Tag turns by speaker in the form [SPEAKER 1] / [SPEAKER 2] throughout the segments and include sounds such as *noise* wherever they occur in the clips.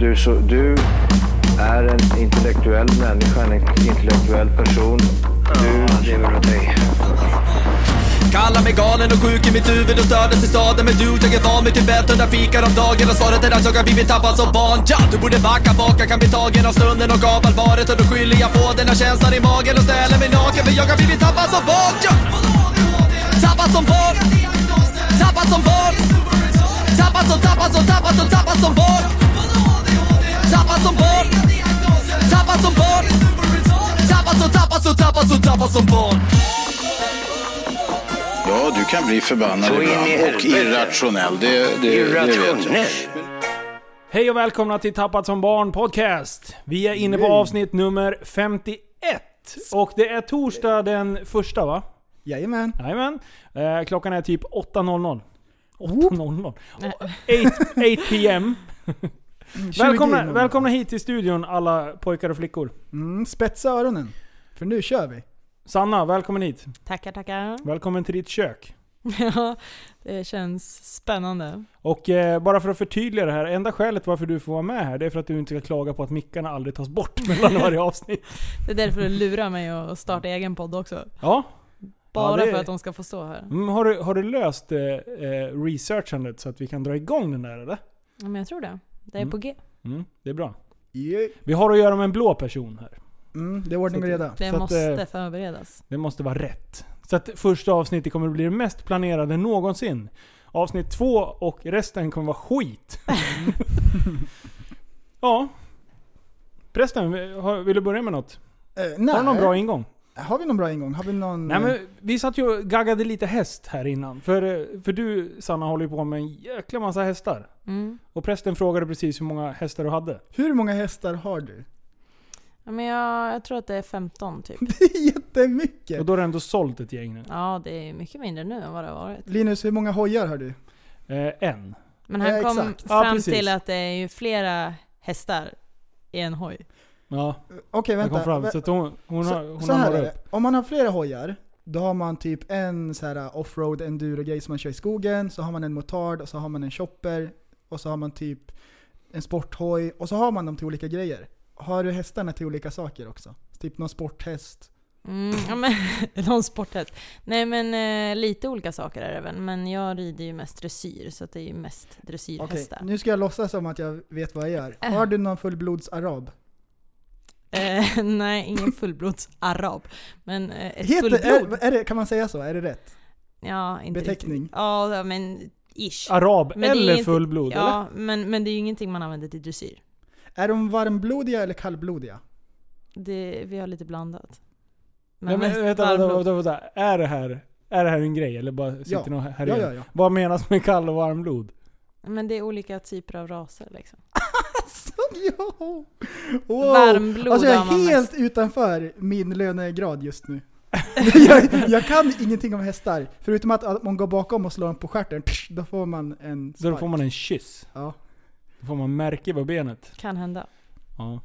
[SPEAKER 1] du, så, du är en intellektuell människa, en intellektuell person. Du lever av dig.
[SPEAKER 2] Kallar mig galen och sjuk i mitt huvud och stördes i staden Men du, jag är van vid Tibet, hundra fikar om dagen Och svaret är att jag har blivit tappad som barn ja! Du borde backa bak, jag kan bli tagen av stunden och av allvaret Och då skyller jag på den här känslan i magen och ställer mig naken För jag har blivit tappad som barn ja! Tappad som barn Tappad som barn Tappad som, tappad som, tappad som, tappad som barn Tappad som barn Tappad som barn Tappad som, tappad som, tappad som, tappad som barn
[SPEAKER 3] Ja, du kan bli förbannad
[SPEAKER 1] Så in i
[SPEAKER 3] ibland och
[SPEAKER 1] helvete.
[SPEAKER 3] irrationell. Det, det, det vet jag.
[SPEAKER 1] Irrationell.
[SPEAKER 4] Hej och välkomna till Tappat som barn podcast. Vi är inne på avsnitt nummer 51. Och det är torsdag den första va?
[SPEAKER 5] Jajamän.
[SPEAKER 4] Jajamän. Eh, klockan är typ 8.00. 8.00? 8, 8
[SPEAKER 5] *laughs*
[SPEAKER 4] pm.
[SPEAKER 5] 20
[SPEAKER 4] Mm, Välkomna,
[SPEAKER 5] noll.
[SPEAKER 4] välkomna hit till studion alla pojkar och flickor.
[SPEAKER 5] Mm, spetsa öronen. För nu kör vi.
[SPEAKER 4] Sanna, välkommen hit.
[SPEAKER 6] Tackar, tackar.
[SPEAKER 4] Välkommen till ditt kök.
[SPEAKER 6] *laughs* Ja, det känns spännande.
[SPEAKER 4] Och eh, bara för att förtydliga det här, enda skälet varför du får vara med här, det är för att du inte ska klaga på att mickarna aldrig tas bort *laughs* mellan varje avsnitt.
[SPEAKER 6] Det är därför du lurar mig att starta egen podd också.
[SPEAKER 4] Ja,
[SPEAKER 6] Bara
[SPEAKER 4] Ja, det-
[SPEAKER 6] för att de ska få stå här.
[SPEAKER 4] Mm, har, du, har du löst eh, eh, researchandet så att vi kan dra igång den där eller?
[SPEAKER 6] Ja, Men jag tror det. Det är
[SPEAKER 4] Mm.
[SPEAKER 6] på G.
[SPEAKER 4] Mm, det är bra.
[SPEAKER 5] Yeah.
[SPEAKER 4] Vi har att göra med en blå person här.
[SPEAKER 5] Mm, det är ordning och reda.
[SPEAKER 6] Det
[SPEAKER 4] Så att,
[SPEAKER 6] måste
[SPEAKER 4] eh,
[SPEAKER 6] förberedas.
[SPEAKER 4] Det måste vara rätt. Så att första avsnittet kommer att bli det mest planerade någonsin. Avsnitt två och resten kommer vara *laughs* skit. ja. Prästen, har- vill du börja med något?
[SPEAKER 5] Eh, nej.
[SPEAKER 4] Har du någon bra ingång?
[SPEAKER 5] Har vi någon bra ingång? Har vi någon...
[SPEAKER 4] Nej men vi satt ju och gaggade lite häst här innan. För, eh, för du Sanna håller ju på med en jäkla massa hästar.
[SPEAKER 6] Mm.
[SPEAKER 4] Och prästen frågade precis hur många hästar du hade.
[SPEAKER 5] Hur många hästar har du? *laughs*
[SPEAKER 6] Ja, Men jag, jag tror att det är 15 typ.
[SPEAKER 5] Det är jättemycket!
[SPEAKER 4] Och då har du ändå sålt ett gäng nu.
[SPEAKER 6] Ja, det är mycket mindre nu än vad det har varit.
[SPEAKER 5] Linus, hur många hojar har du?
[SPEAKER 4] Eh, en.
[SPEAKER 6] Men
[SPEAKER 5] Ja,
[SPEAKER 6] han kom
[SPEAKER 5] exakt.
[SPEAKER 4] Ja,
[SPEAKER 6] fram
[SPEAKER 4] precis.
[SPEAKER 6] till att det är ju flera hästar i en hoj.
[SPEAKER 4] Ja,
[SPEAKER 5] Okej,
[SPEAKER 4] jag kom
[SPEAKER 5] vänta.
[SPEAKER 4] fram.
[SPEAKER 5] Vä-
[SPEAKER 4] Så att hon, hon har, hon
[SPEAKER 5] så, så
[SPEAKER 4] har
[SPEAKER 5] här
[SPEAKER 4] några
[SPEAKER 5] är
[SPEAKER 4] upp.
[SPEAKER 5] det. Om man har flera hojar, då har man typ en så här offroad enduro-grej som man kör i skogen, så har man en motard, och så har man en chopper, och så har man typ en sporthoj, och så har man dem till olika grejer. Har du hästarna till olika saker också? Typ någon sporthäst?
[SPEAKER 6] Mm, ja, men, *laughs* någon sporthäst. Nej men eh, lite olika saker är det väl. Men jag rider ju mest dressyr, så att det är ju mest
[SPEAKER 5] Okej,
[SPEAKER 6] dressyrhästar.
[SPEAKER 5] nu ska jag låtsas som att jag vet vad jag gör.
[SPEAKER 6] Äh.
[SPEAKER 5] Har du någon fullblodsarab?
[SPEAKER 6] Eh, *laughs* nej, ingen fullblodsarab. Men eh, ett
[SPEAKER 5] Heter,
[SPEAKER 6] fullblod.
[SPEAKER 5] är, är det, kan man säga så? Är det rätt?
[SPEAKER 6] ja, inte
[SPEAKER 5] beteckning?
[SPEAKER 6] Riktigt. Ja, men ish.
[SPEAKER 4] Arab
[SPEAKER 6] Men det är
[SPEAKER 4] eller
[SPEAKER 6] inte-
[SPEAKER 4] fullblod eller?
[SPEAKER 6] Ja, men, men det är ju ingenting man använder till dressyr.
[SPEAKER 5] Är de varmblodiga eller kallblodiga?
[SPEAKER 6] Det, vi har lite blandat.
[SPEAKER 4] Nej, men,
[SPEAKER 6] mest
[SPEAKER 4] vänta, vänta,
[SPEAKER 6] varmblod.
[SPEAKER 4] vänta, vänta. Är det här, är det här en grej eller bara sitter
[SPEAKER 5] Ja.
[SPEAKER 4] någon här
[SPEAKER 5] Ja,
[SPEAKER 4] inne?
[SPEAKER 5] ja, ja. *laughs*
[SPEAKER 4] Vad menas med kall och varmblod?
[SPEAKER 6] Men det är olika typer av raser liksom.
[SPEAKER 5] Jo! Wow.
[SPEAKER 6] Varmblod
[SPEAKER 5] Alltså jag
[SPEAKER 6] har man
[SPEAKER 5] är helt utanför min lönegrad just
[SPEAKER 6] *laughs*
[SPEAKER 5] nu. *laughs* jag, jag kan ingenting om hästar, förutom att om man går bakom och slår dem på stjärten, psh, då får man en
[SPEAKER 4] Så då
[SPEAKER 5] spark.
[SPEAKER 4] får man en kyss.
[SPEAKER 5] Ja.
[SPEAKER 4] Då får man märke på benet.
[SPEAKER 6] Kan hända.
[SPEAKER 4] Ja.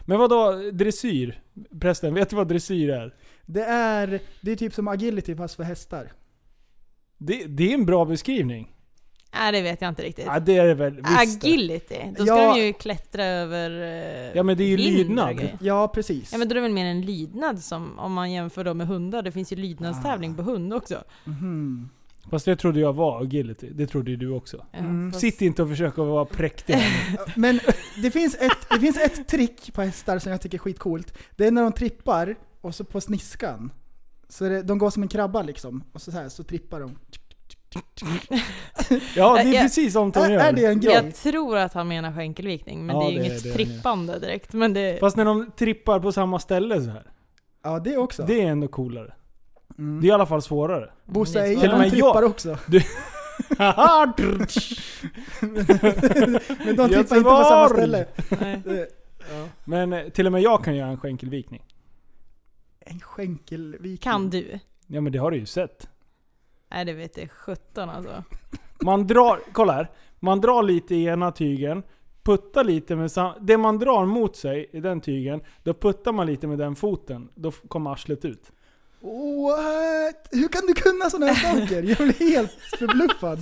[SPEAKER 4] Men vad då dressyr? Prästen, vet du vad dressyr är?
[SPEAKER 5] Det, är, det är typ som agility fast för hästar.
[SPEAKER 4] Det, det är en bra beskrivning.
[SPEAKER 6] Nej, det vet jag inte riktigt.
[SPEAKER 4] Ja, det är det väl visst det.
[SPEAKER 6] Agility. Då ska
[SPEAKER 5] Ja.
[SPEAKER 6] de ju klättra över... eh,
[SPEAKER 4] Ja men det är ju
[SPEAKER 6] hinder och
[SPEAKER 4] lydnad.
[SPEAKER 6] grejer.
[SPEAKER 5] Ja, precis.
[SPEAKER 6] Ja men då är det väl mer en lydnad som, om man jämför dem med hundar. Det finns ju lydnadstävling på hund också.
[SPEAKER 5] Mhm.
[SPEAKER 4] Fast det trodde jag var agility. Det trodde ju du också.
[SPEAKER 6] Ja,
[SPEAKER 5] Mm.
[SPEAKER 6] fast-
[SPEAKER 4] Sitt inte och försök att vara präktig. här
[SPEAKER 5] Men det finns, ett, det finns ett trick på hästar som jag tycker är skitcoolt. Det är när de trippar och så på sniskan. Så är det, de går som en krabba liksom, och så, så, här, så trippar de.
[SPEAKER 4] nu. Ja, det är
[SPEAKER 6] Ja.
[SPEAKER 4] precis som Tom
[SPEAKER 5] Äh, Är,
[SPEAKER 4] gör.
[SPEAKER 5] är det en grej?
[SPEAKER 6] Jag tror att han menar skänkelvikning, men
[SPEAKER 4] Ja,
[SPEAKER 6] det är ju
[SPEAKER 4] det-
[SPEAKER 6] inget
[SPEAKER 4] det är det.
[SPEAKER 6] trippande direkt. Men det,
[SPEAKER 4] Fast när de trippar på samma ställe så här.
[SPEAKER 5] Ja, det också.
[SPEAKER 4] Det är ändå coolare.
[SPEAKER 5] Mm.
[SPEAKER 4] Det är i alla fall
[SPEAKER 5] *laughs*
[SPEAKER 4] svårare.
[SPEAKER 5] Bosse
[SPEAKER 6] Det är
[SPEAKER 5] är
[SPEAKER 4] Till och med
[SPEAKER 5] de trippar
[SPEAKER 4] jag.
[SPEAKER 5] också.
[SPEAKER 4] *laughs* Haha!
[SPEAKER 5] Men de tippar inte på samma ställe.
[SPEAKER 6] nej.
[SPEAKER 4] Men eh, till och med jag kan göra en skänkelvikning.
[SPEAKER 5] En skänkelvik.
[SPEAKER 6] kan du?
[SPEAKER 4] Ja men det har du ju sett.
[SPEAKER 6] Nej det vet jag sjutton alltså.
[SPEAKER 4] Man drar, kolla här. Man drar lite i ena tygen, puttar lite med sam- Det man drar mot sig i den tygen, då puttar man lite med den foten. Då f- kommer arslet ut.
[SPEAKER 5] What? Hur kan du kunna sådana här saker? Jag blir helt förbluffad.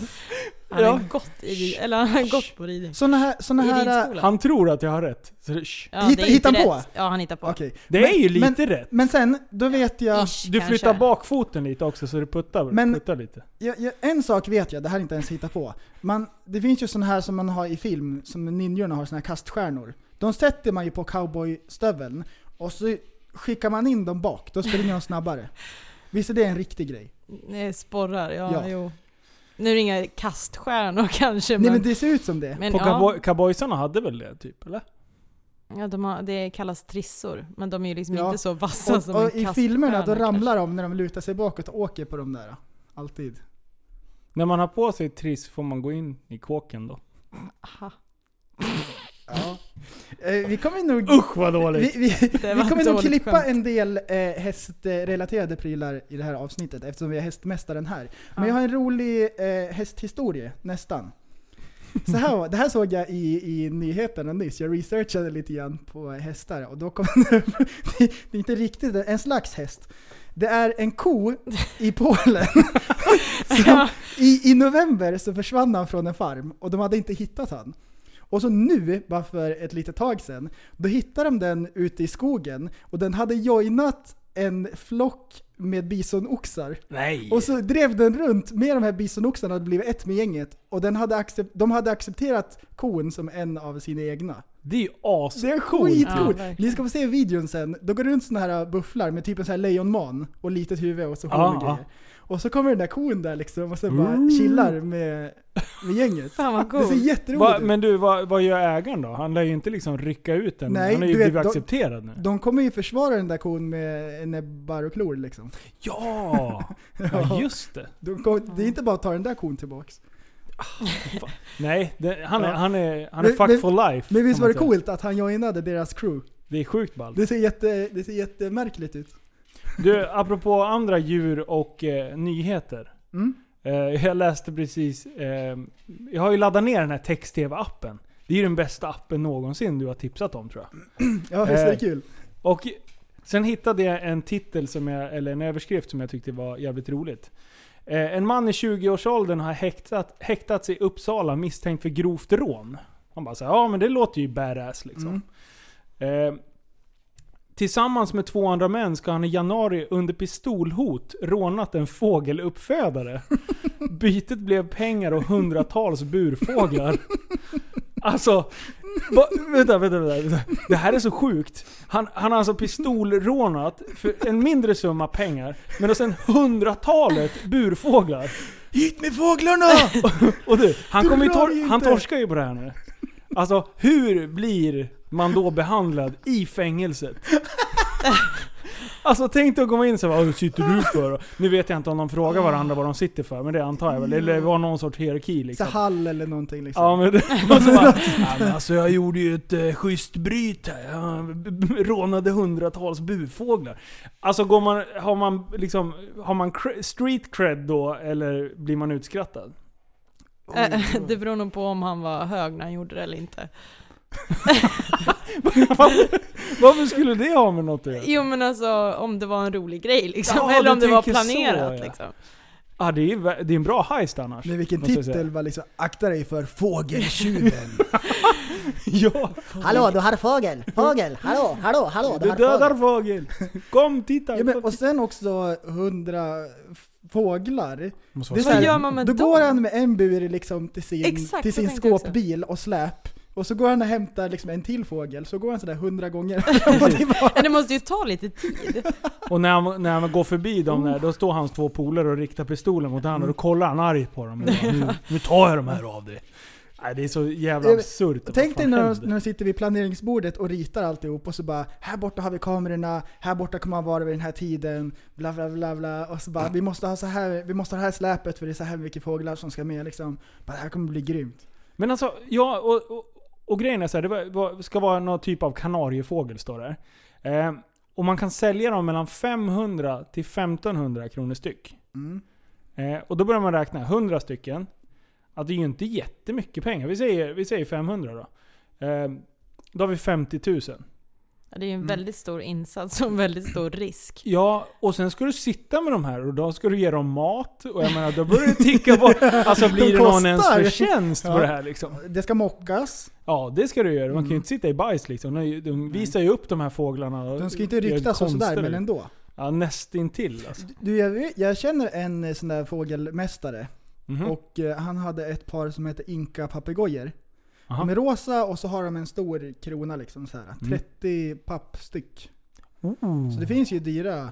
[SPEAKER 6] Han har
[SPEAKER 4] Ja.
[SPEAKER 6] gått, i, eller han har gått på ridning.
[SPEAKER 5] Såna här... Såna
[SPEAKER 6] I
[SPEAKER 5] här
[SPEAKER 6] ridskolan.
[SPEAKER 4] Han tror att jag har rätt. Så, det- shh.
[SPEAKER 6] Ja, det är
[SPEAKER 5] Hitta-
[SPEAKER 6] inte
[SPEAKER 5] hittar han på?
[SPEAKER 6] rätt. Ja, han hittar på.
[SPEAKER 5] Okej.
[SPEAKER 4] Det
[SPEAKER 5] Men-
[SPEAKER 4] är ju lite
[SPEAKER 5] men,
[SPEAKER 4] rätt.
[SPEAKER 5] Men sen, då vet jag...
[SPEAKER 6] Ish,
[SPEAKER 4] Du
[SPEAKER 6] kanske.
[SPEAKER 4] flyttar bakfoten lite också så du puttar,
[SPEAKER 5] Men-
[SPEAKER 4] puttar lite.
[SPEAKER 5] Jag, jag, en sak vet jag, det här är inte ens hitta på. Man, det finns ju såna här som man har i film, som ninjorna har, såna här kaststjärnor. De sätter man ju på cowboystöveln och så skickar man in dem bak, då springer de
[SPEAKER 6] *laughs*
[SPEAKER 5] snabbare. Visst är det en riktig grej?
[SPEAKER 6] Nej, Sporrar, ja,
[SPEAKER 5] Ja.
[SPEAKER 6] jo. Nu är det inga kaststjärnor *laughs* kanske,
[SPEAKER 5] Nej
[SPEAKER 6] men...
[SPEAKER 5] men det ser ut som det.
[SPEAKER 6] men
[SPEAKER 4] På
[SPEAKER 6] ja,
[SPEAKER 4] cowboy, cowboysarna hade väl det typ, eller?
[SPEAKER 6] ja, de har, det kallas trissor, men de är ju liksom
[SPEAKER 5] Ja.
[SPEAKER 6] inte så vassa som
[SPEAKER 5] Och,
[SPEAKER 6] en
[SPEAKER 5] och i
[SPEAKER 6] kaststjärna.
[SPEAKER 5] filmerna då
[SPEAKER 6] kanske.
[SPEAKER 5] ramlar de när de lutar sig bakåt och åker på de där. Alltid.
[SPEAKER 4] När man har på sig triss får man gå in i kåken då.
[SPEAKER 6] Aha.
[SPEAKER 5] Ja. Eh, vi kommer nog...
[SPEAKER 4] Usch vad
[SPEAKER 5] Vi,
[SPEAKER 4] dåligt!
[SPEAKER 5] vi,
[SPEAKER 6] Det
[SPEAKER 5] vi
[SPEAKER 6] var
[SPEAKER 5] kommer
[SPEAKER 6] ett
[SPEAKER 5] nog
[SPEAKER 6] dåligt
[SPEAKER 5] klippa
[SPEAKER 6] skämt.
[SPEAKER 5] en del eh, hästrelaterade prylar i det här avsnittet eftersom vi är hästmästaren här. Men
[SPEAKER 6] Ja.
[SPEAKER 5] jag har en rolig eh, hästhistoria, nästan. Så här, var- det här såg jag i, i nyheterna nyss. Jag researchade lite grann på hästar och då kom *laughs* det upp. Det, det är inte riktigt en slags häst. Det är en ko i Polen. Som, i, I november så försvann han från en farm och de hade inte hittat han. Och så nu, bara för ett litet tag sedan, då hittade de den ute i skogen och den hade joinat en flock med bisonoxar.
[SPEAKER 4] Nej!
[SPEAKER 5] Och så drev den runt med de här bisonoxarna och blivit ett med gänget. Och den hade accep- de hade accepterat kon som en av sina egna.
[SPEAKER 4] Det är ju
[SPEAKER 5] Det är
[SPEAKER 4] ascoolt!
[SPEAKER 6] Ja,
[SPEAKER 5] skitcoolt!
[SPEAKER 6] verkligen.
[SPEAKER 5] Ni ska få se videon sen. Då går det runt såna här bufflar med typ en sån här lejonman och litet huvud och så horn
[SPEAKER 4] Ja,
[SPEAKER 5] och
[SPEAKER 4] ja. Mm.
[SPEAKER 5] grejer. Och så kommer den där kon där liksom och så bara chillar med, med gänget.
[SPEAKER 6] Fan vad
[SPEAKER 5] Det ser
[SPEAKER 6] coolt.
[SPEAKER 4] Va,
[SPEAKER 5] jätteroligt ut.
[SPEAKER 4] men du, vad, vad gör ägaren då? Han lär ju inte liksom rycka ut den.
[SPEAKER 5] Nej,
[SPEAKER 4] han har ju
[SPEAKER 5] du vet,
[SPEAKER 4] blivit
[SPEAKER 5] de-
[SPEAKER 4] accepterad nu.
[SPEAKER 5] De kommer ju försvara den där kon med näbbar och klor liksom.
[SPEAKER 4] Ja!
[SPEAKER 5] *laughs*
[SPEAKER 4] ja, just det.
[SPEAKER 5] De kom, det är inte bara att ta den där kon tillbaks.
[SPEAKER 4] Nej, det, han, är,
[SPEAKER 5] Ja.
[SPEAKER 4] han är, han är
[SPEAKER 5] Men-
[SPEAKER 4] fuck
[SPEAKER 5] men-
[SPEAKER 4] for life.
[SPEAKER 5] Men visst
[SPEAKER 4] kan man
[SPEAKER 5] var det
[SPEAKER 4] säga.
[SPEAKER 5] coolt att han joinade deras crew?
[SPEAKER 4] Det är sjukt ballt.
[SPEAKER 5] Det ser, jätte, det ser jättemärkligt ut.
[SPEAKER 4] Du, apropå andra djur och eh, nyheter.
[SPEAKER 5] Mm.
[SPEAKER 4] Eh, jag läste precis, eh, jag har ju laddat ner den här text-tv-appen. Det är ju den bästa appen någonsin du har tipsat om tror jag.
[SPEAKER 5] Ja, visst är det
[SPEAKER 4] Eh,
[SPEAKER 5] kul?
[SPEAKER 4] Och sen hittade jag en titel, som jag, eller en överskrift som jag tyckte var jävligt roligt. Eh, en man i 20-årsåldern har häktat, häktats i Uppsala misstänkt för grovt rån. Man bara såhär, ja men det låter ju badass liksom. Eh, tillsammans med två andra män ska han i januari under pistolhot rånat en fågeluppfödare. Bytet blev pengar och hundratals burfåglar. Alltså, va, vänta, vänta, vänta, vänta. Det här är så sjukt. Han, han har alltså pistolrånat för en mindre summa pengar, men och sen hundratalet burfåglar.
[SPEAKER 5] Hit med fåglarna!
[SPEAKER 4] *laughs* Och du, han,
[SPEAKER 5] Du
[SPEAKER 4] kommer ju
[SPEAKER 5] rör ju
[SPEAKER 4] tor- han
[SPEAKER 5] inte.
[SPEAKER 4] torskar ju på det här nu. Alltså, hur blir man då behandlad i fängelset? Alltså tänk dig att komma in så här, vad sitter du för? Nu vet jag inte om de frågar varandra vad de sitter för, men det antar jag väl. Eller det var någon sorts hierarki
[SPEAKER 5] Så
[SPEAKER 4] liksom.
[SPEAKER 5] hall eller någonting liksom.
[SPEAKER 4] Ja men, *laughs* det- och så bara, ja, men alltså jag gjorde ju ett eh, schysst bryt här. Jag b- b- rånade hundratals bufåglar. Alltså går man, har man liksom, har man cre- street cred då eller blir man utskrattad?
[SPEAKER 6] Eh, Det beror nog på om han var hög när han gjorde det eller inte.
[SPEAKER 4] Varför- Varför skulle det ha med något att göra?
[SPEAKER 6] Jo men alltså om det var en rolig grej liksom,
[SPEAKER 4] Ja,
[SPEAKER 6] eller
[SPEAKER 4] du
[SPEAKER 6] om det var
[SPEAKER 4] tänker så,
[SPEAKER 6] planerat
[SPEAKER 4] ja.
[SPEAKER 6] liksom.
[SPEAKER 4] Ah, det, är, ju vä- det är en bra heist annars.
[SPEAKER 5] Men vilken
[SPEAKER 4] måste jag säga.
[SPEAKER 5] titel var liksom, akta dig för fågeltjuven.
[SPEAKER 4] *laughs* Ja,
[SPEAKER 7] Hallå, du har fågel! Fågel! Hallå, hallå, hallå!
[SPEAKER 4] du
[SPEAKER 7] Du har
[SPEAKER 4] dödar
[SPEAKER 7] fågel!
[SPEAKER 4] fågel. Kom titta.
[SPEAKER 5] ja, men, och sen också hundra f- fåglar.
[SPEAKER 4] Måste vara
[SPEAKER 5] Det är så
[SPEAKER 6] Vad
[SPEAKER 5] här,
[SPEAKER 6] gör man med
[SPEAKER 5] Då
[SPEAKER 6] dem?
[SPEAKER 5] går han med en bur liksom till sin,
[SPEAKER 6] Exakt,
[SPEAKER 5] till
[SPEAKER 6] så
[SPEAKER 5] sin
[SPEAKER 6] tänkte jag
[SPEAKER 5] skåpbil och släp. Och så går han och hämtar liksom en till fågel, så går han sådär
[SPEAKER 4] *laughs*
[SPEAKER 5] hundra gånger. *laughs*
[SPEAKER 6] Men det måste ju ta lite tid.
[SPEAKER 4] Och när han, när han går förbi dem
[SPEAKER 5] Oh.
[SPEAKER 4] där, då står hans två polare och riktar pistolen mot
[SPEAKER 5] Mm.
[SPEAKER 4] honom och då kollar han arg på
[SPEAKER 5] *laughs*
[SPEAKER 4] dem. Och bara, nu, nu tar jag de här av dig. Nej, det är så jävla
[SPEAKER 5] Ja, men-
[SPEAKER 4] absurt. Vad
[SPEAKER 5] Tänk dig
[SPEAKER 4] fan
[SPEAKER 5] när de,
[SPEAKER 4] händer?
[SPEAKER 5] när de sitter vid planeringsbordet och ritar alltihop och så bara här borta har vi kamerorna, här borta kommer man vara vid den här tiden, bla bla bla bla. Och så bara vi måste ha så här, vi måste ha det här släpet för det är så här mycket fåglar som ska med liksom. Bara, det här kommer bli grymt.
[SPEAKER 4] Men alltså, ja, och, och, och grejen är så här, det var- var, ska vara någon typ av kanariefågel står det här. eh, Och man kan sälja dem mellan 500 till 1500 kronor styck.
[SPEAKER 5] Mm.
[SPEAKER 4] Eh, och då börjar man räkna 100 stycken. Ja, det är ju inte Ehm, jättemycket pengar. Vi säger, vi säger 500 då. Eh, då har vi 50 000.
[SPEAKER 6] Ja, det
[SPEAKER 5] Mm.
[SPEAKER 6] är ju en väldigt stor insats och en väldigt stor risk.
[SPEAKER 4] Ja, och sen ska du sitta med de här och då ska du ge dem mat. Och jag menar, då börjar det ticka
[SPEAKER 5] *laughs*
[SPEAKER 4] bort. Alltså blir
[SPEAKER 5] De
[SPEAKER 4] det någon
[SPEAKER 5] kostar.
[SPEAKER 4] ens förtjänst på
[SPEAKER 5] Ja. Mm.
[SPEAKER 4] det här liksom?
[SPEAKER 5] Det ska mockas.
[SPEAKER 4] Ja, det ska du göra. Man kan ju inte sitta i bajs liksom. De, de visar ju upp de här fåglarna. och
[SPEAKER 5] De ska inte
[SPEAKER 4] gör
[SPEAKER 5] ryktas och sådär,
[SPEAKER 4] konster.
[SPEAKER 5] men ändå.
[SPEAKER 4] Ja, nästintill alltså.
[SPEAKER 5] Du, jag, jag känner en eh, sån där fågelmästare.
[SPEAKER 4] Mhm.
[SPEAKER 5] Och eh, han hade ett par som heter Inka-papegojor.
[SPEAKER 4] Aha. Mm.
[SPEAKER 5] De är rosa och så har de en stor krona liksom så här. 30 papp styck. Så det finns ju dyra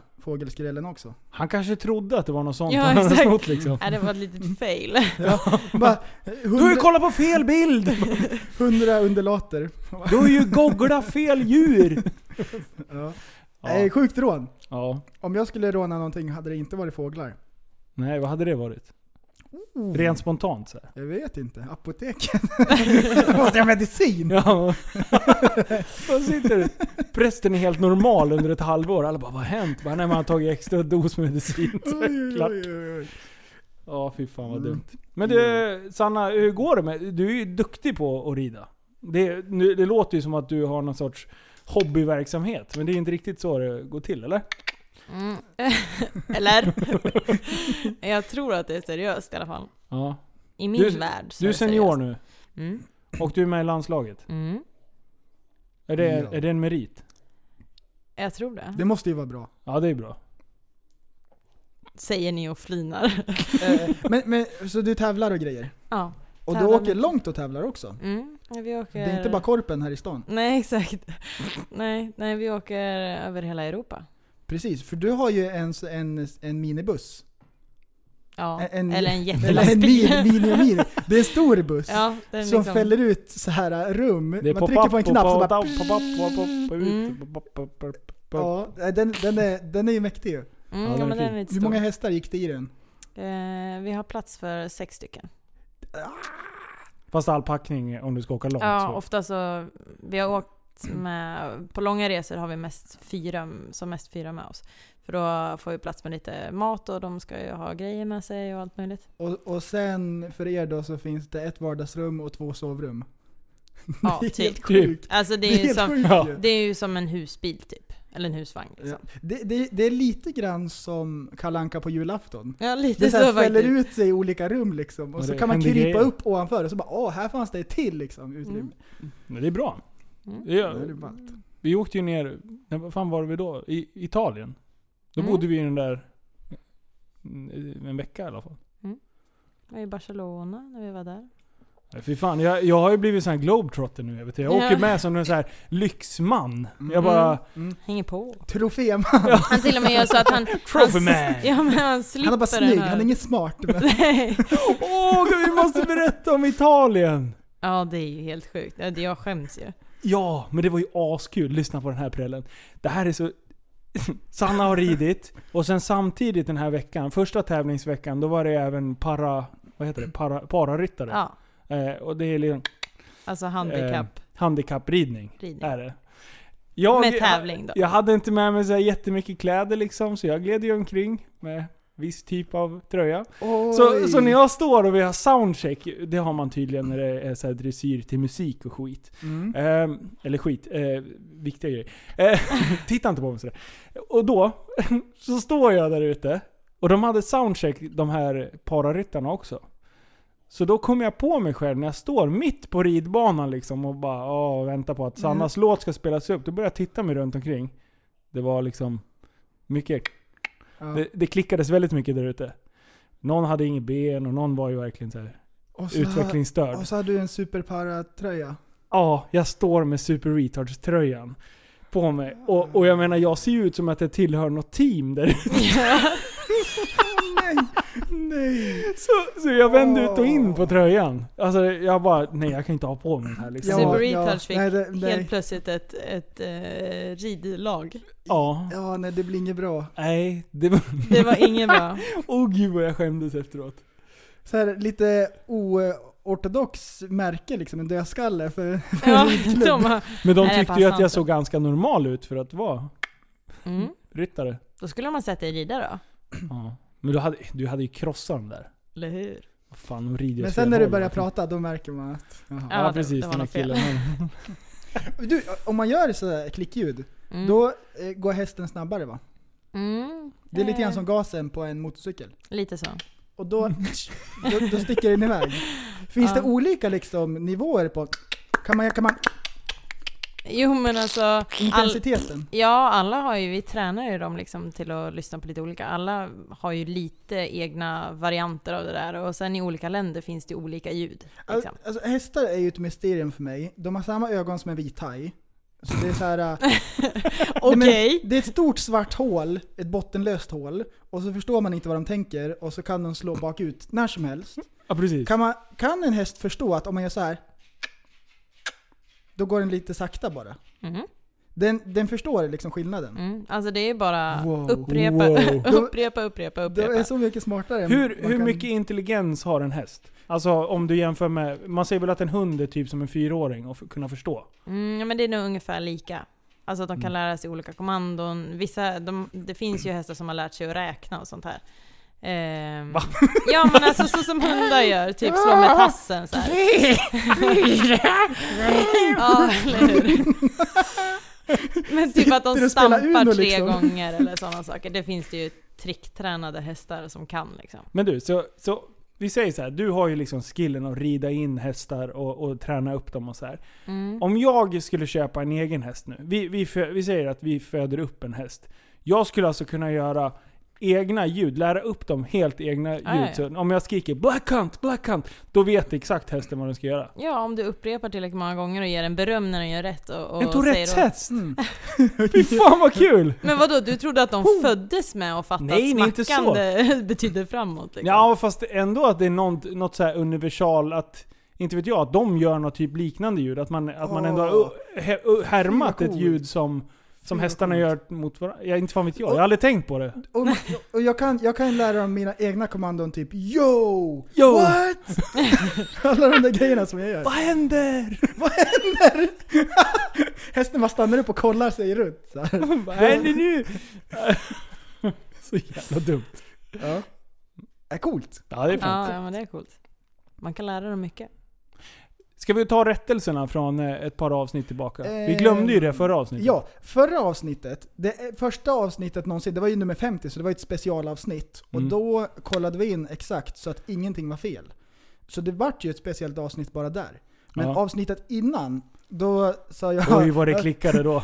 [SPEAKER 4] *laughs*
[SPEAKER 5] fågelskrällen också.
[SPEAKER 4] Han kanske trodde att det var något sånt
[SPEAKER 6] Ja,
[SPEAKER 4] han hade
[SPEAKER 6] exakt.
[SPEAKER 4] snott liksom.
[SPEAKER 6] Nej, det var ett
[SPEAKER 5] Mm.
[SPEAKER 6] litet fail.
[SPEAKER 5] Bara,
[SPEAKER 4] Du har ju
[SPEAKER 5] 100,
[SPEAKER 4] kollat på fel bild!
[SPEAKER 5] 100 underlater.
[SPEAKER 4] Du har ju googlat fel djur!
[SPEAKER 5] Ja.
[SPEAKER 4] Ja.
[SPEAKER 5] Eh, sjukt rån.
[SPEAKER 4] ja.
[SPEAKER 5] Om jag skulle råna någonting hade det inte varit fåglar.
[SPEAKER 4] Nej, vad hade det varit?
[SPEAKER 5] Oh.
[SPEAKER 4] Rent spontant så här.
[SPEAKER 5] Jag vet inte. *laughs* Apoteket. Måste jag ha medicin?
[SPEAKER 4] Ja. Vad sitter du? Prästen är helt normal under ett halvår. Alla bara, vad har hänt? Bara, nej, man har tagit extra dos medicin. *laughs* Så är det klart.
[SPEAKER 5] Oj, oj, Mm. oj.
[SPEAKER 4] Ja, fy fan vad dumt. Men du, Sanna, hur går det med... Du är ju duktig på att rida. Det, nu, det låter ju som att du har någon sorts hobbyverksamhet, men det är inte riktigt så det går till, eller?
[SPEAKER 6] Mm. *laughs* Eller? *laughs* Jag tror att det är seriöst i alla fall.
[SPEAKER 4] Ja.
[SPEAKER 6] I min
[SPEAKER 4] Du-
[SPEAKER 6] värld så
[SPEAKER 4] Du är
[SPEAKER 6] det
[SPEAKER 4] senior
[SPEAKER 6] seriöst.
[SPEAKER 4] nu,
[SPEAKER 6] Mm.
[SPEAKER 4] och du är med i landslaget.
[SPEAKER 6] Mm.
[SPEAKER 4] Är det,
[SPEAKER 5] Ja.
[SPEAKER 4] är det en merit?
[SPEAKER 6] Jag tror det.
[SPEAKER 5] Det måste ju vara
[SPEAKER 6] *laughs*
[SPEAKER 5] bra.
[SPEAKER 4] Ja, det är bra.
[SPEAKER 6] Säger ni och flinar. *laughs*
[SPEAKER 5] Eh, men, men, så du tävlar och grejer?
[SPEAKER 6] ja.
[SPEAKER 5] Och du
[SPEAKER 6] Tävlar
[SPEAKER 5] åker
[SPEAKER 6] mycket.
[SPEAKER 5] långt och tävlar också?
[SPEAKER 6] Mm. Vi åker...
[SPEAKER 5] Det är inte bara korpen här i stan?
[SPEAKER 6] Nej, exakt. Nej, nej, vi åker över hela Europa.
[SPEAKER 5] Precis, för du har ju en, en, en minibuss.
[SPEAKER 6] Ja.
[SPEAKER 5] En-
[SPEAKER 6] Eller en
[SPEAKER 5] Eller en
[SPEAKER 6] jättelastbil.
[SPEAKER 5] mini, mini, mini. Det är en stor buss.
[SPEAKER 6] ja, den
[SPEAKER 5] som
[SPEAKER 6] liksom...
[SPEAKER 5] fäller ut så här eh, rum. Man
[SPEAKER 4] Det är
[SPEAKER 5] trycker på en knapp så bara...
[SPEAKER 6] Mm.
[SPEAKER 5] Ja, eh, den, den, är, den är ju mäktig ju.
[SPEAKER 6] Mm,
[SPEAKER 4] Ja,
[SPEAKER 6] ja,
[SPEAKER 4] den är
[SPEAKER 6] men den
[SPEAKER 4] fin.
[SPEAKER 6] är lite
[SPEAKER 5] Hur
[SPEAKER 6] stor.
[SPEAKER 5] många hästar gick det i den?
[SPEAKER 6] Eh, vi har plats för sex stycken.
[SPEAKER 4] Fast all packning om du ska åka långt.
[SPEAKER 6] Ja,
[SPEAKER 4] så.
[SPEAKER 6] ofta så... Vi har åkt med... På långa resor har vi mest fyra, som mest fyra med oss. För då får vi plats med lite mat och de ska ju ha grejer med sig och allt möjligt.
[SPEAKER 5] Och, och sen för er då så finns det ett vardagsrum och två sovrum. *laughs*
[SPEAKER 6] Ja,
[SPEAKER 5] det är helt
[SPEAKER 6] typ.
[SPEAKER 5] sjukt.
[SPEAKER 6] Alltså det
[SPEAKER 5] Det är
[SPEAKER 6] är ju
[SPEAKER 5] helt
[SPEAKER 6] som,
[SPEAKER 5] sjukt
[SPEAKER 4] Ja.
[SPEAKER 5] ju.
[SPEAKER 6] det är ju som en husbil typ. Eller en husvagn
[SPEAKER 5] Ja.
[SPEAKER 6] liksom.
[SPEAKER 5] Det, det, det är lite grann som Kalanka på julafton.
[SPEAKER 6] Ja, lite
[SPEAKER 5] Det så
[SPEAKER 6] så
[SPEAKER 5] här fäller
[SPEAKER 6] faktiskt.
[SPEAKER 5] ut sig i olika rum liksom.
[SPEAKER 4] Ja,
[SPEAKER 5] Och så
[SPEAKER 4] det
[SPEAKER 5] kan man
[SPEAKER 4] händer
[SPEAKER 5] krypa
[SPEAKER 4] grejer.
[SPEAKER 5] upp ovanför och så bara åh, här fanns det ett till liksom utrymme.
[SPEAKER 6] Mm.
[SPEAKER 4] Men det är bra.
[SPEAKER 6] Mm.
[SPEAKER 4] Det
[SPEAKER 5] Det är
[SPEAKER 4] är,
[SPEAKER 5] ju ballt.
[SPEAKER 4] vi åkte ju ner, nej, vad fan var vi då? I Italien. Då
[SPEAKER 6] Mm.
[SPEAKER 4] bodde vi i den där mm, en vecka i alla fall.
[SPEAKER 6] var i Barcelona när vi var där.
[SPEAKER 4] Nej, Fy fan, jag, jag har ju blivit sån här globetrotter nu. Jag, vet, jag
[SPEAKER 6] Ja.
[SPEAKER 4] åker med som en sån här lyxman. Jag bara...
[SPEAKER 6] Hänger på.
[SPEAKER 5] Troféman.
[SPEAKER 6] Han till och med gör så
[SPEAKER 5] *laughs*
[SPEAKER 6] att han...
[SPEAKER 4] Trophy
[SPEAKER 6] han,
[SPEAKER 4] man.
[SPEAKER 6] Ja men han slipper
[SPEAKER 5] Han är bara snygg,
[SPEAKER 6] den här.
[SPEAKER 5] han är ingen smart. Men
[SPEAKER 6] *laughs* Nej.
[SPEAKER 4] Åh, vi måste berätta om Italien!
[SPEAKER 6] Ja det är ju helt sjukt. Ja, det- Jag skäms ju.
[SPEAKER 4] Ja, men det var ju askul. Lyssna på den här prällen. Det här är så... *laughs* Sanna har ridit, och sen samtidigt den här veckan, första tävlingsveckan, då var det även para... Vad heter det? Para, pararyttare.
[SPEAKER 6] Ja.
[SPEAKER 4] Eh, och det är liksom
[SPEAKER 6] Alltså handikapp.
[SPEAKER 5] Eh,
[SPEAKER 4] handikappridning.
[SPEAKER 6] Ridning.
[SPEAKER 4] Är det. Jag,
[SPEAKER 5] *laughs*
[SPEAKER 6] Med tävling då.
[SPEAKER 4] Jag hade inte med mig så här jättemycket kläder liksom, så jag gled ju omkring med viss typ av tröja. Så,
[SPEAKER 5] Oj.
[SPEAKER 4] så när jag står och vi har soundcheck, det har man tydligen när det är så här dressyr till musik och skit.
[SPEAKER 5] Mm.
[SPEAKER 4] Ehm, eller skit, eh, viktiga grejer. Eh, *laughs* titta inte på mig sådär. Och då, *laughs* så står jag där ute. Och de hade soundcheck, de här pararyttarna också. Så då kom jag på mig själv när jag står mitt på ridbanan liksom och bara åh, väntar på att Sannas låt ska spelas upp. Då började jag titta mig runt omkring. Det var liksom mycket...
[SPEAKER 5] Ja.
[SPEAKER 4] Det, det klickades väldigt mycket där ute. Någon hade inget ben och någon var ju verkligen så här
[SPEAKER 5] och så,
[SPEAKER 4] utvecklingsstörd.
[SPEAKER 5] Och så hade du en superparatröja.
[SPEAKER 4] Ja, jag står med Super Retards-tröjan på mig. Och, och jag menar, jag ser ju ut som att jag tillhör något team där *laughs*
[SPEAKER 5] Nej, nej.
[SPEAKER 4] så, så jag vände ut och in
[SPEAKER 5] Åh.
[SPEAKER 4] på tröjan. Alltså jag bara, nej jag kan inte ha på mig den här liksom.
[SPEAKER 5] Ja,
[SPEAKER 6] Super
[SPEAKER 4] Ja,
[SPEAKER 6] Retouch
[SPEAKER 5] ja.
[SPEAKER 6] fick
[SPEAKER 5] Nej, det- nej.
[SPEAKER 6] helt plötsligt ett, ett eh, ridlag.
[SPEAKER 5] Ja, nej det blir inget bra.
[SPEAKER 4] nej. Det var, *laughs*
[SPEAKER 6] Det var
[SPEAKER 5] *laughs*
[SPEAKER 6] ingen bra.
[SPEAKER 4] oh gud vad jag skämdes efteråt.
[SPEAKER 5] Så här, lite oortodox märke liksom, en dödskalle för
[SPEAKER 6] Ja, de har,
[SPEAKER 4] Men de
[SPEAKER 6] Nej,
[SPEAKER 4] tyckte
[SPEAKER 6] det
[SPEAKER 4] ju att
[SPEAKER 6] passar
[SPEAKER 4] jag
[SPEAKER 6] inte.
[SPEAKER 4] såg ganska normal ut för att vara
[SPEAKER 6] mm.
[SPEAKER 4] ryttare.
[SPEAKER 6] Då skulle man sett dig rida då.
[SPEAKER 4] Ja. Men du hade, du hade ju krossat dem där.
[SPEAKER 6] Eller hur?
[SPEAKER 4] Vad fan, de rider ju åt
[SPEAKER 5] Men
[SPEAKER 4] fel
[SPEAKER 5] sen när
[SPEAKER 4] håll.
[SPEAKER 5] du
[SPEAKER 4] alltså.
[SPEAKER 5] börjar prata, då märker man att... Jaha.
[SPEAKER 4] Ja,
[SPEAKER 6] Ja, det-
[SPEAKER 4] precis.
[SPEAKER 6] det
[SPEAKER 4] den
[SPEAKER 6] var
[SPEAKER 4] här
[SPEAKER 6] något fel.
[SPEAKER 4] killen. han-
[SPEAKER 5] Du, om man gör sådär klickljud,
[SPEAKER 6] Mm.
[SPEAKER 5] då eh, går hästen snabbare va?
[SPEAKER 6] Mm.
[SPEAKER 5] Det är lite grann
[SPEAKER 6] Eh,
[SPEAKER 5] som gasen på en motorcykel.
[SPEAKER 6] Lite så.
[SPEAKER 5] Och då, då, då sticker den iväg. Finns det
[SPEAKER 6] Ja.
[SPEAKER 5] olika liksom, nivåer på... Kan man, kan man
[SPEAKER 6] Jo men alltså... All,
[SPEAKER 5] intensiteten?
[SPEAKER 6] ja, alla har ju, vi tränar ju dem liksom till att lyssna på lite olika. Alla har ju lite egna varianter av det där. Och sen i olika länder finns det ju olika ljud.
[SPEAKER 5] Al-
[SPEAKER 6] Liksom.
[SPEAKER 5] Alltså, hästar är ju ett mysterium för mig. De har samma ögon som en vit haj. Så det är så här,
[SPEAKER 6] *laughs*
[SPEAKER 5] eh,
[SPEAKER 6] Okej!
[SPEAKER 5] Nej, men det är ett stort svart hål, ett bottenlöst hål, och så förstår man inte vad de tänker och så kan de slå bakut när som helst.
[SPEAKER 4] Ja precis.
[SPEAKER 5] Kan, man, kan en häst förstå att om man gör så här, då går den lite sakta bara?
[SPEAKER 4] Mm-hmm.
[SPEAKER 6] Mhm.
[SPEAKER 5] Den, den förstår liksom skillnaden.
[SPEAKER 6] Mm. Alltså det är ju bara
[SPEAKER 5] Wow.
[SPEAKER 6] upprepa,
[SPEAKER 4] Wow.
[SPEAKER 6] *laughs* upprepa, upprepa,
[SPEAKER 5] Det är
[SPEAKER 6] upprepa.
[SPEAKER 5] så mycket smartare. än
[SPEAKER 4] Hur,
[SPEAKER 5] man
[SPEAKER 4] hur
[SPEAKER 5] kan-
[SPEAKER 4] mycket intelligens har en häst? Alltså om du jämför med, man säger väl att en hund är typ som en fyraåring och f- kunna förstå?
[SPEAKER 6] Mm, ja, men det är nog ungefär lika. Alltså att de
[SPEAKER 5] Mm.
[SPEAKER 6] kan lära sig olika kommandon. Vissa, de, det finns ju hästar som har lärt sig att räkna och sånt här. Ehm,
[SPEAKER 4] Va?
[SPEAKER 6] Ja men alltså så som hundar gör, typ
[SPEAKER 5] *laughs*
[SPEAKER 6] slå med tassen så här. ja, eller hur? Men typ att
[SPEAKER 5] Sitter
[SPEAKER 6] de
[SPEAKER 5] och spelar
[SPEAKER 6] stampar
[SPEAKER 5] Uno,
[SPEAKER 6] tre
[SPEAKER 5] liksom.
[SPEAKER 6] gånger eller sådana saker. Det finns det ju tricktränade hästar som kan liksom.
[SPEAKER 4] Men du, så, så vi säger så här, du har ju liksom skillen att rida in hästar och, och träna upp dem och så här.
[SPEAKER 6] Mm.
[SPEAKER 4] Om jag skulle köpa en egen häst nu. Vi, vi, fö- vi säger att vi föder upp en häst. Jag skulle alltså kunna göra egna ljud, lära upp dem helt egna ljud.
[SPEAKER 6] ja, Ah, ja.
[SPEAKER 4] Så om jag skriker 'Black Hunt, Black Hunt' då vet exakt hästen vad den ska göra.
[SPEAKER 6] Ja, om du upprepar tillräckligt många gånger och ger den beröm när den gör rätt och, och
[SPEAKER 4] en
[SPEAKER 6] säger åt- *laughs*
[SPEAKER 4] Tourettes-häst!
[SPEAKER 5] Mm.
[SPEAKER 4] Fy fan vad kul!
[SPEAKER 6] Men vadå, du trodde att de föddes med och fattade
[SPEAKER 4] Nej, nej,
[SPEAKER 6] att
[SPEAKER 4] inte så.
[SPEAKER 6] smackande *laughs* betyder framåt? Liksom.
[SPEAKER 4] Ja, fast ändå att det är något, något så här universal att inte vet jag, att de gör något typ liknande ljud. Att man, att man ändå har
[SPEAKER 5] Åh.
[SPEAKER 4] u- he- u- härmat
[SPEAKER 5] Fy, vad
[SPEAKER 4] ett
[SPEAKER 5] coolt.
[SPEAKER 4] ljud som, som
[SPEAKER 5] vad
[SPEAKER 4] hästarna gör mot varandra. Ja, inte fan vet jag, jag har aldrig tänkt på det.
[SPEAKER 5] Och, och jag, kan, jag kan lära dem mina egna kommandon typ Yo!
[SPEAKER 4] Yo! *laughs*
[SPEAKER 5] What? Alla de där grejerna som jag gör.
[SPEAKER 4] Vad händer?
[SPEAKER 5] Vad händer? Hästen bara stannar upp och kollar sig runt. Så här.
[SPEAKER 4] *laughs* Vad händer nu? *laughs* så jävla dumt.
[SPEAKER 5] Ja. Är coolt.
[SPEAKER 4] Ja, det är
[SPEAKER 6] ja,
[SPEAKER 4] fint.
[SPEAKER 6] ja, men det är coolt. Man kan lära dem mycket.
[SPEAKER 4] Ska vi ta rättelserna från eh, ett par avsnitt tillbaka? Vi
[SPEAKER 5] Eh,
[SPEAKER 4] glömde ju det förra avsnittet.
[SPEAKER 5] Ja, förra avsnittet, det första avsnittet någonsin, det var ju nummer 50 så det var ju ett specialavsnitt.
[SPEAKER 4] Mm.
[SPEAKER 5] Och då kollade vi in exakt så att ingenting var fel. Så det vart ju ett speciellt avsnitt bara där. Men
[SPEAKER 4] Ja.
[SPEAKER 5] avsnittet innan, då sa jag...
[SPEAKER 4] Oj vad det
[SPEAKER 5] *laughs*
[SPEAKER 4] klickade då.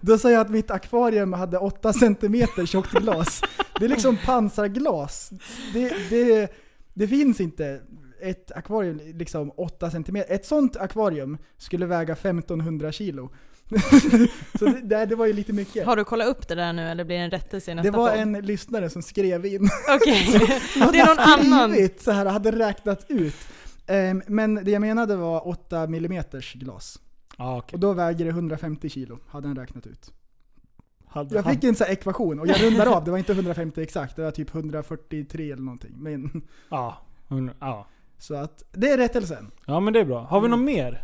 [SPEAKER 5] Då sa jag att mitt akvarium hade 8 cm tjockt glas. Det är liksom pansarglas. Det, det, det finns inte ett akvarium liksom 8 cm. Ett sånt akvarium skulle väga 1500 kilo. *laughs* Så det, det- det var ju lite mycket.
[SPEAKER 6] Har du kollat upp det där nu eller blir det en rättelse i nästa
[SPEAKER 5] Det var
[SPEAKER 6] podd?
[SPEAKER 5] en lyssnare som skrev in.
[SPEAKER 6] *laughs* Okej, det är någon annan.
[SPEAKER 5] Skrivit så här, hade räknat ut. Ehm, Men det jag menade var 8 mm glas.
[SPEAKER 4] Ja, okej.
[SPEAKER 5] Och då väger det 150 kilo, hade han räknat ut.
[SPEAKER 4] Hade
[SPEAKER 5] Jag
[SPEAKER 4] han-
[SPEAKER 5] fick en sån här ekvation och jag rundar av, det var inte 150 exakt, det var typ 143 eller någonting. Men,
[SPEAKER 4] Ja, hon- ja.
[SPEAKER 5] så att, det är rättelsen.
[SPEAKER 4] ja, men det är bra. Har
[SPEAKER 5] Mm.
[SPEAKER 4] vi något mer?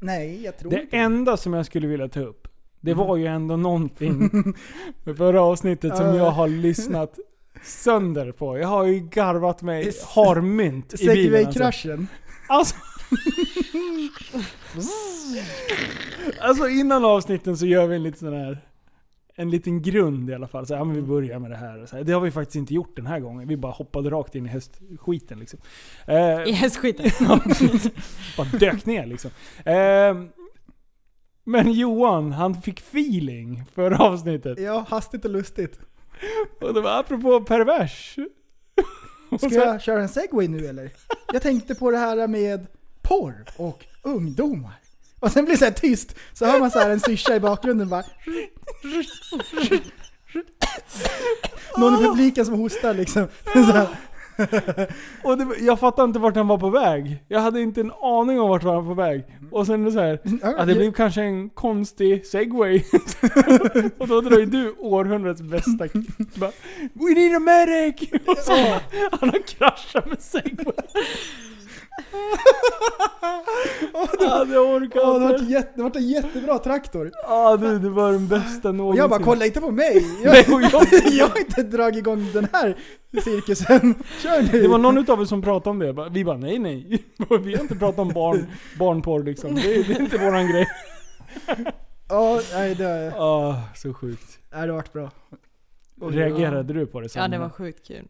[SPEAKER 5] Nej, jag tror
[SPEAKER 4] Det Mm. enda som jag skulle vilja ta upp, det var ju ändå någonting *laughs* med förra avsnittet som
[SPEAKER 5] Ja.
[SPEAKER 4] jag har lyssnat sönder på. Jag har ju garvat mig harmynt i bilen. Alltså.
[SPEAKER 5] Segway-kraschen.
[SPEAKER 4] Alltså, alltså innan avsnitten så gör vi en liten sån här en liten grund i alla fall. Så här, ja, men vi börjar med det här. och Så här. Det har vi faktiskt inte gjort den här gången. Vi bara hoppade rakt in i hästskiten liksom. Eh,
[SPEAKER 6] I hästskiten.
[SPEAKER 4] Ja, precis. *laughs* Bara dök ner liksom. Ehm, men Johan, han fick feeling för avsnittet.
[SPEAKER 5] Ja, hastigt
[SPEAKER 4] *laughs*
[SPEAKER 5] och lustigt.
[SPEAKER 4] Och det var apropå pervers. Och
[SPEAKER 5] Ska
[SPEAKER 4] så-
[SPEAKER 5] jag köra en segway nu eller? Jag tänkte på det här med porr och ungdomar. Och sen blir det så här tyst, så hör man så här en syrsa i bakgrunden bara... Någon i publiken som hostar liksom. Så här.
[SPEAKER 4] Och det, var- jag fattade inte vart han var på väg. Jag hade inte en aning om vart han var på väg. Och sen är det så här, ja, det blev kanske en konstig segway. *laughs* och då drar ju du århundradets bästa bara, We need a medic! Och så, han har kraschat med segway. Ja, det orkar
[SPEAKER 5] Åh, det
[SPEAKER 4] jag
[SPEAKER 5] vart
[SPEAKER 4] inte.
[SPEAKER 5] jätte- det vart en jättebra traktor.
[SPEAKER 4] Ja du, det var den bästa någonsin.
[SPEAKER 5] Och jag bara, kolla inte på mig!
[SPEAKER 4] *laughs* Nej,
[SPEAKER 5] Jag,
[SPEAKER 4] och
[SPEAKER 5] *laughs*
[SPEAKER 4] jag,
[SPEAKER 5] jag har inte dragit igång den här cirkusen. *laughs* Kör nu!
[SPEAKER 4] det var någon utav er som pratade om det. Jag bara- *laughs*
[SPEAKER 5] *laughs*
[SPEAKER 4] Vi bara nej nej. Vi har inte pratat om barn, barnporr liksom. Det, är- det är inte våran grej.
[SPEAKER 5] Ja, nej det,
[SPEAKER 4] Ah, så sjukt.
[SPEAKER 5] nej, det vart bra.
[SPEAKER 4] Reagerade du på det sen?
[SPEAKER 6] Ja, det var sjukt kul.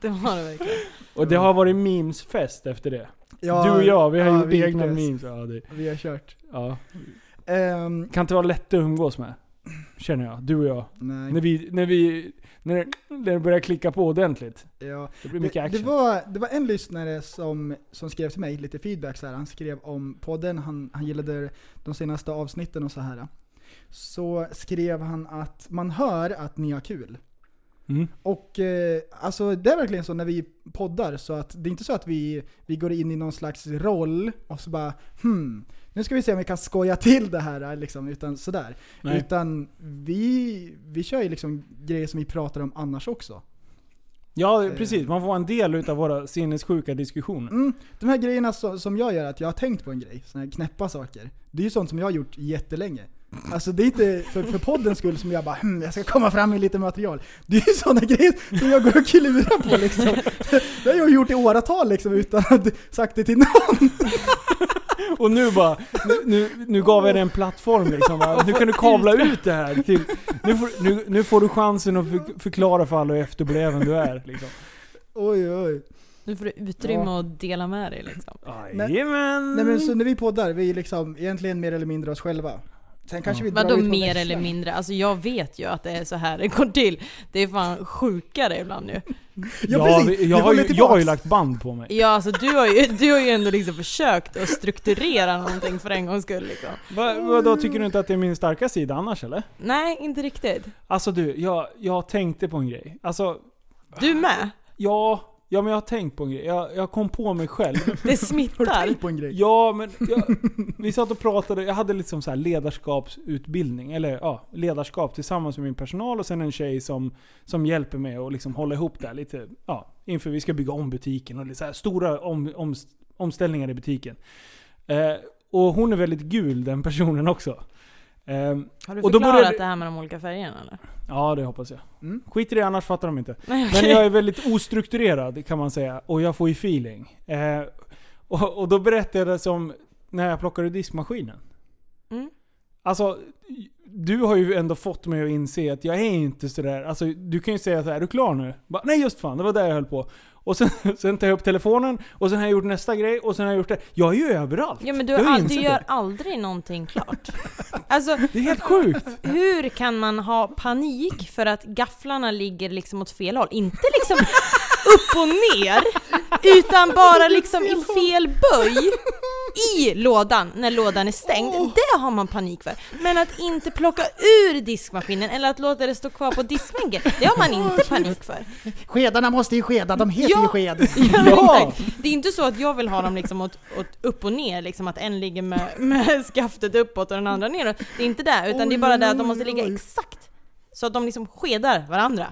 [SPEAKER 6] det var det verkligen.
[SPEAKER 4] Och det har varit memesfest efter det.
[SPEAKER 5] Ja,
[SPEAKER 4] du och jag, vi har
[SPEAKER 5] ja,
[SPEAKER 4] gjort
[SPEAKER 5] vi gick
[SPEAKER 4] egna
[SPEAKER 5] lös.
[SPEAKER 4] memes. Ja, det,
[SPEAKER 5] Vi har kört.
[SPEAKER 4] ja.
[SPEAKER 5] Ehm,
[SPEAKER 4] Kan inte vara lätt att umgås med. Känner jag. Du och jag. När
[SPEAKER 5] nej.
[SPEAKER 4] vi, när vi, när det, när det börjar klicka på ordentligt.
[SPEAKER 5] Ja.
[SPEAKER 4] Det blir
[SPEAKER 5] Det,
[SPEAKER 4] mycket action.
[SPEAKER 5] det, var, det var en lyssnare som, som skrev till mig lite feedback så här. Han skrev om podden, han, han gillade de senaste avsnitten och så här. Så skrev han att man hör att ni har kul.
[SPEAKER 4] Mm.
[SPEAKER 5] Och eh, alltså det är verkligen så när vi poddar så att det är inte så att vi, vi går in i någon slags roll och så bara hmm, nu ska vi se om vi kan skoja till det här liksom, utan sådär.
[SPEAKER 4] Nej.
[SPEAKER 5] Utan vi, vi kör ju liksom grejer som vi pratar om annars också.
[SPEAKER 4] Ja,
[SPEAKER 5] Eh.
[SPEAKER 4] precis. Man får vara en del utav våra sinnessjuka diskussioner.
[SPEAKER 5] Mm, de här grejerna som, som jag gör, att jag har tänkt på en grej, sådana här knäppa saker. Det är ju sånt som jag har gjort jättelänge. Alltså det är inte för, för poddens skull som jag bara hmm, jag ska komma fram med lite material. Det är ju sådana grejer som jag går och klurar på liksom. Det har jag gjort i åratal liksom utan att sagt det till någon.
[SPEAKER 4] Och nu bara, nu, nu, nu gav jag dig en plattform liksom. Va? Nu kan du kabla ut det här. Till, nu, får, nu, nu får du chansen att för- förklara för alla hur efterbliven du är. Liksom.
[SPEAKER 5] Oj oj.
[SPEAKER 6] Nu får du utrymme att dela med dig liksom.
[SPEAKER 5] Nej.
[SPEAKER 4] Jajamän!
[SPEAKER 5] Nej men så när vi poddar, vi är liksom egentligen mer eller mindre oss själva. Sen kanske vi drar
[SPEAKER 6] Vadå
[SPEAKER 5] ut på
[SPEAKER 6] mer
[SPEAKER 5] växlar.
[SPEAKER 6] eller mindre? Alltså jag vet ju att det är så här det går till. Det är fan sjukare ibland ju.
[SPEAKER 5] Ja,
[SPEAKER 4] jag,
[SPEAKER 5] precis. Vi
[SPEAKER 4] jag, har
[SPEAKER 5] håller
[SPEAKER 4] ju, jag
[SPEAKER 5] tillbaks.
[SPEAKER 4] har ju lagt band på mig.
[SPEAKER 6] Ja alltså du har ju, du har ju ändå liksom försökt att strukturera någonting för en gångs skull liksom.
[SPEAKER 4] Va, vadå, tycker du inte att det är min starka sida annars eller?
[SPEAKER 6] Nej, inte riktigt.
[SPEAKER 4] Alltså du, jag, jag tänkte på en grej. Alltså,
[SPEAKER 6] Du med?
[SPEAKER 4] ja, ja men jag har tänkt på en grej. Jag, jag kom på mig själv.
[SPEAKER 6] Det
[SPEAKER 5] Har du
[SPEAKER 6] smittar.
[SPEAKER 5] tänkt på en grej?
[SPEAKER 4] Ja, men jag, vi satt och pratade. Jag hade liksom så här ledarskapsutbildning, eller ja, ledarskap tillsammans med min personal och sen en tjej som, som hjälper mig att liksom hålla ihop det här lite. Ja, inför vi ska bygga om butiken och det är så här stora om, om, omställningar i butiken. Eh, och hon är väldigt gul den personen också. Eh,
[SPEAKER 6] Har du
[SPEAKER 4] Och då
[SPEAKER 6] förklarat
[SPEAKER 4] började-
[SPEAKER 6] det här med de olika färgerna eller?
[SPEAKER 4] ja, det hoppas jag.
[SPEAKER 5] Mm.
[SPEAKER 4] Skit i det, annars fattar de inte.
[SPEAKER 6] Nej,
[SPEAKER 4] Men
[SPEAKER 6] okej. *laughs*
[SPEAKER 4] jag är väldigt ostrukturerad kan man säga och jag får ju feeling. Eh, och, och då berättade jag det som när jag plockade ur diskmaskinen.
[SPEAKER 6] Mm.
[SPEAKER 4] Alltså, du har ju ändå fått mig att inse att jag är inte sådär. Alltså, du kan ju säga så här, är du klar nu? Bara, Nej just fan, det var där jag höll på. Och sen, *laughs* sen tar jag upp telefonen och sen har jag gjort nästa grej och sen har jag gjort det. Jag är ju överallt.
[SPEAKER 6] Ja men du,
[SPEAKER 4] Jag
[SPEAKER 6] har all,
[SPEAKER 4] insett
[SPEAKER 6] du
[SPEAKER 4] det.
[SPEAKER 6] gör aldrig någonting klart. Alltså,
[SPEAKER 4] Det är helt sjukt.
[SPEAKER 6] *laughs* hur kan man ha panik för att gafflarna ligger liksom åt fel håll? Inte liksom upp och ner, utan bara liksom i fel böj i lådan när lådan är stängd. Det har man panik för. Men att inte plocka ur diskmaskinen eller att låta det stå kvar på diskbänken, det har man inte panik för.
[SPEAKER 7] Skedarna måste ju skeda, de heter
[SPEAKER 6] Ja.
[SPEAKER 7] ju sked.
[SPEAKER 6] Ja,
[SPEAKER 4] *laughs* Ja.
[SPEAKER 6] Exakt. Det är inte så att jag vill ha dem liksom åt, åt upp och ner, liksom att en ligger med, *laughs* med skaftet uppåt och den andra neråt. Det är inte det, utan det är bara det att de måste ligga exakt så att de liksom skedar varandra.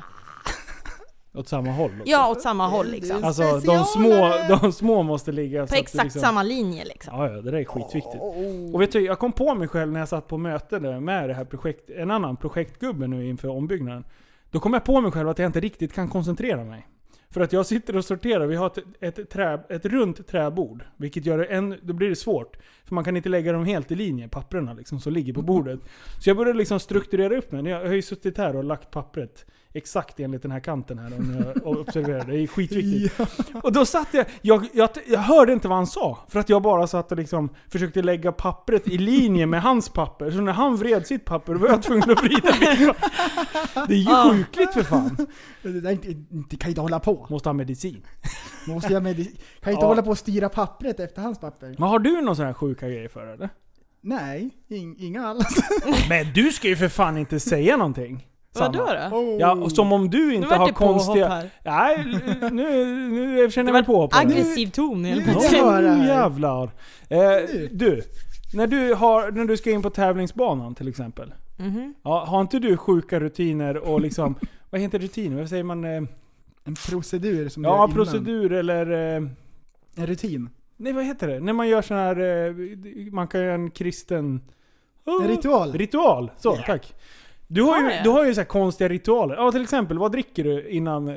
[SPEAKER 4] Åt samma håll också.
[SPEAKER 6] Ja, åt samma håll liksom.
[SPEAKER 4] Alltså de små, de små måste ligga
[SPEAKER 6] På
[SPEAKER 4] så att det
[SPEAKER 6] exakt
[SPEAKER 4] liksom,
[SPEAKER 6] samma linje liksom.
[SPEAKER 4] Ja, ja, det där är skitviktigt. Och vet du, jag kom på mig själv när jag satt på möte där med det här projekt, en annan projektgubbe nu inför ombyggnaden. Då kom jag på mig själv att jag inte riktigt kan koncentrera mig. För att jag sitter och sorterar, vi har ett, ett, trä, ett runt träbord. Vilket gör det än, då blir det svårt. För man kan inte lägga dem helt i linje, papperna liksom, som ligger på bordet. Så jag började liksom strukturera upp mig. Jag har ju suttit här och lagt pappret exakt enligt den här kanten här om jag observerar. Det är skitviktigt. Och då satt jag jag, jag, jag hörde inte vad han sa. För att jag bara satt och liksom försökte lägga pappret i linje med hans papper. Så när han vred sitt papper då var jag tvungen att vrida mitt papper. Det är ju sjukligt för fan.
[SPEAKER 5] Det där är inte- inte- kan ju inte hålla på.
[SPEAKER 4] Måste ha medicin.
[SPEAKER 5] Måste jag med, kan ju inte
[SPEAKER 4] Ja.
[SPEAKER 5] hålla på och styra pappret efter hans papper.
[SPEAKER 4] Men har du någon sån här sjuka grej för eller?
[SPEAKER 5] Nej, ing, inga alls.
[SPEAKER 4] Men du ska ju för fan inte säga någonting.
[SPEAKER 6] Vadå
[SPEAKER 4] Sanna.
[SPEAKER 6] då?
[SPEAKER 4] Ja, och som om du
[SPEAKER 6] Nu
[SPEAKER 4] inte
[SPEAKER 6] vart
[SPEAKER 4] har
[SPEAKER 6] det påhopp
[SPEAKER 4] konstiga...
[SPEAKER 6] här.
[SPEAKER 4] Nej, nu, nu känner jag mig påhoppad.
[SPEAKER 6] Aggressiv ton helt
[SPEAKER 5] Nu-
[SPEAKER 6] plötsligt.
[SPEAKER 5] Ja. höra
[SPEAKER 4] Nu
[SPEAKER 5] här.
[SPEAKER 4] jävlar. Eh, du, när du, har, när du ska in på tävlingsbanan till exempel.
[SPEAKER 6] Mhm.
[SPEAKER 4] Ja, har inte du sjuka rutiner och liksom, *laughs* vad heter rutiner? Vad säger man? eh,
[SPEAKER 5] En procedur som du gör
[SPEAKER 4] Ja,
[SPEAKER 5] innan.
[SPEAKER 4] procedur eller... eh,
[SPEAKER 5] En rutin.
[SPEAKER 4] Nej, vad heter det? När man gör sån här, eh, man kan göra en kristen... Oh.
[SPEAKER 5] En ritual.
[SPEAKER 4] Ritual! Så, tack. Du har,
[SPEAKER 6] Har
[SPEAKER 4] ju,
[SPEAKER 6] jag?
[SPEAKER 4] du har ju så här konstiga ritualer. Ja, till exempel, vad dricker du innan... eh,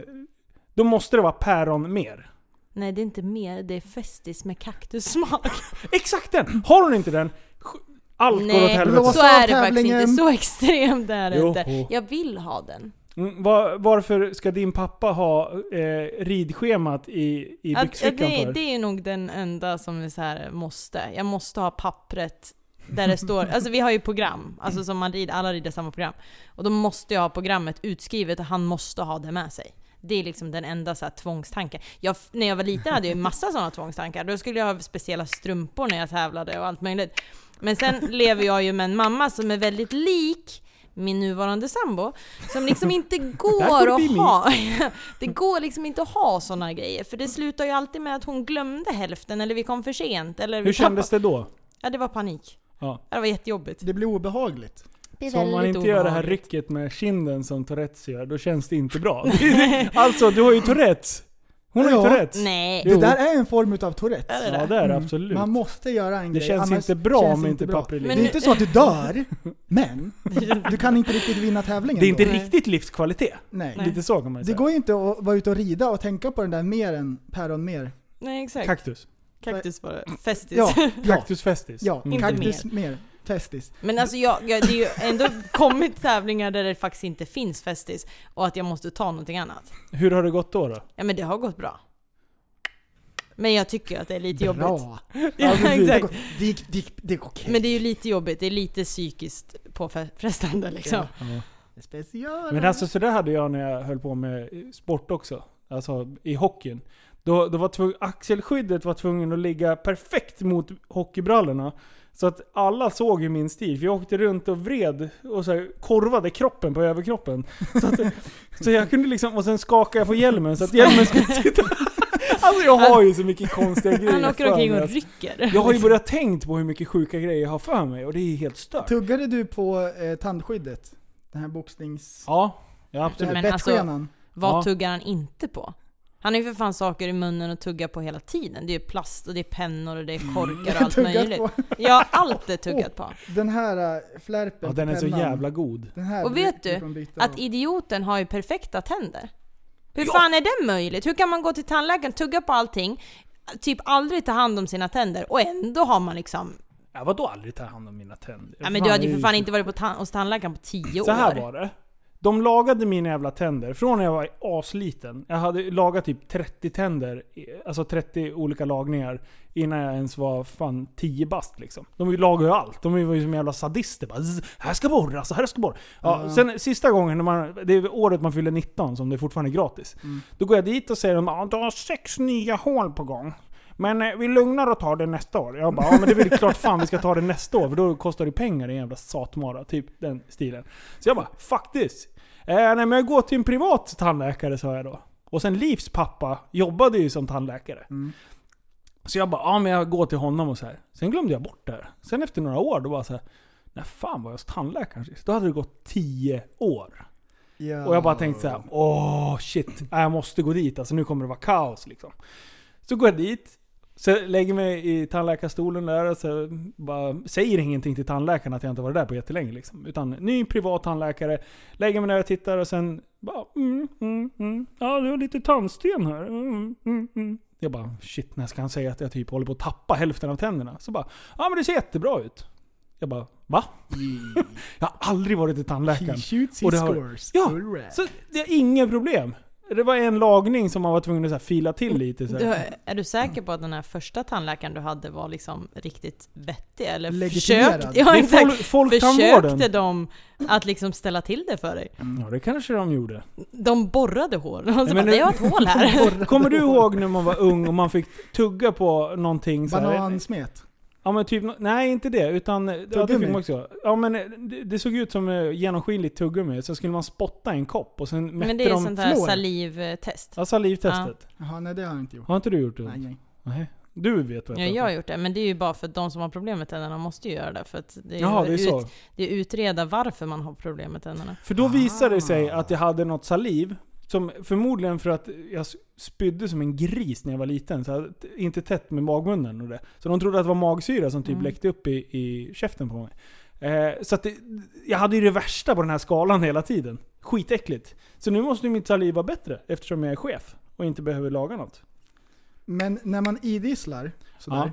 [SPEAKER 4] Då måste det vara päron mer.
[SPEAKER 6] Nej det är inte mer, det är Festis med kaktussmak.
[SPEAKER 4] Exakt den! Har hon inte den, sk- Allt går åt
[SPEAKER 6] Nej,
[SPEAKER 4] helvete.
[SPEAKER 6] så
[SPEAKER 5] av
[SPEAKER 6] är det faktiskt
[SPEAKER 5] tävlingen.
[SPEAKER 6] inte. Så extremt är det
[SPEAKER 4] Jo.
[SPEAKER 6] inte. Jag vill ha den.
[SPEAKER 4] Mm, var, varför ska din pappa ha eh, ridschemat i, i
[SPEAKER 6] Att-
[SPEAKER 4] byxfickan
[SPEAKER 6] det,
[SPEAKER 4] för?
[SPEAKER 6] det är nog den enda som är så här måste. Jag måste ha pappret där det
[SPEAKER 4] *laughs*
[SPEAKER 6] står, alltså vi har ju program, alltså som man rider, alla rider samma program. Och då måste jag ha programmet utskrivet och han måste ha det med sig. Det är liksom den enda så här tvångstanken. Jag, när jag var liten hade jag ju massa sådana tvångstankar. Då skulle jag ha speciella strumpor när jag tävlade och allt möjligt. Men sen lever jag ju med en mamma som är väldigt lik min nuvarande sambo. Som liksom inte går
[SPEAKER 4] bli
[SPEAKER 6] att
[SPEAKER 4] lik.
[SPEAKER 6] ha. Det går liksom inte att ha sådana grejer. För det slutar ju alltid med att hon glömde hälften eller vi kom för sent. Eller
[SPEAKER 4] Hur
[SPEAKER 6] vi
[SPEAKER 4] kändes
[SPEAKER 6] tappade-
[SPEAKER 4] det då?
[SPEAKER 6] Ja, det var panik.
[SPEAKER 4] Ja.
[SPEAKER 6] Det var jättejobbigt.
[SPEAKER 5] Det blir obehagligt.
[SPEAKER 6] Det är
[SPEAKER 4] Så om man
[SPEAKER 6] väldigt
[SPEAKER 4] inte gör det här
[SPEAKER 6] obehagligt.
[SPEAKER 4] rycket med kinden som Tourettes gör, då känns det inte
[SPEAKER 6] *laughs*
[SPEAKER 4] bra. *laughs* alltså, du har ju Tourettes. Hon har ju
[SPEAKER 5] Ja.
[SPEAKER 4] Tourettes.
[SPEAKER 6] Nej.
[SPEAKER 4] Jo.
[SPEAKER 5] Det där är en form utav Tourettes. Mm.
[SPEAKER 4] Ja, det är det absolut.
[SPEAKER 5] Man måste göra en
[SPEAKER 4] Det
[SPEAKER 5] grej.
[SPEAKER 4] känns
[SPEAKER 5] annars
[SPEAKER 4] inte bra
[SPEAKER 5] känns
[SPEAKER 4] om inte
[SPEAKER 5] bra.
[SPEAKER 4] pappret
[SPEAKER 5] Det
[SPEAKER 4] ligger.
[SPEAKER 5] är inte så att
[SPEAKER 4] *laughs*
[SPEAKER 5] du dör, men du kan inte riktigt vinna tävlingen
[SPEAKER 4] Det är inte
[SPEAKER 5] då.
[SPEAKER 6] Nej.
[SPEAKER 4] riktigt livskvalitet.
[SPEAKER 5] Nej.
[SPEAKER 4] Lite så kan man ju
[SPEAKER 5] Det
[SPEAKER 4] säga.
[SPEAKER 5] går ju inte att vara ute och rida och tänka på den där mer än päron mer.
[SPEAKER 6] Nej, exakt.
[SPEAKER 4] Kaktus.
[SPEAKER 6] Kaktus var det. Festis.
[SPEAKER 5] Ja,
[SPEAKER 4] *laughs*
[SPEAKER 5] ja,
[SPEAKER 4] Kaktusfestis.
[SPEAKER 5] ja.
[SPEAKER 4] Mm.
[SPEAKER 5] kaktus mer. Testis.
[SPEAKER 6] *laughs* Men alltså jag, jag, det är ju ändå kommit tävlingar där det faktiskt inte finns Festis och att jag måste ta någonting annat.
[SPEAKER 4] Hur har det gått då? då?
[SPEAKER 6] Ja men det har gått bra. Men jag tycker att det är lite jobbigt.
[SPEAKER 5] Bra.
[SPEAKER 6] *laughs* Ja,
[SPEAKER 5] Det,
[SPEAKER 6] exakt.
[SPEAKER 5] går- det, gick- det, gick- det är okej.
[SPEAKER 6] Men det är ju lite jobbigt, det är lite psykiskt påfrestande liksom.
[SPEAKER 5] Special.
[SPEAKER 4] Men alltså sådär hade jag när jag höll på med sport också. Alltså i hockeyn. Då, då var tvung, axelskyddet var tvungen att ligga perfekt mot hockeybrallorna. Så att alla såg ju min stil. För jag åkte runt och vred och så här, korvade kroppen på överkroppen. Så, att,
[SPEAKER 6] *laughs*
[SPEAKER 4] så jag kunde liksom, och sen skakade jag på hjälmen så att hjälmen skulle sitta. Alltså jag har ju så mycket konstiga grejer
[SPEAKER 6] Han åker
[SPEAKER 4] för
[SPEAKER 6] omkring
[SPEAKER 4] mig.
[SPEAKER 6] och rycker.
[SPEAKER 4] Jag har ju börjat tänkt på hur mycket sjuka grejer jag har för mig och det är helt stört.
[SPEAKER 5] Tuggade du på eh, tandskyddet? Den här boxnings...
[SPEAKER 4] Ja, ja alltså,
[SPEAKER 5] Den
[SPEAKER 4] absolut.
[SPEAKER 5] här
[SPEAKER 6] Men
[SPEAKER 5] bettskenan?
[SPEAKER 6] Vad
[SPEAKER 4] Ja.
[SPEAKER 6] tuggar han inte på? Han har ju för fan saker i munnen och tuggar på hela tiden. Det är ju plast och det är pennor och det
[SPEAKER 4] Mm.
[SPEAKER 6] är
[SPEAKER 4] *laughs*
[SPEAKER 6] korkar och
[SPEAKER 5] *laughs*
[SPEAKER 6] allt
[SPEAKER 5] Tuggat
[SPEAKER 6] möjligt.
[SPEAKER 5] på.
[SPEAKER 6] Ja, allt är tuggat på.
[SPEAKER 5] Den här eh, flärpen
[SPEAKER 4] Ja,
[SPEAKER 5] på
[SPEAKER 4] den är så
[SPEAKER 5] pennan,
[SPEAKER 4] jävla god.
[SPEAKER 5] Den här
[SPEAKER 6] Och vet
[SPEAKER 5] blir-
[SPEAKER 6] du
[SPEAKER 5] blir byta
[SPEAKER 6] Att
[SPEAKER 5] av.
[SPEAKER 6] idioten har ju perfekta tänder. Hur fan är det möjligt? Hur kan man gå till tandläkaren, tugga på allting, typ aldrig ta hand om sina tänder och ändå har man liksom...
[SPEAKER 4] Jag var då aldrig ta hand om mina tänder.
[SPEAKER 6] Ja, men du hade ju för
[SPEAKER 4] det
[SPEAKER 6] fan
[SPEAKER 4] är-
[SPEAKER 6] inte varit på ta- hos tandläkaren på tio år.
[SPEAKER 4] Så här var det. De lagade mina jävla tänder från när jag var asliten. Jag hade lagat typ 30 tänder, i- alltså 30 olika lagningar, innan jag ens var fan 10 bast liksom. De lagade ju allt. De var ju som jävla sadister. Bara, "Zzz, här ska borras och här ska borras. Ja, Sen sista gången, när man, det är året man fyller 19 som det fortfarande är gratis. Då går jag dit och säger att ah, du har sex nya hål på gång. Men eh, vi lugnar och tar det nästa år. Jag bara, ja men det är väl klart fan vi ska ta det nästa år, för då kostar det pengar din jävla satmara. Typ den stilen. Så jag bara, fuck this. Eh, nej men jag går till en privat tandläkare sa jag då. Och sen Livs pappa jobbade ju som tandläkare. Så jag bara, ja men jag går till honom och så här. Sen glömde jag bort det här. Sen efter några år, då bara så här. När fan var jag hos tandläkaren sist? Då hade det gått 10 år.
[SPEAKER 5] Ja.
[SPEAKER 4] Och jag bara tänkte så
[SPEAKER 5] Ah.
[SPEAKER 4] här: åh shit, nej, jag måste gå dit. Alltså nu kommer det vara kaos liksom. Så går jag dit, så jag lägger mig i tandläkarstolen där och så bara, säger ingenting till tandläkaren att jag inte varit där på jättelänge. Liksom. Utan ny privat tandläkare, lägger mig ner och tittar och sen bara, mm, mm, mm. ja du har lite tandsten här. Mm, mm, mm. Jag bara, shit när ska han säga att jag typ håller på att tappa hälften av tänderna? Så bara, ja men det ser jättebra ut. Jag bara, va? jag har aldrig varit till
[SPEAKER 5] He
[SPEAKER 4] tandläkaren.
[SPEAKER 5] shoots,
[SPEAKER 4] Och
[SPEAKER 5] he
[SPEAKER 4] det har-
[SPEAKER 5] scores.
[SPEAKER 4] Ja,
[SPEAKER 5] Hurra.
[SPEAKER 4] Så det är inget problem. Det var en lagning som man var tvungen att så här fila till lite. Så
[SPEAKER 6] Du,
[SPEAKER 4] här.
[SPEAKER 6] är du säker på att den här första tandläkaren du hade var liksom riktigt vettig? Eller
[SPEAKER 5] Legitimerad.
[SPEAKER 6] försökt?
[SPEAKER 4] Det
[SPEAKER 6] Ja,
[SPEAKER 4] är fol-
[SPEAKER 6] exakt.
[SPEAKER 4] folktandvården.
[SPEAKER 6] Försökte de att liksom ställa till det för dig?
[SPEAKER 4] Ja, det kanske de
[SPEAKER 6] *laughs*
[SPEAKER 4] gjorde.
[SPEAKER 6] De borrade hår. De
[SPEAKER 4] men
[SPEAKER 6] bara,
[SPEAKER 4] nu-
[SPEAKER 6] det var ett
[SPEAKER 4] *laughs*
[SPEAKER 6] hål *laughs* här.
[SPEAKER 4] Kommer du ihåg när man var ung och man fick tugga på någonting så här?
[SPEAKER 5] Banansmet.
[SPEAKER 4] Ja, men typ, nej inte det, utan ja, det
[SPEAKER 5] Tuggummi.
[SPEAKER 4] fick man också. Ja, men eh, det, det såg ut som eh, genomskinligt tuggummi, så skulle man spotta i en kopp och sen mätte
[SPEAKER 6] Men det är
[SPEAKER 4] de
[SPEAKER 6] sånt här
[SPEAKER 4] fluor.
[SPEAKER 6] salivtest.
[SPEAKER 4] Ja, salivtestet.
[SPEAKER 5] Jaha, nej det har jag inte gjort.
[SPEAKER 4] Har inte du gjort det?
[SPEAKER 5] Nej, nej.
[SPEAKER 4] Nej. Du vet vad
[SPEAKER 6] Ja, jag har gjort det, men det är ju bara för att de som har problem med tänderna måste ju göra det. För att det är,
[SPEAKER 4] Jaha,
[SPEAKER 6] ju
[SPEAKER 4] det är så.
[SPEAKER 6] det är utreda varför man har problem
[SPEAKER 4] *laughs*
[SPEAKER 6] med tänderna.
[SPEAKER 4] För då visade det
[SPEAKER 5] Ah.
[SPEAKER 4] sig att jag hade något saliv, som förmodligen för att jag s- spydde som en gris när jag var liten, så jag hade t- inte tätt med magmunnen och det. Så de trodde att det var magsyra som typ
[SPEAKER 6] Mm.
[SPEAKER 4] läckte upp i, i käften på mig. Eh, så att det, jag hade ju det värsta på den här skalan hela tiden. Skitäckligt. Så nu måste ju mitt saliv vara bättre eftersom jag är chef och inte behöver laga något.
[SPEAKER 5] Men när man idisslar sådär,
[SPEAKER 4] Ja.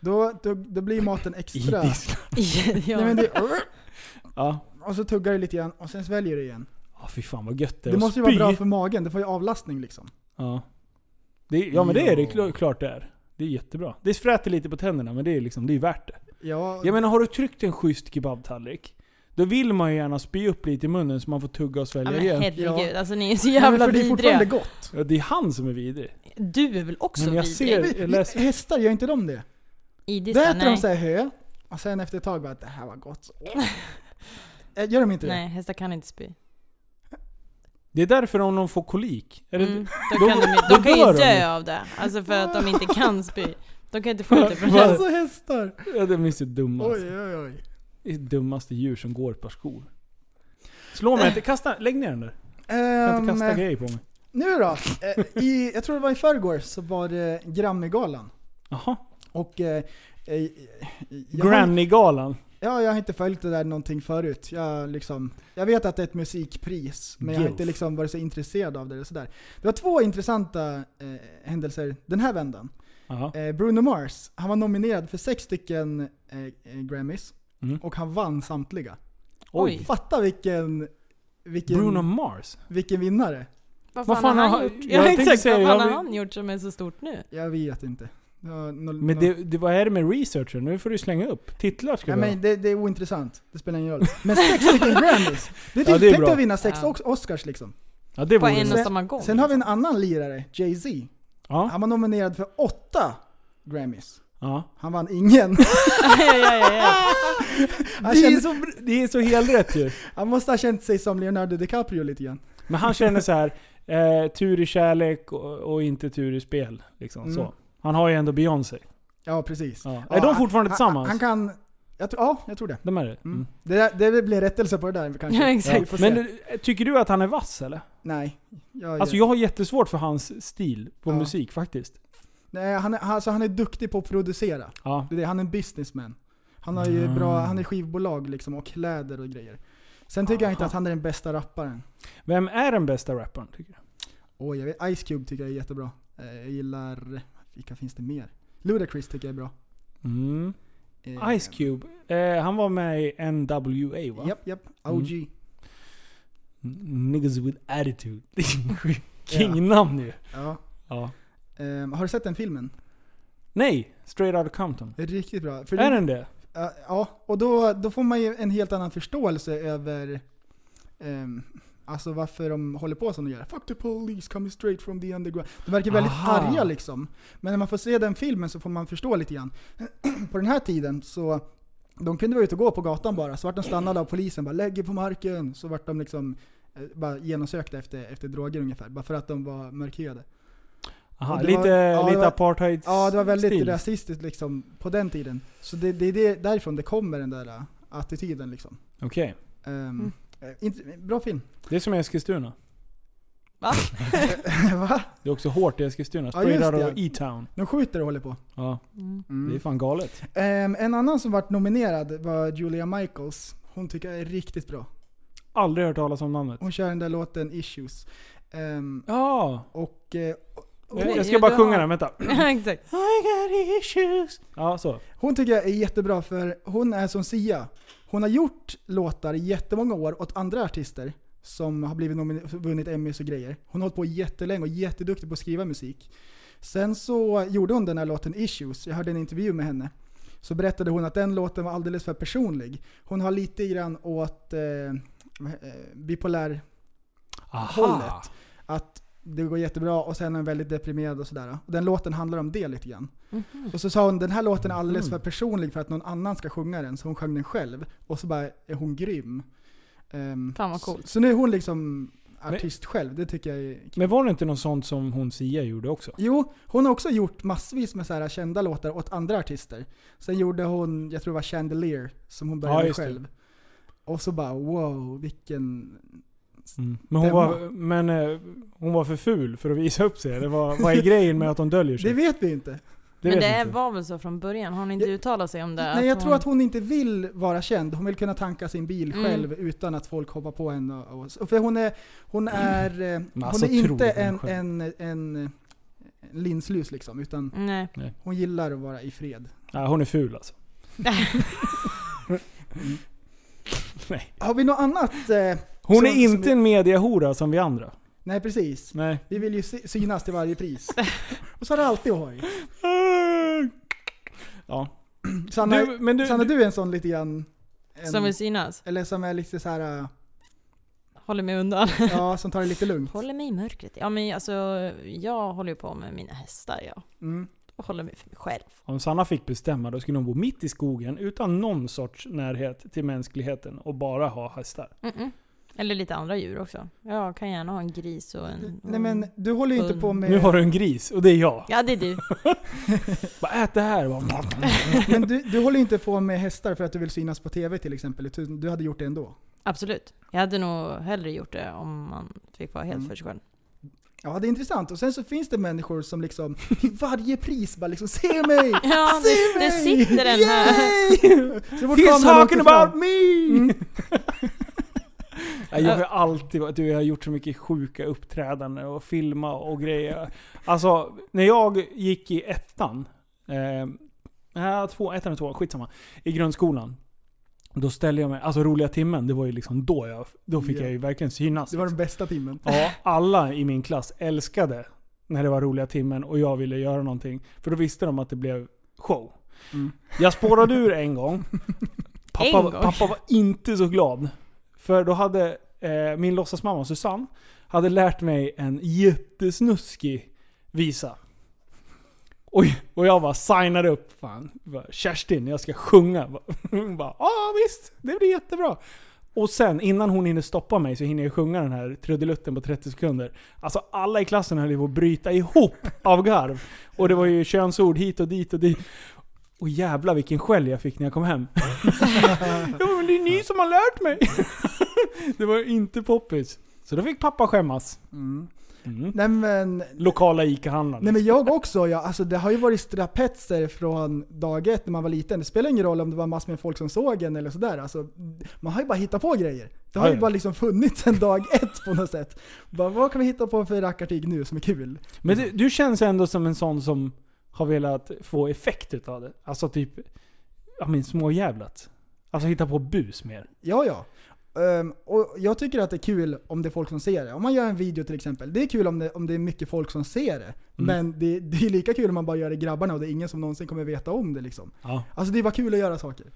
[SPEAKER 5] Då, då, då blir maten
[SPEAKER 4] I
[SPEAKER 5] extra...
[SPEAKER 4] disken.
[SPEAKER 6] ja.
[SPEAKER 5] Nej, men det,
[SPEAKER 4] Ja.
[SPEAKER 5] och så tuggar du lite grann och sen sväljer du igen.
[SPEAKER 4] ja, fy fan vad gött det är
[SPEAKER 5] Det
[SPEAKER 4] att
[SPEAKER 5] måste ju vara
[SPEAKER 4] spy.
[SPEAKER 5] bra för magen, det får ju avlastning liksom.
[SPEAKER 4] Ja. Det, är- ja men det är det
[SPEAKER 5] Ja.
[SPEAKER 4] kl- klart det är. Det är jättebra. Det fräter lite på tänderna men det är liksom, det är värt det.
[SPEAKER 5] Ja,
[SPEAKER 4] Jag menar har du tryckt en schysst kebabtallrik, då vill man ju gärna spy upp lite i munnen så man får tugga och
[SPEAKER 6] Ja,
[SPEAKER 4] svälja
[SPEAKER 6] men
[SPEAKER 4] igen.
[SPEAKER 6] herregud,
[SPEAKER 5] Ja.
[SPEAKER 6] alltså ni är så
[SPEAKER 5] Ja, men
[SPEAKER 6] jävla
[SPEAKER 5] för det är fortfarande
[SPEAKER 6] vidriga.
[SPEAKER 5] gott.
[SPEAKER 4] Ja, det är han som är vidrig.
[SPEAKER 6] Du är väl också
[SPEAKER 4] Men jag
[SPEAKER 6] vidrig?
[SPEAKER 4] ser- Jag läser-
[SPEAKER 5] Hästar, gör inte de det? Då
[SPEAKER 6] Idiskan,
[SPEAKER 5] äter de
[SPEAKER 6] nej.
[SPEAKER 5] så här hö, och sen efter ett tag bara det här var gott. Eh, Gör de inte det?
[SPEAKER 6] nej, hästar kan inte spy.
[SPEAKER 4] Det är därför om de får kolik. Är det,
[SPEAKER 6] Mm,
[SPEAKER 4] då-
[SPEAKER 6] då kan de, ju-
[SPEAKER 4] då
[SPEAKER 6] de kan
[SPEAKER 4] dör
[SPEAKER 6] ju
[SPEAKER 4] de ju.
[SPEAKER 6] dö av det. Alltså för att de inte kan spy. De kan
[SPEAKER 4] *laughs*
[SPEAKER 6] inte få ut det från
[SPEAKER 4] Vad?
[SPEAKER 6] det.
[SPEAKER 5] Alltså hästar!
[SPEAKER 4] ja, de är så dumma. Alltså.
[SPEAKER 5] Oj, oj, oj.
[SPEAKER 4] Det är det dummaste djur som går ett par skor. Slå mig inte, kasta, lägg ner den där. Jag kan inte
[SPEAKER 5] Ehm,
[SPEAKER 4] kasta grejer på mig.
[SPEAKER 5] nu då. Eh, I, jag tror det var i förrgår så var det Grammygalan.
[SPEAKER 4] Jaha.
[SPEAKER 5] Och... Eh, eh, jag har-
[SPEAKER 4] Granny-galan.
[SPEAKER 5] Ja, jag har inte följt det där någonting förut. Jag, liksom, jag vet att det är ett musikpris, men jag har
[SPEAKER 4] Gilf.
[SPEAKER 5] inte liksom varit så intresserad av det. Eller sådär. Det var två intressanta eh, händelser den här vändan.
[SPEAKER 4] Jaha.
[SPEAKER 5] Eh, Bruno Mars, han var nominerad för sex stycken eh, eh, Grammys
[SPEAKER 4] Mm.
[SPEAKER 5] och han vann samtliga.
[SPEAKER 6] Oj.
[SPEAKER 5] Fatta vilken, vilken,
[SPEAKER 4] Bruno Mars?
[SPEAKER 5] vilken vinnare.
[SPEAKER 6] Vad
[SPEAKER 4] Vad fan har-
[SPEAKER 6] *laughs* gjort?
[SPEAKER 4] jag
[SPEAKER 6] Ja,
[SPEAKER 4] tänkte
[SPEAKER 6] exakt.
[SPEAKER 4] säga,
[SPEAKER 6] Vad fan
[SPEAKER 4] jag
[SPEAKER 6] har
[SPEAKER 4] vill-
[SPEAKER 6] han gjort som är så stort nu?
[SPEAKER 5] Jag vet inte. Det var noll-
[SPEAKER 4] Men
[SPEAKER 5] noll-
[SPEAKER 4] det, det, vad är det med researcher? Nu får du slänga upp. Titlar ska
[SPEAKER 5] Ja,
[SPEAKER 4] du ha.
[SPEAKER 5] men det, det är ointressant, det spelar ingen roll. Men
[SPEAKER 4] *laughs*
[SPEAKER 5] sex stycken Grammys! Det är typ
[SPEAKER 4] Ja, det är
[SPEAKER 5] tänk dig
[SPEAKER 4] bra.
[SPEAKER 5] att vinna sex
[SPEAKER 6] Ja.
[SPEAKER 5] Ox- Oscars liksom.
[SPEAKER 4] Ja, det
[SPEAKER 6] På
[SPEAKER 4] vore
[SPEAKER 6] en
[SPEAKER 4] det.
[SPEAKER 6] och samma *laughs* gång?
[SPEAKER 5] Sen har vi en annan lirare, Jay-Z.
[SPEAKER 4] Ja.
[SPEAKER 5] Han var nominerad för åtta Grammys.
[SPEAKER 4] Ja.
[SPEAKER 5] Han vann
[SPEAKER 4] *laughs*
[SPEAKER 5] ingen.
[SPEAKER 6] ja, ja, ja, ja.
[SPEAKER 5] Han,
[SPEAKER 4] Det, är
[SPEAKER 5] kände,
[SPEAKER 4] så, br- det är så helt rätt ju.
[SPEAKER 5] han måste ha känt sig som Leonardo DiCaprio lite grann.
[SPEAKER 4] Men han känner så här. Eh, tur i kärlek och, och inte tur i spel. Liksom,
[SPEAKER 5] Mm.
[SPEAKER 4] så. Han har ju ändå Beyoncé.
[SPEAKER 5] Ja, precis.
[SPEAKER 4] Ja.
[SPEAKER 5] Ja,
[SPEAKER 4] är de
[SPEAKER 5] han-
[SPEAKER 4] fortfarande
[SPEAKER 5] han-
[SPEAKER 4] tillsammans?
[SPEAKER 5] Han kan... Jag tror, ja, jag tror det.
[SPEAKER 4] de är det? Mm.
[SPEAKER 5] Mm. Det, där, det blir en rättelse på det
[SPEAKER 4] *laughs*
[SPEAKER 5] där kanske.
[SPEAKER 6] Ja, exakt.
[SPEAKER 5] Vi får se.
[SPEAKER 4] Men eh, tycker du att han är vass eller?
[SPEAKER 5] Nej. Jag,
[SPEAKER 4] Alltså jag har jättesvårt för hans stil på
[SPEAKER 5] Ja.
[SPEAKER 4] musik faktiskt.
[SPEAKER 5] nej han, är, han- alltså, han är duktig på att producera.
[SPEAKER 4] Ja.
[SPEAKER 5] Det är det, han är en businessman. Han, har ju
[SPEAKER 4] Mm.
[SPEAKER 5] bra, han är skivbolag liksom och kläder och grejer. Sen tycker jag inte
[SPEAKER 4] Aha.
[SPEAKER 5] att han är den bästa rapparen.
[SPEAKER 4] Vem är den bästa rapparen tycker du?
[SPEAKER 5] Oj, jag vet, Ice Cube tycker jag är jättebra. Eh, Jag gillar... Vilka finns det mer? Ludacris tycker jag är bra.
[SPEAKER 4] Mm.
[SPEAKER 5] Eh,
[SPEAKER 4] Ice Cube. Eh, han var med i NWA va? Mm.
[SPEAKER 5] Japp, japp. OG.
[SPEAKER 4] N- Niggas with
[SPEAKER 5] *laughs*
[SPEAKER 4] attitude. Det är King-namn ju.
[SPEAKER 5] Ja.
[SPEAKER 4] Ja.
[SPEAKER 5] Ehm, har du sett den filmen?
[SPEAKER 4] Nej! Straight Outta Compton.
[SPEAKER 5] Riktigt bra. För
[SPEAKER 4] Är
[SPEAKER 5] det-
[SPEAKER 4] den det?
[SPEAKER 5] Ja, ja, och då, då får man ju en helt annan förståelse över ehm, alltså varför de håller på som de gör. Fuck the police coming straight from the underground. De verkar väldigt
[SPEAKER 4] Aha.
[SPEAKER 5] arga liksom. Men när man får se den filmen så får man förstå lite grann. *clears throat* på den här tiden så de kunde vara ute och gå på gatan bara, så vart de stannade av polisen bara lägger på marken. Så vart de liksom eh, bara genomsökta efter, efter droger ungefär, bara för att de var mörkhyade.
[SPEAKER 4] Aha,
[SPEAKER 5] Ja, det
[SPEAKER 4] lite,
[SPEAKER 5] var- ja, det
[SPEAKER 4] lite
[SPEAKER 5] var-
[SPEAKER 4] apartheid
[SPEAKER 5] Ja, det var väldigt
[SPEAKER 4] stil.
[SPEAKER 5] rasistiskt liksom på den tiden. Så det är det, är det, därifrån det kommer den där eh, attityden liksom.
[SPEAKER 4] Okej.
[SPEAKER 5] Ehm, eh, int- bra film. *laughs*
[SPEAKER 4] Det är som Eskilstuna.
[SPEAKER 5] Va?
[SPEAKER 4] Det är också hårt i Eskilstuna.
[SPEAKER 5] Ja,
[SPEAKER 4] Straight
[SPEAKER 5] just
[SPEAKER 4] Outta
[SPEAKER 5] det.
[SPEAKER 4] E-Town.
[SPEAKER 5] De skjuter och håller på. Mm.
[SPEAKER 4] Ja, det är fan galet.
[SPEAKER 5] Ehm, en annan som vart nominerad var Julia Michaels. Hon tycker jag är riktigt bra.
[SPEAKER 4] Aldrig hört talas om namnet.
[SPEAKER 5] Hon kör den där låten Issues. Ehm,
[SPEAKER 4] Ja!
[SPEAKER 5] och eh,
[SPEAKER 4] jag, jag ska
[SPEAKER 6] Oj,
[SPEAKER 4] bara
[SPEAKER 6] du
[SPEAKER 4] sjunga
[SPEAKER 6] har-
[SPEAKER 4] den, vänta.
[SPEAKER 6] ja, *laughs* exakt.
[SPEAKER 4] Ja, så.
[SPEAKER 5] hon tycker jag är jättebra för hon är som Sia. Hon har gjort låtar i jättemånga år åt andra artister som har blivit nomine- vunnit Emmys och grejer. Hon har hållit på jättelänge och är jätteduktig på att skriva musik. Sen så gjorde hon den här låten Issues, jag hörde en intervju med henne. Så berättade hon att den låten var alldeles för personlig. Hon har lite grann åt eh, eh, bipolär
[SPEAKER 4] Aha.
[SPEAKER 5] hållet. Att det går jättebra och sen är hon väldigt deprimerad och sådär. Och den låten handlar om det lite grann.
[SPEAKER 6] Mhm.
[SPEAKER 5] Och så sa hon den här låten är
[SPEAKER 4] Mhm.
[SPEAKER 5] alldeles för personlig för att någon annan ska sjunga den, så hon sjöng den själv. Och så bara är hon grym. Ehm,
[SPEAKER 6] Fan vad
[SPEAKER 5] så-
[SPEAKER 6] coolt.
[SPEAKER 5] Så nu är hon liksom artist själv, det tycker jag är
[SPEAKER 4] Men var det inte något sånt som hon Sia gjorde också?
[SPEAKER 5] Jo, hon har också gjort massvis med så här kända låtar åt andra artister. Sen gjorde hon, jag tror det var Chandelier, som hon
[SPEAKER 4] Ja,
[SPEAKER 5] började
[SPEAKER 4] just det.
[SPEAKER 5] själv. Och så bara wow, vilken...
[SPEAKER 4] Mm. Men, hon
[SPEAKER 5] Den
[SPEAKER 4] var,
[SPEAKER 5] var-
[SPEAKER 4] men eh, hon var för ful för att visa upp sig? Eller vad,
[SPEAKER 5] *laughs*
[SPEAKER 4] vad är grejen med att hon döljer sig?
[SPEAKER 5] Det vet vi inte.
[SPEAKER 4] Det
[SPEAKER 6] Men
[SPEAKER 4] vet
[SPEAKER 6] det
[SPEAKER 4] jag
[SPEAKER 6] är-
[SPEAKER 4] inte.
[SPEAKER 6] var väl så från början? Har hon inte
[SPEAKER 5] Jag-
[SPEAKER 6] uttalat sig om det?
[SPEAKER 5] Nej, jag tror att hon inte vill vara känd. Hon vill kunna tanka sin bil
[SPEAKER 6] Mm.
[SPEAKER 5] själv utan att folk hoppar på henne. Och, och, och för hon är, hon
[SPEAKER 6] Mm.
[SPEAKER 5] är, eh, hon
[SPEAKER 4] alltså,
[SPEAKER 5] är inte
[SPEAKER 4] otrolig
[SPEAKER 5] en,
[SPEAKER 4] människa.
[SPEAKER 5] en, en, en linslus liksom, utan
[SPEAKER 6] Nej.
[SPEAKER 5] hon gillar att vara i fred.
[SPEAKER 4] Ja, hon är ful alltså. Nej.
[SPEAKER 5] Har vi något annat? eh,
[SPEAKER 4] Hon
[SPEAKER 5] som-
[SPEAKER 4] är inte
[SPEAKER 5] Som vi,
[SPEAKER 4] en mediahora som vi andra.
[SPEAKER 5] nej, precis.
[SPEAKER 4] Nej.
[SPEAKER 5] Vi vill ju sy- synas till varje
[SPEAKER 6] *laughs*
[SPEAKER 5] pris. Och så är det alltid hoj.
[SPEAKER 4] Ja.
[SPEAKER 5] Sanna,
[SPEAKER 4] Du, men du-
[SPEAKER 5] Sanna, du är en sån lite grann... En,
[SPEAKER 6] Som vill synas.
[SPEAKER 5] Eller som är lite så här. eh,
[SPEAKER 6] Håller mig undan.
[SPEAKER 5] ja, som tar det lite lugnt.
[SPEAKER 6] *laughs* Håller mig i mörkret. Ja men alltså, jag håller ju på med mina hästar ja.
[SPEAKER 5] Mm.
[SPEAKER 6] Och håller mig för mig själv.
[SPEAKER 4] Om Sanna fick bestämma då skulle hon bo mitt i skogen utan någon sorts närhet till mänskligheten och bara ha hästar.
[SPEAKER 6] Mm-mm. Eller lite andra djur också. Jag kan gärna ha en gris och en...
[SPEAKER 5] Nej men, du håller ju inte på med...
[SPEAKER 4] Nu har du en gris och det är jag.
[SPEAKER 6] Ja det är du.
[SPEAKER 4] Bara ät det här.
[SPEAKER 5] *laughs*
[SPEAKER 4] Bara,
[SPEAKER 5] Men du, du håller ju inte på med hästar för att du vill synas på TV till exempel. utan Du hade gjort det ändå.
[SPEAKER 6] Absolut. Jag hade nog hellre gjort det om man fick vara helt
[SPEAKER 5] Mm.
[SPEAKER 6] för sig själv.
[SPEAKER 5] Ja, det är intressant. Och sen så finns det människor som liksom till varje pris bara liksom se mig! *laughs*
[SPEAKER 6] Ja, det, det sitter en här.
[SPEAKER 5] Yay! *laughs* Så fort
[SPEAKER 4] He's
[SPEAKER 5] kameran
[SPEAKER 4] talking
[SPEAKER 5] åker fram- Mm.
[SPEAKER 4] about me! Nej, Jag har alltid varit- du, jag har gjort så mycket sjuka uppträdanden och filma och grejer. Alltså, när jag gick i ettan, eh, äh, två, ettan och tvåan, skitsamma, i grundskolan. Då ställde jag mig, alltså roliga timmen, det var ju liksom då jag, då fick
[SPEAKER 5] Ja.
[SPEAKER 4] jag ju verkligen synas.
[SPEAKER 5] Det var den bästa timmen.
[SPEAKER 4] Ja, alla i min klass älskade när det var roliga timmen och jag ville göra någonting. För då visste de att det blev show.
[SPEAKER 5] Mm.
[SPEAKER 4] Jag spårade ur en
[SPEAKER 6] *laughs*
[SPEAKER 4] gång. Pappa,
[SPEAKER 6] En gång?
[SPEAKER 4] pappa var inte så glad. För då hade eh, min låtsasmamma Susanne hade lärt mig en jättesnuskig visa. Och, och jag bara signar upp. Fan, bara, Kerstin, jag ska sjunga. *laughs* Hon bara ja visst, det blir jättebra. Och sen innan hon hinner stoppa mig så hinner jag sjunga den här trudelutten på 30 sekunder. Alltså alla i klassen höll ju på att bryta ihop av garv. Och det var ju könsord hit och dit och dit. Och jävla vilken skäll jag fick när jag kom hem. *laughs* ja men det är ni som har lärt mig. *laughs* det var ju inte poppis. Så då fick pappa skämmas.
[SPEAKER 5] Mm.
[SPEAKER 4] Mm.
[SPEAKER 5] Nej men,
[SPEAKER 4] Lokala ICA-handlaren.
[SPEAKER 5] nej men jag också. Jag, alltså, det har ju varit strapetser från dag ett när man var liten. Det spelar ingen roll om det var massor med folk som såg en eller sådär. Alltså, man har ju bara hittat på grejer. Det har
[SPEAKER 4] Ja,
[SPEAKER 5] ju
[SPEAKER 4] ja.
[SPEAKER 5] bara liksom funnits sedan dag *laughs* ett på något sätt. Bara, vad kan vi hitta på för rackartyg nu som är kul?
[SPEAKER 4] Men du, du känns ändå som en sån som har velat få effekt utav det. Alltså typ, ja men småjävlat. Alltså hitta på bus mer.
[SPEAKER 5] Ja, ja. Ehm, och jag tycker att det är kul om det är folk som ser det. Om man gör en video till exempel. Det är kul om det, om det är mycket folk som ser
[SPEAKER 4] Mm.
[SPEAKER 5] det. Men det, det är lika kul om man bara gör det grabbarna och det är ingen som någonsin kommer veta om det liksom.
[SPEAKER 4] Ja.
[SPEAKER 5] Alltså det är bara kul att göra saker.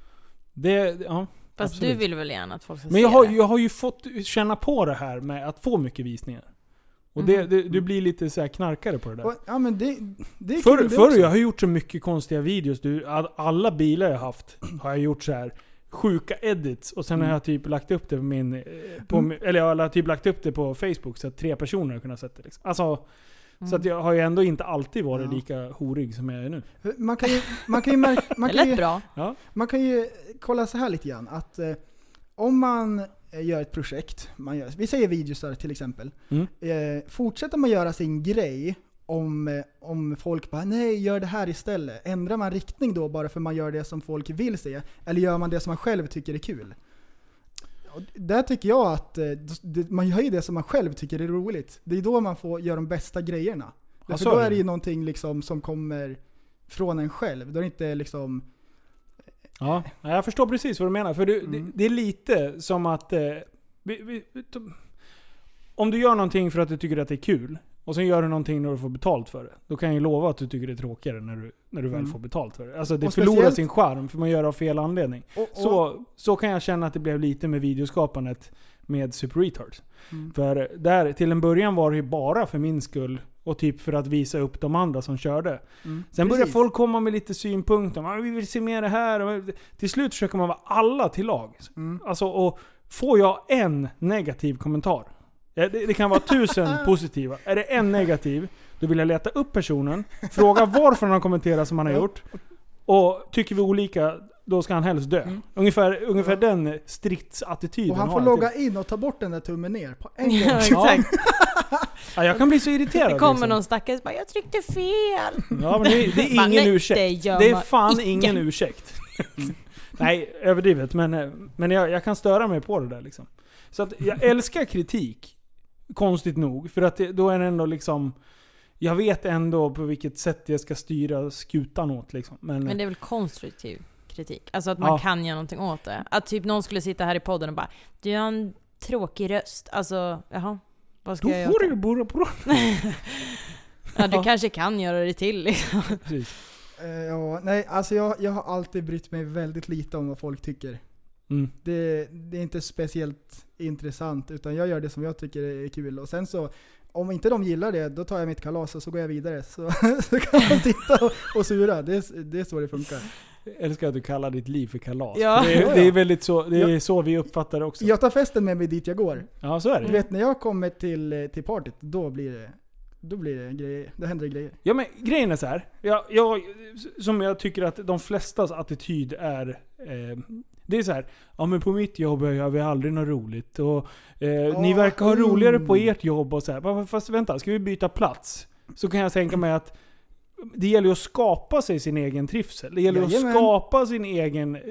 [SPEAKER 4] Det, ja.
[SPEAKER 6] Fast
[SPEAKER 4] Absolut.
[SPEAKER 6] du vill väl gärna att folk ska
[SPEAKER 4] Men jag
[SPEAKER 6] se
[SPEAKER 4] har,
[SPEAKER 6] det?
[SPEAKER 4] jag har ju fått känna på det här med att få mycket visningar. Och det, det, du blir lite så här knarkare på det där.
[SPEAKER 5] Mm. Och, ja men det, det är
[SPEAKER 4] Förr,
[SPEAKER 5] kul det
[SPEAKER 4] förr
[SPEAKER 5] också.
[SPEAKER 4] jag har gjort så mycket konstiga videos. Du, all- alla bilar jag haft har jag gjort så här sjuka edits och sen
[SPEAKER 5] Mm.
[SPEAKER 4] har jag typ lagt upp det på min... eh, På, min- Eller jag har typ lagt upp det på Facebook så att tre personer har kunnat sett det. Liksom. Alltså, Så
[SPEAKER 6] Mm.
[SPEAKER 4] att jag har ju ändå inte alltid varit
[SPEAKER 5] Mm. Ja.
[SPEAKER 4] lika horig som jag är nu.
[SPEAKER 5] Man kan ju, man kan ju, märka, man
[SPEAKER 6] Det
[SPEAKER 5] kan
[SPEAKER 6] lät
[SPEAKER 5] ju,
[SPEAKER 6] bra.
[SPEAKER 5] man kan ju kolla så här lite grann. Att eh, om man eh, gör ett projekt, man gör, vi säger videosar till exempel.
[SPEAKER 4] Mm.
[SPEAKER 5] Eh, fortsätter man göra sin grej om, eh, om folk bara nej, gör det här istället. Ändrar man riktning då bara för man gör det som folk vill se? Eller gör man det som man själv tycker är kul? Och där tycker jag att eh, det, man gör ju det som man själv tycker är roligt. Det är då man får göra de bästa grejerna.
[SPEAKER 4] Ja,
[SPEAKER 5] Därför
[SPEAKER 4] så
[SPEAKER 5] då
[SPEAKER 4] är det.
[SPEAKER 5] är det ju någonting liksom som kommer från en själv. Då är det inte liksom...
[SPEAKER 4] Ja, nej, jag förstår precis vad du menar. För du, det,
[SPEAKER 5] Mm.
[SPEAKER 4] det är lite som att... Eh, vi, vi, to- om du gör någonting för att du tycker att det är kul, och sen gör du någonting när du får betalt för det. Då kan jag ju lova att du tycker det är tråkigare när du, när du väl
[SPEAKER 5] Mm.
[SPEAKER 4] får betalt för det. Alltså det
[SPEAKER 5] Och
[SPEAKER 4] förlorar
[SPEAKER 5] speciellt-
[SPEAKER 4] sin charm för man gör det av fel anledning.
[SPEAKER 5] Och, och,
[SPEAKER 4] Så, så kan jag känna att det blev lite med videoskapandet med Super Retards.
[SPEAKER 5] Mm.
[SPEAKER 4] För där, till en början var det ju bara för min skull och typ för att visa upp de andra som körde.
[SPEAKER 5] Mm,
[SPEAKER 4] Sen börjar
[SPEAKER 5] precis.
[SPEAKER 4] folk komma med lite synpunkter. Man, vi vill se mer det här. Och Till slut försöker man vara alla till lag.
[SPEAKER 5] Mm.
[SPEAKER 4] Alltså, och får jag en negativ kommentar. ja, Det, det kan vara
[SPEAKER 5] *laughs*
[SPEAKER 4] tusen positiva. Är det en negativ, då vill jag leta upp personen. Fråga varför han har kommenterat som han har gjort. Och tycker vi olika, då ska han helst dö. Ungefär, ungefär den stridsattityden
[SPEAKER 5] Mm. Och han får
[SPEAKER 4] har jag typ. till-
[SPEAKER 5] logga in och ta bort den där tummen ner på
[SPEAKER 6] *laughs*
[SPEAKER 5] en
[SPEAKER 6] Ja,
[SPEAKER 5] gång.
[SPEAKER 6] exakt.
[SPEAKER 4] Ja, jag kan bli så irriterad.
[SPEAKER 6] Det kommer
[SPEAKER 4] liksom.
[SPEAKER 6] någon stackare som bara 'Jag tryckte fel'
[SPEAKER 4] Ja, men det, det är
[SPEAKER 6] *laughs* Bara,
[SPEAKER 4] ingen
[SPEAKER 6] "Nej,
[SPEAKER 4] ursäkt.
[SPEAKER 6] det gör
[SPEAKER 4] Det är
[SPEAKER 6] man
[SPEAKER 4] fan
[SPEAKER 6] icke."
[SPEAKER 4] ingen ursäkt. Nej, överdrivet. Men, eh, men jag, jag kan störa mig på det där liksom. Så att jag älskar kritik. Konstigt nog. För att det, då är det ändå liksom... Jag vet ändå på vilket sätt jag ska styra skutan åt liksom. Men,
[SPEAKER 6] Men det är väl konstruktiv kritik? Alltså att man
[SPEAKER 4] Ja.
[SPEAKER 6] kan göra någonting åt det. Att typ någon skulle sitta här i podden och bara Du har en tråkig röst. Alltså, jaha. Vad ska
[SPEAKER 4] då
[SPEAKER 6] jag
[SPEAKER 4] får
[SPEAKER 6] göra?
[SPEAKER 4] du borra på
[SPEAKER 6] Ja,
[SPEAKER 4] *laughs*
[SPEAKER 6] du
[SPEAKER 4] Ja.
[SPEAKER 6] kanske kan göra det till liksom.
[SPEAKER 4] Precis.
[SPEAKER 5] Eh, ja, nej, alltså jag, jag har alltid brytt mig väldigt lite om vad folk tycker.
[SPEAKER 4] Mm.
[SPEAKER 5] Det, det är inte speciellt intressant utan jag gör det som jag tycker är kul. Och sen så, om inte de gillar det, då tar jag mitt kalas och så går jag vidare. Så, *laughs* så kan man sitta och, och sura. Det, är- det är så det funkar.
[SPEAKER 4] Jag älskar att du kallar ditt liv för kalas.
[SPEAKER 6] Ja.
[SPEAKER 4] För Det,
[SPEAKER 5] Ja,
[SPEAKER 4] är,
[SPEAKER 5] ja.
[SPEAKER 4] det är väldigt så, det är så vi uppfattar det också.
[SPEAKER 5] Jag tar festen med mig dit jag går.
[SPEAKER 4] Ja, så är det.
[SPEAKER 5] Du vet när jag kommer till, eh, till partyt, då blir det, då blir det grejer. Då händer det grejer.
[SPEAKER 4] Ja men grejen är så här. Jag, jag, som jag tycker att de flestas attityd är. Eh, det är så här. Ja men på mitt jobb gör vi aldrig något roligt. Och, eh, ni
[SPEAKER 5] Ah,
[SPEAKER 4] verkar ha roligare på
[SPEAKER 5] mm.
[SPEAKER 4] ert jobb och så här. "Va, Fast vänta, ska vi byta plats? Så kan jag tänka mig att det gäller ju att skapa sig sin egen trivsel. Det gäller ju att
[SPEAKER 5] Jajamän.
[SPEAKER 4] skapa sin egen eh,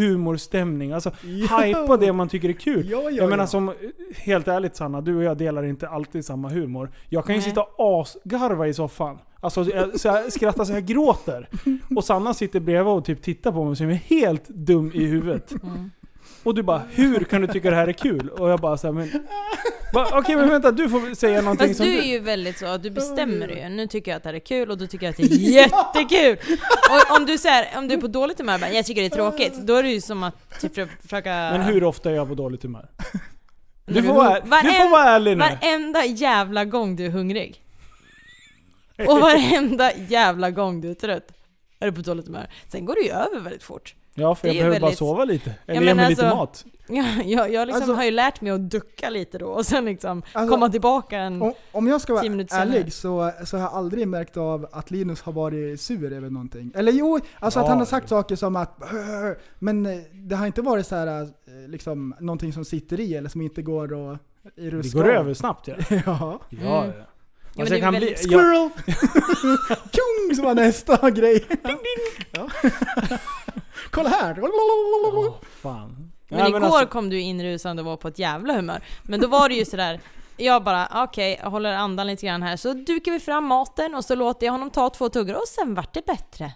[SPEAKER 4] humorstämning. Alltså,
[SPEAKER 5] Jo.
[SPEAKER 4] hypa det man tycker är kul.
[SPEAKER 5] Ja, ja,
[SPEAKER 4] jag menar
[SPEAKER 5] ja.
[SPEAKER 4] som, helt ärligt Sanna, du och jag delar inte alltid samma humor. Jag kan ju
[SPEAKER 6] Nej.
[SPEAKER 4] sitta och asgarva i soffan. Alltså jag, så jag skrattar så jag
[SPEAKER 6] *laughs*
[SPEAKER 4] gråter. Och Sanna sitter bredvid och typ tittar på mig som är helt dum i huvudet.
[SPEAKER 6] Mm.
[SPEAKER 4] Och du bara 'Hur kan du tycka det här är kul?' Och jag bara såhär men... Bara, Okej men vänta, du får säga någonting
[SPEAKER 6] Fast
[SPEAKER 4] som
[SPEAKER 6] du är ju väldigt så, att du bestämmer ju. Nu tycker jag att det här är kul och då tycker jag
[SPEAKER 4] *laughs*
[SPEAKER 6] att det är jättekul! Och om du, så här, om du är på dåligt humör och bara, jag tycker det är tråkigt, då är det ju som att typ, för- försöka...
[SPEAKER 4] Men hur ofta är jag på dåligt humör? Du
[SPEAKER 6] Nej,
[SPEAKER 4] får
[SPEAKER 6] men-
[SPEAKER 4] vara, du får
[SPEAKER 6] Varenda-
[SPEAKER 4] vara ärlig nu.
[SPEAKER 6] Varenda jävla gång du är hungrig. Och varenda jävla gång du är trött. Är du på dåligt humör. Sen går det ju över väldigt fort.
[SPEAKER 4] Ja för
[SPEAKER 6] det
[SPEAKER 4] jag
[SPEAKER 6] är
[SPEAKER 4] behöver bara
[SPEAKER 6] väldigt-
[SPEAKER 4] sova lite. Eller
[SPEAKER 6] men
[SPEAKER 4] ge mig lite
[SPEAKER 6] alltså-
[SPEAKER 4] mat.
[SPEAKER 6] Jag, jag, jag liksom
[SPEAKER 5] Alltså-
[SPEAKER 6] har ju lärt mig att ducka lite då och sen liksom
[SPEAKER 5] Alltså-
[SPEAKER 6] komma tillbaka en...
[SPEAKER 5] Om, om jag ska vara
[SPEAKER 6] Tio minuter senare.
[SPEAKER 5] ärlig så, så har jag aldrig märkt av att Linus har varit sur över någonting. Eller jo, alltså att han har sagt saker som att "Hör", Men eh, det har inte varit så här, eh, liksom, någonting som sitter i eller som inte går att eh, i
[SPEAKER 4] Det
[SPEAKER 5] ruska
[SPEAKER 4] går
[SPEAKER 5] av.
[SPEAKER 4] över snabbt ja.
[SPEAKER 5] *laughs*
[SPEAKER 4] Ja,
[SPEAKER 5] Ja.
[SPEAKER 6] Mm.
[SPEAKER 4] ja.
[SPEAKER 6] men
[SPEAKER 4] Alltså,
[SPEAKER 6] det
[SPEAKER 4] jag
[SPEAKER 6] är
[SPEAKER 4] kan bli,
[SPEAKER 6] väldigt-
[SPEAKER 4] jag,
[SPEAKER 5] Kung som var nästa *laughs* grej. Ja. *laughs* Kolla här!
[SPEAKER 4] Åh, fan.
[SPEAKER 6] Men
[SPEAKER 4] Nej,
[SPEAKER 6] igår
[SPEAKER 4] alltså,
[SPEAKER 6] kom du inrusande och var på ett jävla humör. Men då var det ju sådär, jag bara okej, jag håller andan lite grann här. Så dukar vi fram maten och så låter jag honom ta två tuggor och sen vart det bättre.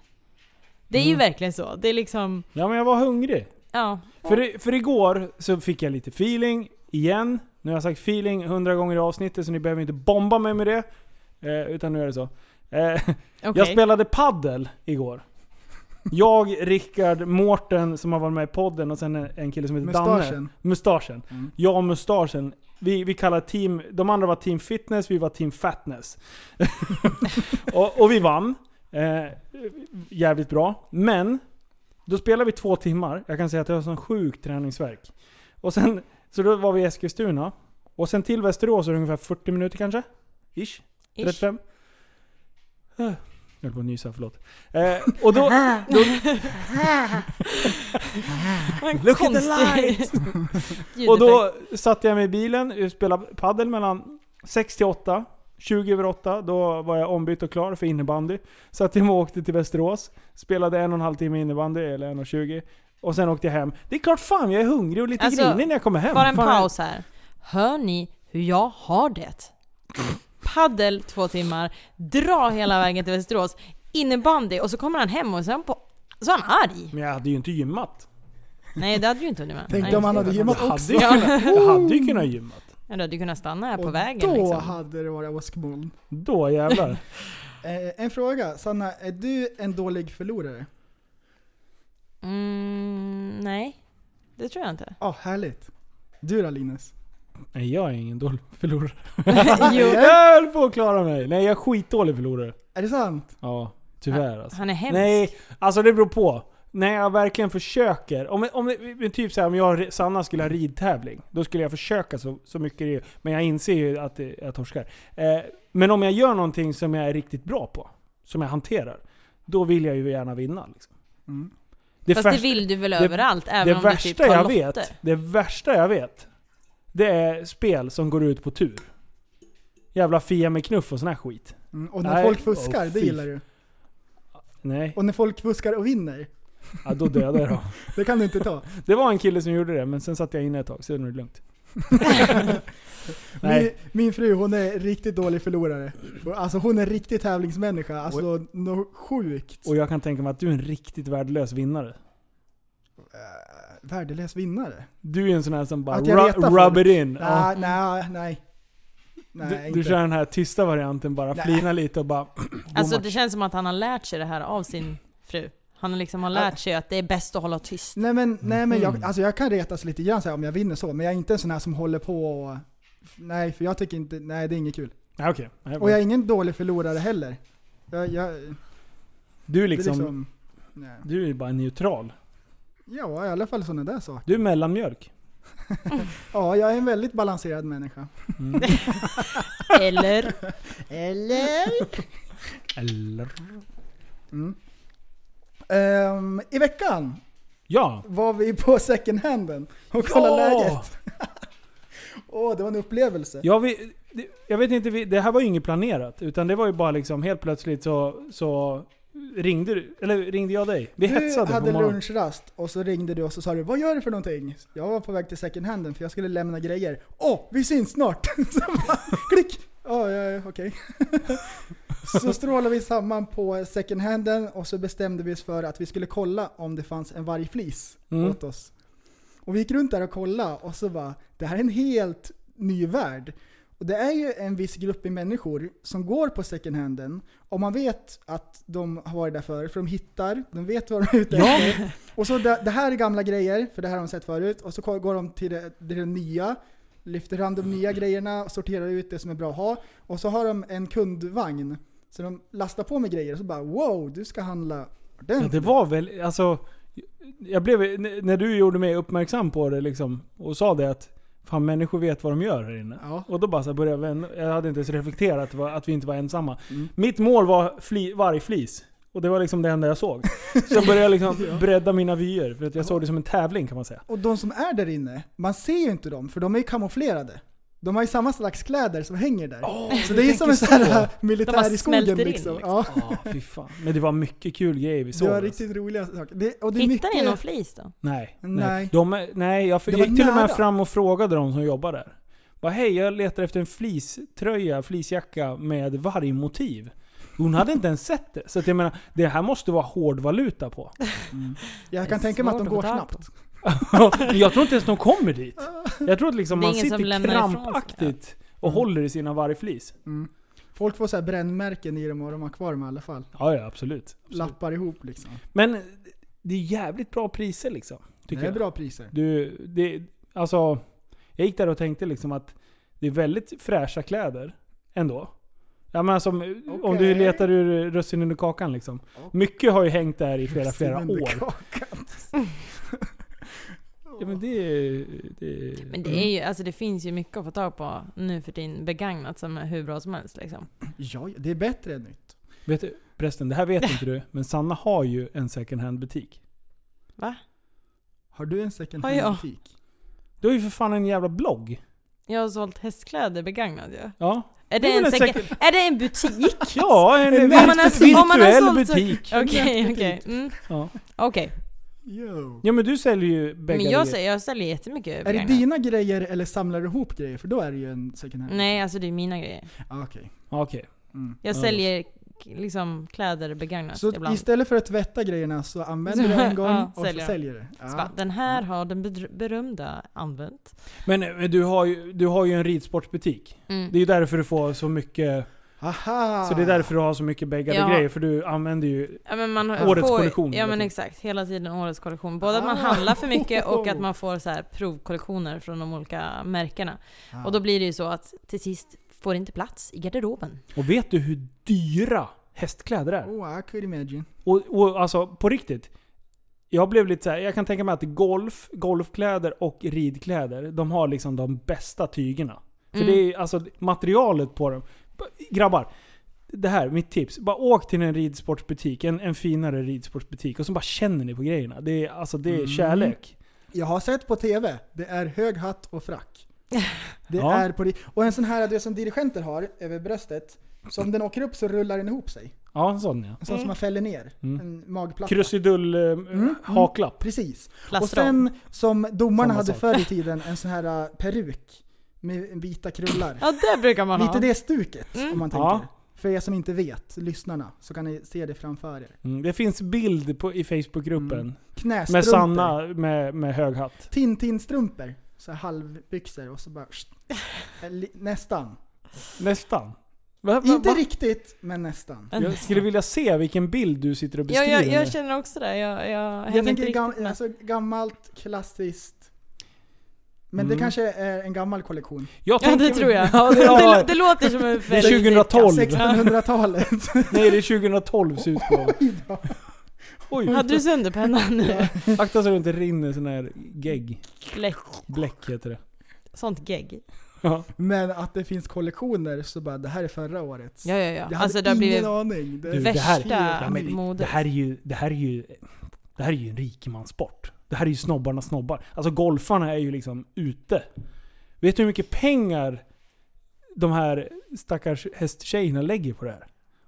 [SPEAKER 6] Det är
[SPEAKER 4] Mm.
[SPEAKER 6] ju verkligen så. Det är liksom,
[SPEAKER 4] ja men jag var hungrig.
[SPEAKER 6] ja.
[SPEAKER 4] För, i- för igår så fick jag lite feeling, igen. Nu har jag sagt feeling hundra gånger i avsnittet så ni behöver inte bomba mig med det. Eh, utan nu är det så. Eh, Jag
[SPEAKER 6] okej.
[SPEAKER 4] spelade paddel igår. Jag, Rickard, Mårten som har varit med i podden och sen en- en kille som heter Danne.
[SPEAKER 5] Mustaschen.
[SPEAKER 4] Mustaschen. Jag och Mustaschen. Vi, vi kallar team, de andra var team fitness, vi var team fatness. *laughs* och, och vi vann. Eh, jävligt bra. Men, då spelade vi två timmar. Jag kan säga att jag har sån sjuk träningsverk. Och sen, så då var vi i Eskilstuna. Och sen till Västerås är det ungefär 40 minuter kanske? Ish?
[SPEAKER 6] Ish.
[SPEAKER 4] 35? Eh, Jag höll på att nysa, förlåt.
[SPEAKER 6] *laughs*
[SPEAKER 4] Eh, och då... då Look at the light!
[SPEAKER 6] *laughs*
[SPEAKER 4] och då satte jag mig i bilen, jag spelade paddel mellan 6 till 8. 20 över 8, då var jag ombytt och klar för innebandy. Så att jag åkte till Västerås, spelade en och en halv timme innebandy, eller en och 20. Och sen åkte jag hem. Det är klart fan jag är hungrig och lite
[SPEAKER 6] Alltså,
[SPEAKER 4] grinig när jag kommer hem.
[SPEAKER 6] Bara en
[SPEAKER 4] fan,
[SPEAKER 6] paus här. Hör ni hur jag har det? Paddel två timmar, dra hela vägen till Västerås, innebandy och så kommer han hem och sen på... Så är han arg.
[SPEAKER 4] Men jag hade ju inte gymmat.
[SPEAKER 6] Nej det hade du inte hunnit med.
[SPEAKER 5] Tänk
[SPEAKER 6] Nej,
[SPEAKER 5] om han hade
[SPEAKER 4] Jag
[SPEAKER 5] gymmat
[SPEAKER 4] hade
[SPEAKER 5] också.
[SPEAKER 4] ju kunnat, jag hade
[SPEAKER 6] *laughs*
[SPEAKER 4] ju kunnat gymmat.
[SPEAKER 6] Ja, du hade ju kunnat stanna här på
[SPEAKER 5] Och
[SPEAKER 6] vägen
[SPEAKER 5] då
[SPEAKER 6] liksom.
[SPEAKER 5] hade det varit åskmoln.
[SPEAKER 4] Då jävlar.
[SPEAKER 5] Eh, en fråga, Sanna, är du en dålig förlorare?
[SPEAKER 6] Mm, nej, det tror jag inte.
[SPEAKER 5] Ja, härligt. Du då Linus?
[SPEAKER 4] Nej jag är ingen dålig förlorare. *laughs*
[SPEAKER 6] *laughs* jo,
[SPEAKER 4] Jag höll på att klara mig. Nej jag är skitdålig förlorare.
[SPEAKER 5] Är det sant?
[SPEAKER 4] Ja, tyvärr alltså.
[SPEAKER 6] han är hemsk.
[SPEAKER 4] Nej, alltså det beror på. När jag verkligen försöker. Om, om, men typ så här, om jag och Sanna skulle ha ridtävling, då skulle jag försöka så, så mycket det är. Men jag inser ju att det- jag torskar. Eh, men om jag gör någonting som jag är riktigt bra på, som jag hanterar, då vill jag ju gärna vinna. Liksom.
[SPEAKER 5] Mm.
[SPEAKER 4] Det
[SPEAKER 6] Fast det
[SPEAKER 4] färsta-
[SPEAKER 6] vill du väl
[SPEAKER 4] det-
[SPEAKER 6] överallt? Även
[SPEAKER 4] det
[SPEAKER 6] om
[SPEAKER 4] värsta
[SPEAKER 6] du typ tar
[SPEAKER 4] jag
[SPEAKER 6] lotter.
[SPEAKER 4] vet, det värsta jag vet, det är spel som går ut på tur. Jävla Fia med knuff och sån här skit.
[SPEAKER 5] Mm, och när
[SPEAKER 4] Nej,
[SPEAKER 5] folk fuskar,
[SPEAKER 4] åh,
[SPEAKER 5] det
[SPEAKER 4] fy.
[SPEAKER 5] gillar du.
[SPEAKER 4] Nej,
[SPEAKER 5] Och när folk fuskar och vinner,
[SPEAKER 4] ja, då dödar jag dem.
[SPEAKER 5] *laughs* det kan du inte ta.
[SPEAKER 4] Det var en kille som gjorde det, men sen satt jag inne ett tag, så nu är det lugnt.
[SPEAKER 5] Min,
[SPEAKER 4] *laughs* Nej.
[SPEAKER 5] min fru hon är riktigt dålig förlorare. Alltså hon är riktig tävlingsmänniska. Alltså något sjukt.
[SPEAKER 4] Och jag kan tänka mig att du är en riktigt värdelös vinnare.
[SPEAKER 5] eh, Värdelös vinnare.
[SPEAKER 4] Du är en sån här som bara
[SPEAKER 5] Att jag retar
[SPEAKER 4] ru- rub
[SPEAKER 5] folk.
[SPEAKER 4] it in. Ja.
[SPEAKER 5] Nej, nej, nej. Nej,
[SPEAKER 4] Du, du
[SPEAKER 5] inte.
[SPEAKER 4] kör den här tysta varianten bara,
[SPEAKER 5] Nej.
[SPEAKER 4] flina lite och bara...
[SPEAKER 6] Alltså det känns som att han har lärt sig det här av sin fru. Han liksom har lärt sig att det är bäst att hålla tyst.
[SPEAKER 5] Nej men, nej,
[SPEAKER 4] Mm.
[SPEAKER 5] men jag, alltså, jag kan retas lite grann så här, om jag vinner så, men jag är inte en sån här som håller på och... Nej, för jag tycker inte... Nej, det är inget kul.
[SPEAKER 4] Nej, okej. Nej,
[SPEAKER 5] Och jag är ingen dålig förlorare heller. Jag, jag, det
[SPEAKER 4] Du är
[SPEAKER 5] är liksom,
[SPEAKER 4] liksom...
[SPEAKER 5] nej.
[SPEAKER 4] Du är bara neutral.
[SPEAKER 5] Ja, i alla fall sådana där saker.
[SPEAKER 4] Du är mellanmjölk.
[SPEAKER 5] Ja, jag är en väldigt balanserad människa.
[SPEAKER 4] *laughs*
[SPEAKER 6] Eller?
[SPEAKER 7] Eller?
[SPEAKER 4] Eller?
[SPEAKER 5] Mm. Ehm, I veckan
[SPEAKER 4] Ja!
[SPEAKER 5] var vi på second handen och kollade läget. Åh, det var en upplevelse.
[SPEAKER 4] Ja, vi, det- jag vet inte, vi, det här var ju inget planerat. Utan det var ju bara liksom helt plötsligt så, så ringde du, eller ringde jag dig? Vi
[SPEAKER 5] Du
[SPEAKER 4] hetsade
[SPEAKER 5] hade
[SPEAKER 4] på morgonen.
[SPEAKER 5] lunchrast och så ringde du och så sa du Vad gör du för någonting? Jag var på väg till second handen för jag skulle lämna grejer. Åh, vi syns snart! *laughs* så bara, klick! Ja, ja, ja, okej. *laughs* så strålade vi samman på second handen och så bestämde vi oss för att vi skulle kolla om det fanns en vargflis
[SPEAKER 4] Mm.
[SPEAKER 5] åt oss. Och vi gick runt där och kollade och så bara, det här är en helt ny värld. Och det är ju en viss grupp i människor som går på second handen och man vet att de har varit där förut, för de hittar, de vet vad de är ute efter. Och så det, det här är gamla grejer, för det här har de sett förut. Och så ko- går de till det, till det nya, lyfter fram de
[SPEAKER 6] Mm.
[SPEAKER 5] nya grejerna, sorterar ut det som är bra att ha. Och så har de en kundvagn. Så de lastar på med grejer och så bara wow, du ska handla
[SPEAKER 4] Ja,
[SPEAKER 5] ordentligt.
[SPEAKER 4] det var väl, alltså... Jag blev, n- när du gjorde mig uppmärksam på det liksom, och sa det att Fan människor vet vad de gör här inne.
[SPEAKER 5] Ja.
[SPEAKER 4] Och då bara så här började jag vända, jag hade inte ens reflekterat va- att vi inte var ensamma.
[SPEAKER 5] Mm.
[SPEAKER 4] Mitt mål var fli, vargflis. Och det var liksom det enda jag
[SPEAKER 5] *laughs*
[SPEAKER 4] såg. Så jag började liksom bredda mina vyer. För att jag såg det som en tävling kan man säga.
[SPEAKER 5] Och de som är där inne, man ser ju inte dem för de är ju kamouflerade. De har ju samma slags kläder som hänger där. så det är ju som en sån här
[SPEAKER 6] De
[SPEAKER 5] militär
[SPEAKER 6] bara
[SPEAKER 5] i skogen
[SPEAKER 6] smälter in,
[SPEAKER 5] liksom.
[SPEAKER 6] liksom.
[SPEAKER 5] Ja,
[SPEAKER 4] Ah, fy fan. Men det var mycket kul grejer vi såg.
[SPEAKER 5] det var
[SPEAKER 4] alltså.
[SPEAKER 5] riktigt roliga saker. Det, och det är
[SPEAKER 6] Hittar ni någon
[SPEAKER 5] mycket,
[SPEAKER 6] flis då?
[SPEAKER 4] Nej. Nej.
[SPEAKER 5] Nej.
[SPEAKER 4] De, är- nej jag
[SPEAKER 5] Det var
[SPEAKER 4] gick till och med
[SPEAKER 5] nära.
[SPEAKER 4] fram och frågade de som jobbar där. Bara, hej, jag letar efter en fleecetröja, fleecejacka med vargmotiv. Hon hade inte ens sett det. Så att jag menar, det här måste vara hård valuta på.
[SPEAKER 5] jag
[SPEAKER 6] Det är
[SPEAKER 5] kan tänka mig att de går
[SPEAKER 6] svårt att få tag på.
[SPEAKER 5] snabbt.
[SPEAKER 4] jag tror inte ens de kommer dit. Jag tror att liksom
[SPEAKER 6] Det är
[SPEAKER 4] man
[SPEAKER 6] ingen som
[SPEAKER 4] sitter
[SPEAKER 6] lämnar ifrån sig.
[SPEAKER 4] krampaktigt
[SPEAKER 5] Mm.
[SPEAKER 4] och håller i sina vargflis.
[SPEAKER 5] Folk får så här brännmärken i dem och de har kvar dem i alla fall.
[SPEAKER 4] Ja, ja absolut. absolut.
[SPEAKER 5] Lappar ihop liksom.
[SPEAKER 4] Men det är jävligt bra priser liksom. Tycker
[SPEAKER 5] det är
[SPEAKER 4] jag.
[SPEAKER 5] bra priser.
[SPEAKER 4] Du, det, alltså, jag gick där och tänkte liksom att det är väldigt fräscha kläder ändå. Ja, men alltså, Om du
[SPEAKER 5] Okej.
[SPEAKER 4] letar ur russin under kakan liksom. Mycket har ju hängt där i flera, flera
[SPEAKER 5] Russinen i
[SPEAKER 4] år.
[SPEAKER 5] kakan.
[SPEAKER 4] Ja, men det, är- det, är-
[SPEAKER 6] Men det, är
[SPEAKER 4] Mm.
[SPEAKER 6] ju, alltså det finns ju mycket att få tag på nu för din begagnat som är hur bra som helst. Liksom.
[SPEAKER 5] *laughs* Ja, ja, det är bättre än nytt.
[SPEAKER 4] vet du, förresten, det här vet inte du, men Sanna har ju en second hand butik.
[SPEAKER 6] Va?
[SPEAKER 5] Har du en second
[SPEAKER 6] Har jag?
[SPEAKER 5] hand-butik?
[SPEAKER 4] Du har ju för fan en jävla blogg.
[SPEAKER 6] Jag har sålt hästkläder begagnat ju.
[SPEAKER 4] Ja,
[SPEAKER 6] Är
[SPEAKER 4] Det är
[SPEAKER 6] det,
[SPEAKER 4] väl
[SPEAKER 6] en
[SPEAKER 4] en
[SPEAKER 6] säker, är det
[SPEAKER 4] *laughs*
[SPEAKER 6] en butik?
[SPEAKER 4] ja en,
[SPEAKER 6] Om man har-
[SPEAKER 4] virtuell
[SPEAKER 6] om man har sålt så-
[SPEAKER 4] butik.
[SPEAKER 6] Okej, okej.
[SPEAKER 5] Nätbutik.
[SPEAKER 6] Mm.
[SPEAKER 4] Ja.
[SPEAKER 6] Okej.
[SPEAKER 5] Yo.
[SPEAKER 4] Ja men du säljer ju bägge
[SPEAKER 6] Men jag,
[SPEAKER 4] grejer.
[SPEAKER 6] säljer- jag säljer jättemycket
[SPEAKER 5] Är det
[SPEAKER 6] begagnat.
[SPEAKER 5] dina grejer eller samlar du ihop grejer? För då är det ju en second hand.
[SPEAKER 6] Nej, alltså det är mina grejer.
[SPEAKER 5] Ah, okej.
[SPEAKER 4] Ja, Okej.
[SPEAKER 5] Mm.
[SPEAKER 6] Jag
[SPEAKER 4] Ja,
[SPEAKER 6] säljer k- liksom kläder begagnat
[SPEAKER 5] Så
[SPEAKER 6] ibland.
[SPEAKER 5] istället för att tvätta grejerna så använder du det en gång
[SPEAKER 6] *laughs* Ja,
[SPEAKER 5] och
[SPEAKER 6] säljer.
[SPEAKER 5] så säljer du Ah. det?
[SPEAKER 6] Så bara,
[SPEAKER 5] Ja.
[SPEAKER 6] Den här har den bedr- berömda använt.
[SPEAKER 4] Men, men du, har ju, du har ju en ridsportbutik.
[SPEAKER 6] Mm.
[SPEAKER 4] Det är ju därför du får så mycket
[SPEAKER 5] Aha!
[SPEAKER 4] Så det är därför du har så mycket bäggade
[SPEAKER 6] Ah. Ja.
[SPEAKER 4] grejer, för du använder ju...
[SPEAKER 6] Ja, men man
[SPEAKER 4] Årets
[SPEAKER 6] får,
[SPEAKER 4] kollektion,
[SPEAKER 6] Ja
[SPEAKER 4] vet
[SPEAKER 6] men
[SPEAKER 4] du.
[SPEAKER 6] exakt, hela tiden årets kollektion. Både att man
[SPEAKER 5] Ah.
[SPEAKER 6] handlar för mycket
[SPEAKER 4] *laughs*
[SPEAKER 6] och att man får så här provkollektioner från de olika märkena.
[SPEAKER 5] Ah.
[SPEAKER 6] Och då blir det ju så att till sist får det inte plats i garderoben.
[SPEAKER 4] Och vet du hur dyra hästkläder är?
[SPEAKER 5] Oh, I could imagine.
[SPEAKER 4] Och, och alltså, på riktigt. Jag blev lite så här, jag kan tänka mig att golf, golfkläder och ridkläder, de har liksom de bästa tygerna. För
[SPEAKER 6] Mm.
[SPEAKER 4] det är alltså materialet på dem. Grabbar, det här, mitt tips. Bara åk till en ridsportsbutik, en, en finare ridsportsbutik, och så bara känner ni på grejerna. Det är, alltså, det är
[SPEAKER 6] Mm.
[SPEAKER 4] kärlek.
[SPEAKER 5] Jag har sett på TV, det är hög hatt och
[SPEAKER 6] *laughs*
[SPEAKER 5] frack. Det
[SPEAKER 4] Ja.
[SPEAKER 5] är på ri- Och en sån här du vet, som dirigenter har över bröstet, så om den åker upp så rullar den ihop sig.
[SPEAKER 4] Ja, en sån ja.
[SPEAKER 5] En sån som man fäller ner.
[SPEAKER 4] Mm.
[SPEAKER 5] En magplatta.
[SPEAKER 4] Krusidull eh,
[SPEAKER 5] mm.
[SPEAKER 4] haklapp.
[SPEAKER 5] Precis. Och
[SPEAKER 6] Plastram.
[SPEAKER 5] sen som domarna
[SPEAKER 4] Samma
[SPEAKER 5] hade
[SPEAKER 4] sak.
[SPEAKER 5] förr i tiden, en sån här äh, peruk med vita krullar.
[SPEAKER 6] Ja, det brukar man
[SPEAKER 5] Lite
[SPEAKER 6] ha.
[SPEAKER 5] det stuket om man tänker.
[SPEAKER 4] Ja.
[SPEAKER 5] För er som inte vet, lyssnarna, så kan ni se det framför er.
[SPEAKER 4] Mm. Det finns bild på, i Facebookgruppen.
[SPEAKER 5] Mm. Knästrumpor.
[SPEAKER 4] Med Sanna med, med hög hatt.
[SPEAKER 5] Tintinstrumpor. Så här halvbyxor och så bara... Li- Nästan.
[SPEAKER 4] Nästan. Va, va,
[SPEAKER 5] Inte
[SPEAKER 4] va?
[SPEAKER 5] riktigt, men nästan.
[SPEAKER 6] En-
[SPEAKER 4] Jag skulle vilja se vilken bild du sitter och
[SPEAKER 6] Ja,
[SPEAKER 4] beskriver.
[SPEAKER 6] jag,
[SPEAKER 4] nu.
[SPEAKER 6] jag känner också det. Jag, jag
[SPEAKER 5] Jag
[SPEAKER 6] hänger inte
[SPEAKER 5] tänker
[SPEAKER 6] riktigt
[SPEAKER 5] gam-
[SPEAKER 6] med.
[SPEAKER 5] alltså, gammalt, klassiskt. Men
[SPEAKER 4] Mm.
[SPEAKER 5] det kanske är en gammal kollektion.
[SPEAKER 4] Jag
[SPEAKER 6] Ja,
[SPEAKER 4] tänker-
[SPEAKER 6] det tror jag.
[SPEAKER 4] *laughs* Ja, det,
[SPEAKER 6] *laughs* Det,
[SPEAKER 4] ja,
[SPEAKER 6] lå- det låter som en
[SPEAKER 4] det är
[SPEAKER 6] väldigt...
[SPEAKER 4] 2012.
[SPEAKER 5] 1600-talet.
[SPEAKER 4] Nej, det är 2012s utgåva.
[SPEAKER 5] Oj då.
[SPEAKER 4] Oj,
[SPEAKER 6] Hade du sönder *laughs* pennan nu?
[SPEAKER 4] akta så det inte rinner sån här gegg.
[SPEAKER 6] Bläck.
[SPEAKER 4] Bläck heter det.
[SPEAKER 6] Sånt gegg.
[SPEAKER 4] Ja.
[SPEAKER 5] Men att det finns kollektioner så bara, det här är förra årets.
[SPEAKER 6] Ja, ja,
[SPEAKER 5] Jag
[SPEAKER 6] ja.
[SPEAKER 5] hade
[SPEAKER 6] Alltså det har
[SPEAKER 5] ingen
[SPEAKER 6] blivit
[SPEAKER 5] aning. Det,
[SPEAKER 4] Du, det här-
[SPEAKER 6] värsta
[SPEAKER 4] Ja, men det- Det
[SPEAKER 6] modet.
[SPEAKER 4] här är ju, det här är ju, det här är ju en rikemanssport. Det här är ju snobbarnas snobbar. Alltså golfarna är ju liksom ute. Vet du hur mycket pengar de här stackars hästtjejerna lägger på det här?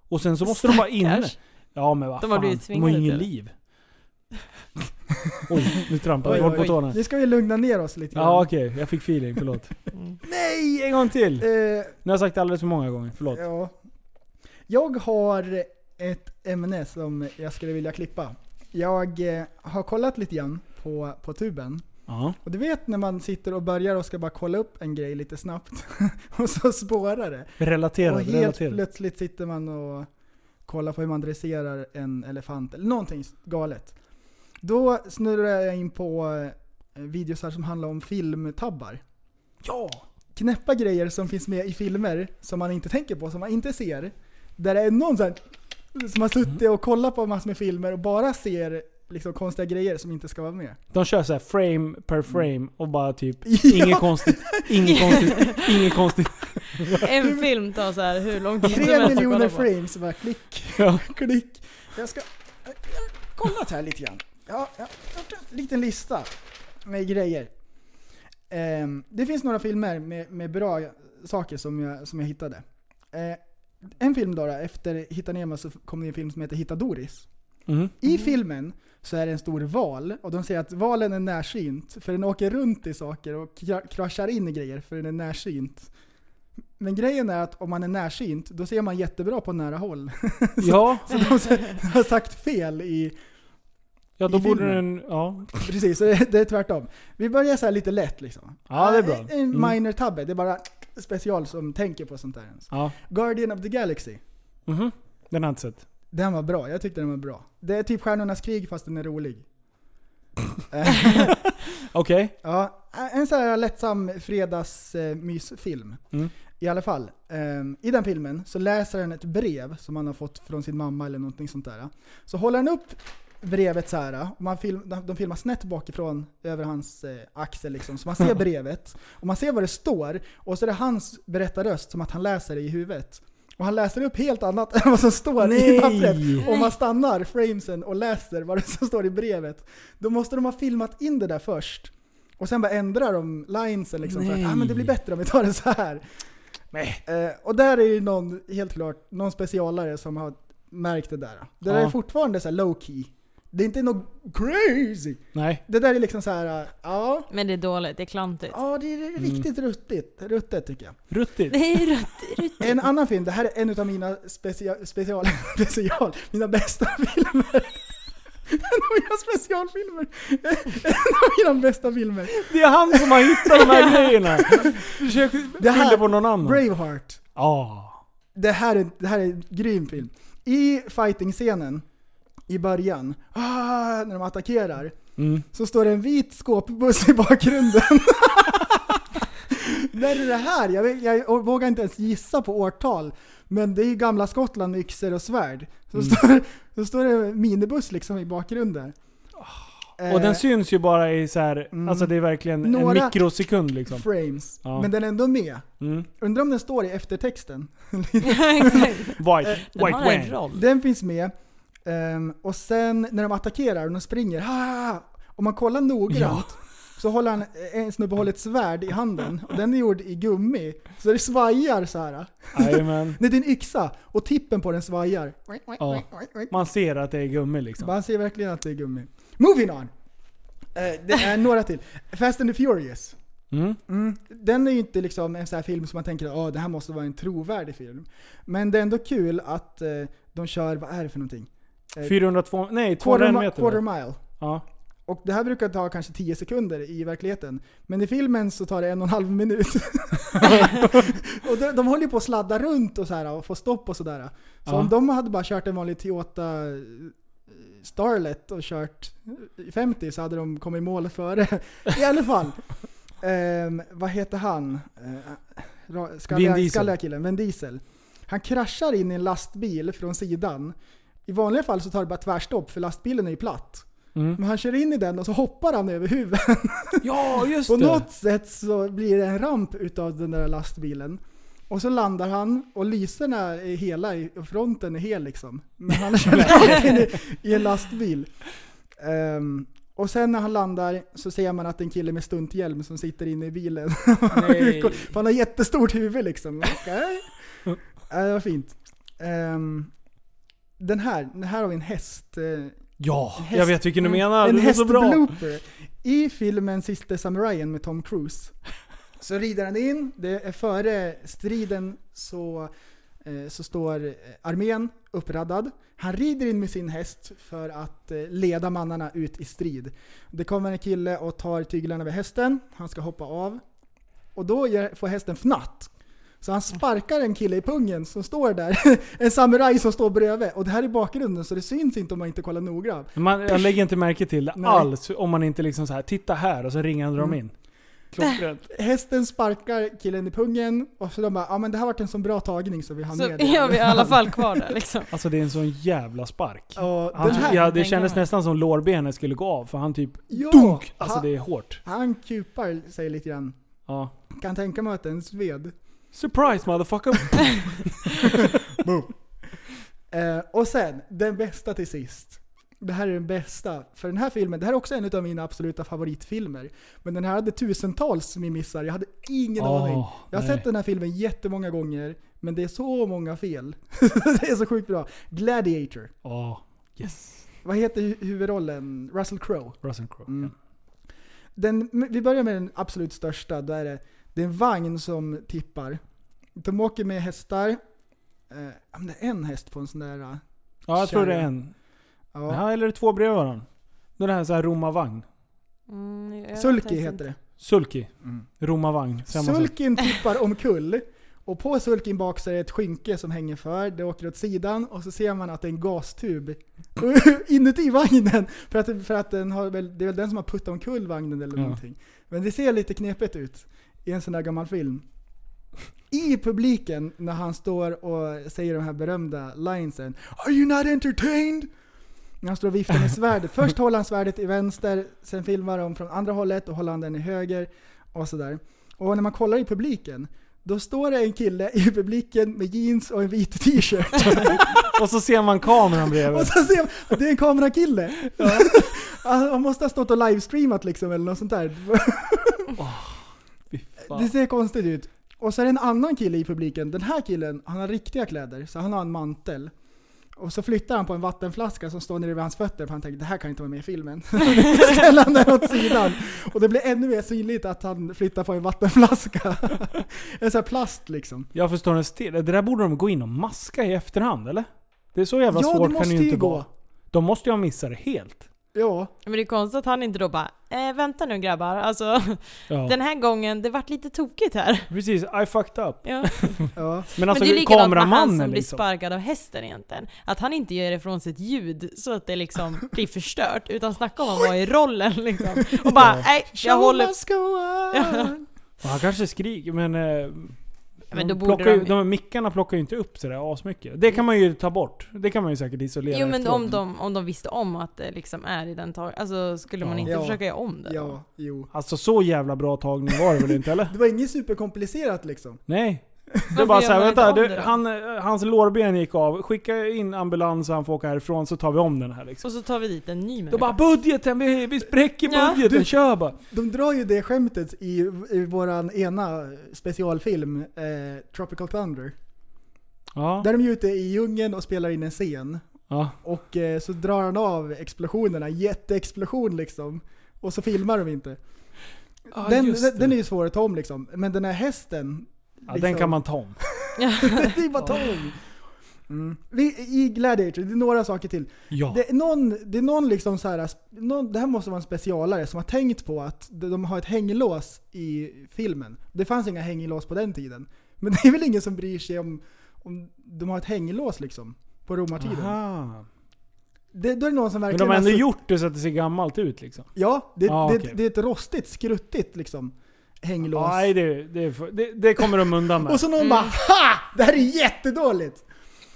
[SPEAKER 4] Och sen så måste de vara inne.
[SPEAKER 6] Stackars.
[SPEAKER 4] Ja men vad
[SPEAKER 6] De har
[SPEAKER 4] fan,
[SPEAKER 6] blivit
[SPEAKER 4] de har ju
[SPEAKER 6] svingade
[SPEAKER 4] inget
[SPEAKER 6] till det.
[SPEAKER 4] liv. *laughs* Oj, nu trampar vi
[SPEAKER 5] Oj,
[SPEAKER 4] hårt på
[SPEAKER 5] oj,
[SPEAKER 4] tårna.
[SPEAKER 5] Nu ska vi lugna ner oss lite grann.
[SPEAKER 4] Ja okej, jag fick feeling,
[SPEAKER 5] *laughs*
[SPEAKER 4] förlåt.
[SPEAKER 6] Mm.
[SPEAKER 4] Nej, en gång till! Nu
[SPEAKER 5] Eh,
[SPEAKER 4] har jag sagt det alldeles för många gånger, förlåt.
[SPEAKER 5] ja. Jag har ett ämne som jag skulle vilja klippa. Jag eh, har kollat lite grann på, på tuben.
[SPEAKER 4] Ja.
[SPEAKER 5] Och du vet när man sitter och börjar och ska bara kolla upp en grej lite snabbt. *laughs* och så spårar det.
[SPEAKER 4] Relatera,
[SPEAKER 5] Och helt
[SPEAKER 4] relatera.
[SPEAKER 5] plötsligt sitter man och kollar på hur man dresserar en elefant eller någonting galet. Då snurrar jag in på eh, videosar som handlar om filmtabbar.
[SPEAKER 4] Ja!
[SPEAKER 5] Knäppa grejer som finns med i filmer som man inte tänker på, som man inte ser. Där det är någon sån här som har suttit och kollat på massor med filmer och bara ser liksom konstiga grejer som inte ska vara med.
[SPEAKER 4] De kör så här frame per frame och bara typ
[SPEAKER 5] *laughs* Ja.
[SPEAKER 4] inget konstigt, inget konstigt,
[SPEAKER 5] *laughs*
[SPEAKER 4] inget konstigt.
[SPEAKER 6] En film tar så här hur lång tid som
[SPEAKER 5] Tre
[SPEAKER 6] helst att kolla
[SPEAKER 5] miljoner
[SPEAKER 6] på.
[SPEAKER 5] frames, bara *laughs* klick,
[SPEAKER 4] Ja.
[SPEAKER 5] klick. Jag ska... Jag har kollat här lite grann. Ja, jag har gjort en liten lista med grejer. Ehm, det finns några filmer med, med bra saker som jag, som jag hittade. Eh, en film då, då, efter Hitta Nemo så kom det en film som heter Hitta Doris.
[SPEAKER 4] Mhm.
[SPEAKER 5] I filmen så är det en stor val och de säger att valen är närsynt för den åker runt i saker och kra- kraschar in i grejer för den är närsynt. Men grejen är att om man är närsynt då ser man jättebra på nära håll.
[SPEAKER 4] Ja,
[SPEAKER 5] Så de s- de har sagt fel i...
[SPEAKER 4] ja då
[SPEAKER 5] I
[SPEAKER 4] borde
[SPEAKER 5] filmen.
[SPEAKER 4] den... Ja.
[SPEAKER 5] Precis, så det det är tvärtom. Vi börjar så här lite lätt liksom.
[SPEAKER 4] ja, det är bra.
[SPEAKER 5] En- En
[SPEAKER 4] Mm.
[SPEAKER 5] minor tabbe, det är bara special som tänker på sånt där ens.
[SPEAKER 4] Ja.
[SPEAKER 5] Guardian of the Galaxy.
[SPEAKER 4] Mhm. Den har jag inte sett.
[SPEAKER 5] Den var bra, jag tyckte den var bra. Det är typ Stjärnornas krig fast den
[SPEAKER 4] *laughs*
[SPEAKER 5] är rolig. Eh,
[SPEAKER 4] Okej.
[SPEAKER 5] Ja, en sån här lättsam fredagsmysfilm.
[SPEAKER 4] Mm.
[SPEAKER 5] I alla fall, ehm, i den filmen så läser han ett brev som han har fått från sin mamma eller någonting sånt där. Så håller han upp brevet så här och man film, de- de filmar snett bakifrån över hans eh, axel liksom. Så
[SPEAKER 4] *laughs*
[SPEAKER 5] man ser brevet och man ser vad det står och så är det hans berättarröst som att han läser det i huvudet. Och han läser upp helt annat *laughs* än vad som står i
[SPEAKER 4] Nej!
[SPEAKER 5] pappret. Om man stannar framesen och läser vad det som står i brevet, då måste de ha filmat in det där först. Och sen bara ändrar de linesen liksom för
[SPEAKER 4] Nej.
[SPEAKER 5] att ah, men det blir bättre om vi tar det så här. Eh, och där är ju någon, helt klart, någon specialare som har märkt det där. Det där
[SPEAKER 4] Ja.
[SPEAKER 5] är fortfarande så här low key. Det är inte något crazy.
[SPEAKER 4] Nej.
[SPEAKER 5] Det där är liksom så här, eh, ja,
[SPEAKER 6] Men det är dåligt, det är klantigt.
[SPEAKER 5] ja det
[SPEAKER 4] Mm.
[SPEAKER 5] är riktigt ruttigt, ruttet tycker jag.
[SPEAKER 4] Ruttigt.
[SPEAKER 6] Det *laughs* är rött, rött.
[SPEAKER 5] En annan film, det här är en av mina specia- special, *laughs* special, mina bästa filmer. *laughs* En av mina specialfilmer. *laughs* En av mina bästa filmer.
[SPEAKER 4] Det är han som har hittat de här
[SPEAKER 5] *laughs*
[SPEAKER 4] grejerna. Försök
[SPEAKER 5] Det här-
[SPEAKER 4] skylla på någon annan.
[SPEAKER 5] Braveheart.
[SPEAKER 4] Ja.
[SPEAKER 5] Det här är, det här är en grym film. I fighting-scenen, i början, ah, när de attackerar,
[SPEAKER 4] Mm.
[SPEAKER 5] så står det en vit skåpbuss i bakgrunden. *laughs* När är det här? Jag, vet- jag vågar inte ens gissa på årtal. Men det är ju gamla Skottland med yxor och svärd. Så,
[SPEAKER 4] Mm.
[SPEAKER 5] står, så står det en minibuss liksom i bakgrunden.
[SPEAKER 4] Och
[SPEAKER 5] Eh,
[SPEAKER 4] den syns ju bara i så här,
[SPEAKER 5] Mm.
[SPEAKER 4] alltså det är verkligen
[SPEAKER 5] Några-
[SPEAKER 4] en mikrosekund liksom.
[SPEAKER 5] frames.
[SPEAKER 4] Ja.
[SPEAKER 5] Men den är ändå med.
[SPEAKER 4] Mm.
[SPEAKER 5] Undrar om den står i eftertexten.
[SPEAKER 6] Exakt.
[SPEAKER 5] Eh,
[SPEAKER 4] White,
[SPEAKER 6] Den
[SPEAKER 4] white
[SPEAKER 6] har en
[SPEAKER 4] wang.
[SPEAKER 6] roll.
[SPEAKER 5] Den finns med. Ehm, och sen när de attackerar och de springer, ah, om man kollar noggrant Så håller han, en snubbe håller ett svärd i handen. Och den är gjord i gummi. Så det svajar så här.
[SPEAKER 4] Jajamän.
[SPEAKER 5] Nej, det är en yxa. Och tippen på den svajar.
[SPEAKER 4] Ja. Man ser att det är gummi liksom.
[SPEAKER 5] Man ser verkligen att det är gummi. Moving on! Eh, Det är några till. Fast and the Furious.
[SPEAKER 4] Mm.
[SPEAKER 5] Mm. Den är ju inte liksom en sån här film som man tänker att det här måste vara en trovärdig film. Men det är ändå kul att eh, de kör, vad är det för någonting?
[SPEAKER 4] 402, nej 2
[SPEAKER 5] Eh, Quarter, mi-
[SPEAKER 4] rennmeter.
[SPEAKER 5] quarter mile.
[SPEAKER 4] Ja.
[SPEAKER 5] Och det här brukar ta kanske 10 sekunder i verkligheten. Men i filmen så tar det en och en
[SPEAKER 4] *laughs*
[SPEAKER 5] halv minut. och de, de håller ju på att sladda runt och, så här, och få stopp och sådär. Så
[SPEAKER 4] Ja.
[SPEAKER 5] om de hade bara kört en vanlig Toyota eh, Starlet och kört i 50 så hade de kommit i mål före. I alla fall. Ehm, vad heter han? Eh, ra-
[SPEAKER 4] Vin
[SPEAKER 5] skalliga,
[SPEAKER 4] Diesel.
[SPEAKER 5] skalliga killen, Vin Diesel. Han kraschar in i en lastbil från sidan. I vanliga fall så tar det bara tvärstopp för lastbilen är ju platt. *laughs*
[SPEAKER 4] Mm.
[SPEAKER 5] Men han kör in i den och så hoppar han över huvudet.
[SPEAKER 4] ja, just
[SPEAKER 5] På
[SPEAKER 4] det.
[SPEAKER 5] något sätt så blir det en ramp utav den där lastbilen. Och så landar han och lyserna är hela, i- och fronten är hel liksom. Men
[SPEAKER 4] *laughs*
[SPEAKER 5] han kör rakt in i, i en lastbil. Ehm, och sen när han landar så ser man att det är en kille med stunthjälm som sitter inne i bilen. *laughs*
[SPEAKER 4] Nej.
[SPEAKER 5] För han har jättestort huvud liksom. Okej. Ja, det var fint. Ehm, den här, den här har vi en häst. eh,
[SPEAKER 4] Ja,
[SPEAKER 5] Häst-
[SPEAKER 4] jag vet vilken du menar.
[SPEAKER 5] en
[SPEAKER 4] det är så bra.
[SPEAKER 5] hästblooper. I filmen Sista Samurajen med Tom Cruise så rider han in, det är före striden så, eh, så står eh, armén uppraddad. Han rider in med sin häst för att eh, leda mannarna ut i strid. Det kommer en kille och tar tyglarna vid hästen, han ska hoppa av. Och då gör- får hästen fnatt. Så han sparkar en kille i pungen som står där. *laughs* En samuraj som står bredvid. Och det här är bakgrunden så det syns inte om man inte kollar noga.
[SPEAKER 4] Man, jag lägger inte märke till det
[SPEAKER 5] Nej.
[SPEAKER 4] alls om man inte liksom så här, titta här och så ringer han och drar
[SPEAKER 5] Mm.
[SPEAKER 4] in. Äh. Klockrent.
[SPEAKER 5] Hästen sparkar killen i pungen och så de bara ja men det här varit en sån bra tagning så vi har
[SPEAKER 6] Så *laughs*
[SPEAKER 5] med den."
[SPEAKER 6] är vi i alla fall kvar där liksom.
[SPEAKER 4] Alltså det är en sån jävla spark.
[SPEAKER 5] Ja,
[SPEAKER 4] Han,
[SPEAKER 5] den här,
[SPEAKER 4] ja, det
[SPEAKER 6] tänker
[SPEAKER 4] kändes
[SPEAKER 6] jag.
[SPEAKER 4] nästan som lårbenet skulle gå av för han typ
[SPEAKER 5] ja,
[SPEAKER 4] dunk! Alltså
[SPEAKER 5] han,
[SPEAKER 4] det är hårt.
[SPEAKER 5] han kupar sig lite grann.
[SPEAKER 4] Ja.
[SPEAKER 5] Kan tänka mig att den sved.
[SPEAKER 4] Surprise motherfucker!
[SPEAKER 5] Eh, och sen, den bästa till sist. Det här är den bästa. För den här filmen, det här är också en av mina absoluta favoritfilmer. Men den här hade tusentals missar. Jag hade *laughs* ingen
[SPEAKER 4] Åh,
[SPEAKER 5] aning. Jag har
[SPEAKER 4] nej.
[SPEAKER 5] sett den här filmen jättemånga gånger. Men det är så många fel. *laughs* det är så sjukt bra. Gladiator.
[SPEAKER 4] Ja. Yes.
[SPEAKER 5] Vad heter hu- huvudrollen? Russell Crowe.
[SPEAKER 4] Russell Crowe.
[SPEAKER 5] Mm.
[SPEAKER 4] ja.
[SPEAKER 5] Den, vi börjar med den absolut största. Då är det, det är en vagn som tippar. De åker med hästar. Eh, ja, men det är en häst på en sån där... eh,
[SPEAKER 4] Ja, jag tror det är
[SPEAKER 5] Kärran.
[SPEAKER 4] en.
[SPEAKER 5] Ja.
[SPEAKER 4] Ja. Eller är det två bredvid varandra. Den här, så här romarvagn.
[SPEAKER 6] *laughs* Mm, jag
[SPEAKER 5] Sulki
[SPEAKER 6] vet
[SPEAKER 5] heter
[SPEAKER 6] inte.
[SPEAKER 5] det.
[SPEAKER 4] Sulky.
[SPEAKER 5] Mm.
[SPEAKER 4] Romarvagn. samma sak.
[SPEAKER 5] Sulkin tippar omkull. Och på sulkin bak så är det ett skynke som hänger för. Det åker åt sidan och så ser man att det är en gastub inuti vagnen. För att, för att den har väl, det är väl den som har puttat omkull vagnen eller
[SPEAKER 4] Ja.
[SPEAKER 5] någonting. Men det ser lite knepigt ut i en sån där gammal film. I publiken när han står och säger de här berömda linesen Are you not entertained? När han står och viftar med svärdet. Först håller han svärdet i vänster, sen filmar de från andra hållet och håller han den i höger och sådär. Och när man kollar i publiken, då står det en kille i publiken med jeans och en vit t-shirt.
[SPEAKER 4] Och så ser man kameran bredvid.
[SPEAKER 5] *laughs* Och så ser man, det är en kamerakille. *laughs* Han han måste ha stått och livestreamat liksom eller något sånt där.
[SPEAKER 4] Fy fan.
[SPEAKER 5] Det ser konstigt ut. Och så är det en annan kille i publiken. Den här killen, han har riktiga kläder, så han har en mantel. Och så flyttar han på en vattenflaska som står nere vid hans fötter, för han tänker det här kan inte vara med i filmen. *laughs* Ställer han den åt sidan. Och det blir ännu mer synligt att han flyttar på en vattenflaska. *laughs* en sån här plast liksom.
[SPEAKER 4] Jag förstår ens till. Det där borde de gå in och maska i efterhand, eller? Det är så jävla
[SPEAKER 5] Ja, det
[SPEAKER 4] svårt kan
[SPEAKER 5] måste
[SPEAKER 4] det ju
[SPEAKER 5] ju
[SPEAKER 4] inte
[SPEAKER 5] gå.
[SPEAKER 4] vara. De måste ju ha missat det helt.
[SPEAKER 5] Ja,
[SPEAKER 6] Men det är konstigt att han inte då bara eh, “Vänta nu grabbar, alltså
[SPEAKER 4] Ja.
[SPEAKER 6] den här gången, det vart lite tokigt här”.
[SPEAKER 4] Precis, I fucked up.
[SPEAKER 6] Ja.
[SPEAKER 5] ja.
[SPEAKER 4] Men alltså
[SPEAKER 6] men det är likadant med han som
[SPEAKER 4] kameramannen
[SPEAKER 6] blir
[SPEAKER 4] liksom.
[SPEAKER 6] sparkad av hästen egentligen. Att han inte gör ifrån sig ett ljud så att
[SPEAKER 4] *laughs*
[SPEAKER 6] det liksom blir förstört. Utan snacka om att vara i rollen liksom. Och bara nej, jag håller...
[SPEAKER 5] must go on.
[SPEAKER 6] Ja.
[SPEAKER 4] Och Han kanske skriker men... Eh,
[SPEAKER 6] Men
[SPEAKER 4] de
[SPEAKER 6] då borde
[SPEAKER 4] plockar ju,
[SPEAKER 6] de-
[SPEAKER 4] de här mickarna plockar ju inte upp sådär asmycket. Det kan man ju ta bort. Det kan man ju säkert isolera
[SPEAKER 6] Jo men
[SPEAKER 4] efteråt.
[SPEAKER 6] om de, om de visste om att det liksom är i den tag... Alltså skulle man
[SPEAKER 4] Ja.
[SPEAKER 6] inte
[SPEAKER 5] Ja.
[SPEAKER 6] försöka göra om det? då?
[SPEAKER 5] Ja, jo.
[SPEAKER 6] *laughs*
[SPEAKER 4] Alltså så jävla bra tagning var det väl inte eller?
[SPEAKER 5] Det var inget superkomplicerat liksom.
[SPEAKER 4] Nej. Det är bara
[SPEAKER 6] Varför
[SPEAKER 4] såhär,
[SPEAKER 6] gör man
[SPEAKER 4] vänta,
[SPEAKER 6] inte om
[SPEAKER 4] du,
[SPEAKER 6] det då?
[SPEAKER 4] han, eh, hans lårben gick av. Skicka in ambulans så han får åka härifrån så tar vi om den här liksom.
[SPEAKER 6] Och så tar vi dit en ny
[SPEAKER 4] Då
[SPEAKER 6] människa.
[SPEAKER 4] bara budgeten, vi, vi spräcker
[SPEAKER 6] Ja.
[SPEAKER 4] budgeten, kör bara.
[SPEAKER 5] De drar ju det skämtet i, i våran ena specialfilm, eh, Tropical Thunder.
[SPEAKER 4] Ja,
[SPEAKER 5] Där är de ju ute i djungeln och spelar in en scen.
[SPEAKER 4] ja.
[SPEAKER 5] Och eh, så drar han av explosionerna, jätteexplosion liksom. Och så filmar de inte.
[SPEAKER 4] Ja,
[SPEAKER 5] den,
[SPEAKER 4] just
[SPEAKER 5] den,
[SPEAKER 4] det.
[SPEAKER 5] den är ju svår att ta om liksom. Men den här hästen. *laughs*
[SPEAKER 4] ja,
[SPEAKER 5] liksom-
[SPEAKER 4] den kan man ta om.
[SPEAKER 5] det är bara ta om. Mm. Vi, I Gladiator, det är några saker till.
[SPEAKER 4] Ja.
[SPEAKER 5] Det är någon, det är någon liksom så här, sp- någon, det här måste vara en specialare som har tänkt på att de de har ett hänglås i filmen. Det fanns inga hänglås på den tiden. Men *laughs* det är väl ingen som bryr sig om, om de har ett hänglås liksom. På romartiden.
[SPEAKER 4] Aha.
[SPEAKER 5] Det, då är det någon som
[SPEAKER 4] Men
[SPEAKER 5] verkligen...
[SPEAKER 4] de har ändå
[SPEAKER 5] alltså-
[SPEAKER 4] gjort det så att det ser gammalt ut liksom.
[SPEAKER 5] Ja, det,
[SPEAKER 4] Ja,
[SPEAKER 5] det,
[SPEAKER 4] okej.
[SPEAKER 5] det är ett rostigt, skruttigt liksom hänglås.
[SPEAKER 4] Nej, det, det, är för- det, det kommer de undan *laughs* med.
[SPEAKER 5] och så någon bara HA! Det här är jättedåligt!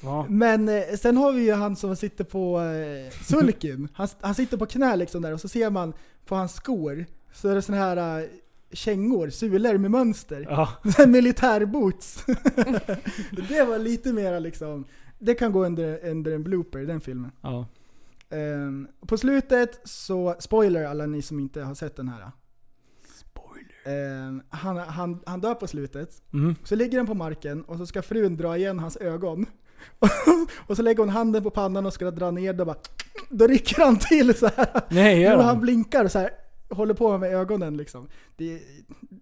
[SPEAKER 4] Ja.
[SPEAKER 5] Men eh, sen har vi ju han som sitter på eh, sulken. Han, han sitter på knä liksom där och så ser man på hans skor så är det såna här eh, kängor, sulor med mönster.
[SPEAKER 4] Ja.
[SPEAKER 5] *laughs* Militärboots. *laughs* det var lite mera liksom... Det kan gå under, under en blooper, den filmen.
[SPEAKER 4] ja.
[SPEAKER 5] Ehm, på slutet så, spoiler alla ni som inte har sett den här. Spoiler. han, han, han dör på slutet.
[SPEAKER 4] Mm.
[SPEAKER 5] Så ligger han på marken och så ska frun dra igen hans ögon. *laughs* och så lägger hon handen på pannan och ska dra ner det och bara... Då rycker han till så här.
[SPEAKER 4] Nej, gör
[SPEAKER 5] och han
[SPEAKER 4] han.
[SPEAKER 5] blinkar och så här, håller på med ögonen liksom. Det, är-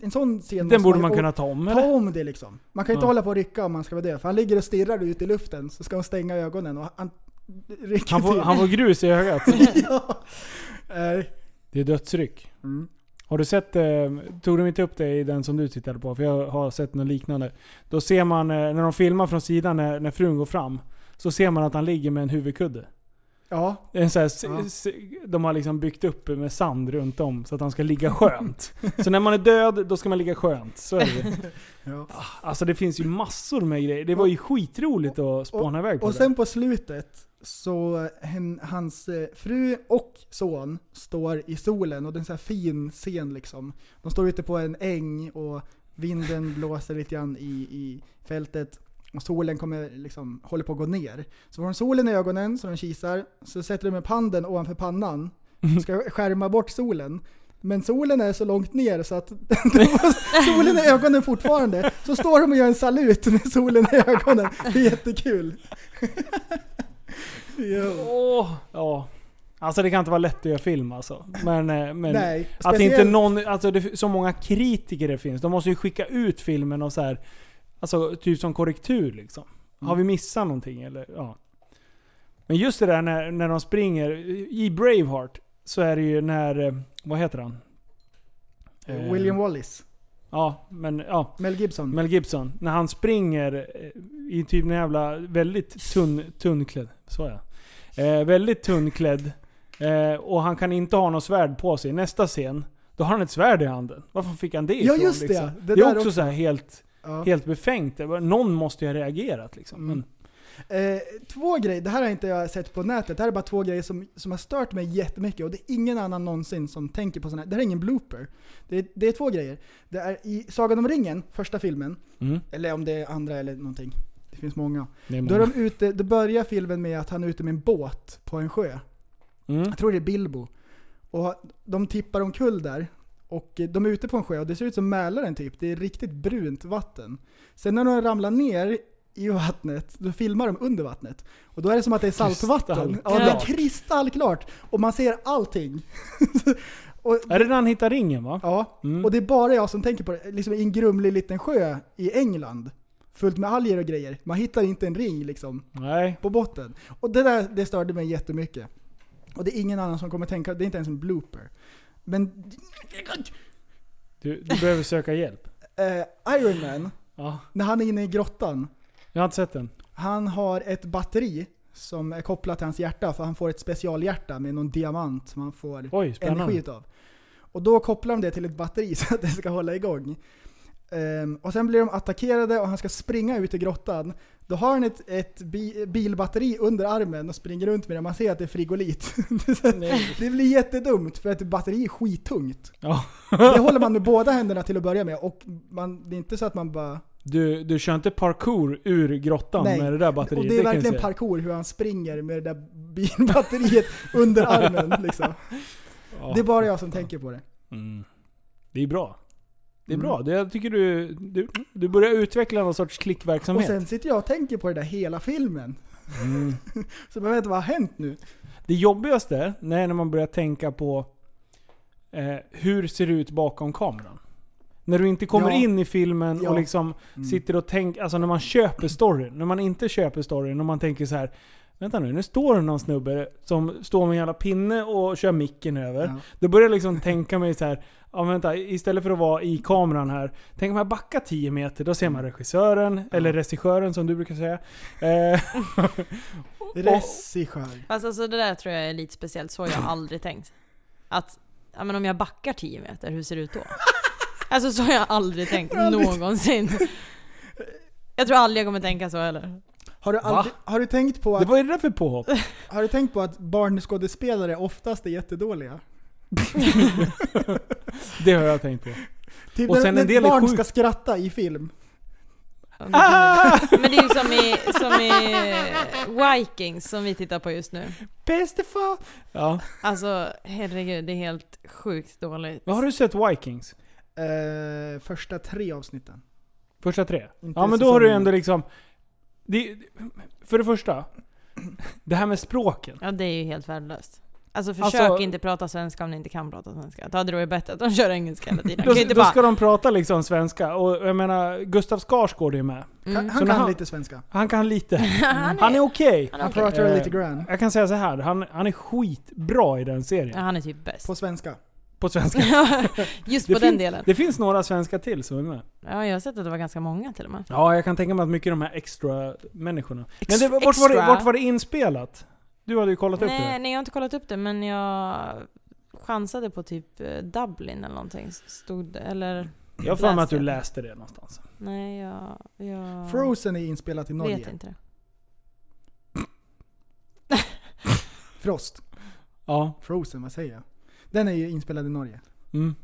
[SPEAKER 5] en sån scen måste
[SPEAKER 4] Den borde man
[SPEAKER 5] ju-
[SPEAKER 4] kunna ta om
[SPEAKER 5] Ta
[SPEAKER 4] eller?
[SPEAKER 5] om det liksom. Man kan inte
[SPEAKER 4] Ja.
[SPEAKER 5] hålla på och rycka om man ska vara död. För han ligger och stirrar ut i luften så ska hon stänga ögonen och han rycker
[SPEAKER 4] Han får,
[SPEAKER 5] till.
[SPEAKER 4] han får grus i ögat.
[SPEAKER 5] *laughs* ja. Eh,
[SPEAKER 4] Det är dödsryck.
[SPEAKER 5] Mm.
[SPEAKER 4] Har du sett, eh, tog de inte upp det i den som du tittade på? För jag har sett något liknande. Då ser man, eh, när de filmar från sidan när, när frun går fram, så ser man att han ligger med en huvudkudde.
[SPEAKER 5] Ja,
[SPEAKER 4] Det är En sån här, s-
[SPEAKER 5] Ja.
[SPEAKER 4] s- De har liksom byggt upp med sand runt om så att han ska ligga skönt. så när man är död, då ska man ligga skönt. Så är det.
[SPEAKER 5] *laughs* Ja.
[SPEAKER 4] Alltså det finns ju massor med grejer. Det var ju skitroligt att spåna iväg på
[SPEAKER 5] och
[SPEAKER 4] det.
[SPEAKER 5] sen på slutet så hen, hans eh, fru och son står i solen och det är en så här fin scen liksom. De står ute på en äng och vinden blåser lite grann i, i fältet och solen kommer liksom, håller på att gå ner. Så får de solen i ögonen så de kisar, så sätter de upp handen
[SPEAKER 4] *laughs*
[SPEAKER 5] ovanför pannan och ska skärma bort solen. Men solen är så långt ner så att *laughs* solen i ögonen fortfarande. Så står de och gör en salut med solen i ögonen. Det är jättekul. Jo.
[SPEAKER 4] Åh, ja. Alltså det kan inte vara lätt att göra film alltså. Men, eh, men
[SPEAKER 5] Nej,
[SPEAKER 4] att inte
[SPEAKER 5] speciellt-
[SPEAKER 4] någon, alltså det, så många kritiker det finns. De måste ju skicka ut filmen och så här, alltså typ som korrektur liksom.
[SPEAKER 5] Mm.
[SPEAKER 4] Har vi missat någonting eller? Ja. Men just det där när, när de springer, i Braveheart så är det ju när, eh, vad heter han? Eh,
[SPEAKER 5] William Wallace,
[SPEAKER 4] Ja, men ja.
[SPEAKER 5] Mel Gibson.
[SPEAKER 4] Mel Gibson, när han springer eh, i typ en jävla väldigt tunn, tunnklädd, så ja. Eh, väldigt tunnklädd eh, och han kan inte ha något svärd på sig. Nästa scen, då har han ett svärd i handen. Varför fick han det liksom?
[SPEAKER 5] Ja, just det. Det
[SPEAKER 4] Det,
[SPEAKER 5] där
[SPEAKER 4] är också,
[SPEAKER 5] också.
[SPEAKER 4] så här helt,
[SPEAKER 5] ja.
[SPEAKER 4] helt befängt. Det var- Någon måste ju ha reagerat liksom.
[SPEAKER 5] Mm.
[SPEAKER 4] Men,
[SPEAKER 5] eh, två grejer, det här har inte jag sett på nätet. Det här är bara två grejer som, som har stört mig jättemycket och det är ingen annan någonsin som tänker på sådana här. Det här är ingen blooper. Det är, det är två grejer. Det är i Sagan om ringen, första filmen,
[SPEAKER 4] mm,
[SPEAKER 5] eller om det är andra eller någonting. Det finns många.
[SPEAKER 4] det är
[SPEAKER 5] Då, är
[SPEAKER 4] många.
[SPEAKER 5] de ute, då börjar filmen med att han är ute med en båt på en sjö.
[SPEAKER 4] Mm.
[SPEAKER 5] Jag tror det är Bilbo. Och de tippar omkull där. Och de är ute på en sjö och det ser ut som Mälaren typ. Det är riktigt brunt vatten. Sen när de ramlar ner i vattnet, då filmar de under vattnet. Och då är det som att det är saltvatten. Ja,
[SPEAKER 4] Kristallklart.
[SPEAKER 5] det är kristallklart. Och man ser allting. *laughs* och,
[SPEAKER 4] Är det när han hittar ringen va?
[SPEAKER 5] ja.
[SPEAKER 4] Mm.
[SPEAKER 5] och det är bara jag som tänker på det. Liksom i en grumlig liten sjö i England. Fullt med alger och grejer. Man hittar inte en ring liksom
[SPEAKER 4] Nej.
[SPEAKER 5] på botten. Och det där det störde mig jättemycket. Och det är ingen annan som kommer tänka, det är inte ens en blooper. Men
[SPEAKER 4] Du, du behöver söka hjälp.
[SPEAKER 5] eh, Iron Man,
[SPEAKER 4] Ja.
[SPEAKER 5] när han är inne i grottan,
[SPEAKER 4] Jag har inte sett den.
[SPEAKER 5] han har ett batteri som är kopplat till hans hjärta för han får ett specialhjärta med någon diamant som han får
[SPEAKER 4] Oj,
[SPEAKER 5] energi
[SPEAKER 4] spännande.
[SPEAKER 5] utav. Och då kopplar de det till ett batteri *laughs* så att det ska hålla igång. Ehm, och sen blir de attackerade och han ska springa ut i grottan. Då har han ett, ett bi bilbatteri under armen och springer runt med det. Man ser att det är frigolit. *laughs* Det är så här- det blir jättedumt för ett batteri är skittungt.
[SPEAKER 4] Ja.
[SPEAKER 5] Det håller man med båda händerna till att börja med och man, det är inte så att man bara
[SPEAKER 4] *laughs* Du, du kör inte parkour ur grottan
[SPEAKER 5] Nej.
[SPEAKER 4] med det där
[SPEAKER 5] Och
[SPEAKER 4] batteriet?
[SPEAKER 5] det är
[SPEAKER 4] kan jag
[SPEAKER 5] verkligen
[SPEAKER 4] säga.
[SPEAKER 5] parkour hur han springer med det där bilbatteriet *laughs* under armen. Liksom.
[SPEAKER 4] Ja.
[SPEAKER 5] Det är bara jag som tänker på det.
[SPEAKER 4] Mm. Det är bra. Det är
[SPEAKER 5] Mm.
[SPEAKER 4] bra. Det, jag tycker du, du, du börjar utveckla någon sorts
[SPEAKER 5] Och
[SPEAKER 4] klickverksamhet.
[SPEAKER 5] sen sitter jag och tänker på det där hela filmen.
[SPEAKER 4] Mm.
[SPEAKER 5] *laughs* Så jag vet inte vad har hänt
[SPEAKER 6] *laughs*
[SPEAKER 5] nu?
[SPEAKER 4] Det jobbigaste när när man börjar tänka på eh, hur ser det ut bakom kameran. När du inte kommer
[SPEAKER 5] Ja.
[SPEAKER 4] in i filmen
[SPEAKER 5] Ja. Mm.
[SPEAKER 4] och liksom sitter och tänker, alltså när man köper storyn, när man inte köper storyn och man tänker så här. Vänta nu, nu står det någon snubbe som står med en jävla pinne och kör micken över.
[SPEAKER 5] Ja.
[SPEAKER 4] Då börjar jag liksom tänka mig så här. Ja, men vänta, istället för att vara i kameran här. Tänk om jag backar 10 meter, då ser man regissören, eller regissören som du brukar säga. Eh,
[SPEAKER 5] Regissör.
[SPEAKER 6] Fast alltså det där tror jag är lite speciellt, så har jag aldrig tänkt. Att, ja men om jag backar 10 meter, hur ser det
[SPEAKER 4] *laughs*
[SPEAKER 6] ut då? Alltså så har jag aldrig tänkt någonsin.
[SPEAKER 4] *laughs*
[SPEAKER 6] Jag tror aldrig jag kommer tänka så heller.
[SPEAKER 5] Har du, aldrig, har, du tänkt på
[SPEAKER 4] det
[SPEAKER 5] att,
[SPEAKER 4] var ju det där för påhopp.
[SPEAKER 5] har du tänkt på att barnskådespelare oftast är jättedåliga?
[SPEAKER 4] Det har jag tänkt på.
[SPEAKER 5] Typ
[SPEAKER 4] Och
[SPEAKER 5] när,
[SPEAKER 4] sen en
[SPEAKER 5] när
[SPEAKER 4] del är
[SPEAKER 5] barn
[SPEAKER 4] sjukt-
[SPEAKER 5] ska skratta i film.
[SPEAKER 4] Ah!
[SPEAKER 6] Men det är ju som i, som i Vikings som vi tittar på just nu.
[SPEAKER 4] Bäste far. Ja.
[SPEAKER 6] Alltså herregud, det är helt sjukt dåligt.
[SPEAKER 4] Men har du sett Vikings?
[SPEAKER 5] Eh, första tre avsnitten.
[SPEAKER 4] Första tre?
[SPEAKER 5] Inte
[SPEAKER 4] Ja men då har du ju
[SPEAKER 5] säsongen.
[SPEAKER 4] ändå liksom... Det, för det första, det här med språken.
[SPEAKER 6] Ja det är ju helt värdelöst. Alltså försök
[SPEAKER 4] Alltså-
[SPEAKER 6] inte prata svenska om ni inte kan prata svenska. Då hade det varit bättre att de kör engelska hela tiden.
[SPEAKER 4] Då,
[SPEAKER 6] Kan ju inte
[SPEAKER 4] då
[SPEAKER 6] bara...
[SPEAKER 4] ska de prata liksom svenska. Och jag menar, Gustav Skarsgård är med.
[SPEAKER 5] Han,
[SPEAKER 6] Mm.
[SPEAKER 4] Så
[SPEAKER 5] han
[SPEAKER 4] när
[SPEAKER 5] kan
[SPEAKER 4] han-
[SPEAKER 5] lite svenska.
[SPEAKER 4] Han kan lite.
[SPEAKER 6] *laughs* Han
[SPEAKER 4] Han är
[SPEAKER 6] är...
[SPEAKER 4] okej.
[SPEAKER 6] Han är
[SPEAKER 5] Han
[SPEAKER 6] okej.
[SPEAKER 5] pratar
[SPEAKER 4] Eh,
[SPEAKER 5] lite grann.
[SPEAKER 4] Jag kan säga så här. Han, han är skitbra i den serien.
[SPEAKER 6] Ja, han är typ bäst. *laughs*
[SPEAKER 5] På svenska.
[SPEAKER 4] På svenska.
[SPEAKER 6] Just
[SPEAKER 4] Det
[SPEAKER 6] *laughs* på den
[SPEAKER 4] finns-
[SPEAKER 6] delen.
[SPEAKER 4] Det finns några svenska till som är med.
[SPEAKER 6] Ja, jag har sett att det var ganska många till och med.
[SPEAKER 4] Ja, jag kan tänka mig att mycket av de här extra människorna. Men
[SPEAKER 6] Ex-
[SPEAKER 4] det, vart, var det,
[SPEAKER 6] extra.
[SPEAKER 4] vart var det inspelat? Du hade ju kollat upp det.
[SPEAKER 6] Nej, nej, jag har inte kollat upp det, men jag chansade på typ eh, Dublin eller någonting. Stod det, eller...
[SPEAKER 4] Jag har för mig att
[SPEAKER 6] Läste
[SPEAKER 4] du
[SPEAKER 6] jag.
[SPEAKER 4] läste det någonstans.
[SPEAKER 6] Nej, jag... jag
[SPEAKER 5] Frozen är inspelat i
[SPEAKER 6] vet
[SPEAKER 5] Norge.
[SPEAKER 6] inte det.
[SPEAKER 5] Frost.
[SPEAKER 4] Ja.
[SPEAKER 5] Frozen, vad säger jag? Den är ju inspelad i Norge.
[SPEAKER 4] Mm.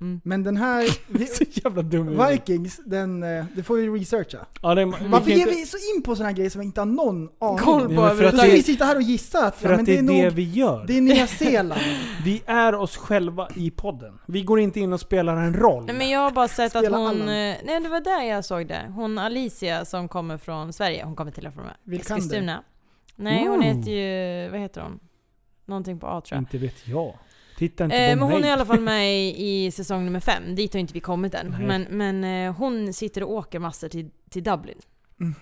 [SPEAKER 6] Mm.
[SPEAKER 5] Men
[SPEAKER 4] *laughs*
[SPEAKER 5] den här... Vi,
[SPEAKER 4] Så jävla dum i huvudet.
[SPEAKER 5] Vikings, den, eh, det får vi researcha.
[SPEAKER 4] ja, det är, vi
[SPEAKER 5] Varför
[SPEAKER 4] kan
[SPEAKER 5] ger
[SPEAKER 4] inte-
[SPEAKER 5] vi så in på sådana här grejer som vi inte har någon aning
[SPEAKER 6] Koll
[SPEAKER 5] om?
[SPEAKER 6] på
[SPEAKER 4] Nej, men för
[SPEAKER 5] Då
[SPEAKER 4] att
[SPEAKER 5] ska vi
[SPEAKER 6] överhuvudtaget.
[SPEAKER 5] sitta här och gissa att
[SPEAKER 4] För
[SPEAKER 5] ja, men
[SPEAKER 4] att det är det,
[SPEAKER 5] nog,
[SPEAKER 4] vi gör.
[SPEAKER 5] det är Nya Zeeland.
[SPEAKER 4] Vi är oss själva i podden. Vi går inte in och spelar en roll.
[SPEAKER 6] Nej men jag har bara sett att
[SPEAKER 5] Spela
[SPEAKER 6] hon...
[SPEAKER 5] Allan.
[SPEAKER 6] eh, Nej det var där jag såg det. Hon Alicia som kommer från Sverige. Hon kommer till och från
[SPEAKER 5] Vilkander.
[SPEAKER 6] Eskilstuna. Nej hon
[SPEAKER 4] Ooh.
[SPEAKER 6] heter ju... Vad heter hon? Någonting på A tror jag.
[SPEAKER 4] Inte vet jag. Titta inte
[SPEAKER 6] Eh,
[SPEAKER 4] på
[SPEAKER 6] men
[SPEAKER 4] mig.
[SPEAKER 6] hon är i alla fall med
[SPEAKER 4] *laughs*
[SPEAKER 6] i, i säsong nummer fem. Dit har inte vi kommit än.
[SPEAKER 4] Nej.
[SPEAKER 6] Men, men eh, hon sitter och åker massor till, till Dublin.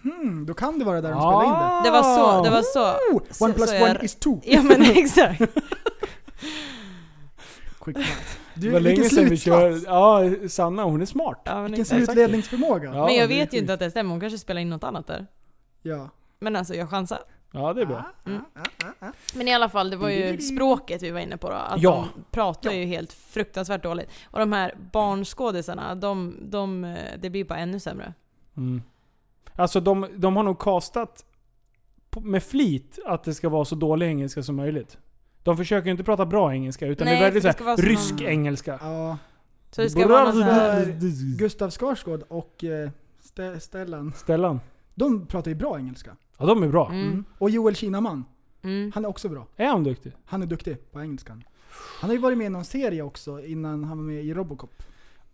[SPEAKER 5] Hmm, då kan det vara där de
[SPEAKER 4] Ah.
[SPEAKER 5] spelade in det.
[SPEAKER 6] Det var så, det var så.
[SPEAKER 5] Oh, one
[SPEAKER 6] Så-
[SPEAKER 5] plus
[SPEAKER 6] så jag-
[SPEAKER 5] one is two.
[SPEAKER 4] *laughs*
[SPEAKER 6] Ja men exakt.
[SPEAKER 5] Quick math.
[SPEAKER 4] Det
[SPEAKER 5] Du,
[SPEAKER 4] var länge
[SPEAKER 5] vilken
[SPEAKER 4] sedan vi
[SPEAKER 5] slutsats!
[SPEAKER 4] kör. Ja, Sanna hon är smart.
[SPEAKER 6] Ja, men
[SPEAKER 5] Vilken
[SPEAKER 6] exakt.
[SPEAKER 5] slutledningsförmåga!
[SPEAKER 4] Ja.
[SPEAKER 5] Ja.
[SPEAKER 6] Men
[SPEAKER 4] det är
[SPEAKER 6] jag vet ju
[SPEAKER 4] sjukt.
[SPEAKER 6] inte att det stämmer. Hon kanske spelar in något annat där. Men alltså jag chansar.
[SPEAKER 4] Ja, det är bra.
[SPEAKER 6] Men i alla fall, det var ju språket vi var inne på då. Att
[SPEAKER 4] Ja.
[SPEAKER 6] de pratar ju helt fruktansvärt dåligt. Och de här barnskådisarna, de, de, eh, det blir bara ännu sämre.
[SPEAKER 4] Mm. Alltså de, de har nog kastat på- med flit att det ska vara så dålig engelska som möjligt. De försöker ju inte prata bra engelska utan
[SPEAKER 6] Nej,
[SPEAKER 4] det är väldigt
[SPEAKER 6] för det
[SPEAKER 4] så
[SPEAKER 6] ska
[SPEAKER 4] här,
[SPEAKER 6] vara som
[SPEAKER 4] rysk
[SPEAKER 6] någon-
[SPEAKER 4] engelska.
[SPEAKER 5] Ja.
[SPEAKER 6] Så det ska vara någon sån här...
[SPEAKER 5] Gustav Skarsgård och eh, Ste- Stellan,
[SPEAKER 4] Stellan.
[SPEAKER 5] de pratar ju bra engelska.
[SPEAKER 4] Ja, de är bra.
[SPEAKER 6] Mm,
[SPEAKER 5] Och Joel Kinnaman,
[SPEAKER 6] mm.
[SPEAKER 5] han är också bra.
[SPEAKER 4] Är han duktig?
[SPEAKER 5] Han är duktig på engelskan. Han har ju varit med i någon serie också innan han var med i Robocop.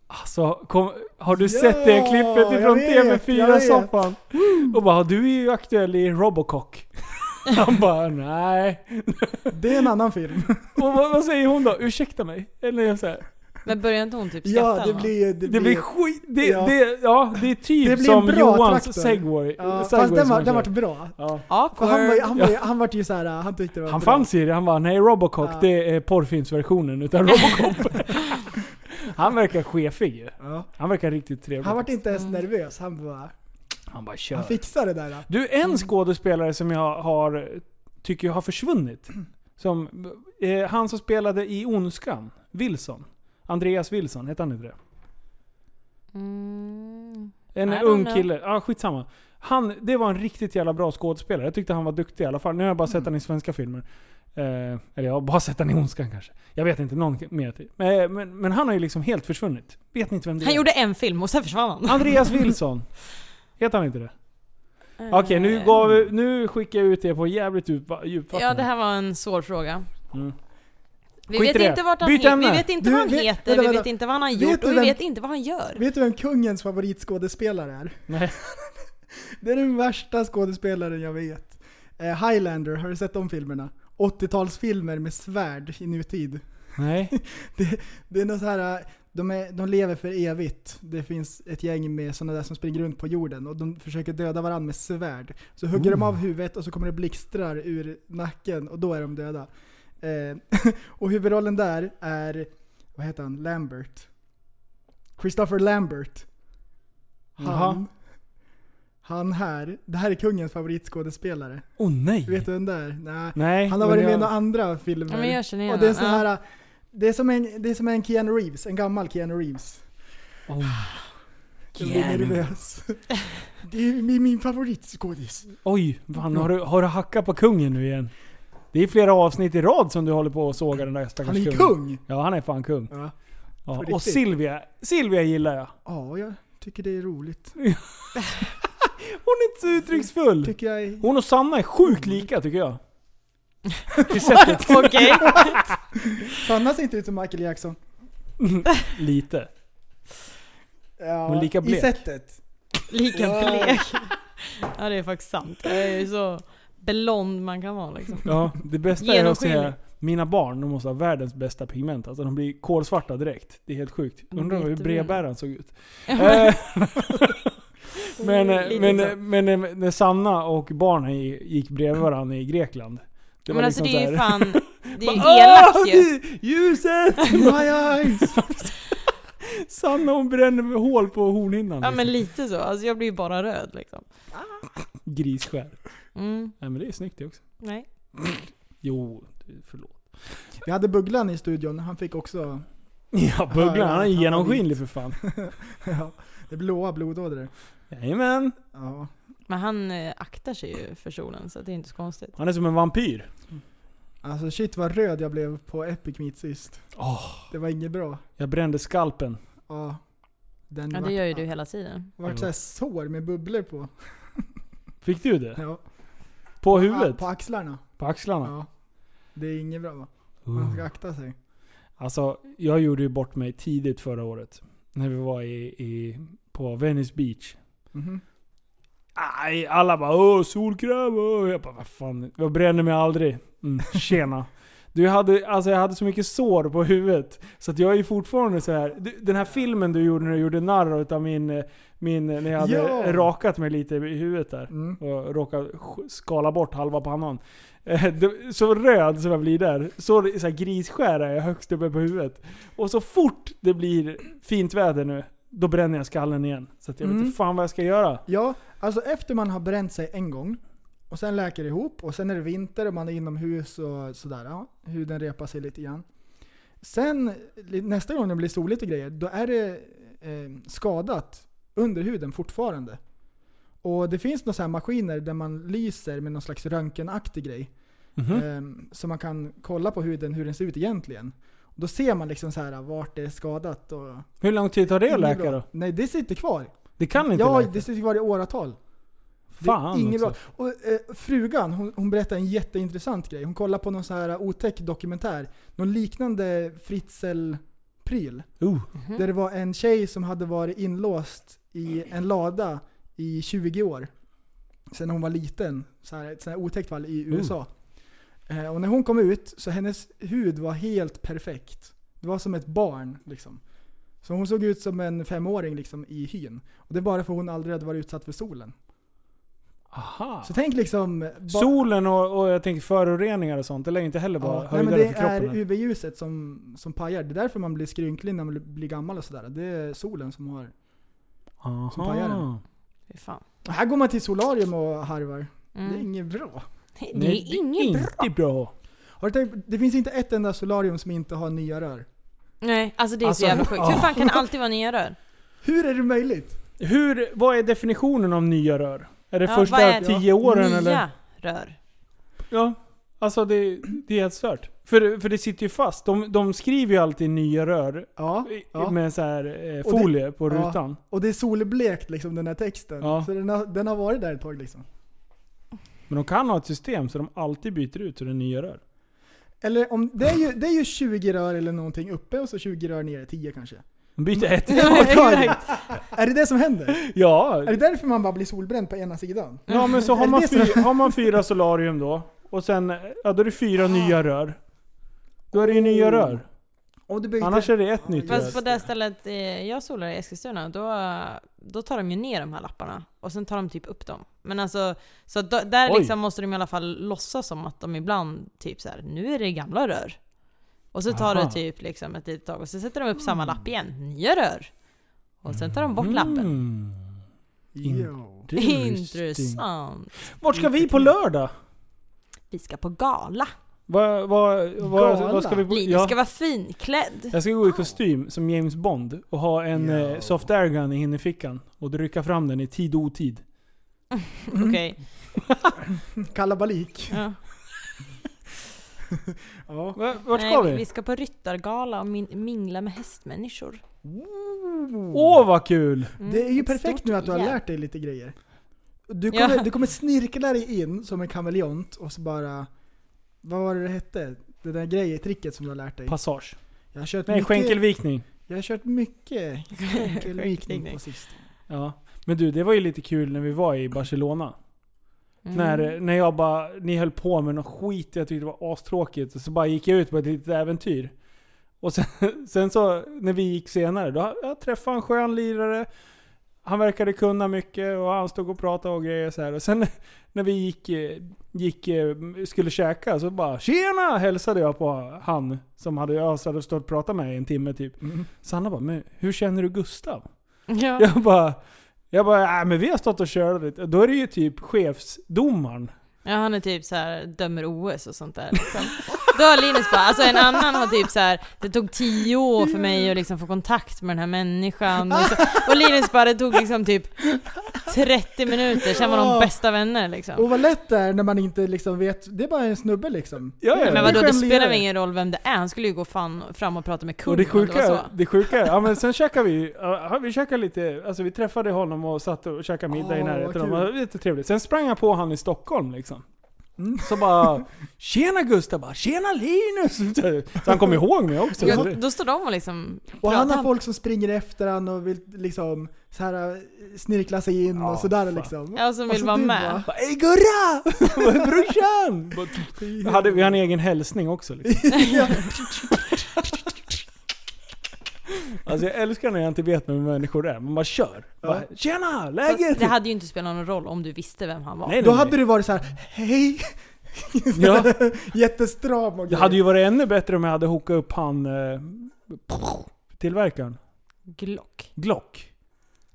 [SPEAKER 4] Alltså, kom, har du
[SPEAKER 5] Ja,
[SPEAKER 4] sett det klippet
[SPEAKER 5] jag
[SPEAKER 4] ifrån
[SPEAKER 5] vet, jag vet.
[SPEAKER 4] TV4-soffan? Och bara, du är ju aktuell i Robocock. *laughs* Han bara, nej.
[SPEAKER 5] Det är en
[SPEAKER 4] *laughs*
[SPEAKER 5] annan film.
[SPEAKER 4] Och vad, vad säger hon då? Ursäkta mig? Eller jag säger,
[SPEAKER 6] Men börjar inte hon typ skratta
[SPEAKER 5] ja, det
[SPEAKER 6] eller något?
[SPEAKER 5] blir...
[SPEAKER 4] det blir skit. Det,
[SPEAKER 5] Ja.
[SPEAKER 4] Det, ja, det är typ
[SPEAKER 5] Det blir en
[SPEAKER 4] som
[SPEAKER 5] bra
[SPEAKER 4] Johans
[SPEAKER 5] traktor.
[SPEAKER 4] segway.
[SPEAKER 5] ja,
[SPEAKER 4] segway
[SPEAKER 5] fast den
[SPEAKER 4] som
[SPEAKER 5] var,
[SPEAKER 4] han kör.
[SPEAKER 5] den vart bra.
[SPEAKER 4] ja.
[SPEAKER 5] För han var, ju-
[SPEAKER 6] Awkward.
[SPEAKER 5] han, var, ju- han vart ju såhär, han tyckte det var
[SPEAKER 4] Han
[SPEAKER 5] bra.
[SPEAKER 4] fanns i det. Han bara, nej Robocock
[SPEAKER 5] Ja.
[SPEAKER 4] det är porrfilmsversionen utav Robocop.
[SPEAKER 5] *laughs*
[SPEAKER 4] han verkar chefig ju.
[SPEAKER 5] Ja.
[SPEAKER 4] Han verkar riktigt trevlig.
[SPEAKER 5] Han vart inte ens
[SPEAKER 4] Mm.
[SPEAKER 5] nervös, han bara...
[SPEAKER 4] han bara kör.
[SPEAKER 5] Han fixar det där.
[SPEAKER 4] Du, en skådespelare som jag har, tycker jag har försvunnit. Som, eh, han som spelade i Ondskan, Wilson. Andreas Wilson, hette han inte det?
[SPEAKER 6] Mm.
[SPEAKER 4] En
[SPEAKER 6] I don't
[SPEAKER 4] ung
[SPEAKER 6] know.
[SPEAKER 4] kille. Ja, ah, skitsamma.
[SPEAKER 6] Mm.
[SPEAKER 4] Han, det var en riktigt jävla bra skådespelare. Jag tyckte han var duktig i alla fall. Nu har jag bara sett han i svenska filmer. Eh, eller ja, Bassätaren i Ondskan kanske. Jag vet inte, någon mer till. Men, men, men han har ju liksom helt försvunnit. Vet ni inte vem det
[SPEAKER 6] Han
[SPEAKER 4] är?
[SPEAKER 6] gjorde en film och sen försvann han.
[SPEAKER 4] Andreas Wilson. Heter han inte det?
[SPEAKER 6] Mm. Eh.
[SPEAKER 4] Okej, nu, gav, nu skickar jag ut er på jävligt djup, djupt vatten.
[SPEAKER 6] Ja, det här var en svår fråga.
[SPEAKER 4] Mm.
[SPEAKER 6] Vi
[SPEAKER 4] Skit i
[SPEAKER 6] vet,
[SPEAKER 4] det.
[SPEAKER 6] inte vart han
[SPEAKER 4] Byt
[SPEAKER 6] he-
[SPEAKER 4] ämne.
[SPEAKER 6] vi vet inte
[SPEAKER 5] Du,
[SPEAKER 6] vad han
[SPEAKER 5] vet-
[SPEAKER 6] heter,
[SPEAKER 5] vänta,
[SPEAKER 6] vi
[SPEAKER 5] vänta.
[SPEAKER 6] vet inte vad han har
[SPEAKER 5] Vet
[SPEAKER 6] gjort
[SPEAKER 5] du
[SPEAKER 6] och vi
[SPEAKER 5] vem-
[SPEAKER 6] vet inte vad han gör.
[SPEAKER 5] Vet du vem kungens favoritskådespelare är?
[SPEAKER 4] Nej.
[SPEAKER 5] *laughs* Det är den värsta skådespelaren jag vet. Eh, Highlander, har du sett de filmerna? 80-talsfilmer med svärd i nutid.
[SPEAKER 4] Nej.
[SPEAKER 5] Det, det är något så här, eh, de, är, de lever för evigt. Det finns ett gäng med sådana där som springer runt på jorden och de försöker döda varandra med svärd. Så hugger de av huvudet och så kommer det blixtrar ur nacken och då är de döda. Eh, *laughs* och huvudrollen där är, vad heter han, Lambert. Christopher Lambert.
[SPEAKER 4] Jaha.
[SPEAKER 5] Han. Han här. Det här är kungens favoritskådespelare.
[SPEAKER 4] Åh oh, nej.
[SPEAKER 5] Vet du vem det är? Nej.
[SPEAKER 4] Nej.
[SPEAKER 5] Han har
[SPEAKER 4] men
[SPEAKER 5] varit med i
[SPEAKER 4] jag-
[SPEAKER 5] några andra filmer.
[SPEAKER 6] Ja, men jag känner igen
[SPEAKER 5] och det är så
[SPEAKER 6] honom.
[SPEAKER 5] här. Det är, som en, det är som en Keanu Reeves, en gammal Keanu Reeves.
[SPEAKER 4] Oh.
[SPEAKER 5] Jag blir
[SPEAKER 4] Keanu.
[SPEAKER 5] nervös. Det är min, min favoritskådis.
[SPEAKER 4] Oj, fan, har, du, har du hackat på kungen nu igen? Det är flera avsnitt i rad som du håller på att såga den där stackars
[SPEAKER 5] Han är ju
[SPEAKER 4] kungen.
[SPEAKER 5] kung!
[SPEAKER 4] Ja, han är fan kung.
[SPEAKER 5] Ja.
[SPEAKER 4] Ja.
[SPEAKER 5] riktigt.
[SPEAKER 4] Och Silvia, Silvia gillar jag.
[SPEAKER 5] ja, jag tycker det är roligt.
[SPEAKER 4] Hon är inte så uttrycksfull.
[SPEAKER 5] Tycker jag är...
[SPEAKER 4] Hon och Sanna är sjukt lika tycker jag. Till sättet.
[SPEAKER 6] *laughs* Okej.
[SPEAKER 5] Sanna ser inte ut som Michael Jackson.
[SPEAKER 4] Lite.
[SPEAKER 5] Ja,
[SPEAKER 4] Hon är lika blek.
[SPEAKER 5] I sättet.
[SPEAKER 6] Lika
[SPEAKER 5] Wow.
[SPEAKER 6] blek. Ja, det är faktiskt sant. Jag är ju så blond man kan vara liksom.
[SPEAKER 4] Ja, det bästa är att se
[SPEAKER 6] Genomskinlig.
[SPEAKER 4] mina barn, de måste ha världens bästa pigment. Alltså de blir kolsvarta direkt. Det är helt sjukt.
[SPEAKER 6] De
[SPEAKER 4] Undrar
[SPEAKER 6] blir
[SPEAKER 4] hur
[SPEAKER 6] jättebruna.
[SPEAKER 4] brevbäraren såg ut.
[SPEAKER 6] *laughs*
[SPEAKER 4] Eh, men, eh,
[SPEAKER 6] Lite
[SPEAKER 4] men,
[SPEAKER 6] så.
[SPEAKER 4] eh, men eh, när Sanna och barnen gi- gick bredvid varandra i Grekland. Det liksom
[SPEAKER 6] Men alltså det är ju
[SPEAKER 4] såhär-
[SPEAKER 6] fan, det är ju elakt
[SPEAKER 4] "Åh,
[SPEAKER 6] ju.
[SPEAKER 4] det- Ljuset!
[SPEAKER 6] *laughs*
[SPEAKER 5] My eyes!
[SPEAKER 4] Sanna hon bränner med hål på hornhinnan.
[SPEAKER 6] Ja men
[SPEAKER 4] liksom.
[SPEAKER 6] lite så, alltså jag blir ju bara röd liksom.
[SPEAKER 4] Grisskär.
[SPEAKER 6] Mm,
[SPEAKER 4] Nej men det är snyggt det också.
[SPEAKER 6] nej.
[SPEAKER 4] Jo, förlåt.
[SPEAKER 5] Vi hade Bugglan i studion, han fick också *laughs*
[SPEAKER 4] Ja Bugglan han är
[SPEAKER 5] han var
[SPEAKER 4] genomskinlig för fan.
[SPEAKER 5] Ja, det är blåa blodådror.
[SPEAKER 4] Jajamän.
[SPEAKER 5] Ja.
[SPEAKER 6] Men han eh, aktar sig ju för solen så det är inte så konstigt.
[SPEAKER 4] Han är som en vampyr.
[SPEAKER 5] Alltså shit vad röd jag blev på Epic Meet sist.
[SPEAKER 4] Åh,
[SPEAKER 5] Det var inget bra.
[SPEAKER 4] jag brände skalpen.
[SPEAKER 5] Ja. Den
[SPEAKER 6] Ja det
[SPEAKER 5] vart-
[SPEAKER 6] gör ju du hela tiden.
[SPEAKER 5] Vart såhär sår med bubblor på.
[SPEAKER 4] Fick du det?
[SPEAKER 5] Ja.
[SPEAKER 4] På huvudet?
[SPEAKER 5] På axlarna.
[SPEAKER 4] På axlarna?
[SPEAKER 5] Ja. Det är inget bra va? Man ska
[SPEAKER 4] Uh.
[SPEAKER 5] akta sig.
[SPEAKER 4] Alltså, jag gjorde ju bort mig tidigt förra året. När vi var i, i, på Venice Beach.
[SPEAKER 5] Mhm.
[SPEAKER 4] Aj, alla bara åh solkräm, åh. Jag bara vad fan, jag bränner mig aldrig. Mm, tjena. *laughs* Du jag hade, alltså jag hade så mycket sår på huvudet. Så att jag är ju fortfarande så här. Du, den här filmen du gjorde när du gjorde narr utav min, eh, min, eh, när jag hade
[SPEAKER 5] Ja.
[SPEAKER 4] rakat mig lite i huvudet där.
[SPEAKER 5] Mm.
[SPEAKER 4] Och råkat sk- skala bort halva pannan. Eh, det- Så röd som jag blir där, så, så här grisskär är jag högst uppe på huvudet. Och så fort det blir fint väder nu, då bränner jag skallen igen. Så att jag vet
[SPEAKER 5] Mm.
[SPEAKER 4] inte fan vad jag ska göra.
[SPEAKER 5] Ja, alltså efter man har bränt sig en gång och sen läker det ihop och sen är det vinter och man är inomhus och sådär. Ja, huden repar sig lite grann. Sen li- nästa gång det blir soligt och grejer, då är det eh, skadat under huden fortfarande. Och det finns några så här maskiner där man lyser med någon slags röntgenaktig grej.
[SPEAKER 4] Mhm.
[SPEAKER 5] Ehm, så man kan kolla på huden hur den ser ut egentligen. Då ser man liksom så här vart det är skadat. Och
[SPEAKER 4] Hur lång tid tar det att
[SPEAKER 5] Inget
[SPEAKER 4] läka
[SPEAKER 5] bra.
[SPEAKER 4] då?
[SPEAKER 5] Nej, det sitter kvar.
[SPEAKER 4] Det kan inte
[SPEAKER 5] ja,
[SPEAKER 4] läka.
[SPEAKER 5] det sitter kvar i åratal.
[SPEAKER 4] Fan
[SPEAKER 5] det är inget
[SPEAKER 4] också.
[SPEAKER 5] bra. Och, eh, frugan, hon, hon berättar en jätteintressant grej. Hon kollar på någon så här otäck dokumentär. Någon liknande Fritzl-pryl.
[SPEAKER 4] Uh,
[SPEAKER 6] Mhm.
[SPEAKER 5] Där det var en tjej som hade varit inlåst i en lada i 20 år. Sen hon var liten. Så här, ett sånt här otäckt fall
[SPEAKER 4] Mm.
[SPEAKER 5] i USA. Eh, och när hon kom ut så hennes hud var helt perfekt. Det var som ett barn liksom. Så hon såg ut som en femåring liksom i hyn. Och det är bara för hon aldrig hade varit utsatt för solen.
[SPEAKER 4] aha.
[SPEAKER 5] Så tänk liksom... ba-
[SPEAKER 4] Ah. Solen och, och jag tänker föroreningar och sånt, det lär ju inte heller vara
[SPEAKER 5] Ja, nej, men
[SPEAKER 4] höjdare
[SPEAKER 5] det
[SPEAKER 4] för kroppen.
[SPEAKER 5] är UV-ljuset som, som pajar. Det är därför man blir skrynklig när man blir- blir gammal och sådär. Det är solen som har...
[SPEAKER 4] Aha.
[SPEAKER 5] som pajar den.
[SPEAKER 6] Fy fan.
[SPEAKER 5] Och här går man till solarium och harvar. Det är
[SPEAKER 6] Mm.
[SPEAKER 5] inget bra.
[SPEAKER 6] Det
[SPEAKER 4] Nej,
[SPEAKER 6] är inget bra.
[SPEAKER 4] inte bra.
[SPEAKER 5] Har du tänkt, det finns inte ett enda solarium som inte har nya rör.
[SPEAKER 6] Nej, alltså det är
[SPEAKER 4] Alltså,
[SPEAKER 6] så jävla sjukt.
[SPEAKER 4] ja.
[SPEAKER 6] Hur fan kan det alltid vara nya rör?
[SPEAKER 5] Hur är det möjligt?
[SPEAKER 4] Hur, vad är definitionen av nya rör? Är det
[SPEAKER 6] Ja,
[SPEAKER 4] första
[SPEAKER 6] vad är-
[SPEAKER 4] *laughs* tio åren
[SPEAKER 6] Nya
[SPEAKER 4] eller?
[SPEAKER 6] rör.
[SPEAKER 4] Ja. Alltså det, det är helt stört. För, för det sitter ju fast. De, de skriver ju alltid nya rör
[SPEAKER 5] Ja,
[SPEAKER 4] i-
[SPEAKER 5] ja.
[SPEAKER 4] med så här eh,
[SPEAKER 5] det-
[SPEAKER 4] folie på
[SPEAKER 5] ja.
[SPEAKER 4] rutan.
[SPEAKER 5] Och det är solblekt liksom den här texten.
[SPEAKER 4] Ja.
[SPEAKER 5] Så den har, den har varit där ett tag liksom.
[SPEAKER 4] Men de kan ha ett system så de alltid byter ut till det nya rör.
[SPEAKER 5] Eller om, det är, ju, det är ju 20 rör eller någonting uppe och så 20 rör nere, 10 kanske.
[SPEAKER 4] De
[SPEAKER 5] Mm.
[SPEAKER 4] byter
[SPEAKER 6] *laughs*
[SPEAKER 4] ett. *laughs*
[SPEAKER 6] Exakt.
[SPEAKER 5] Är det det som händer?
[SPEAKER 4] Ja,
[SPEAKER 5] Är det därför man bara blir solbränd på ena sidan?
[SPEAKER 4] ja men *laughs* så har
[SPEAKER 5] Är
[SPEAKER 4] man,
[SPEAKER 5] det det som-
[SPEAKER 4] fy, har man fyra solarium då. Och sen, ja då är det fyra nya rör. Då är det ju nya rör.
[SPEAKER 5] Om du byter...
[SPEAKER 4] Annars är det ett nytt rör.
[SPEAKER 6] Fast på det stället eh, jag solar i Eskilstuna, då, då tar de ju ner de här lapparna. Och sen tar de typ upp dem. Men alltså, så då, där
[SPEAKER 4] Oj.
[SPEAKER 6] liksom måste de i alla fall låtsas som att de ibland typ så här, nu är det gamla rör. Och så tar
[SPEAKER 4] Aha. Mm.
[SPEAKER 6] det typ liksom ett litet tag och så sätter de upp samma lapp igen, nya rör. Och sen tar de bort lappen.
[SPEAKER 4] Mm.
[SPEAKER 5] Jo.
[SPEAKER 6] Intressant.
[SPEAKER 4] Vart ska vi på lördag?
[SPEAKER 6] Vi ska på gala.
[SPEAKER 4] Vad, vad, vad,
[SPEAKER 5] Gala.
[SPEAKER 4] vad ska vi på?
[SPEAKER 6] Linus ska vara finklädd.
[SPEAKER 4] Jag ska gå i kostym som James Bond och ha en eh, soft airgun i hinnefickan och rycka fram den i tid och otid.
[SPEAKER 5] Mm.
[SPEAKER 6] Okej.
[SPEAKER 5] Kalabalik.
[SPEAKER 6] Ja.
[SPEAKER 5] Ja.
[SPEAKER 4] Va- Vart
[SPEAKER 6] Nej,
[SPEAKER 4] ska
[SPEAKER 6] Vi
[SPEAKER 4] vi?
[SPEAKER 6] ska på ryttargala och min- mingla med hästmänniskor.
[SPEAKER 4] Åh vad kul!
[SPEAKER 6] Mm,
[SPEAKER 5] Det är ju
[SPEAKER 6] ett
[SPEAKER 5] perfekt
[SPEAKER 6] stort
[SPEAKER 5] nu att du har
[SPEAKER 6] jävla-
[SPEAKER 5] lärt dig lite grejer. Du kommer,
[SPEAKER 6] Ja.
[SPEAKER 5] du kommer snirkla dig in som en kameleont och så bara... Vad var det det hette? Det där grejen, tricket som du har lärt dig.
[SPEAKER 4] Passage.
[SPEAKER 5] Jag har kört
[SPEAKER 4] Nej,
[SPEAKER 5] mycket,
[SPEAKER 4] skänkelvikning.
[SPEAKER 5] jag har kört mycket
[SPEAKER 6] *laughs*
[SPEAKER 5] skänkelvikning på sistone.
[SPEAKER 4] Ja. Men du, det var ju lite kul när vi var i Barcelona.
[SPEAKER 6] Mm.
[SPEAKER 4] När, när jag bara, ni höll på med något skit jag tyckte det var astråkigt. Och så bara gick jag ut på ett litet äventyr. Och sen, *laughs* sen så, när vi gick senare, då jag träffade en skön lirare. Han verkade kunna mycket och han stod och pratade och grejer så här. Och sen *laughs* när vi gick, eh, gick eh, skulle käka så bara Tjena! Hälsade jag på han som hade, jag hade stått och pratat med i en timme typ. Så han bara, men hur känner du Gustav?
[SPEAKER 6] Ja.
[SPEAKER 4] Jag bara, jag bara, äh, men vi har stått och kört lite. Då är det ju typ chefsdomaren.
[SPEAKER 6] ja, han är typ så här dömer OS och sånt där. Liksom. Då har Linus bara, alltså en annan har typ så här, det tog tio år för mig att liksom få kontakt med den här människan. Och, så, och Linus bara, det tog liksom typ 30 minuter, sen var de bästa vänner liksom.
[SPEAKER 5] Och vad lätt det är när man inte liksom vet. Det är bara en snubbe liksom.
[SPEAKER 4] Ja, ja.
[SPEAKER 6] Men vadå,
[SPEAKER 5] det är
[SPEAKER 6] det
[SPEAKER 5] skön
[SPEAKER 6] spelar
[SPEAKER 5] lirare.
[SPEAKER 6] väl ingen roll vem det är, han skulle ju gå fan fram och prata med
[SPEAKER 4] och
[SPEAKER 6] kungen
[SPEAKER 4] det
[SPEAKER 6] om var
[SPEAKER 4] sjuka,
[SPEAKER 6] så.
[SPEAKER 4] det sjuka är, ja men sen käkade vi, ja, vi käkade lite, alltså vi träffade honom och satt och käkade middag i
[SPEAKER 5] Åh,
[SPEAKER 4] närheten.
[SPEAKER 5] vad
[SPEAKER 4] Och det
[SPEAKER 5] kul.
[SPEAKER 4] var lite trevligt. Sen sprang jag på han i Stockholm liksom. Så bara, tjena Gustav, bara, tjena Linus! Så han kom ihåg mig också.
[SPEAKER 6] Ja,
[SPEAKER 4] Så det-
[SPEAKER 6] då står de och liksom
[SPEAKER 5] Och han har
[SPEAKER 6] pratar.
[SPEAKER 5] folk som springer efter han och vill liksom så här, eh, snirkla sig in
[SPEAKER 4] Ja,
[SPEAKER 5] och sådär
[SPEAKER 4] fan.
[SPEAKER 5] liksom.
[SPEAKER 6] Ja, som
[SPEAKER 5] Och
[SPEAKER 6] vill
[SPEAKER 5] så
[SPEAKER 6] vara
[SPEAKER 5] du
[SPEAKER 6] med.
[SPEAKER 4] Alltså, Bara, Ey Gurra! *laughs* Bara, Brorsan! Bara, Hade, vi hade en egen hälsning också liksom. Alltså jag älskar när jag inte vet vem människor är. Man bara kör. Bara, Tjena! Läget?
[SPEAKER 6] Fast det hade ju inte spelat någon roll om du visste vem han var.
[SPEAKER 4] Nej,
[SPEAKER 5] Då
[SPEAKER 4] nej,
[SPEAKER 5] hade
[SPEAKER 4] nej.
[SPEAKER 5] du varit så här: hej!
[SPEAKER 4] Ja.
[SPEAKER 5] *laughs* Jättestram och
[SPEAKER 4] Det
[SPEAKER 5] grejer.
[SPEAKER 4] hade ju varit ännu bättre om jag hade hookat upp han... Eh, tillverkaren.
[SPEAKER 6] Glock.
[SPEAKER 4] Glock.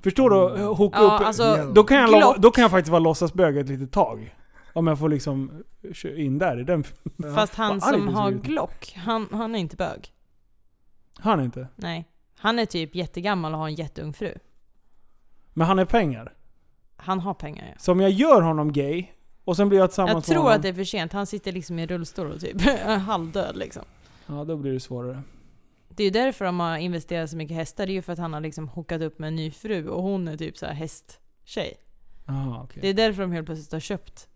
[SPEAKER 4] Förstår du? Hooka
[SPEAKER 6] Ja,
[SPEAKER 4] upp...
[SPEAKER 6] alltså,
[SPEAKER 4] då, kan jag lova,
[SPEAKER 6] Glock.
[SPEAKER 4] då kan jag faktiskt vara låtsasbög ett litet tag. Om jag får liksom köra in där i den...
[SPEAKER 6] Fast han
[SPEAKER 4] Vad arg
[SPEAKER 6] som
[SPEAKER 4] du
[SPEAKER 6] har
[SPEAKER 4] ser ut.
[SPEAKER 6] Glock, han, han är inte bög.
[SPEAKER 4] Han är inte.
[SPEAKER 6] Nej. Han är typ jättegammal och har en jätteung fru.
[SPEAKER 4] Men han är pengar.
[SPEAKER 6] Han har pengar ja.
[SPEAKER 4] Så om jag gör honom gay och sen blir jag
[SPEAKER 6] Jag
[SPEAKER 4] tillsammans med
[SPEAKER 6] tror
[SPEAKER 4] honom.
[SPEAKER 6] att det är för sent, han sitter liksom i rullstol och typ *laughs* halvdöd liksom.
[SPEAKER 4] Ja, då blir det svårare.
[SPEAKER 6] Det är ju därför de har investerat så mycket hästar, det är ju för att han har liksom hookat upp med en ny fru och hon är typ så här hästtjej.
[SPEAKER 4] Aha, okej.
[SPEAKER 6] Det är därför de helt plötsligt har köpt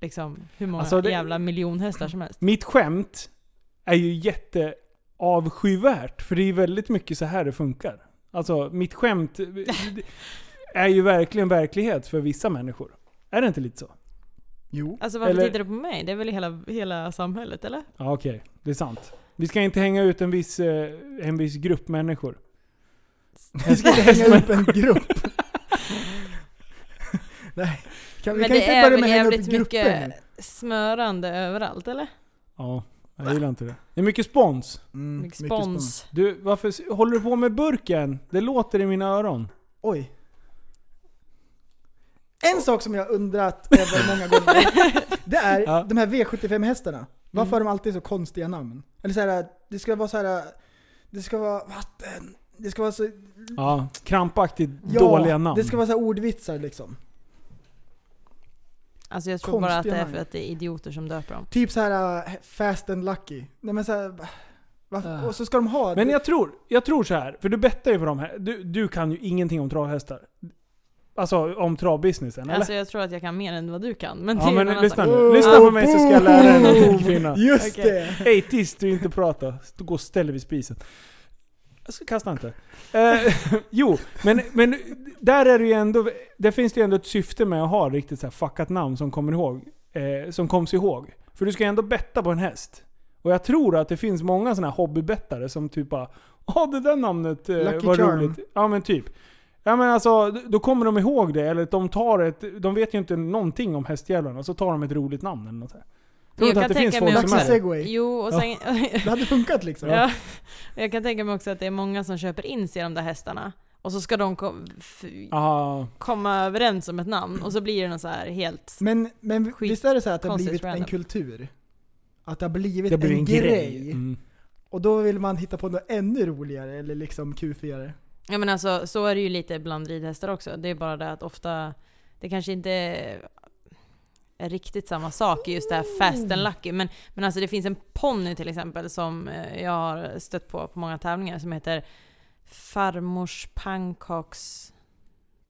[SPEAKER 6] liksom hur många
[SPEAKER 4] Alltså, det-
[SPEAKER 6] jävla miljonhästar som helst.
[SPEAKER 4] Mitt skämt är ju jätteavskyvärt, för det är ju väldigt mycket så här det funkar. Alltså, mitt skämt är ju verkligen verklighet för vissa människor. Är det inte lite så?
[SPEAKER 5] Jo.
[SPEAKER 6] Alltså varför
[SPEAKER 4] Eller-
[SPEAKER 6] tittar du på mig? Det är väl hela, hela samhället eller?
[SPEAKER 4] Ja, okej. Det är sant. Vi ska inte hänga ut en viss, eh, en viss grupp människor.
[SPEAKER 5] Vi ska inte hänga upp
[SPEAKER 4] *laughs*
[SPEAKER 5] en grupp. Nej. Kan, vi
[SPEAKER 6] Men
[SPEAKER 5] kan
[SPEAKER 6] det
[SPEAKER 5] inte
[SPEAKER 6] är
[SPEAKER 5] börja
[SPEAKER 6] väl
[SPEAKER 5] med att hänga upp
[SPEAKER 6] jävligt
[SPEAKER 5] grupper nu.
[SPEAKER 6] mycket smörande överallt eller?
[SPEAKER 4] Mm, Ja, jag gillar inte det. Det är mycket spons.
[SPEAKER 5] Mm,
[SPEAKER 6] Mycket
[SPEAKER 5] mycket
[SPEAKER 6] spons.
[SPEAKER 4] Du, varför s- håller du på med burken? Det låter i mina öron.
[SPEAKER 5] Oj. En sak som jag har undrat över många
[SPEAKER 6] *laughs*
[SPEAKER 5] gånger. Det är
[SPEAKER 4] Ja.
[SPEAKER 5] de här V75-hästarna. Varför
[SPEAKER 6] Mm.
[SPEAKER 5] har de alltid så konstiga namn? Eller så här, det ska vara så här. Det ska vara vatten. Det ska vara så...
[SPEAKER 4] Ja, krampaktigt
[SPEAKER 5] Ja,
[SPEAKER 4] dåliga namn.
[SPEAKER 5] Det ska vara så här ordvitsar liksom.
[SPEAKER 6] Alltså jag tror bara att det är
[SPEAKER 5] Konstiga
[SPEAKER 6] för att det är idioter som döper dem.
[SPEAKER 5] Typ så här äh, fast and lucky. Nej men så här, varför-
[SPEAKER 6] Ah.
[SPEAKER 5] Och så ska de ha...
[SPEAKER 4] Men jag tror, jag tror så här, för du bettar ju på de här. Du, du kan ju ingenting om travhästar. Alltså om travbusinessen, eller?
[SPEAKER 6] Alltså jag tror att jag kan mer än vad du kan. Men det
[SPEAKER 4] ja
[SPEAKER 6] är
[SPEAKER 4] men
[SPEAKER 6] en annan
[SPEAKER 4] lyssna
[SPEAKER 6] sak.
[SPEAKER 4] nu. Lyssna på mig så ska jag lära dig någonting kvinna.
[SPEAKER 5] Just
[SPEAKER 6] Okej.
[SPEAKER 5] det!
[SPEAKER 4] Hej Tis, du inte prata. Du går och ställer vid spisen. Jag ska kasta inte. Eh, *laughs* jo, men, men där är det ju ändå... Där finns det ju ändå ett syfte med att ha riktigt så här fuckat namn som kommer ihåg. Eh, som koms ihåg. För du ska ju ändå betta på en häst. Och jag tror att det finns många sådana här hobbybettare som typ bara Ja det där namnet eh,
[SPEAKER 5] Lucky
[SPEAKER 4] var
[SPEAKER 5] Charm."
[SPEAKER 4] roligt. Ja men typ. Ja men alltså, d- då kommer de ihåg det. Eller de tar ett... De vet ju inte någonting om hästjävlarna. Så tar de ett roligt namn eller något. så här. Tror
[SPEAKER 6] Jag
[SPEAKER 4] inte
[SPEAKER 6] kan
[SPEAKER 4] att det
[SPEAKER 6] tänka
[SPEAKER 4] finns
[SPEAKER 6] mig
[SPEAKER 4] folk
[SPEAKER 6] också
[SPEAKER 4] som
[SPEAKER 5] Lucky
[SPEAKER 4] är det?
[SPEAKER 5] segway.
[SPEAKER 6] Jo, och sen... *laughs*
[SPEAKER 5] Det hade funkat liksom.
[SPEAKER 6] Ja. Jag kan tänka mig också att det är många som köper in sig i de där hästarna. Och så ska de ko- f-
[SPEAKER 4] Aha.
[SPEAKER 6] komma överens om ett namn och så blir det någon så här helt...
[SPEAKER 5] Men, men
[SPEAKER 6] Skit.
[SPEAKER 5] visst är det så här att det har
[SPEAKER 6] Konstigt
[SPEAKER 5] blivit en
[SPEAKER 6] random.
[SPEAKER 5] kultur? Att det har blivit
[SPEAKER 4] Det blir
[SPEAKER 5] en, grej.
[SPEAKER 4] Mm.
[SPEAKER 5] Och då vill man hitta på något ännu roligare eller liksom kufigare.
[SPEAKER 6] Ja men alltså så är det ju lite bland ridhästar också. Det är bara det att ofta, det kanske inte är riktigt samma sak i just det
[SPEAKER 5] Mm.
[SPEAKER 6] här fast and lucky. Men, men alltså det finns en ponny till exempel som eh, jag har stött på på många tävlingar som heter Farmors pannkaks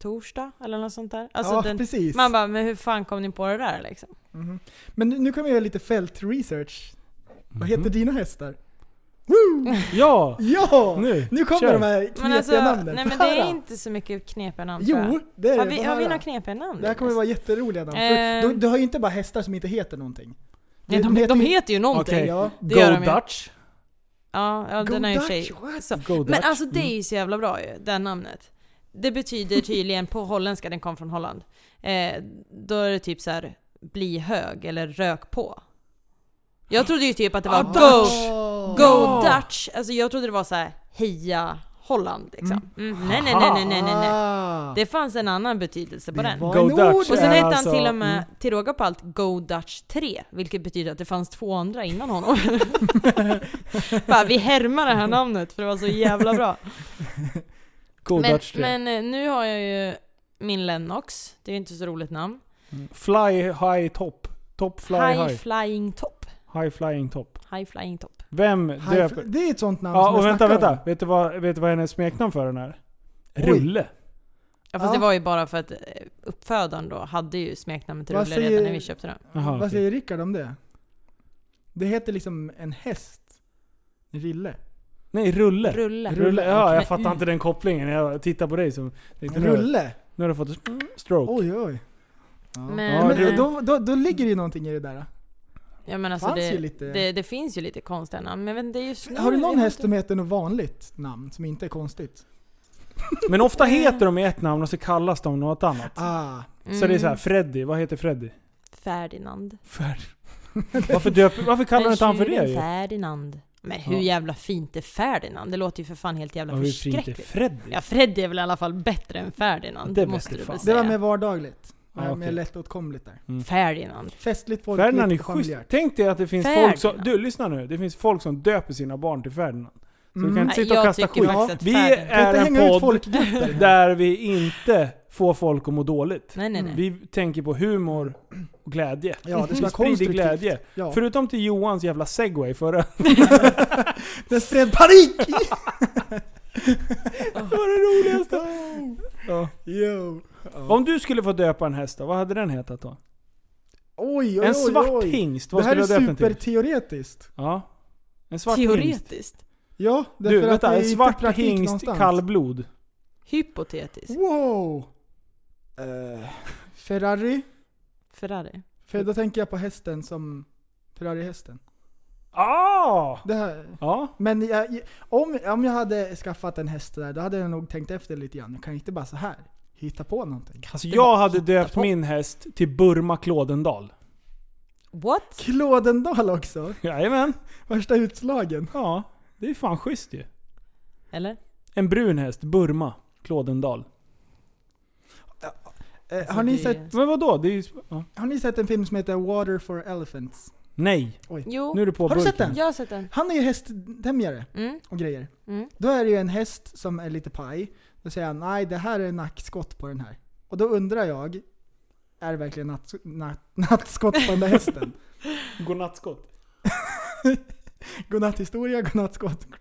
[SPEAKER 6] torsdag eller något sånt där. Alltså
[SPEAKER 5] ja,
[SPEAKER 6] den,
[SPEAKER 5] precis.
[SPEAKER 6] man bara, men hur fan kom ni på det där liksom?
[SPEAKER 5] Mhm. Men nu kommer jag göra lite fältresearch. Vad
[SPEAKER 6] Mhm.
[SPEAKER 5] heter dina hästar?
[SPEAKER 6] *laughs*
[SPEAKER 4] Ja!
[SPEAKER 5] Ja! Nu,
[SPEAKER 4] Nu!
[SPEAKER 5] kommer
[SPEAKER 4] kör.
[SPEAKER 5] de här
[SPEAKER 6] Men
[SPEAKER 5] knepiga
[SPEAKER 6] alltså,
[SPEAKER 5] namnen.
[SPEAKER 6] nej men
[SPEAKER 5] Få
[SPEAKER 6] det är
[SPEAKER 5] höra.
[SPEAKER 6] inte så mycket knepiga namn tror jag.
[SPEAKER 5] Jo, det är
[SPEAKER 6] Har
[SPEAKER 5] det.
[SPEAKER 6] vi,
[SPEAKER 5] Få
[SPEAKER 6] har vi
[SPEAKER 5] höra.
[SPEAKER 6] några knepiga namn?
[SPEAKER 5] Det här kommer
[SPEAKER 6] Jonas?
[SPEAKER 5] vara jätteroliga namn. För
[SPEAKER 6] Eh.
[SPEAKER 5] du, du har ju inte bara hästar som inte heter någonting.
[SPEAKER 6] Nej,
[SPEAKER 5] du
[SPEAKER 6] de, de,
[SPEAKER 5] heter ju-
[SPEAKER 6] heter ju någonting.
[SPEAKER 4] Okej.
[SPEAKER 5] Ja.
[SPEAKER 6] Det gör de
[SPEAKER 4] Go
[SPEAKER 6] ju.
[SPEAKER 4] Dutch.
[SPEAKER 6] Ja, ja
[SPEAKER 5] Go
[SPEAKER 6] den är ju
[SPEAKER 5] Dutch,
[SPEAKER 6] tjej.
[SPEAKER 5] what?
[SPEAKER 6] Så.
[SPEAKER 4] Go Dutch.
[SPEAKER 6] Men alltså det
[SPEAKER 5] Mm.
[SPEAKER 6] är ju så jävla bra ju, det här namnet. Det betyder tydligen, på holländska, den kom från Holland, eh, då är det typ så här bli hög eller rök på. Jag trodde ju typ att
[SPEAKER 5] Ah,
[SPEAKER 4] Ah,
[SPEAKER 6] det var go, go Dutch, alltså jag trodde det var så här heja Holland liksom. Mm. Nej, nej, nej, nej, nej, nej, nej.
[SPEAKER 5] Ah.
[SPEAKER 6] Det fanns en annan betydelse på den.
[SPEAKER 5] var
[SPEAKER 4] Go
[SPEAKER 5] en
[SPEAKER 4] Dutch.
[SPEAKER 5] ord.
[SPEAKER 6] Och sen
[SPEAKER 4] är
[SPEAKER 6] hette han
[SPEAKER 4] alltså-
[SPEAKER 6] till och med,
[SPEAKER 4] mm.
[SPEAKER 6] till råga på allt, Go Dutch 3. Vilket betyder att det fanns två andra innan honom. Bara, vi härmar det här namnet för det var så jävla bra.
[SPEAKER 4] Go
[SPEAKER 6] Men,
[SPEAKER 4] Dutch 3.
[SPEAKER 6] men eh, nu har jag ju min Lennox. Det är ju inte så roligt namn.
[SPEAKER 4] Fly High Top. Top Fly
[SPEAKER 6] high,
[SPEAKER 4] High.
[SPEAKER 6] Flying Top.
[SPEAKER 4] High Flying Top.
[SPEAKER 6] High Flying Top.
[SPEAKER 4] Vem
[SPEAKER 5] High-
[SPEAKER 4] döper...
[SPEAKER 5] Det är ett sånt namn som
[SPEAKER 4] Ja,
[SPEAKER 5] jag
[SPEAKER 4] och vänta,
[SPEAKER 5] snackar
[SPEAKER 4] vänta.
[SPEAKER 5] om.
[SPEAKER 4] Vet du vad, vet du vad hennes smeknamn för den är?
[SPEAKER 5] Oj.
[SPEAKER 4] Rulle.
[SPEAKER 6] Ja, fast
[SPEAKER 5] Ja.
[SPEAKER 6] det var ju bara för att eh, uppfödaren då hade ju smeknamnet
[SPEAKER 5] Vad
[SPEAKER 6] Rulle
[SPEAKER 5] säger-
[SPEAKER 6] redan när vi köpte den.
[SPEAKER 4] Jaha,
[SPEAKER 5] Vad
[SPEAKER 4] okej.
[SPEAKER 5] säger Rickard om det? Det heter liksom en häst. Rille.
[SPEAKER 4] Nej, Rulle.
[SPEAKER 6] Rulle.
[SPEAKER 4] Rulle. Ja,
[SPEAKER 6] Men-
[SPEAKER 4] jag fattar inte den kopplingen. Jag tittar på dig som... tänkte, nu-
[SPEAKER 5] Rulle?
[SPEAKER 4] Nu har du fått en stroke.
[SPEAKER 5] Oj oj. Ja.
[SPEAKER 6] Men- eh,
[SPEAKER 5] Ja,
[SPEAKER 4] det-
[SPEAKER 5] men då, då, då ligger det ju någonting i det där.
[SPEAKER 6] Ja, men alltså
[SPEAKER 5] Fanns
[SPEAKER 6] det,
[SPEAKER 5] ju lite-
[SPEAKER 6] det, det finns ju lite konstiga namn. Men jag vet inte, det är ju snö,
[SPEAKER 5] Har du
[SPEAKER 6] jag
[SPEAKER 5] någon
[SPEAKER 6] vet
[SPEAKER 5] häst
[SPEAKER 6] inte.
[SPEAKER 5] som heter något vanligt namn som inte är konstigt?
[SPEAKER 4] Men ofta heter de ett namn och så kallas de något annat.
[SPEAKER 5] Ah,
[SPEAKER 4] Så det är så här,
[SPEAKER 6] Mm.
[SPEAKER 4] Freddy. Vad heter Freddy?
[SPEAKER 6] Ferdinand.
[SPEAKER 4] Färd. *laughs* Varför, döper, varför kallar
[SPEAKER 6] Men
[SPEAKER 4] inte han för
[SPEAKER 6] tjuren
[SPEAKER 4] det? ju?
[SPEAKER 6] Ferdinand. Men hur
[SPEAKER 4] Ja.
[SPEAKER 6] jävla fint är Ferdinand? Det låter ju för fan helt jävla
[SPEAKER 4] Ja, hur fint är
[SPEAKER 6] förskräckligt.
[SPEAKER 4] Freddy?
[SPEAKER 6] Ja, Freddy är väl i alla fall bättre än Ferdinand,
[SPEAKER 4] Det
[SPEAKER 6] det
[SPEAKER 4] vet
[SPEAKER 6] måste
[SPEAKER 4] jag
[SPEAKER 6] du
[SPEAKER 4] fan.
[SPEAKER 6] väl
[SPEAKER 5] det
[SPEAKER 6] säga.
[SPEAKER 5] var mer vardagligt.
[SPEAKER 4] Ja,
[SPEAKER 5] Mer, mer
[SPEAKER 4] Ah, okej.
[SPEAKER 5] lättåtkomligt där.
[SPEAKER 6] Ferdinand.
[SPEAKER 5] Festligt folkligt
[SPEAKER 4] Ferdinand är
[SPEAKER 5] och
[SPEAKER 4] schysst.
[SPEAKER 5] familjärt.
[SPEAKER 4] Tänk dig att det finns
[SPEAKER 6] Ferdinand.
[SPEAKER 4] folk som... Du, lyssna nu. Det finns folk som döper sina barn till Ferdinand. Så
[SPEAKER 5] Mm.
[SPEAKER 4] vi kan
[SPEAKER 6] Nej,
[SPEAKER 4] inte sitta och
[SPEAKER 6] jag
[SPEAKER 4] kasta
[SPEAKER 6] tycker
[SPEAKER 4] skit.
[SPEAKER 6] faktiskt att
[SPEAKER 4] vi
[SPEAKER 6] Ferdinand-
[SPEAKER 5] Kan
[SPEAKER 4] är
[SPEAKER 5] inte
[SPEAKER 4] en
[SPEAKER 5] hänga ut
[SPEAKER 4] podd
[SPEAKER 5] *laughs* folkgrupper.
[SPEAKER 4] där vi inte får folk att må dåligt.
[SPEAKER 6] Nej,
[SPEAKER 5] Mm,
[SPEAKER 6] nej, nej.
[SPEAKER 4] Vi tänker på humor och glädje.
[SPEAKER 5] Ja, det ska
[SPEAKER 4] vi sprider
[SPEAKER 5] vara konstruktivt.
[SPEAKER 4] glädje.
[SPEAKER 5] Ja.
[SPEAKER 4] Förutom till Johans jävla segway förra...
[SPEAKER 5] Den
[SPEAKER 4] *laughs*
[SPEAKER 5] spred panik!
[SPEAKER 4] det var det roligaste! Ja.
[SPEAKER 5] Yo.
[SPEAKER 4] Om du skulle få döpa en häst då, vad hade den hetat då?
[SPEAKER 5] Oj, oj,
[SPEAKER 4] En
[SPEAKER 5] oj,
[SPEAKER 4] svart
[SPEAKER 5] oj.
[SPEAKER 4] hingst,
[SPEAKER 5] Det
[SPEAKER 4] vad
[SPEAKER 5] här
[SPEAKER 4] skulle
[SPEAKER 5] är
[SPEAKER 4] du ha döpt den till?
[SPEAKER 5] superteoretiskt.
[SPEAKER 4] Ja. En svart hingst.
[SPEAKER 6] Teoretiskt.
[SPEAKER 5] Ja, därför
[SPEAKER 4] Du,
[SPEAKER 5] att
[SPEAKER 4] vänta.
[SPEAKER 5] det är
[SPEAKER 4] En
[SPEAKER 5] inte
[SPEAKER 4] svart
[SPEAKER 5] praktik
[SPEAKER 4] hingst,
[SPEAKER 5] någonstans.
[SPEAKER 4] kallblod.
[SPEAKER 6] Hypotetiskt.
[SPEAKER 5] Wow! Eh, *laughs* Ferrari.
[SPEAKER 6] Ferrari.
[SPEAKER 5] För då tänker jag på hästen som Ferrari-hästen.
[SPEAKER 4] Ah!
[SPEAKER 5] Det här.
[SPEAKER 4] Ja.
[SPEAKER 5] Men jag, om, om jag hade skaffat en häst där, då hade jag nog tänkt efter lite grann. Jag kan inte bara så här hitta på någonting.
[SPEAKER 4] Alltså
[SPEAKER 6] är bara
[SPEAKER 4] jag hade döpt
[SPEAKER 6] på.
[SPEAKER 4] min häst till Burma Klådendal.
[SPEAKER 6] What?
[SPEAKER 5] Klådendal också!
[SPEAKER 4] Jajamän.
[SPEAKER 5] Värsta utslagen.
[SPEAKER 4] Ja, det är fan schysst ju.
[SPEAKER 6] Eller?
[SPEAKER 4] En brun häst, Burma Klådendal.
[SPEAKER 5] Eh, har, ni
[SPEAKER 6] Alltså, det-
[SPEAKER 5] sett,
[SPEAKER 4] Men vadå? Det är ju... Ja.
[SPEAKER 5] har ni sett en film som heter Water for Elephants?
[SPEAKER 4] Nej.
[SPEAKER 6] Jo,
[SPEAKER 4] Nu är du på
[SPEAKER 5] Har du
[SPEAKER 4] burken.
[SPEAKER 5] sett den?
[SPEAKER 6] jag har sett den.
[SPEAKER 5] Han är ju hästtämjare
[SPEAKER 6] Mm.
[SPEAKER 5] och grejer.
[SPEAKER 6] Mm.
[SPEAKER 5] Då är det ju en häst som är lite paj. Då säger han nej det här är nackskott på den här. Och då undrar jag, är det verkligen natt, natt, *laughs* nattskott på den där
[SPEAKER 6] *laughs*
[SPEAKER 5] hästen.
[SPEAKER 4] Godnattskott.
[SPEAKER 5] Godnatthistoria, godnattskott. *laughs*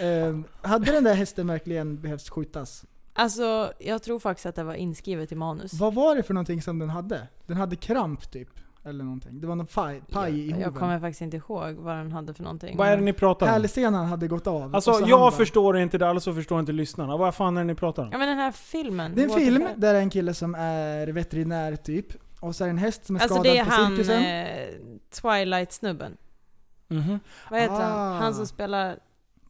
[SPEAKER 5] Ehm, hade den där hästen verkligen behövt skjutas?
[SPEAKER 6] Alltså, jag tror faktiskt att det var inskrivet i manus.
[SPEAKER 5] Vad var det för någonting som den hade? Den hade kramp typ, eller någonting. Det var någon faj, paj i
[SPEAKER 6] jag, jag
[SPEAKER 5] hoven.
[SPEAKER 6] kommer faktiskt inte ihåg vad den hade för någonting.
[SPEAKER 4] Vad är det ni pratar om?
[SPEAKER 5] Pärlsenan hade gått av.
[SPEAKER 4] Alltså
[SPEAKER 5] och så han bara-
[SPEAKER 4] jag förstår inte det, alltså förstår inte lyssnarna. Vad fan är det ni pratar om?
[SPEAKER 6] Ja men den här filmen.
[SPEAKER 5] Det är en
[SPEAKER 6] Walter
[SPEAKER 5] film
[SPEAKER 6] White.
[SPEAKER 5] där det är en kille som är veterinär typ. Och så är det en häst som är
[SPEAKER 6] Alltså
[SPEAKER 5] skadad
[SPEAKER 6] det är
[SPEAKER 5] på
[SPEAKER 6] han
[SPEAKER 5] cirkusen.
[SPEAKER 6] eh, Twilight-snubben.
[SPEAKER 5] Mm-hmm.
[SPEAKER 4] Mhm.
[SPEAKER 6] Vad heter han?
[SPEAKER 5] Ah.
[SPEAKER 6] Han som spelar...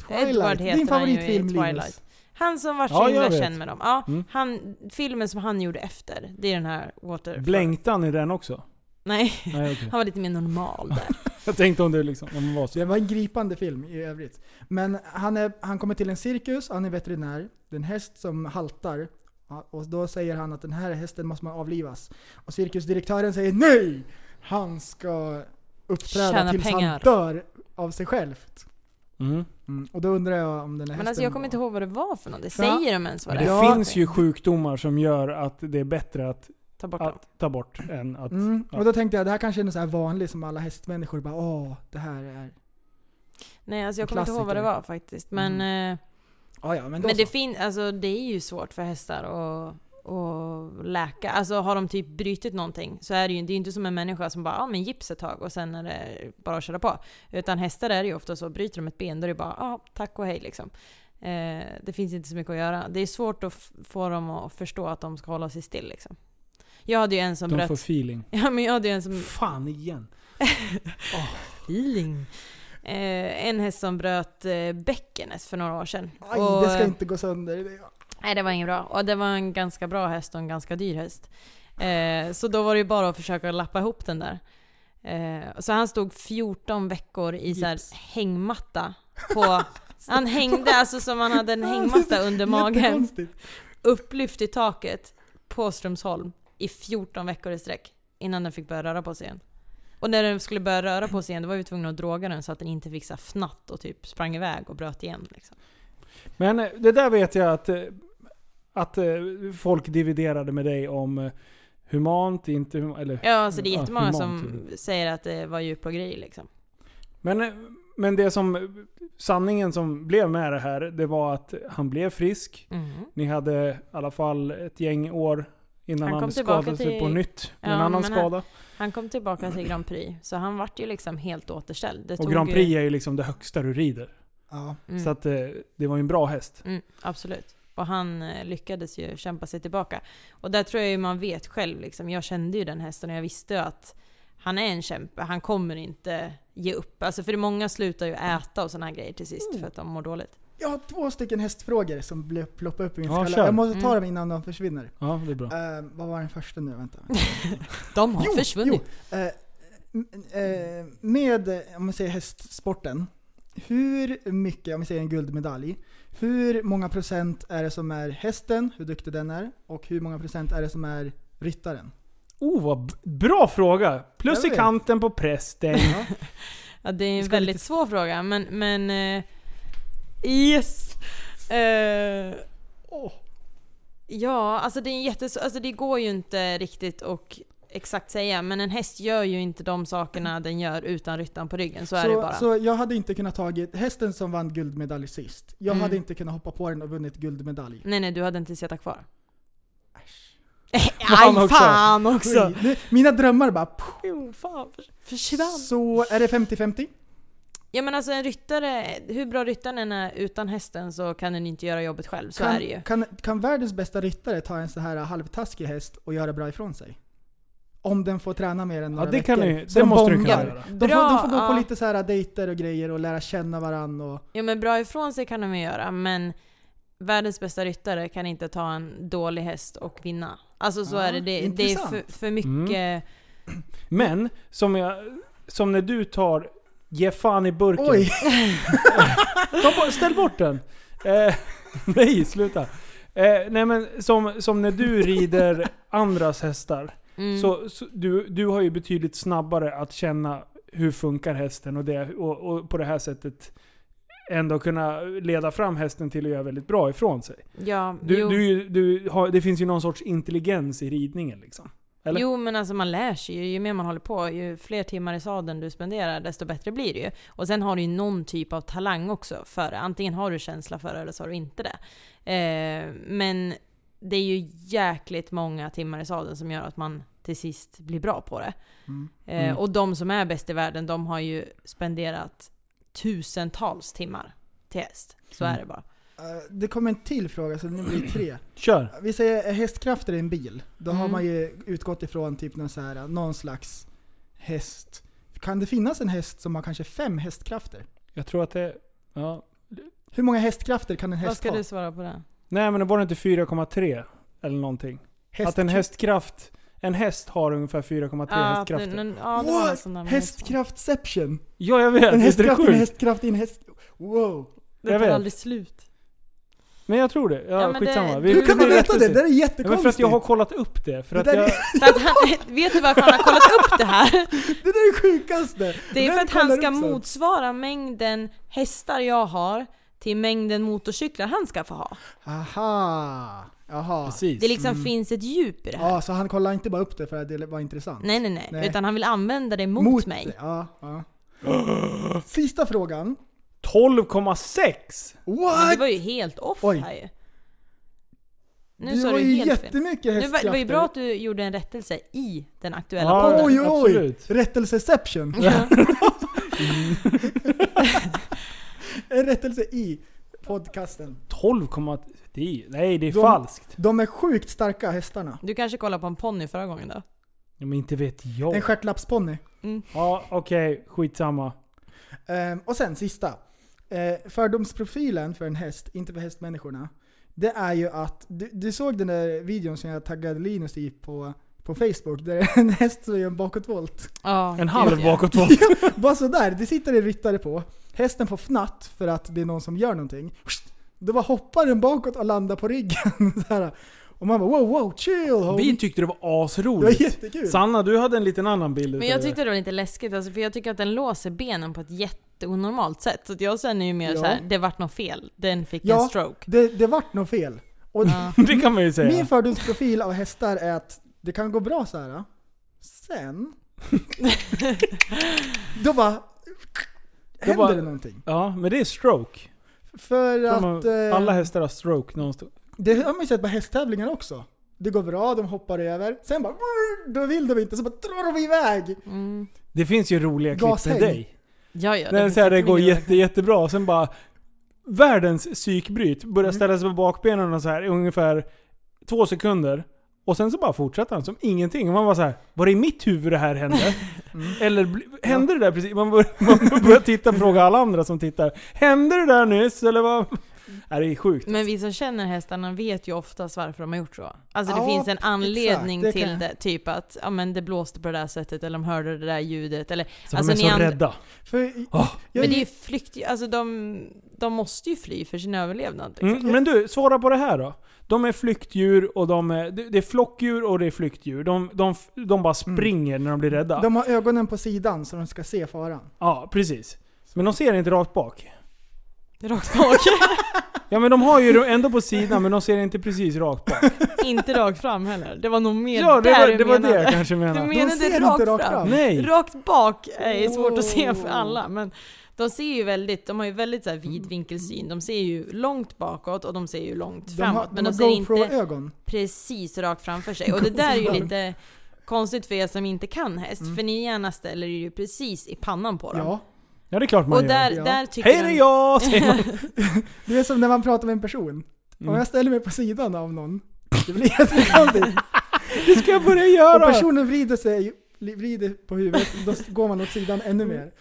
[SPEAKER 6] Edward
[SPEAKER 5] Twilight,
[SPEAKER 6] heter
[SPEAKER 5] din
[SPEAKER 6] han ju i
[SPEAKER 5] favoritfilm Linus.
[SPEAKER 6] Twilight. Han som var så
[SPEAKER 4] Ja, jag
[SPEAKER 6] himla
[SPEAKER 4] vet.
[SPEAKER 6] känd med dem. Ja,
[SPEAKER 4] Mm.
[SPEAKER 6] han, filmen som han gjorde efter, det är den här Water...
[SPEAKER 4] Blänkte han i den också?
[SPEAKER 6] Nej,
[SPEAKER 4] Nej, okej.
[SPEAKER 6] han var lite mer normal där.
[SPEAKER 4] Jag tänkte om det liksom, om det var så.
[SPEAKER 5] Det var en gripande film i övrigt. Men han, är, han kommer till en cirkus, han är veterinär. Det är en häst som haltar. Ja, Och då säger han att den här hästen måste man avlivas. Och cirkusdirektören säger NEJ! Han ska uppträda
[SPEAKER 6] Tjäna
[SPEAKER 5] tills
[SPEAKER 6] pengar.
[SPEAKER 5] han dör av sig själv.
[SPEAKER 4] Mhm.
[SPEAKER 5] Mm. Och då undrar jag om den här
[SPEAKER 6] Men
[SPEAKER 5] hästen
[SPEAKER 6] alltså jag kommer inte
[SPEAKER 5] var-
[SPEAKER 6] ihåg vad det var för någonting.
[SPEAKER 5] Ja.
[SPEAKER 6] Säger de ens vad
[SPEAKER 4] Men
[SPEAKER 6] det
[SPEAKER 4] det
[SPEAKER 6] är?
[SPEAKER 5] Ja.
[SPEAKER 4] finns ju sjukdomar som gör att det är bättre att,
[SPEAKER 6] Ta bort dem.
[SPEAKER 4] att ta bort än att...
[SPEAKER 5] Mm.
[SPEAKER 4] Ja.
[SPEAKER 5] Och då tänkte jag det här kanske är något så här vanligt som alla hästmänniskor bara åh, det här är...
[SPEAKER 6] Nej, alltså jag kommer inte ihåg vad det
[SPEAKER 5] Klassiker.
[SPEAKER 6] var faktiskt. Men, eh,
[SPEAKER 5] Ah, ja, men då
[SPEAKER 6] men det,
[SPEAKER 5] så.
[SPEAKER 6] fin- alltså, det är ju svårt för hästar att, att läka. Alltså har de typ brutit någonting så är det ju det är ju inte som en människa som bara ja ah, men gips ett tag och sen är det bara att köra på. Utan hästar är det ju ofta så, bryter de ett ben då är det bara ja ah, tack och hej liksom. Eh, det finns inte så mycket att göra. Det är svårt att f- få dem att förstå att de ska hålla sig still liksom. Jag hade ju en som
[SPEAKER 4] De
[SPEAKER 6] bröt...
[SPEAKER 4] får feeling.
[SPEAKER 6] *laughs* Ja men jag hade ju en som
[SPEAKER 4] Fan igen.
[SPEAKER 6] feeling. Eh, en häst som bröt eh, bäckenet för några år sedan.
[SPEAKER 5] Aj,
[SPEAKER 6] Och,
[SPEAKER 5] det ska
[SPEAKER 6] eh,
[SPEAKER 5] inte gå sönder. Det-
[SPEAKER 6] Nej det var inget bra. Och det var en ganska bra häst och en ganska dyr häst. Eh, så då var det ju bara att försöka lappa ihop den där. Eh, så han stod 14 veckor i så här
[SPEAKER 5] Gips.
[SPEAKER 6] hängmatta.
[SPEAKER 5] *laughs*
[SPEAKER 6] På, han hängde alltså som han hade en hängmatta under *laughs* magen.
[SPEAKER 5] Jättekonstigt.
[SPEAKER 6] Upplyft i taket på Strömsholm i 14 veckor i sträck. Innan den fick börja röra på sig igen. Och när den skulle börja röra på sig igen då var vi tvungna att droga den så att den inte fick så här fnatt och typ sprang iväg och bröt igen. Liksom.
[SPEAKER 4] Men eh, det där vet jag att, eh, att eh, folk dividerade med dig om eh, humant, inte humant, eller
[SPEAKER 6] Ja, alltså det är
[SPEAKER 4] Ja,
[SPEAKER 6] jättemånga
[SPEAKER 4] humant,
[SPEAKER 6] som säger att det var djurplågeri liksom.
[SPEAKER 4] Men, eh, men det som, sanningen som blev med det här, det var att han blev frisk. Ni hade i alla fall ett gäng år innan
[SPEAKER 6] Han
[SPEAKER 4] han,
[SPEAKER 6] kom tillbaka
[SPEAKER 4] skadade sig
[SPEAKER 6] till-
[SPEAKER 4] på nytt. Med en
[SPEAKER 6] Ja,
[SPEAKER 4] annan
[SPEAKER 6] men här-
[SPEAKER 4] skada.
[SPEAKER 6] Han kom tillbaka till Grand Prix, så han vart ju liksom helt återställd. Det
[SPEAKER 4] Och
[SPEAKER 6] tog
[SPEAKER 4] Grand
[SPEAKER 6] ju-
[SPEAKER 4] Prix är ju liksom det högsta du rider.
[SPEAKER 5] Ja.
[SPEAKER 6] Mm.
[SPEAKER 4] Så att eh, det var ju en bra häst.
[SPEAKER 5] typ.
[SPEAKER 6] Mm, absolut. Och han eh, lyckades ju kämpa sig tillbaka. Och där tror jag ju man vet själv liksom. Jag kände ju den hästen och jag visste ju att han är en kämpe. Han kommer inte ge upp. Alltså för många slutar ju äta och sådana här grejer till
[SPEAKER 5] Oh.
[SPEAKER 6] sist för att de mår dåligt.
[SPEAKER 5] Jag har två stycken hästfrågor som blev- ploppar upp i min
[SPEAKER 4] Ja,
[SPEAKER 5] skalle.
[SPEAKER 4] kör.
[SPEAKER 5] Jag måste ta
[SPEAKER 6] Mm.
[SPEAKER 5] dem innan de försvinner.
[SPEAKER 4] Ja, det är bra.
[SPEAKER 5] Eh, vad var den första nu?
[SPEAKER 6] *laughs*
[SPEAKER 5] Vänta.
[SPEAKER 6] De har försvunnit.
[SPEAKER 5] Jo, eh, m- eh, med, eh, om man säger hästsporten. Hur mycket, om vi säger en guldmedalj. Hur många procent är det som är hästen, hur duktig den är? Och hur många procent är det som är ryttaren?
[SPEAKER 4] Oh, vad b- bra fråga! Plus
[SPEAKER 5] Jag
[SPEAKER 4] i
[SPEAKER 5] vet.
[SPEAKER 4] kanten på *laughs* prästen.
[SPEAKER 6] Ja, det är en
[SPEAKER 5] ska
[SPEAKER 6] väldigt
[SPEAKER 5] lite-
[SPEAKER 6] svår fråga, men... men eh, yes! Eh, åh. Ja, alltså det, är jättes- alltså det går ju inte riktigt att exakt säga, men en häst gör ju inte de sakerna den gör utan ryttaren på ryggen. Så, är det ju bara.
[SPEAKER 5] så jag hade inte kunnat tagit hästen som vann guldmedalj sist. Jag
[SPEAKER 6] Mm.
[SPEAKER 5] hade inte kunnat hoppa på den och vunnit guldmedalj.
[SPEAKER 6] Nej, nej, du hade inte suttit kvar.
[SPEAKER 4] Fan
[SPEAKER 6] Aj,
[SPEAKER 4] också.
[SPEAKER 6] fan också!
[SPEAKER 5] Oj, nu- Mina drömmar bara... pff.
[SPEAKER 6] Jo, fan, för- försvann.
[SPEAKER 5] Så är det 50-50?
[SPEAKER 6] Ja men alltså en ryttare, hur bra ryttaren än är utan hästen så kan den inte göra jobbet själv, så
[SPEAKER 5] kan,
[SPEAKER 6] är det ju.
[SPEAKER 5] Kan, kan världens bästa ryttare ta en så här halvtaskig häst och göra bra ifrån sig? Om den får träna mer än
[SPEAKER 4] Ja,
[SPEAKER 5] några
[SPEAKER 4] det kan
[SPEAKER 5] veckor.
[SPEAKER 4] ni,
[SPEAKER 5] Så
[SPEAKER 4] det
[SPEAKER 5] de
[SPEAKER 4] måste du
[SPEAKER 5] bondar.
[SPEAKER 4] kunna göra.
[SPEAKER 5] De får, de får gå på
[SPEAKER 6] ja.
[SPEAKER 5] lite så här dejter och grejer och lära känna varann och...
[SPEAKER 6] Ja men bra ifrån sig kan de ju göra, men världens bästa ryttare kan inte ta en dålig häst och vinna. Alltså så
[SPEAKER 4] Ah,
[SPEAKER 5] Ja,
[SPEAKER 6] är det. Det, det är för,
[SPEAKER 5] intressant.
[SPEAKER 6] för mycket...
[SPEAKER 4] Men, som, jag, som när du tar Ge fan i burken.
[SPEAKER 5] Oj!
[SPEAKER 4] *laughs* Ta bort, ställ bort den! Eh, *laughs* nej, sluta. Eh, nej men som, som när du rider andras hästar.
[SPEAKER 6] Mm.
[SPEAKER 4] Så, så du, du har ju betydligt snabbare att känna hur funkar hästen och, det, och, och på det här sättet ändå kunna leda fram hästen till att göra väldigt bra ifrån sig.
[SPEAKER 6] Ja,
[SPEAKER 4] Du,
[SPEAKER 6] jo.
[SPEAKER 4] du, du har, det finns ju någon sorts intelligens i ridningen liksom. eller?
[SPEAKER 6] Jo men alltså man lär sig ju, ju mer man håller på, ju fler timmar i sadeln du spenderar desto bättre blir det ju. Och sen har du ju någon typ av talang också för det. Antingen har du känsla för det eller så har du inte det. Eh, men det är ju jäkligt många timmar i sadeln som gör att man till sist blir bra på det.
[SPEAKER 5] Mm.
[SPEAKER 6] Eh,
[SPEAKER 4] Mm.
[SPEAKER 6] Och de som är bäst i världen de har ju spenderat tusentals timmar till häst. Så
[SPEAKER 4] Mm.
[SPEAKER 6] är det bara.
[SPEAKER 5] Eh, Det kommer en till fråga så nu blir det tre.
[SPEAKER 4] Kör!
[SPEAKER 5] Vi säger eh, hästkrafter i en bil. Då har
[SPEAKER 6] Mm.
[SPEAKER 5] man ju utgått ifrån typ någon, så här, någon slags häst. Kan det finnas en häst som har kanske fem hästkrafter?
[SPEAKER 4] Jag tror att det... Ja.
[SPEAKER 5] Hur många hästkrafter kan en
[SPEAKER 6] Vad
[SPEAKER 5] häst
[SPEAKER 6] ska
[SPEAKER 5] ha?
[SPEAKER 6] du svara på det?
[SPEAKER 4] Nej men var det inte 4,3 eller någonting?
[SPEAKER 5] Häst-
[SPEAKER 4] Att en hästkraft... En häst har ungefär 4,3
[SPEAKER 6] Ja, Ah, att
[SPEAKER 4] hästkrafter.
[SPEAKER 6] det- n- ja, det var något sånt där
[SPEAKER 5] What?
[SPEAKER 6] med häst.
[SPEAKER 5] Hästkraftception!
[SPEAKER 4] Ja jag vet!
[SPEAKER 5] En
[SPEAKER 4] Visst är det
[SPEAKER 5] hästkraft i en
[SPEAKER 4] sjukt?
[SPEAKER 5] hästkraft i en häst... Wow!
[SPEAKER 6] Det
[SPEAKER 4] Jag
[SPEAKER 6] tar
[SPEAKER 4] vet.
[SPEAKER 6] aldrig slut.
[SPEAKER 4] Men jag tror det. Ja,
[SPEAKER 6] Ja, men det-
[SPEAKER 4] skitsamma.
[SPEAKER 6] Hur
[SPEAKER 5] Hur kan man
[SPEAKER 4] vi
[SPEAKER 5] veta det?
[SPEAKER 4] rättar
[SPEAKER 5] Det där
[SPEAKER 4] Ja, men
[SPEAKER 5] är
[SPEAKER 4] för att
[SPEAKER 5] jättekonstigt!
[SPEAKER 4] jag har kollat upp det. För
[SPEAKER 5] Det
[SPEAKER 4] att
[SPEAKER 5] där är-
[SPEAKER 4] jag,
[SPEAKER 6] För att han, *laughs* vet du varför han har kollat upp det här?
[SPEAKER 5] *laughs* Det där är det sjukaste!
[SPEAKER 6] Det är för
[SPEAKER 5] Vem
[SPEAKER 6] att han
[SPEAKER 5] kollar
[SPEAKER 6] ska
[SPEAKER 5] upp sånt?
[SPEAKER 6] motsvara mängden hästar jag har till mängden motorcyklar han ska få ha.
[SPEAKER 5] Aha! Jaha.
[SPEAKER 4] precis.
[SPEAKER 6] Det liksom finns ett djup i det här.
[SPEAKER 5] Mm. Ja, så han kollar inte bara upp det för att det var intressant?
[SPEAKER 6] Nej, nej, nej
[SPEAKER 5] Nej.
[SPEAKER 6] Utan han vill använda det mot, mig.
[SPEAKER 5] Ja,
[SPEAKER 4] *gasps*
[SPEAKER 5] ja. Sista frågan.
[SPEAKER 4] 12,6!
[SPEAKER 6] Men det
[SPEAKER 5] What?
[SPEAKER 6] var ju helt off
[SPEAKER 5] Oj.
[SPEAKER 6] här ju. Nu
[SPEAKER 5] Det
[SPEAKER 6] sa
[SPEAKER 5] var
[SPEAKER 6] du
[SPEAKER 5] ju
[SPEAKER 6] helt fel.
[SPEAKER 5] jättemycket
[SPEAKER 6] Nu var,
[SPEAKER 5] hästkrafter.
[SPEAKER 6] det var ju bra att du gjorde en rättelse i den aktuella
[SPEAKER 4] Ja,
[SPEAKER 6] podden.
[SPEAKER 5] Oj, oj, oj!
[SPEAKER 4] Absolut.
[SPEAKER 5] *laughs* Rättelseception.
[SPEAKER 6] Ja.
[SPEAKER 5] En Eh, rättelse i podcasten.
[SPEAKER 4] 12, komma- det är, nej det är
[SPEAKER 5] De-
[SPEAKER 4] falskt.
[SPEAKER 5] De är sjukt starka hästarna.
[SPEAKER 6] *laughs* Du kanske kollade på en ponny förra gången då?
[SPEAKER 4] Ja, men inte vet jag.
[SPEAKER 5] En stjärtlappsponny.
[SPEAKER 4] Ja okej, skitsamma.
[SPEAKER 5] Ehm, och sen sista. Eh, fördomsprofilen för en häst, inte för hästmänniskorna. Det är ju att, du, du såg den där videon som jag taggade Linus i på, på Facebook. Där det är en *laughs* häst som gör en bakåtvolt.
[SPEAKER 6] Ja,
[SPEAKER 4] En
[SPEAKER 6] gud,
[SPEAKER 4] halv
[SPEAKER 6] ja.
[SPEAKER 4] bakåtvolt.
[SPEAKER 5] Bara sådär, det sitter en ryttare på. Hästen får fnatt för att det är någon som gör någonting. Då bara hoppar den bakåt och landar på ryggen. *laughs* Så här. Och man bara wow wow chill
[SPEAKER 4] Vi
[SPEAKER 5] homie.
[SPEAKER 4] tyckte det var
[SPEAKER 5] Det var
[SPEAKER 4] asroligt.
[SPEAKER 5] jättekul.
[SPEAKER 4] Sanna, du hade en liten annan bild
[SPEAKER 6] Men
[SPEAKER 4] utav
[SPEAKER 6] jag
[SPEAKER 4] det.
[SPEAKER 6] tyckte det var lite läskigt, alltså, för jag tycker att den låser benen på ett jätteonormalt sätt. Så att jag känner ju mer
[SPEAKER 5] Ja.
[SPEAKER 6] så såhär, det vart något fel. Den fick en
[SPEAKER 5] Ja.
[SPEAKER 6] stroke.
[SPEAKER 5] Det, det vart nog fel. Och
[SPEAKER 6] Ja.
[SPEAKER 4] *laughs* Det kan man ju säga.
[SPEAKER 5] Min fördomsprofil av hästar är att det kan gå bra så här. Sen... då bara... Händer
[SPEAKER 4] bara-
[SPEAKER 5] det någonting?
[SPEAKER 4] Ja, men det är stroke.
[SPEAKER 5] För
[SPEAKER 4] Tror
[SPEAKER 5] att...
[SPEAKER 4] man-
[SPEAKER 5] eh,
[SPEAKER 4] Alla hästar har stroke någonstans.
[SPEAKER 5] Det har man ju sett på hästtävlingar också. Det går bra, de hoppar över. Sen bara... Då vill de inte, så bara drar de iväg.
[SPEAKER 6] Mm.
[SPEAKER 4] Det finns ju roliga klipp med
[SPEAKER 5] Gashäng.
[SPEAKER 4] dig.
[SPEAKER 6] Ja, ja,
[SPEAKER 4] När den
[SPEAKER 6] finns
[SPEAKER 4] säger det
[SPEAKER 6] jättemycket
[SPEAKER 4] går
[SPEAKER 6] roliga-
[SPEAKER 4] jätte, jättebra och sen bara världens psykbryt. Börjar
[SPEAKER 6] Mm.
[SPEAKER 4] ställa sig på bakbenen och så här i ungefär två sekunder. Och sen så bara fortsätter han som ingenting. Och man bara så här, var det i mitt huvud det här hände?
[SPEAKER 6] *laughs* Mm.
[SPEAKER 4] *laughs* Eller bli- hände det där precis? Man börjar, *laughs* man börjar titta och fråga alla andra som tittar. Hände det där nyss? Eller vad? *laughs* Nej, det är sjukt.
[SPEAKER 6] Men vi som känner hästarna vet ju oftast varför de har gjort så. Alltså det
[SPEAKER 5] Ja,
[SPEAKER 6] finns en anledning
[SPEAKER 5] exakt. Det
[SPEAKER 6] till
[SPEAKER 5] kan-
[SPEAKER 6] det. Typ att ja, men det blåste på det där sättet, eller de hörde det där ljudet. Eller,
[SPEAKER 4] Så de
[SPEAKER 6] alltså,
[SPEAKER 4] är
[SPEAKER 6] ni
[SPEAKER 4] så
[SPEAKER 6] and-
[SPEAKER 4] rädda.
[SPEAKER 5] För
[SPEAKER 4] Åh.
[SPEAKER 5] jag,
[SPEAKER 6] men det är ju flykt, alltså de, de måste ju fly för sin överlevnad. Liksom.
[SPEAKER 4] Mm, men du, svara på det här då. De är flyktdjur och de är, det det är flockdjur och det är flyktdjur. De, de, de bara
[SPEAKER 6] Mm.
[SPEAKER 4] springer när de blir rädda.
[SPEAKER 5] de har ögonen på sidan så de ska se faran.
[SPEAKER 4] Ja, precis. Men de ser inte rakt bak.
[SPEAKER 6] Rakt bak,
[SPEAKER 4] Ja men de har ju det ändå på sidan men de ser inte precis rakt bak.
[SPEAKER 6] *laughs* inte rakt fram heller. Det var nog mer
[SPEAKER 4] Ja det
[SPEAKER 6] där
[SPEAKER 4] var
[SPEAKER 6] du
[SPEAKER 4] det, var det
[SPEAKER 6] menade.
[SPEAKER 4] jag kanske menade.
[SPEAKER 6] Du
[SPEAKER 5] De
[SPEAKER 6] menade
[SPEAKER 5] ser
[SPEAKER 6] rakt
[SPEAKER 5] inte rakt
[SPEAKER 6] fram.
[SPEAKER 5] fram.
[SPEAKER 4] Nej!
[SPEAKER 6] Rakt bak är svårt att se för
[SPEAKER 5] Oh.
[SPEAKER 6] alla, men de ser ju väldigt, de har ju väldigt så här vid vinkelsyn. De ser ju långt bakåt och de ser ju långt
[SPEAKER 5] De
[SPEAKER 6] framåt,
[SPEAKER 5] har, de
[SPEAKER 6] men
[SPEAKER 5] har
[SPEAKER 6] de ser inte
[SPEAKER 5] GoPro-ögon.
[SPEAKER 6] precis rakt framför sig. Och det där är ju lite konstigt för er som inte kan häst, för ni gärna ställer er ju precis i pannan på dem.
[SPEAKER 5] Ja.
[SPEAKER 4] Ja det är klart man
[SPEAKER 6] och
[SPEAKER 4] gör.
[SPEAKER 6] där,
[SPEAKER 5] ja.
[SPEAKER 6] där tycker
[SPEAKER 4] Hej det är
[SPEAKER 6] *laughs* de-
[SPEAKER 4] jag! säger man.
[SPEAKER 5] Det är som när man pratar med en person.
[SPEAKER 4] Mm.
[SPEAKER 5] Om jag ställer mig på sidan av någon, det
[SPEAKER 4] *laughs*
[SPEAKER 5] blir *laughs* jättekonstigt.
[SPEAKER 4] Det ska jag börja
[SPEAKER 5] Om
[SPEAKER 4] göra!
[SPEAKER 5] personen vrider sig vrider på huvudet, då går man åt sidan ännu
[SPEAKER 4] Mm.
[SPEAKER 5] mer.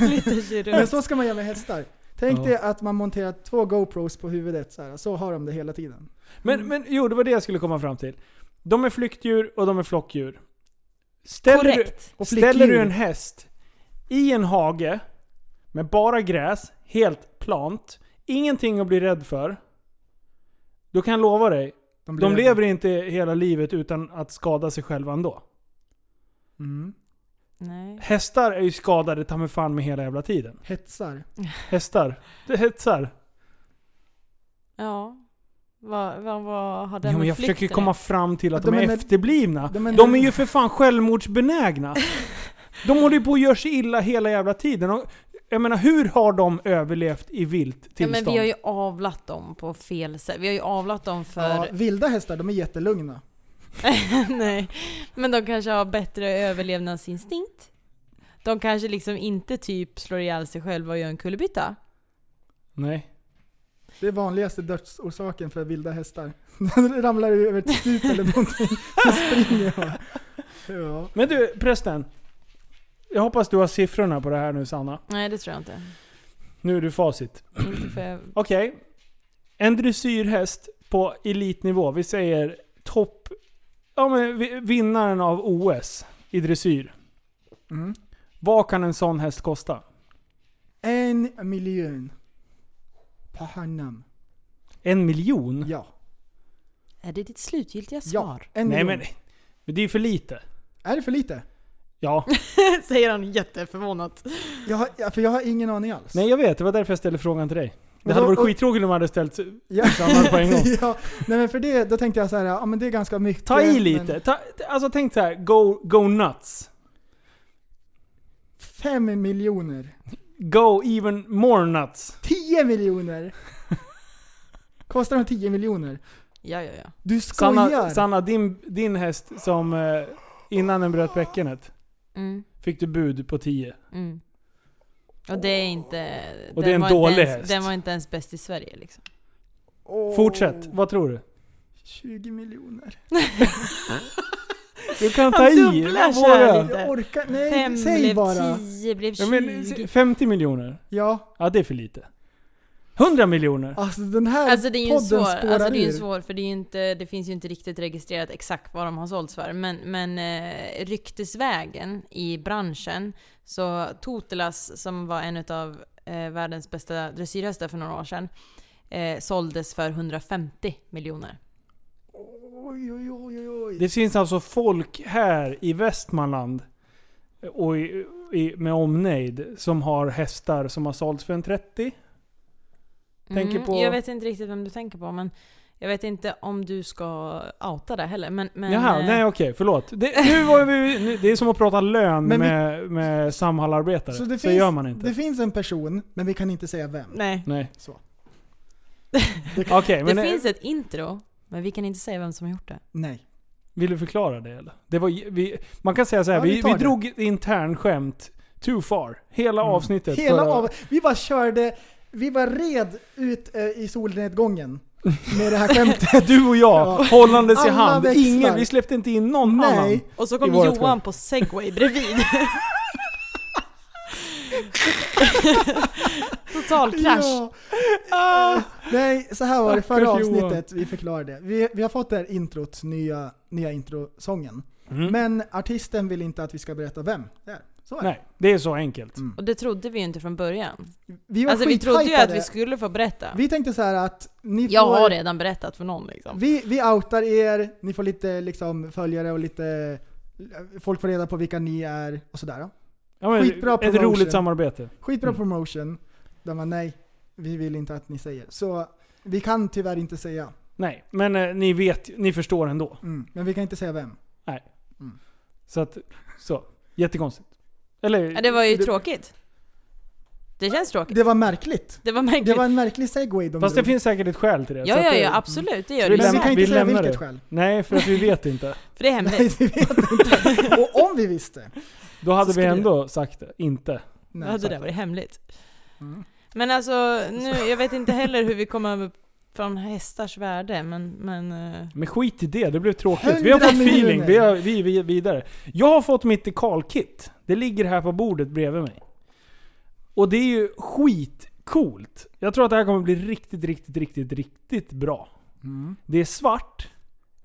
[SPEAKER 6] lite kirurg.
[SPEAKER 5] Men så ska man göra med hästar. Tänk
[SPEAKER 4] Ja.
[SPEAKER 5] dig att man monterar två GoPros på huvudet så här. Så har de det hela tiden.
[SPEAKER 4] Men, men jo det var det jag skulle komma fram till. De är flyktdjur och de är flockdjur. Ställer du,
[SPEAKER 6] Korrekt.
[SPEAKER 5] Och
[SPEAKER 4] ställer du
[SPEAKER 5] flickdjur.
[SPEAKER 4] en häst i en hage med bara gräs, helt plant, ingenting att bli rädd för. Då kan jag lova dig, De lever inte hela livet utan att skada sig själva ändå.
[SPEAKER 5] Mm.
[SPEAKER 6] Nej.
[SPEAKER 4] Hästar är ju skadade ta mig fan med hela jävla tiden.
[SPEAKER 5] Hetsar.
[SPEAKER 4] Hästar. Det hetsar.
[SPEAKER 6] Ja. Vad, vad, vad har den
[SPEAKER 4] Ja, men
[SPEAKER 6] med
[SPEAKER 4] jag
[SPEAKER 6] flykt
[SPEAKER 4] försöker ju
[SPEAKER 6] att
[SPEAKER 4] komma
[SPEAKER 6] göra?
[SPEAKER 4] fram till att
[SPEAKER 5] De
[SPEAKER 4] de,
[SPEAKER 5] är
[SPEAKER 4] är
[SPEAKER 5] med-
[SPEAKER 4] efterblivna.
[SPEAKER 5] de är med-
[SPEAKER 4] De är ju för fan självmordsbenägna. De håller ju på att göra sig illa hela jävla tiden. Och jag menar, hur har de överlevt i vilt
[SPEAKER 6] Ja,
[SPEAKER 4] tillstånd?
[SPEAKER 6] men vi har ju avlat dem på fel sätt. Vi har ju avlat dem
[SPEAKER 5] Ja,
[SPEAKER 4] *laughs*
[SPEAKER 6] för...
[SPEAKER 5] vilda hästar, de är jättelugna.
[SPEAKER 6] Nej. Men de kanske har bättre överlevnadsinstinkt. De kanske liksom inte typ slår ihjäl sig själva och gör en kullerbytta.
[SPEAKER 4] Nej.
[SPEAKER 5] Det är vanligaste dödsorsaken för vilda hästar. *laughs* De ramlar ju över ett stup eller någonting. *laughs* De springer bara. Ja.
[SPEAKER 4] Men du prästen. Jag hoppas du har siffrorna på det här nu Sanna.
[SPEAKER 6] Nej, det tror jag *clears throat* inte.
[SPEAKER 4] Nu är du facit.
[SPEAKER 6] inte för jag...
[SPEAKER 4] Okej. En dressyrhäst på elitnivå. Vi säger topp... Ja men vi- vinnaren av OS i dressyr.
[SPEAKER 5] Mm.
[SPEAKER 4] Vad kan en sån häst kosta?
[SPEAKER 5] En miljon. Pahanam.
[SPEAKER 4] En miljon?
[SPEAKER 5] Ja.
[SPEAKER 6] Är det ditt slutgiltiga
[SPEAKER 5] Ja.
[SPEAKER 6] svar?
[SPEAKER 5] En
[SPEAKER 4] Nej
[SPEAKER 5] miljon.
[SPEAKER 4] men, men det är ju för lite.
[SPEAKER 5] Är det för lite? *laughs*
[SPEAKER 4] Ja.
[SPEAKER 6] *laughs* Säger han jätteförvånat.
[SPEAKER 5] Jag har, ja, för jag har ingen aning alls.
[SPEAKER 4] Nej jag vet, det var därför jag ställde frågan till dig. Det
[SPEAKER 5] Men
[SPEAKER 4] hade
[SPEAKER 5] då-
[SPEAKER 4] varit
[SPEAKER 5] och-
[SPEAKER 4] skittråkigt om jag hade ställt
[SPEAKER 5] Ja.
[SPEAKER 4] samma på en gång.
[SPEAKER 5] *laughs* ja, nej men för det, då tänkte jag så här, ja men det är ganska mycket.
[SPEAKER 4] Ta i
[SPEAKER 5] men
[SPEAKER 4] lite. Ta, alltså tänk så här, go, go nuts.
[SPEAKER 5] Fem miljoner.
[SPEAKER 4] Go even more nuts.
[SPEAKER 5] Tio miljoner! Kostar de tio miljoner?
[SPEAKER 6] Ja, ja, ja.
[SPEAKER 5] Du
[SPEAKER 4] Sanna,
[SPEAKER 5] skojar!
[SPEAKER 4] Sanna din, din häst som eh, innan den bröt bäckenet
[SPEAKER 6] Mm,
[SPEAKER 4] fick du bud på 10.
[SPEAKER 6] mm. Och det är inte...
[SPEAKER 4] Och
[SPEAKER 6] den
[SPEAKER 4] det är en
[SPEAKER 6] var inte
[SPEAKER 4] dålig
[SPEAKER 6] ens,
[SPEAKER 4] häst.
[SPEAKER 6] Den var inte ens bäst i Sverige liksom.
[SPEAKER 5] Åh,
[SPEAKER 4] Fortsätt, vad tror du?
[SPEAKER 5] 20 miljoner.
[SPEAKER 4] Du kan ta
[SPEAKER 6] Han
[SPEAKER 4] i.
[SPEAKER 6] dubblar
[SPEAKER 4] vad var
[SPEAKER 6] sig
[SPEAKER 4] det?
[SPEAKER 6] lite.
[SPEAKER 5] Jag orkar Nej,
[SPEAKER 6] Fem
[SPEAKER 5] säg
[SPEAKER 6] blev
[SPEAKER 5] bara.
[SPEAKER 6] tio, blev
[SPEAKER 4] Ja, men,
[SPEAKER 6] tjugo.
[SPEAKER 4] 50 miljoner?
[SPEAKER 5] Ja,
[SPEAKER 4] Ja, det är för lite. 100 miljoner?
[SPEAKER 5] alltså den här
[SPEAKER 6] Alltså det är ju en
[SPEAKER 5] podden
[SPEAKER 6] svår,
[SPEAKER 5] spårar
[SPEAKER 6] alltså det är ju
[SPEAKER 5] ur.
[SPEAKER 6] en svår för det, är ju inte, det finns ju inte riktigt registrerat exakt vad de har sålts för. Men, men eh, ryktesvägen i branschen, så Totelas som var en av eh, världens bästa dressyrhästar för några år sedan, eh, såldes för 150 miljoner.
[SPEAKER 5] Oj, oj, oj, oj.
[SPEAKER 4] Det finns alltså folk här i Västmanland och i, i, med omnejd som har hästar som har sålts för en 30. Tänker på-
[SPEAKER 6] Mm. Jag vet inte riktigt vem du tänker på, men jag vet inte om du ska outa det heller. Men, men,
[SPEAKER 4] Jaha,
[SPEAKER 6] eh,
[SPEAKER 4] nej okej, förlåt. Det, nu var vi, nu, det är som att prata lön
[SPEAKER 5] Men vi-
[SPEAKER 4] med, med Samhallarbetare.
[SPEAKER 5] Så
[SPEAKER 4] Så
[SPEAKER 5] det
[SPEAKER 4] det
[SPEAKER 5] finns-
[SPEAKER 4] gör man inte.
[SPEAKER 5] Det finns en person, men vi kan inte säga vem.
[SPEAKER 6] nej.
[SPEAKER 4] nej.
[SPEAKER 5] Så.
[SPEAKER 4] Okej, men
[SPEAKER 6] det
[SPEAKER 4] eh,
[SPEAKER 6] finns ett intro, men vi kan inte säga vem som har gjort det.
[SPEAKER 5] Nej.
[SPEAKER 4] vill du förklara det eller? Det var, vi, man kan säga så här,
[SPEAKER 5] Ja, vi
[SPEAKER 4] vi,
[SPEAKER 5] tar
[SPEAKER 4] vi
[SPEAKER 5] det. Mm.
[SPEAKER 4] drog ett intern skämt too far. Hela avsnittet.
[SPEAKER 5] Hela
[SPEAKER 4] förra-
[SPEAKER 5] av, vi bara körde, vi bara red ut eh, i solnedgången
[SPEAKER 4] *laughs*
[SPEAKER 5] med det här skämtet.
[SPEAKER 4] Du och jag,
[SPEAKER 5] Ja.
[SPEAKER 4] hållandes i
[SPEAKER 5] Alla
[SPEAKER 4] hand.
[SPEAKER 5] växlar.
[SPEAKER 4] Ingen, vi släppte inte in någon annan.
[SPEAKER 5] Nej.
[SPEAKER 6] Och så
[SPEAKER 4] I
[SPEAKER 6] kom
[SPEAKER 4] vårat
[SPEAKER 6] Johan på segway bredvid.
[SPEAKER 5] *laughs*
[SPEAKER 6] Total krasch.
[SPEAKER 5] Ja. Ah. Nej, så här var det förra
[SPEAKER 4] Stackars Johan.
[SPEAKER 5] avsnittet. Vi förklarade det. Vi, vi har fått det här introt, nya, nya introsången.
[SPEAKER 4] Mm.
[SPEAKER 5] Men artisten vill inte att vi ska berätta vem det är. Så är det.
[SPEAKER 4] Nej, det är så enkelt.
[SPEAKER 5] Mm.
[SPEAKER 6] Och det trodde vi ju inte från början.
[SPEAKER 5] Vi var
[SPEAKER 6] Alltså vi trodde ju att vi
[SPEAKER 5] skithypade.
[SPEAKER 6] skulle få berätta.
[SPEAKER 5] Vi tänkte så här att ni
[SPEAKER 6] Jag
[SPEAKER 5] får...
[SPEAKER 6] har redan berättat för någon liksom.
[SPEAKER 5] Vi, vi outar er, ni får lite liksom, följare och lite... Folk får reda på vilka ni är och sådär.
[SPEAKER 4] Ja, men,
[SPEAKER 5] Skitbra
[SPEAKER 4] ett
[SPEAKER 5] promotion.
[SPEAKER 4] roligt samarbete.
[SPEAKER 5] Skitbra
[SPEAKER 4] Mm.
[SPEAKER 5] promotion. Där man nej, vi vill inte att ni säger. Så vi kan tyvärr inte säga.
[SPEAKER 4] Nej, men eh, ni vet, ni förstår ändå.
[SPEAKER 5] Mm. Men vi kan inte säga vem.
[SPEAKER 4] Så att, så. Jättekonstigt. Eller,
[SPEAKER 6] Ja, det var ju
[SPEAKER 4] det-
[SPEAKER 6] tråkigt. Det känns tråkigt.
[SPEAKER 5] Det var märkligt.
[SPEAKER 6] Det var
[SPEAKER 5] Det
[SPEAKER 6] märkligt.
[SPEAKER 5] var en märklig segway de
[SPEAKER 4] Fast det
[SPEAKER 5] drog.
[SPEAKER 4] finns säkert ett skäl till det.
[SPEAKER 6] Ja,
[SPEAKER 4] så att
[SPEAKER 6] ja,
[SPEAKER 4] det-
[SPEAKER 6] ja, absolut.
[SPEAKER 4] Så
[SPEAKER 6] Det gör
[SPEAKER 4] vi
[SPEAKER 5] Men vi
[SPEAKER 6] det.
[SPEAKER 4] lämnar-
[SPEAKER 5] kan inte
[SPEAKER 4] vi
[SPEAKER 5] säga
[SPEAKER 4] lämnar
[SPEAKER 5] vilket
[SPEAKER 4] det.
[SPEAKER 5] skäl.
[SPEAKER 4] Nej, för att vi vet inte.
[SPEAKER 6] För det är
[SPEAKER 5] Nej,
[SPEAKER 6] hemligt.
[SPEAKER 5] vi vet
[SPEAKER 6] *laughs*
[SPEAKER 5] inte. Och om vi visste.
[SPEAKER 4] Då hade vi
[SPEAKER 5] skulle
[SPEAKER 4] ändå sagt det. Inte.
[SPEAKER 6] Då
[SPEAKER 5] Nej,
[SPEAKER 6] hade det
[SPEAKER 5] exakt.
[SPEAKER 6] varit hemligt.
[SPEAKER 5] Mm.
[SPEAKER 6] Men alltså, nu, jag vet inte heller hur vi kom över från hästars värde, men... men eh,
[SPEAKER 4] Men skit i det, det blev tråkigt. Vi har
[SPEAKER 5] 100
[SPEAKER 4] fått feeling,
[SPEAKER 5] miljoner.
[SPEAKER 4] vi, har, vi, vi är vidare. Jag har fått mitt dekalkit. Det ligger här på bordet bredvid mig. Och det är ju skitcoolt. Jag tror att det här kommer bli riktigt, riktigt, riktigt, riktigt bra.
[SPEAKER 5] Mm.
[SPEAKER 4] Det är svart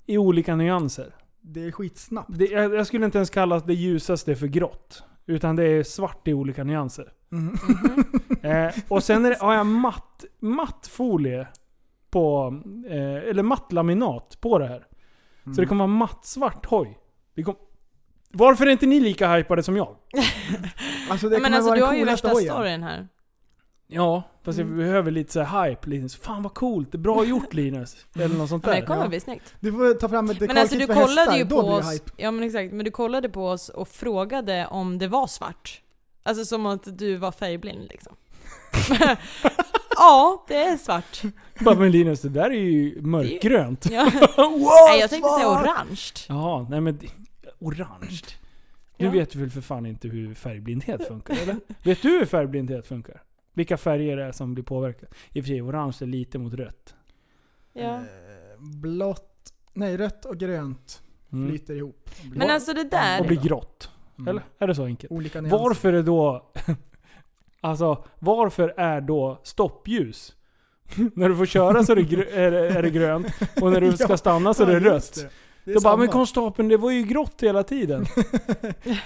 [SPEAKER 4] i olika nyanser.
[SPEAKER 5] Det är skitsnabbt.
[SPEAKER 4] Det, jag, jag skulle inte ens kalla det ljusaste för grått. Utan det är svart i olika nyanser.
[SPEAKER 5] Mm.
[SPEAKER 6] Mhm.
[SPEAKER 4] Eh, och sen är det, har jag matt, mattfolie på, eh, eller mattlaminat på det här. Så det kommer vara mattsvart hoj. Det kom, Varför är inte ni lika hypade som jag?
[SPEAKER 5] Alltså det
[SPEAKER 6] Nej,
[SPEAKER 5] kommer
[SPEAKER 6] men alltså
[SPEAKER 5] vara
[SPEAKER 6] du har
[SPEAKER 5] den
[SPEAKER 6] ju
[SPEAKER 5] coolaste
[SPEAKER 6] värsta
[SPEAKER 5] hojen.
[SPEAKER 6] storyn här.
[SPEAKER 4] Ja, fast
[SPEAKER 6] Mm.
[SPEAKER 4] jag behöver lite så här hype. Linus. Fan vad coolt, det är bra gjort Linus. Eller något sånt
[SPEAKER 6] Ja, men
[SPEAKER 4] där.
[SPEAKER 6] det kommer
[SPEAKER 4] Ja.
[SPEAKER 6] bli snyggt.
[SPEAKER 5] Du får ta fram ett
[SPEAKER 6] Men alltså
[SPEAKER 5] kalkit
[SPEAKER 6] du
[SPEAKER 5] för
[SPEAKER 6] kollade
[SPEAKER 5] hästar,
[SPEAKER 6] ju på
[SPEAKER 5] då blir det
[SPEAKER 6] oss,
[SPEAKER 5] hype.
[SPEAKER 6] ja men exakt, men du kollade på oss och frågade om det var svart. Alltså som att du var färgblind liksom. *laughs* ja, det är svart.
[SPEAKER 4] Bara, men Linus, det där är ju
[SPEAKER 6] *laughs*
[SPEAKER 4] mörkgrönt.
[SPEAKER 6] Ja. Nej jag tänkte säga orange.
[SPEAKER 4] Jaha, nej men det- orange. Du
[SPEAKER 6] Ja.
[SPEAKER 4] vet väl för fan inte hur färgblindhet funkar eller? Vet du hur färgblindhet funkar? Vilka färger det är som blir påverkade? I och för sig, orange är lite mot rött.
[SPEAKER 6] Ja.
[SPEAKER 5] Eh, Blått, nej rött och grönt
[SPEAKER 4] Mm.
[SPEAKER 5] flyter ihop. mm.
[SPEAKER 6] Men alltså det där,
[SPEAKER 4] Och blir grått. Eller? Är det så enkelt?
[SPEAKER 5] Olika nyanser.
[SPEAKER 4] Varför är då... *laughs* Alltså, varför är då stoppljus? *laughs* när du får köra så är det, grö- *laughs* är det, är det grönt och när du ska
[SPEAKER 5] *laughs* Ja,
[SPEAKER 4] stanna så är det
[SPEAKER 5] Ja,
[SPEAKER 4] rött.
[SPEAKER 5] just det. Det är
[SPEAKER 4] Då bara, men
[SPEAKER 5] samma.
[SPEAKER 4] konstapeln det var ju grått hela tiden.
[SPEAKER 5] *laughs*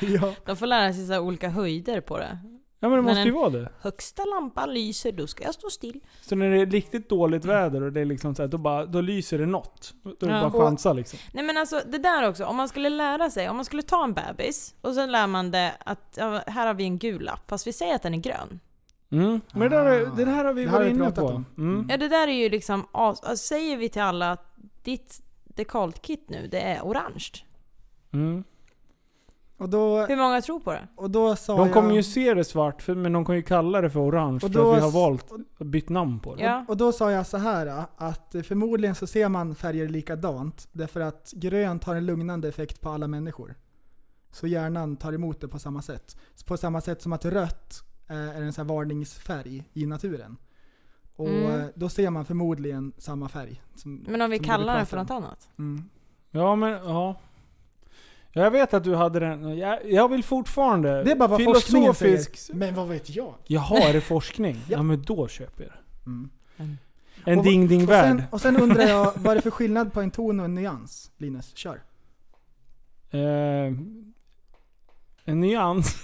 [SPEAKER 5] Ja.
[SPEAKER 6] de får lära sig så här olika höjder på det.
[SPEAKER 4] Ja men
[SPEAKER 6] *laughs*
[SPEAKER 4] det
[SPEAKER 6] Men
[SPEAKER 4] måste ju
[SPEAKER 6] en-
[SPEAKER 4] vara det.
[SPEAKER 6] Högsta lampan lyser, då ska jag stå still.
[SPEAKER 4] Så när det är riktigt dåligt väder och det är liksom så här, då, bara, då lyser det något. Då är det
[SPEAKER 6] Mm. Ja.
[SPEAKER 4] bara chansa liksom.
[SPEAKER 6] Nej men alltså det där också, om man skulle lära sig, om man skulle ta en bebis och sen lär man det att ja, här har vi en gul lapp, fast vi säger att den är grön.
[SPEAKER 4] Mm. Men det, där,
[SPEAKER 5] Ah.
[SPEAKER 4] det här har vi
[SPEAKER 5] Det här har
[SPEAKER 4] varit
[SPEAKER 5] vi
[SPEAKER 4] inne
[SPEAKER 5] pratat
[SPEAKER 4] på.
[SPEAKER 5] om.
[SPEAKER 4] Mm.
[SPEAKER 6] Ja det där är ju liksom, as- alltså, säger vi till alla att ditt dekaltkit nu, det är orange.
[SPEAKER 4] Mm.
[SPEAKER 5] Och då,
[SPEAKER 6] Hur många tror på det?
[SPEAKER 5] och då sa
[SPEAKER 4] De kommer
[SPEAKER 5] jag...
[SPEAKER 4] ju se det svart, för, men de kommer ju kalla det för orange
[SPEAKER 5] Och
[SPEAKER 4] för
[SPEAKER 5] då
[SPEAKER 4] att vi har
[SPEAKER 5] s-
[SPEAKER 4] valt och bytt namn på det.
[SPEAKER 6] Ja.
[SPEAKER 5] Och då sa jag så här äh, att förmodligen så ser man färger likadant därför att grönt har en lugnande effekt på alla människor. Så hjärnan tar emot det på samma sätt. På samma sätt som att rött eh, är en så här varningsfärg i naturen. Och
[SPEAKER 6] Mm.
[SPEAKER 5] eh, då ser man förmodligen samma färg. Som,
[SPEAKER 6] Men om vi
[SPEAKER 5] som
[SPEAKER 6] kallar
[SPEAKER 5] pratar
[SPEAKER 6] den för
[SPEAKER 5] om.
[SPEAKER 6] något annat?
[SPEAKER 5] Mm.
[SPEAKER 4] Ja, men ja. Ja, Jag vet att du hade den. Jag, jag vill fortfarande...
[SPEAKER 5] Det är bara vad forskningen säger.
[SPEAKER 4] Mm.
[SPEAKER 7] Men vad vet jag?
[SPEAKER 4] Jaha, är det *laughs* forskning? ja.
[SPEAKER 5] Ja.
[SPEAKER 4] men då köper jag det.
[SPEAKER 5] Mm.
[SPEAKER 4] En
[SPEAKER 5] Och-
[SPEAKER 4] ding ding
[SPEAKER 5] Och, sen,
[SPEAKER 4] värld.
[SPEAKER 5] och sen undrar jag,
[SPEAKER 4] *laughs*
[SPEAKER 5] vad är det för skillnad på en ton och en nyans? Linus, kör.
[SPEAKER 4] Eh, en
[SPEAKER 5] *laughs*
[SPEAKER 4] nyans.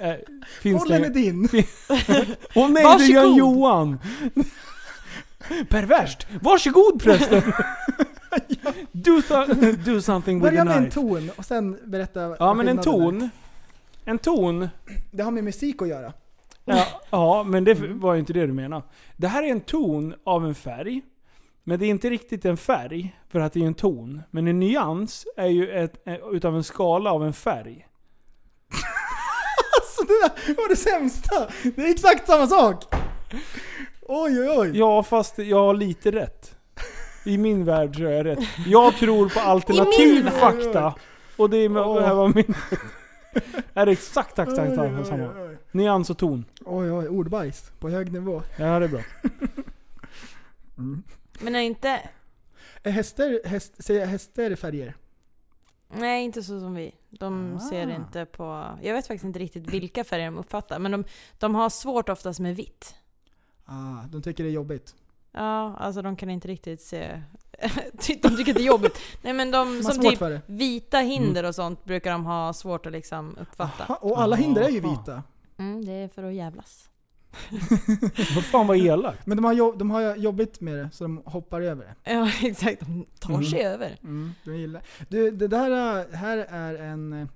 [SPEAKER 4] Eh, Finns
[SPEAKER 5] Bollen
[SPEAKER 4] det?
[SPEAKER 5] är din!
[SPEAKER 4] Åh nej, det är
[SPEAKER 6] Varsågod.
[SPEAKER 4] Johan! Perverst! Varsågod prästen! do, so- do something with
[SPEAKER 5] Börja
[SPEAKER 4] a
[SPEAKER 5] med en
[SPEAKER 4] knife.
[SPEAKER 5] ton och sen berätta
[SPEAKER 4] Ja
[SPEAKER 5] vad
[SPEAKER 4] men en
[SPEAKER 5] skillnaden är.
[SPEAKER 4] ton. En ton.
[SPEAKER 5] Det har med musik att göra. *laughs*
[SPEAKER 4] Ja, ja men det var ju inte det du menade. Det här är en ton av en färg. Men det är inte riktigt en färg, för att det är ju en ton. Men en nyans är ju ett, eh, utav en skala av en färg.
[SPEAKER 5] Alltså det där var det sämsta! Det är exakt samma sak! Oj oj oj!
[SPEAKER 4] Ja, fast jag har lite rätt. I min värld så är jag rätt. Jag tror på
[SPEAKER 6] I
[SPEAKER 4] alternativ
[SPEAKER 6] min
[SPEAKER 4] fakta. Och det är
[SPEAKER 5] Åh.
[SPEAKER 4] det här var min... är det exakt, exakt
[SPEAKER 5] oj,
[SPEAKER 4] samma.
[SPEAKER 5] oj, oj.
[SPEAKER 4] Nyans och ton.
[SPEAKER 5] oj oj, ordbajs på hög nivå.
[SPEAKER 4] Ja, det är bra. Mm.
[SPEAKER 6] Men är inte...
[SPEAKER 5] Är Hästar, häst, säger hästar färger?
[SPEAKER 6] Nej, inte så som vi. De
[SPEAKER 5] Ah.
[SPEAKER 6] ser inte på... Jag vet faktiskt inte riktigt vilka färger de uppfattar, men de, de har svårt oftast med vitt.
[SPEAKER 5] Ah, de tycker det är jobbigt.
[SPEAKER 6] Ja, alltså de kan inte riktigt se... *laughs* Ty- de tycker det är jobbigt. Nej men de
[SPEAKER 5] De har
[SPEAKER 6] som
[SPEAKER 5] svårt
[SPEAKER 6] typ
[SPEAKER 5] för det.
[SPEAKER 6] vita hinder och sånt brukar de ha svårt att liksom
[SPEAKER 5] Aha,
[SPEAKER 6] uppfatta.
[SPEAKER 5] och alla hinder är ju
[SPEAKER 4] Aha.
[SPEAKER 5] vita.
[SPEAKER 6] Mm, det är för att jävlas.
[SPEAKER 4] Vad fan var elakt?
[SPEAKER 5] Men de har, jobb, de har jobbigt med det, så de hoppar över det.
[SPEAKER 6] Ja, *laughs* exakt. De
[SPEAKER 5] Mm.
[SPEAKER 6] tar sig över.
[SPEAKER 4] Mm.
[SPEAKER 5] De gillar. Du, det där äh, här är en... eh,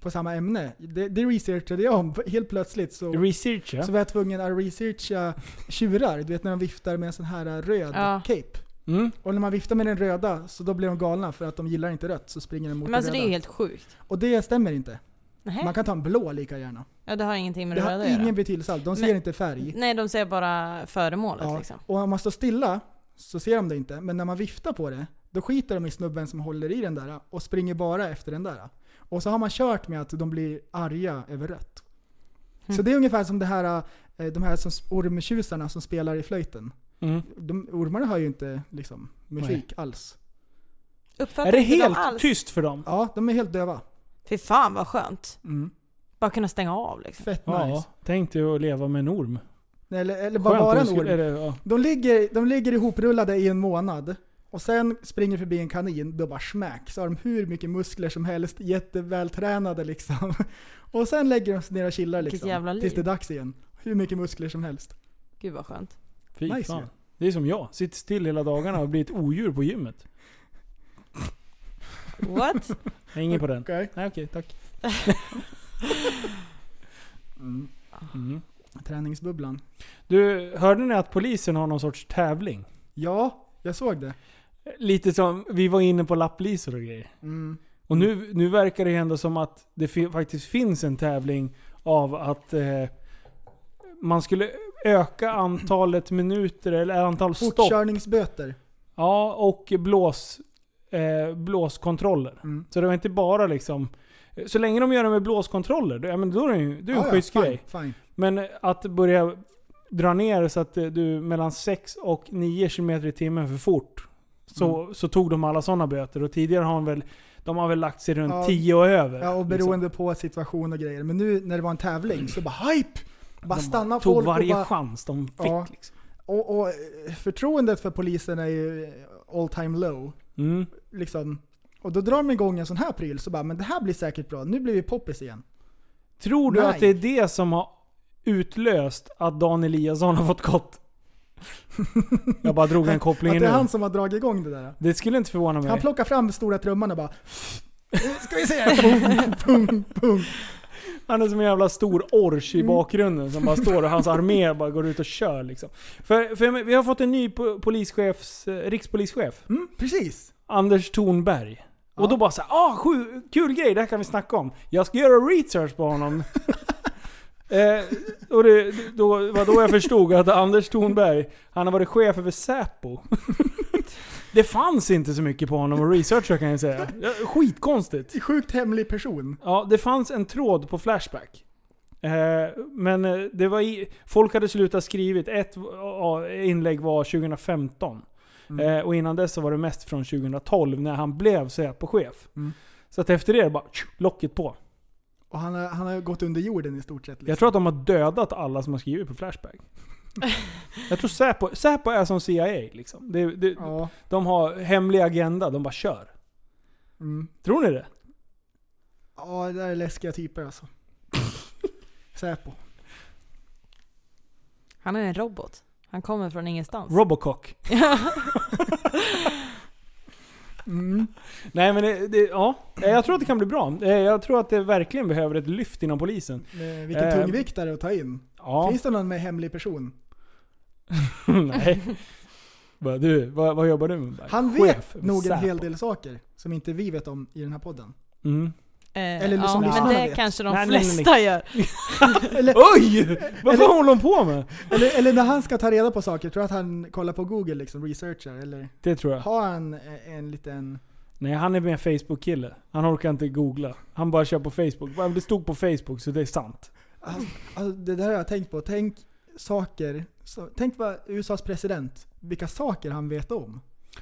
[SPEAKER 5] På samma ämne. Det, det researchade jag om helt plötsligt. Så
[SPEAKER 4] Research ja.
[SPEAKER 5] Så var jag tvungen att researcha tjurar, du vet när de viftar med en sån här eh, röd
[SPEAKER 6] Ja.
[SPEAKER 5] cape.
[SPEAKER 4] Mm.
[SPEAKER 5] Och när man viftar med den röda så då blir de galna för att de gillar inte rött så springer de mot
[SPEAKER 6] Men alltså
[SPEAKER 5] det
[SPEAKER 6] det
[SPEAKER 5] röda.
[SPEAKER 6] är ju helt sjukt.
[SPEAKER 5] Och det stämmer inte.
[SPEAKER 6] Nähä.
[SPEAKER 5] Man kan ta en blå lika gärna.
[SPEAKER 6] Ja, det har ingenting med
[SPEAKER 5] Det
[SPEAKER 6] det
[SPEAKER 5] har
[SPEAKER 6] röda att
[SPEAKER 5] ingen
[SPEAKER 6] göra.
[SPEAKER 5] betydelse alls, de ser
[SPEAKER 6] Men-
[SPEAKER 5] inte färg.
[SPEAKER 6] Nej, de ser bara föremålet
[SPEAKER 5] Ja.
[SPEAKER 6] liksom.
[SPEAKER 5] Och om man står stilla så ser de det inte, men när man viftar på det då skiter de i snubben som håller i den där och springer bara efter den där. Och så har man kört med att de blir arga över rött. Så
[SPEAKER 6] Mm.
[SPEAKER 5] det är ungefär som det här, eh, de här som ormtjusarna som spelar i flöjten.
[SPEAKER 4] Mm.
[SPEAKER 5] De, ormarna hör ju inte liksom, musik alls.
[SPEAKER 6] Uppfattar
[SPEAKER 4] Är det
[SPEAKER 6] inte de
[SPEAKER 4] helt
[SPEAKER 6] alls.
[SPEAKER 4] tyst för dem?
[SPEAKER 5] Ja, de är helt döva.
[SPEAKER 6] Fy fan vad skönt.
[SPEAKER 5] Mm.
[SPEAKER 6] Bara kunna stänga av liksom.
[SPEAKER 5] Fett
[SPEAKER 4] Ja,
[SPEAKER 5] nice.
[SPEAKER 4] tänk dig att leva med en orm.
[SPEAKER 5] Nej, Eller, eller bara
[SPEAKER 4] Skönt
[SPEAKER 5] vara
[SPEAKER 4] om
[SPEAKER 5] en
[SPEAKER 4] skulle-
[SPEAKER 5] orm.
[SPEAKER 4] eller, ja.
[SPEAKER 5] De ligger, de ligger ihoprullade i en månad. Och sen springer förbi en kanin, då bara smack. Så har de hur mycket muskler som helst, jättevältränade liksom. *laughs* Och sen lägger de sig ner och chillar
[SPEAKER 6] Vilket jävla
[SPEAKER 5] liksom.
[SPEAKER 6] liv.
[SPEAKER 5] Tills det är dags igen. Hur mycket muskler som helst.
[SPEAKER 6] Gud vad skönt.
[SPEAKER 4] Fy
[SPEAKER 5] Nice
[SPEAKER 4] fan.
[SPEAKER 5] ju.
[SPEAKER 4] Det är som jag. Sitter still hela dagarna och blir ett odjur på gymmet.
[SPEAKER 6] What?
[SPEAKER 4] Jag är ingen på
[SPEAKER 5] *laughs*
[SPEAKER 4] den.
[SPEAKER 5] Okej.
[SPEAKER 4] Nej okej, tack.
[SPEAKER 5] Mm.
[SPEAKER 4] Mm.
[SPEAKER 5] Träningsbubblan.
[SPEAKER 4] Du, hörde ni att polisen har någon sorts tävling?
[SPEAKER 5] Ja, jag såg det.
[SPEAKER 4] Lite som, vi var inne på lapplisor och grejer.
[SPEAKER 5] Mm.
[SPEAKER 4] Och nu, nu verkar det ju ändå som att det fi- faktiskt finns en tävling av att eh, man skulle öka antalet minuter eller antal stopp.
[SPEAKER 5] Fortkörningsböter.
[SPEAKER 4] Ja, och blås, eh, blåskontroller.
[SPEAKER 5] Mm.
[SPEAKER 4] Så det var inte bara liksom... Så länge de gör det med blåskontroller, då, ja, men då är det ju det är ju en
[SPEAKER 5] Ja, ja,
[SPEAKER 4] schysst
[SPEAKER 5] fine,
[SPEAKER 4] grej.
[SPEAKER 5] Fine.
[SPEAKER 4] Men att börja dra ner så att eh, du mellan 6 och 9 km i timmen för fort. Så,
[SPEAKER 5] Mm.
[SPEAKER 4] så tog de alla sådana böter. Och tidigare har de väl, de har väl lagt sig runt
[SPEAKER 5] Ja.
[SPEAKER 4] 10 och över. liksom.
[SPEAKER 5] Ja, och beroende på situation och grejer. Men nu när det var en tävling så bara hype! Bara stanna
[SPEAKER 4] liksom. Tog
[SPEAKER 5] folk
[SPEAKER 4] varje
[SPEAKER 5] och, bara,
[SPEAKER 4] chans de fick.
[SPEAKER 5] Ja.
[SPEAKER 4] Liksom.
[SPEAKER 5] och, och eh, förtroendet för polisen är ju all time low.
[SPEAKER 4] Mm.
[SPEAKER 5] Liksom. Och då drar de igång en sån här pryl så bara, men det här blir säkert bra. Nu blir vi poppis igen.
[SPEAKER 4] Tror du
[SPEAKER 5] Nej.
[SPEAKER 4] att det är det som har utlöst att Dan Eliasson har fått
[SPEAKER 5] *laughs*
[SPEAKER 4] gott? Jag bara drog den
[SPEAKER 5] Att
[SPEAKER 4] kopplingen
[SPEAKER 5] det är
[SPEAKER 4] nu.
[SPEAKER 5] han som har dragit igång det där.
[SPEAKER 4] Det skulle inte förvåna mig.
[SPEAKER 5] Han plockar fram stora trumman och bara,
[SPEAKER 4] Ska vi se? Han är som en jävla stor ors i bakgrunden som bara står och hans armé bara går ut och kör liksom. För, för vi har fått en ny po- polischefs, eh, rikspolischef.
[SPEAKER 5] mm, precis.
[SPEAKER 4] Anders Thornberg. Och då bara såhär, ah sju, kul grej, det här kan vi snacka om. Jag ska göra research på honom. eh, och det då, var då jag förstod att Anders Thornberg, han har varit chef över Säpo. *laughs* det fanns inte så mycket på honom att researcha kan jag säga. Ja, Skitkonstigt.
[SPEAKER 5] Sjukt hemlig person.
[SPEAKER 4] Ja, det fanns en tråd på Flashback. Eh, Men eh, det var i, folk hade slutat skrivit. Ett eh, inlägg var 2015.
[SPEAKER 5] Mm.
[SPEAKER 4] Eh, Och innan dess så var det mest från 2012 när han blev Säpo-chef.
[SPEAKER 5] Mm.
[SPEAKER 4] Så att efter det är det bara tsch, locket på.
[SPEAKER 5] Och han har, han har gått under jorden i stort sett. Liksom.
[SPEAKER 4] Jag tror att de har dödat alla som har skrivit på
[SPEAKER 5] *laughs*
[SPEAKER 4] Flashback. Jag tror Säpo, Säpo är som CIA liksom. Det, det,
[SPEAKER 5] Ja.
[SPEAKER 4] De har hemlig agenda, de bara kör.
[SPEAKER 5] Mm.
[SPEAKER 4] Tror ni det?
[SPEAKER 5] Ja, det där är läskiga
[SPEAKER 4] *laughs*
[SPEAKER 5] typer alltså. Säpo.
[SPEAKER 6] Han är en robot. Han kommer från ingenstans.
[SPEAKER 4] Robocock.
[SPEAKER 5] Mm.
[SPEAKER 4] Nej men det, det, ja. Eh, Jag tror att det kan bli bra. Eh, Jag tror att det verkligen behöver ett lyft inom polisen.
[SPEAKER 5] Eh, Vilken
[SPEAKER 4] Eh.
[SPEAKER 5] tungviktare att ta in.
[SPEAKER 4] Ja.
[SPEAKER 5] Finns det någon med hemlig person?
[SPEAKER 4] *laughs* Nej. Bara, du, vad, vad jobbar du med? Bara,
[SPEAKER 5] Han
[SPEAKER 4] chef
[SPEAKER 5] vet
[SPEAKER 4] över
[SPEAKER 5] nog en
[SPEAKER 4] Säpo.
[SPEAKER 5] hel del saker som inte vi vet om i den här podden. *laughs*
[SPEAKER 4] Mm.
[SPEAKER 6] *laughs* Eh,
[SPEAKER 5] Eller
[SPEAKER 6] ja,
[SPEAKER 5] som
[SPEAKER 6] men
[SPEAKER 5] lyssnarna
[SPEAKER 6] det
[SPEAKER 5] vet.
[SPEAKER 6] kanske de
[SPEAKER 4] Nej, nej, nej.
[SPEAKER 6] flesta gör.
[SPEAKER 5] Eller,
[SPEAKER 4] Oj! Vad fan håller hon på med?
[SPEAKER 5] eller, eller när han ska ta reda på saker, tror jag att han kollar på Google liksom, researchar? Eller
[SPEAKER 4] Det tror jag.
[SPEAKER 5] har han eh, en liten...
[SPEAKER 4] Nej, han är mer Facebook-kille. Han orkar inte googla. Han bara kör på Facebook. Bara, Det stod på Facebook så det är sant.
[SPEAKER 5] Alltså, alltså, det där har jag tänkt på. Tänk saker. Så, tänk vad USAs president, vilka saker han vet om.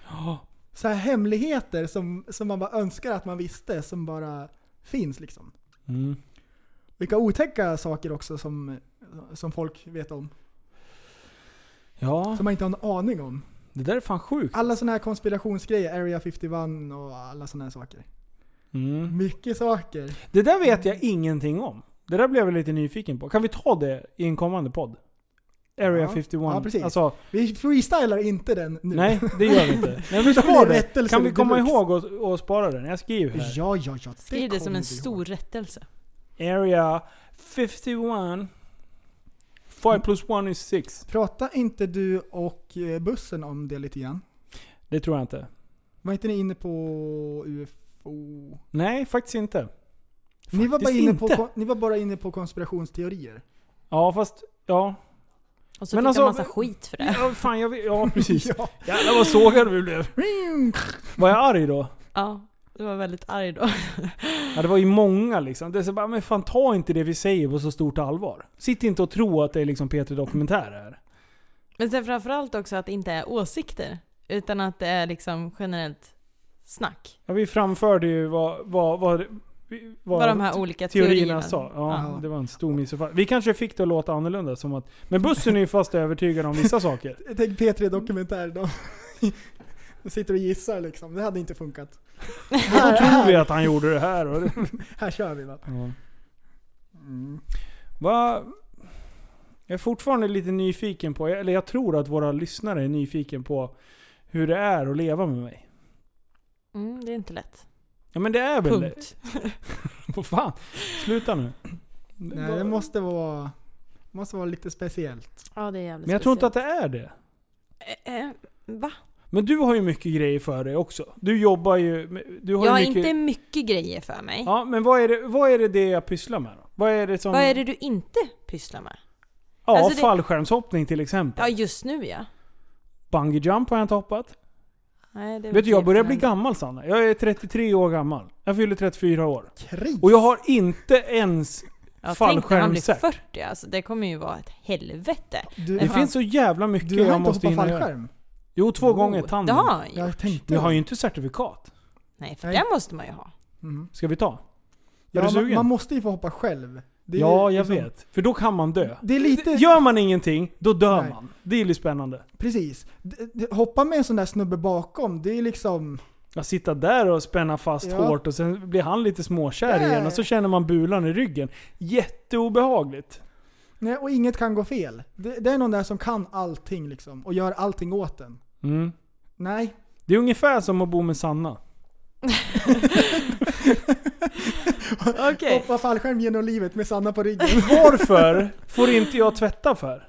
[SPEAKER 4] Ja.
[SPEAKER 5] Så här hemligheter som, som man bara önskar att man visste, som bara finns liksom.
[SPEAKER 4] Mm.
[SPEAKER 5] Vilka otäcka saker också som, som folk vet om.
[SPEAKER 4] Ja,
[SPEAKER 5] Som man inte har en aning om.
[SPEAKER 4] det där är fan sjukt.
[SPEAKER 5] Alla sådana här konspirationsgrejer, Area 51 och alla sådana här saker.
[SPEAKER 4] Mm.
[SPEAKER 5] Mycket saker.
[SPEAKER 4] Det där vet jag ingenting om. Det där blev jag lite nyfiken på. Kan vi ta det i en kommande podd? Area
[SPEAKER 5] Ja.
[SPEAKER 4] 51.
[SPEAKER 5] Ja, precis.
[SPEAKER 4] Alltså,
[SPEAKER 5] Vi freestylar inte den nu. *laughs*
[SPEAKER 4] Nej, det gör vi inte. Men vi
[SPEAKER 5] Då blir
[SPEAKER 4] sparar
[SPEAKER 5] det
[SPEAKER 4] det.
[SPEAKER 5] rättelse
[SPEAKER 4] Kan vi komma
[SPEAKER 5] deluxe.
[SPEAKER 4] ihåg att- att spara den? Jag skriver här.
[SPEAKER 5] Ja, ja, ja.
[SPEAKER 6] Skriv det som
[SPEAKER 5] kommer
[SPEAKER 6] en
[SPEAKER 5] vi ihåg.
[SPEAKER 6] stor rättelse.
[SPEAKER 4] Area 51. 5 plus 1 is 6.
[SPEAKER 5] Prata inte du och eh, bussen om det lite grann?
[SPEAKER 4] Det tror jag inte.
[SPEAKER 5] Var inte ni inne på UFO?
[SPEAKER 4] Nej, faktiskt inte.
[SPEAKER 5] Ni var, bara
[SPEAKER 4] Faktiskt
[SPEAKER 5] inne på,
[SPEAKER 4] inte.
[SPEAKER 5] ni var bara inne på konspirationsteorier.
[SPEAKER 4] Ja, fast... Ja.
[SPEAKER 6] Och så
[SPEAKER 4] Men
[SPEAKER 6] fick
[SPEAKER 4] alltså-
[SPEAKER 6] han massa skit för det.
[SPEAKER 4] ja fan, jag vet- Ja, *laughs* precis.
[SPEAKER 5] *laughs* Ja.
[SPEAKER 4] Jävlar vad sågad vi blev. Var jag arg då?
[SPEAKER 6] Ja, du var väldigt arg då. *laughs*
[SPEAKER 4] Ja, det var ju många liksom. Det är så bara, men fan ta inte det vi säger på så stort allvar. Sitt inte och tro att det är liksom Peter Dokumentär här.
[SPEAKER 6] Men sen framförallt också att det inte är åsikter. Utan att det är liksom generellt snack.
[SPEAKER 4] Ja, vi framförde ju vad... vad, vad, vi- vad
[SPEAKER 6] Vad de här olika
[SPEAKER 4] teorierna,
[SPEAKER 6] teorierna,
[SPEAKER 4] sa. Ja,
[SPEAKER 5] Ja.
[SPEAKER 4] Det var en stor missuppfattning. Vi kanske fick det att låta annorlunda. Som att, men bussen är ju fast övertygad om vissa saker.
[SPEAKER 5] Tänk P3 Dokumentär då. *laughs* De sitter och gissar liksom. Det hade inte funkat.
[SPEAKER 4] Då
[SPEAKER 5] här,
[SPEAKER 4] tror vi
[SPEAKER 5] här,
[SPEAKER 4] att han gjorde det här. Och det.
[SPEAKER 5] här kör vi va?
[SPEAKER 4] Ja.
[SPEAKER 5] Mm.
[SPEAKER 4] Va? Jag är fortfarande lite nyfiken på, eller jag tror att våra lyssnare är nyfiken på hur det är att leva med mig.
[SPEAKER 6] Mm, det är inte lätt.
[SPEAKER 4] Ja men eh, det är väl det. *laughs*
[SPEAKER 6] Punkt.
[SPEAKER 4] Vad fan? Sluta nu.
[SPEAKER 5] Nej, det måste vara, måste vara lite speciellt.
[SPEAKER 6] Ja, det är jävligt
[SPEAKER 4] Men jag tror inte att det är det.
[SPEAKER 6] Eh, eh, va?
[SPEAKER 4] Men du har ju mycket grejer för dig också. Du jobbar ju... med- Du har
[SPEAKER 6] Jag har
[SPEAKER 4] ju mycket,
[SPEAKER 6] inte mycket grejer för mig.
[SPEAKER 4] Ja, men vad är, det, vad är det det jag pysslar med då? Vad är det som...
[SPEAKER 6] Vad är det du inte pysslar med?
[SPEAKER 4] Ja,
[SPEAKER 6] alltså det-
[SPEAKER 4] fallskärmshoppning till exempel.
[SPEAKER 6] Ja, just nu ja.
[SPEAKER 4] Bungee jump har jag inte hoppat.
[SPEAKER 6] Nej, det är
[SPEAKER 4] Vet du, jag
[SPEAKER 6] okej,
[SPEAKER 4] börjar bli
[SPEAKER 6] men-
[SPEAKER 4] gammal Sanna. Jag är 33 år gammal. Jag fyller 34 år.
[SPEAKER 5] Kris!
[SPEAKER 4] Och jag har inte ens
[SPEAKER 6] Jag tänkte när han blir
[SPEAKER 4] fallskärmssätt.
[SPEAKER 6] 40 alltså. Det kommer ju vara ett helvete.
[SPEAKER 5] du,
[SPEAKER 4] Det finns så jävla mycket
[SPEAKER 5] du har
[SPEAKER 4] jag
[SPEAKER 5] inte
[SPEAKER 4] måste
[SPEAKER 5] hoppat
[SPEAKER 4] hinna göra.
[SPEAKER 5] fallskärm?
[SPEAKER 4] Jo, två gånger
[SPEAKER 6] Oh, Det
[SPEAKER 4] tandem.
[SPEAKER 6] har han ju.
[SPEAKER 5] Jag tänkte
[SPEAKER 4] Jag har ju inte certifikat.
[SPEAKER 6] Nej, för
[SPEAKER 5] Nej.
[SPEAKER 6] det måste man
[SPEAKER 4] *laughs*
[SPEAKER 6] ju ha.
[SPEAKER 5] Mm.
[SPEAKER 4] Ska vi ta?
[SPEAKER 5] Ja,
[SPEAKER 4] är du
[SPEAKER 5] man,
[SPEAKER 4] sugen?
[SPEAKER 5] man måste ju få hoppa själv. Det är
[SPEAKER 4] Ja,
[SPEAKER 5] ju
[SPEAKER 4] jag
[SPEAKER 5] liksom-
[SPEAKER 4] vet. För då kan man dö.
[SPEAKER 5] Det är lite...
[SPEAKER 4] Gör man ingenting, då dör
[SPEAKER 5] Nej.
[SPEAKER 4] man. Det är ju spännande.
[SPEAKER 5] Precis. D- d- Hoppa med en sån där snubbe bakom, det är liksom...
[SPEAKER 4] Att sitta där och spänna fast
[SPEAKER 5] Ja.
[SPEAKER 4] hårt och sen blir han lite småkär
[SPEAKER 5] Nej.
[SPEAKER 4] igen och så känner man bulan i ryggen. Jätteobehagligt.
[SPEAKER 5] Nej, och inget kan gå fel. Det, det är någon där som kan allting liksom, och gör allting åt en.
[SPEAKER 4] Mm.
[SPEAKER 5] Nej.
[SPEAKER 4] Det är ungefär som att bo med Sanna.
[SPEAKER 6] Okej.
[SPEAKER 5] Hoppa fallskärm genom livet med Sanna
[SPEAKER 4] *laughs*
[SPEAKER 5] på ryggen.
[SPEAKER 6] *laughs*
[SPEAKER 4] Varför får inte jag tvätta för?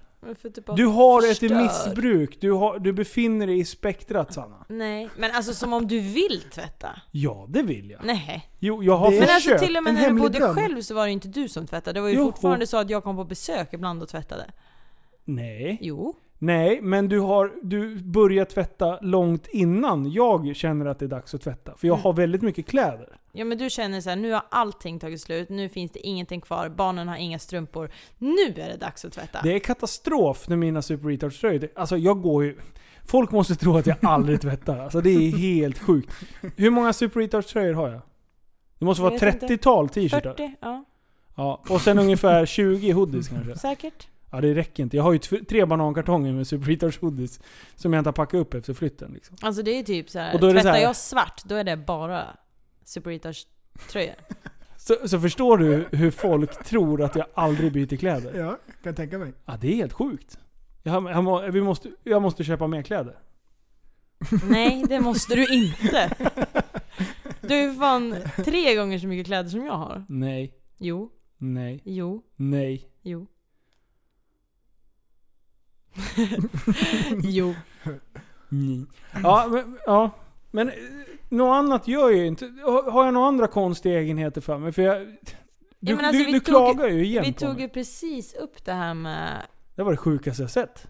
[SPEAKER 4] Du har ett missbruk. Du, har, du befinner dig i spektrat Sanna.
[SPEAKER 6] Nej, men alltså som om du vill tvätta.
[SPEAKER 4] Ja, det vill jag.
[SPEAKER 6] Nej.
[SPEAKER 4] Jo, jag har
[SPEAKER 5] Det är-
[SPEAKER 6] Men
[SPEAKER 4] försökt.
[SPEAKER 6] alltså till och med
[SPEAKER 5] en
[SPEAKER 6] när du
[SPEAKER 5] hemlig
[SPEAKER 6] bodde
[SPEAKER 5] dröm.
[SPEAKER 6] själv så var det ju inte du som tvättade. Det var ju
[SPEAKER 4] Jo.
[SPEAKER 6] fortfarande så att jag kom på besök ibland och tvättade.
[SPEAKER 4] Nej.
[SPEAKER 6] Jo.
[SPEAKER 4] Nej, men du har du börjar tvätta långt innan jag känner att det är dags att tvätta. För jag
[SPEAKER 6] Mm.
[SPEAKER 4] har väldigt mycket kläder.
[SPEAKER 6] Ja men du känner så här, nu har allting tagit slut, nu finns det ingenting kvar, barnen har inga strumpor. Nu är det dags att tvätta.
[SPEAKER 4] Det är katastrof när mina Super Retards tröjor... Alltså jag går ju... Folk måste tro att jag aldrig tvättar. Alltså det är helt sjukt. Hur många Super Retards tröjor har jag? Det måste vara
[SPEAKER 6] Jag vet inte.
[SPEAKER 4] 30-tal t-shirtar.
[SPEAKER 6] 40, ja.
[SPEAKER 4] Ja, och sen ungefär 20 hoodies kanske.
[SPEAKER 6] Säkert.
[SPEAKER 4] Ja det räcker inte. Jag har ju tv- tre banankartonger med Super Retards hoodies. Som jag inte har packat upp efter flytten. Liksom.
[SPEAKER 6] Alltså det är typ så här,
[SPEAKER 4] Och då är det så
[SPEAKER 6] tvättar
[SPEAKER 4] här-
[SPEAKER 6] jag svart, då är det bara Super Eaters tröjor.
[SPEAKER 4] Så, så förstår du hur folk tror att jag aldrig byter kläder?
[SPEAKER 5] ja, kan tänka mig.
[SPEAKER 4] Ja, det är helt sjukt. Jag, jag, må- vi måste, jag måste köpa mer kläder.
[SPEAKER 6] Nej, det måste du inte.
[SPEAKER 4] *laughs*
[SPEAKER 6] Du har ju fan tre gånger så mycket kläder som jag har.
[SPEAKER 4] Nej,
[SPEAKER 6] Jo,
[SPEAKER 4] nej,
[SPEAKER 6] jo,
[SPEAKER 4] nej.
[SPEAKER 6] jo.
[SPEAKER 4] *laughs*
[SPEAKER 6] jo.
[SPEAKER 4] nej. Mm.
[SPEAKER 6] Mm.
[SPEAKER 4] Ja, men, ja. men eh, något annat gör jag ju inte. Har har jag några andra konstiga egenheter för mig? För jag, du,
[SPEAKER 6] Ja, men alltså,
[SPEAKER 4] du,
[SPEAKER 6] vi
[SPEAKER 4] du
[SPEAKER 6] tog-
[SPEAKER 4] klagar ju igen
[SPEAKER 6] Vi
[SPEAKER 4] på
[SPEAKER 6] tog
[SPEAKER 4] mig.
[SPEAKER 6] ju precis upp det här med...
[SPEAKER 4] Det var det sjukaste jag
[SPEAKER 6] *laughs*
[SPEAKER 4] sett.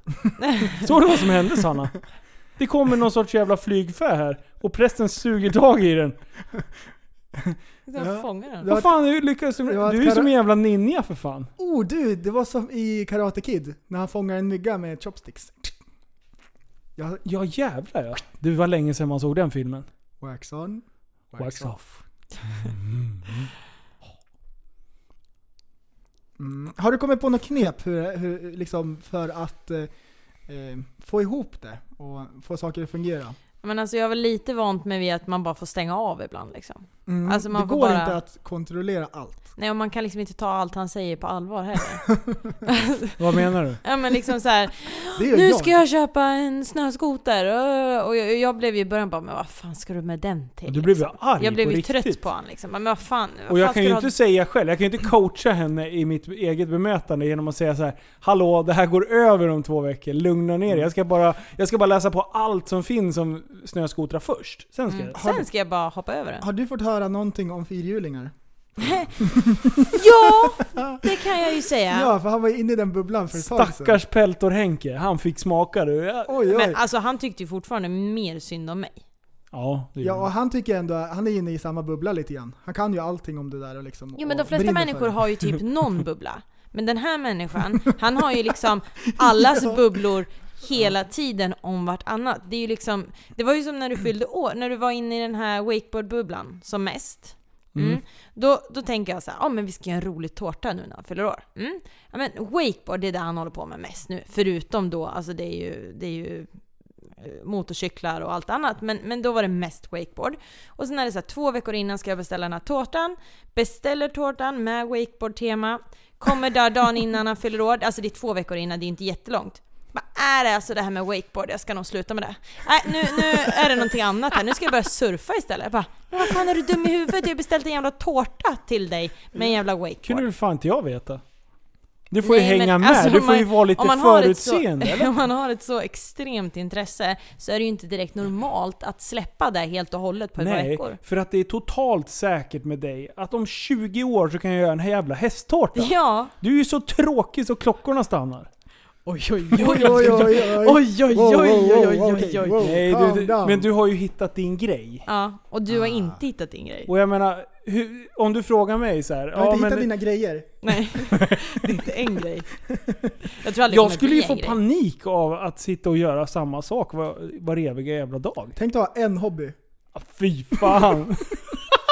[SPEAKER 4] Såg du vad som hände Sanna? Det kommer någon sorts jävla flygfä här och prästen suger tag i den.
[SPEAKER 6] Jag fångar den.
[SPEAKER 5] Det var
[SPEAKER 4] Vad
[SPEAKER 5] ett-
[SPEAKER 4] fan, hur lyckas du?
[SPEAKER 5] det var ett
[SPEAKER 4] Du är ju
[SPEAKER 5] kara-
[SPEAKER 4] som en jävla ninja för fan.
[SPEAKER 5] Oh du, det var som i Karate Kid, när han fångar en mygga med chopsticks. Jag,
[SPEAKER 4] Ja jävlar ja. Det var länge sedan man såg den filmen.
[SPEAKER 5] wax on, wax,
[SPEAKER 4] Wax
[SPEAKER 5] off.
[SPEAKER 4] off.
[SPEAKER 5] *laughs* Mm. Har du kommit på något knep hur, hur, liksom, för att eh, eh, få ihop det och få saker att fungera?
[SPEAKER 6] Men alltså jag är väl lite vant med vid att man bara får stänga av ibland liksom.
[SPEAKER 5] Mm.
[SPEAKER 6] Alltså, man
[SPEAKER 5] det
[SPEAKER 6] får
[SPEAKER 5] går
[SPEAKER 6] bara-
[SPEAKER 5] inte att kontrollera
[SPEAKER 6] *gasps*
[SPEAKER 5] allt.
[SPEAKER 6] Nej och man kan liksom inte ta allt han säger på allvar heller.
[SPEAKER 4] *laughs* Vad menar
[SPEAKER 6] *laughs*
[SPEAKER 4] du?
[SPEAKER 6] ja men liksom så här,
[SPEAKER 5] Det gör
[SPEAKER 6] nu
[SPEAKER 5] jag.
[SPEAKER 6] ska jag köpa en snöskoter! öh, Och jag, jag blev ju i början bara, men vad fan ska du med den till?
[SPEAKER 4] Du blev ju
[SPEAKER 6] liksom?
[SPEAKER 4] arg
[SPEAKER 6] Jag blev
[SPEAKER 4] på
[SPEAKER 6] ju
[SPEAKER 4] riktigt.
[SPEAKER 6] trött på honom liksom. Men vad fan, vad
[SPEAKER 4] Och
[SPEAKER 6] fan
[SPEAKER 4] jag kan
[SPEAKER 6] ska
[SPEAKER 4] ju
[SPEAKER 6] du
[SPEAKER 4] inte
[SPEAKER 6] ha-
[SPEAKER 4] säga själv, jag kan ju inte coacha henne i mitt eget bemötande genom att säga så här: Hallå, det här går över om två veckor, lugna ner er. Jag ska bara, jag ska bara läsa på allt som finns om snöskotrar först. Sen ska
[SPEAKER 6] Mm.
[SPEAKER 4] jag...
[SPEAKER 6] Sen ska jag bara hoppa
[SPEAKER 4] *laughs*
[SPEAKER 6] över den.
[SPEAKER 5] Har du fått höra någonting om fyrhjulingar?
[SPEAKER 6] Ja! Det kan jag ju säga.
[SPEAKER 5] Ja. för han var inne i den bubblan för ett tag sedan.
[SPEAKER 4] Stackars Peltor-Henke, han fick smaka du. Ja,
[SPEAKER 5] Oj, oj.
[SPEAKER 6] Men alltså han tyckte ju fortfarande mer synd om mig.
[SPEAKER 4] ja, det
[SPEAKER 5] Ja, och
[SPEAKER 4] ja.
[SPEAKER 5] han tycker ändå, han är inne i samma bubbla lite grann. Han kan ju allting om det där och liksom
[SPEAKER 6] Jo men
[SPEAKER 5] och
[SPEAKER 6] de flesta
[SPEAKER 5] brinner för
[SPEAKER 6] människor
[SPEAKER 5] det.
[SPEAKER 6] har
[SPEAKER 5] *laughs*
[SPEAKER 6] ju typ någon bubbla. Men den här människan, han har ju liksom allas bubblor hela tiden om vartannat. Det är ju liksom, det var ju som när du fyllde år, när du var inne i den här wakeboardbubblan som mest. Mm.
[SPEAKER 4] Mm.
[SPEAKER 6] Då, då tänker jag så här, ja men vi ska göra en rolig tårta nu när han fyller år. Mm. Ja, men wakeboard, det är det han håller på med mest nu. Förutom då, alltså det är ju, det är ju eh, motorcyklar och allt annat. Men, men då var det mest wakeboard. Och sen är det så här, två veckor innan ska jag beställa den här tårtan. Beställer tårtan med wakeboardtema. Kommer där dagen innan han fyller år. Alltså det är två veckor innan, det är inte jättelångt. Bara, nej det är alltså det här med wakeboard, jag ska nog sluta med det. Nej nu, nu är det någonting annat här, nu ska jag börja surfa istället. Jag bara, men vad fan är du dum i huvudet? Jag har beställt en jävla tårta till dig med en jävla wakeboard.
[SPEAKER 4] kunde väl fan inte jag veta. Du får ju
[SPEAKER 6] Nej, men
[SPEAKER 4] hänga med,
[SPEAKER 6] alltså,
[SPEAKER 4] du
[SPEAKER 6] om
[SPEAKER 4] får ju
[SPEAKER 6] man-
[SPEAKER 4] vara lite
[SPEAKER 6] om man har ett så-
[SPEAKER 4] förutseende.
[SPEAKER 6] *laughs*
[SPEAKER 4] eller?
[SPEAKER 6] Om man har ett så extremt intresse så är det ju inte direkt normalt att släppa det helt och hållet på ett par
[SPEAKER 4] Nej,
[SPEAKER 6] veckor.
[SPEAKER 4] för att det är totalt säkert med dig att om 20 år så kan jag göra en här jävla hästtårta.
[SPEAKER 6] Ja,
[SPEAKER 4] Du är ju så tråkig så klockorna stannar.
[SPEAKER 5] Oj, oj, oj, oj.
[SPEAKER 8] Oj, oj, oj, oj,
[SPEAKER 5] Wow, wow, wow,
[SPEAKER 8] oj, oj.
[SPEAKER 5] wow.
[SPEAKER 4] Nej,
[SPEAKER 5] Oh, Calm
[SPEAKER 4] du, du,
[SPEAKER 5] down.
[SPEAKER 4] men du har ju hittat din grej.
[SPEAKER 6] ja. och du
[SPEAKER 4] Ah.
[SPEAKER 6] har inte hittat din
[SPEAKER 4] *laughs*
[SPEAKER 6] grej.
[SPEAKER 4] Och jag menar, hur, om du frågar mig så här,
[SPEAKER 5] Jag har
[SPEAKER 4] ja,
[SPEAKER 5] inte hittat
[SPEAKER 4] men
[SPEAKER 5] dina grejer.
[SPEAKER 6] Nej, *laughs* det är inte
[SPEAKER 4] *laughs*
[SPEAKER 6] en grej. Jag tror aldrig det
[SPEAKER 4] jag
[SPEAKER 6] kommer
[SPEAKER 4] skulle
[SPEAKER 6] bli
[SPEAKER 4] ju
[SPEAKER 6] en
[SPEAKER 4] få
[SPEAKER 6] grej.
[SPEAKER 4] panik av att sitta och göra samma sak var, var eviga jävla dag.
[SPEAKER 5] Tänk dig ha en hobby.
[SPEAKER 4] Ah, Fy fan!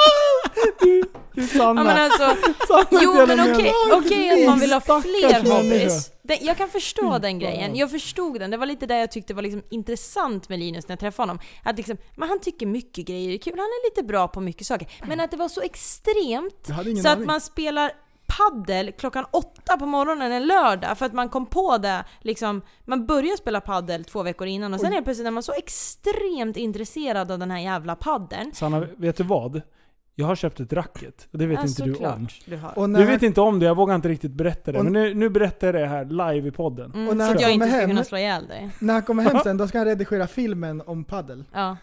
[SPEAKER 4] *laughs* du, du Sanna.
[SPEAKER 6] Ja, men alltså,
[SPEAKER 5] *laughs*
[SPEAKER 4] Sanna
[SPEAKER 6] jo
[SPEAKER 4] inte
[SPEAKER 6] men
[SPEAKER 4] gärna
[SPEAKER 6] okej,
[SPEAKER 4] med.
[SPEAKER 6] okej att man vill ha
[SPEAKER 4] Stackars
[SPEAKER 6] fler
[SPEAKER 4] människa.
[SPEAKER 6] hobbys. Den- Jag kan förstå den grejen, jag förstod den. Det var lite det jag tyckte var liksom intressant med Linus när jag träffade honom. Att liksom, men han tycker mycket grejer är kul, han är lite bra på mycket saker. Men att det var så extremt
[SPEAKER 5] Jag hade ingen
[SPEAKER 6] så att
[SPEAKER 5] aning.
[SPEAKER 6] man spelar paddel klockan åtta på morgonen en lördag för att man kom på det liksom, man börjar spela paddel två veckor innan och sen helt plötsligt är man så extremt intresserad av den här jävla paddeln.
[SPEAKER 4] Sanna, vet du vad? Jag har köpt ett racket. Och det vet
[SPEAKER 6] Ja,
[SPEAKER 4] inte du om.
[SPEAKER 6] såklart du har.
[SPEAKER 5] Och när,
[SPEAKER 4] Du vet inte om det, jag vågar inte riktigt berätta det.
[SPEAKER 5] Och-
[SPEAKER 4] Men nu, nu berättar jag det här live i podden.
[SPEAKER 6] Mm,
[SPEAKER 5] och när
[SPEAKER 6] så
[SPEAKER 5] han
[SPEAKER 6] att jag inte
[SPEAKER 5] kommer
[SPEAKER 6] ska
[SPEAKER 5] hem-
[SPEAKER 6] kunna slå ihjäl dig.
[SPEAKER 5] när han kommer
[SPEAKER 4] *laughs*
[SPEAKER 5] hem sen, då ska han redigera filmen om paddel.
[SPEAKER 6] Ja.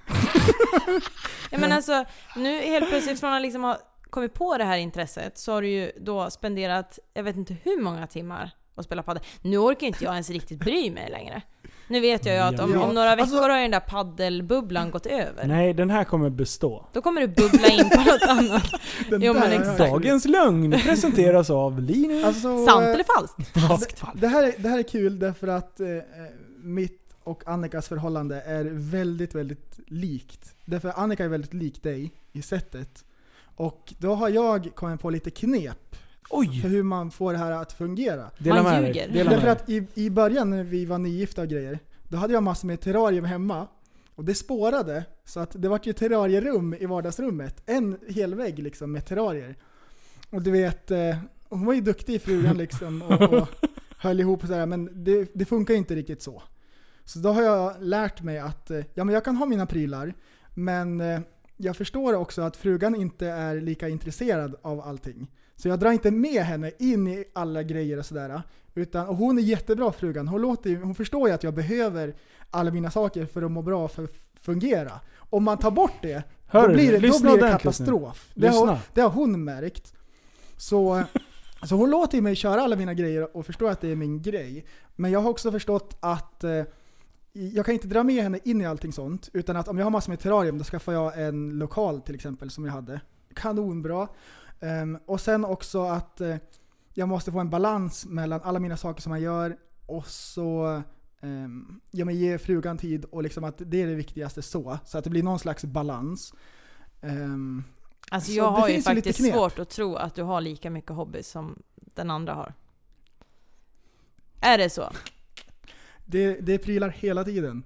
[SPEAKER 6] ja men alltså, nu helt plötsligt från att liksom ha kommit på det här intresset så har du ju då spenderat, jag vet inte hur många timmar att spela padel. Nu orkar inte jag ens riktigt bry mig längre. Nu vet jag ju att om,
[SPEAKER 5] Ja.
[SPEAKER 6] om några veckor
[SPEAKER 5] Alltså-
[SPEAKER 6] har ju den där paddelbubblan gått över.
[SPEAKER 4] Nej, den här kommer bestå.
[SPEAKER 6] Då kommer du bubbla in på något annat.
[SPEAKER 5] Den
[SPEAKER 6] Jo, men
[SPEAKER 5] där-
[SPEAKER 6] exakt.
[SPEAKER 4] Dagens lögn presenteras av Linus.
[SPEAKER 5] Alltså,
[SPEAKER 6] Sant
[SPEAKER 5] eh,
[SPEAKER 6] eller falskt?
[SPEAKER 5] det- Det här, är- det här är kul därför att eh, eh, mitt och Annikas förhållande är väldigt, väldigt likt. Därför att Annika är väldigt lik dig i sättet. Och då har jag kommit på lite knep för
[SPEAKER 4] Oj!
[SPEAKER 5] hur man får det här att fungera.
[SPEAKER 4] Dela
[SPEAKER 6] Man
[SPEAKER 4] med
[SPEAKER 6] ljuger.
[SPEAKER 4] dig. Dela med
[SPEAKER 5] Därför
[SPEAKER 4] dig.
[SPEAKER 5] att i, i början när vi var nygifta och grejer, då hade jag massor med terrarium hemma. Och det spårade, så att det vart ju terrarierum i vardagsrummet. En hel vägg liksom med terrarier. Och du vet, eh, hon var ju duktig i frugan liksom och, och höll ihop och sådär, men det, det funkar ju inte riktigt så. Så då har jag lärt mig att eh, ja, men jag kan ha mina prylar, men eh, jag förstår också att frugan inte är lika intresserad av allting. Så jag drar inte med henne in i alla grejer och sådär. Utan, och hon är jättebra frugan. Hon, låter, ju- hon förstår ju att jag behöver alla mina saker för att må bra och för att fungera. Om man tar bort det,
[SPEAKER 4] Hör
[SPEAKER 5] då
[SPEAKER 4] du?
[SPEAKER 5] blir det, då
[SPEAKER 4] Lyssna
[SPEAKER 5] blir det
[SPEAKER 4] ordentligt nu.
[SPEAKER 5] katastrof. Det har,
[SPEAKER 4] Lyssna.
[SPEAKER 5] det har hon märkt. Så, så hon låter ju mig köra alla mina grejer och förstår att det är min grej. Men jag har också förstått att eh, jag kan inte dra med henne in i allting sånt. Utan att om jag har massor med terrarium då skaffar jag en lokal till exempel som jag hade. Kanonbra. Ehm, och sen också att eh, jag måste få en balans mellan alla mina saker som jag gör och så ehm, ja, men ge frugan tid och liksom att det är det viktigaste så. Så att det blir någon slags balans. Ehm,
[SPEAKER 6] Alltså
[SPEAKER 5] Så
[SPEAKER 6] jag
[SPEAKER 5] det
[SPEAKER 6] har ju
[SPEAKER 5] finns ju lite
[SPEAKER 6] faktiskt
[SPEAKER 5] knep.
[SPEAKER 6] svårt att tro att du har lika mycket hobby som den andra har. Är det så?
[SPEAKER 5] det, det är prylar hela tiden.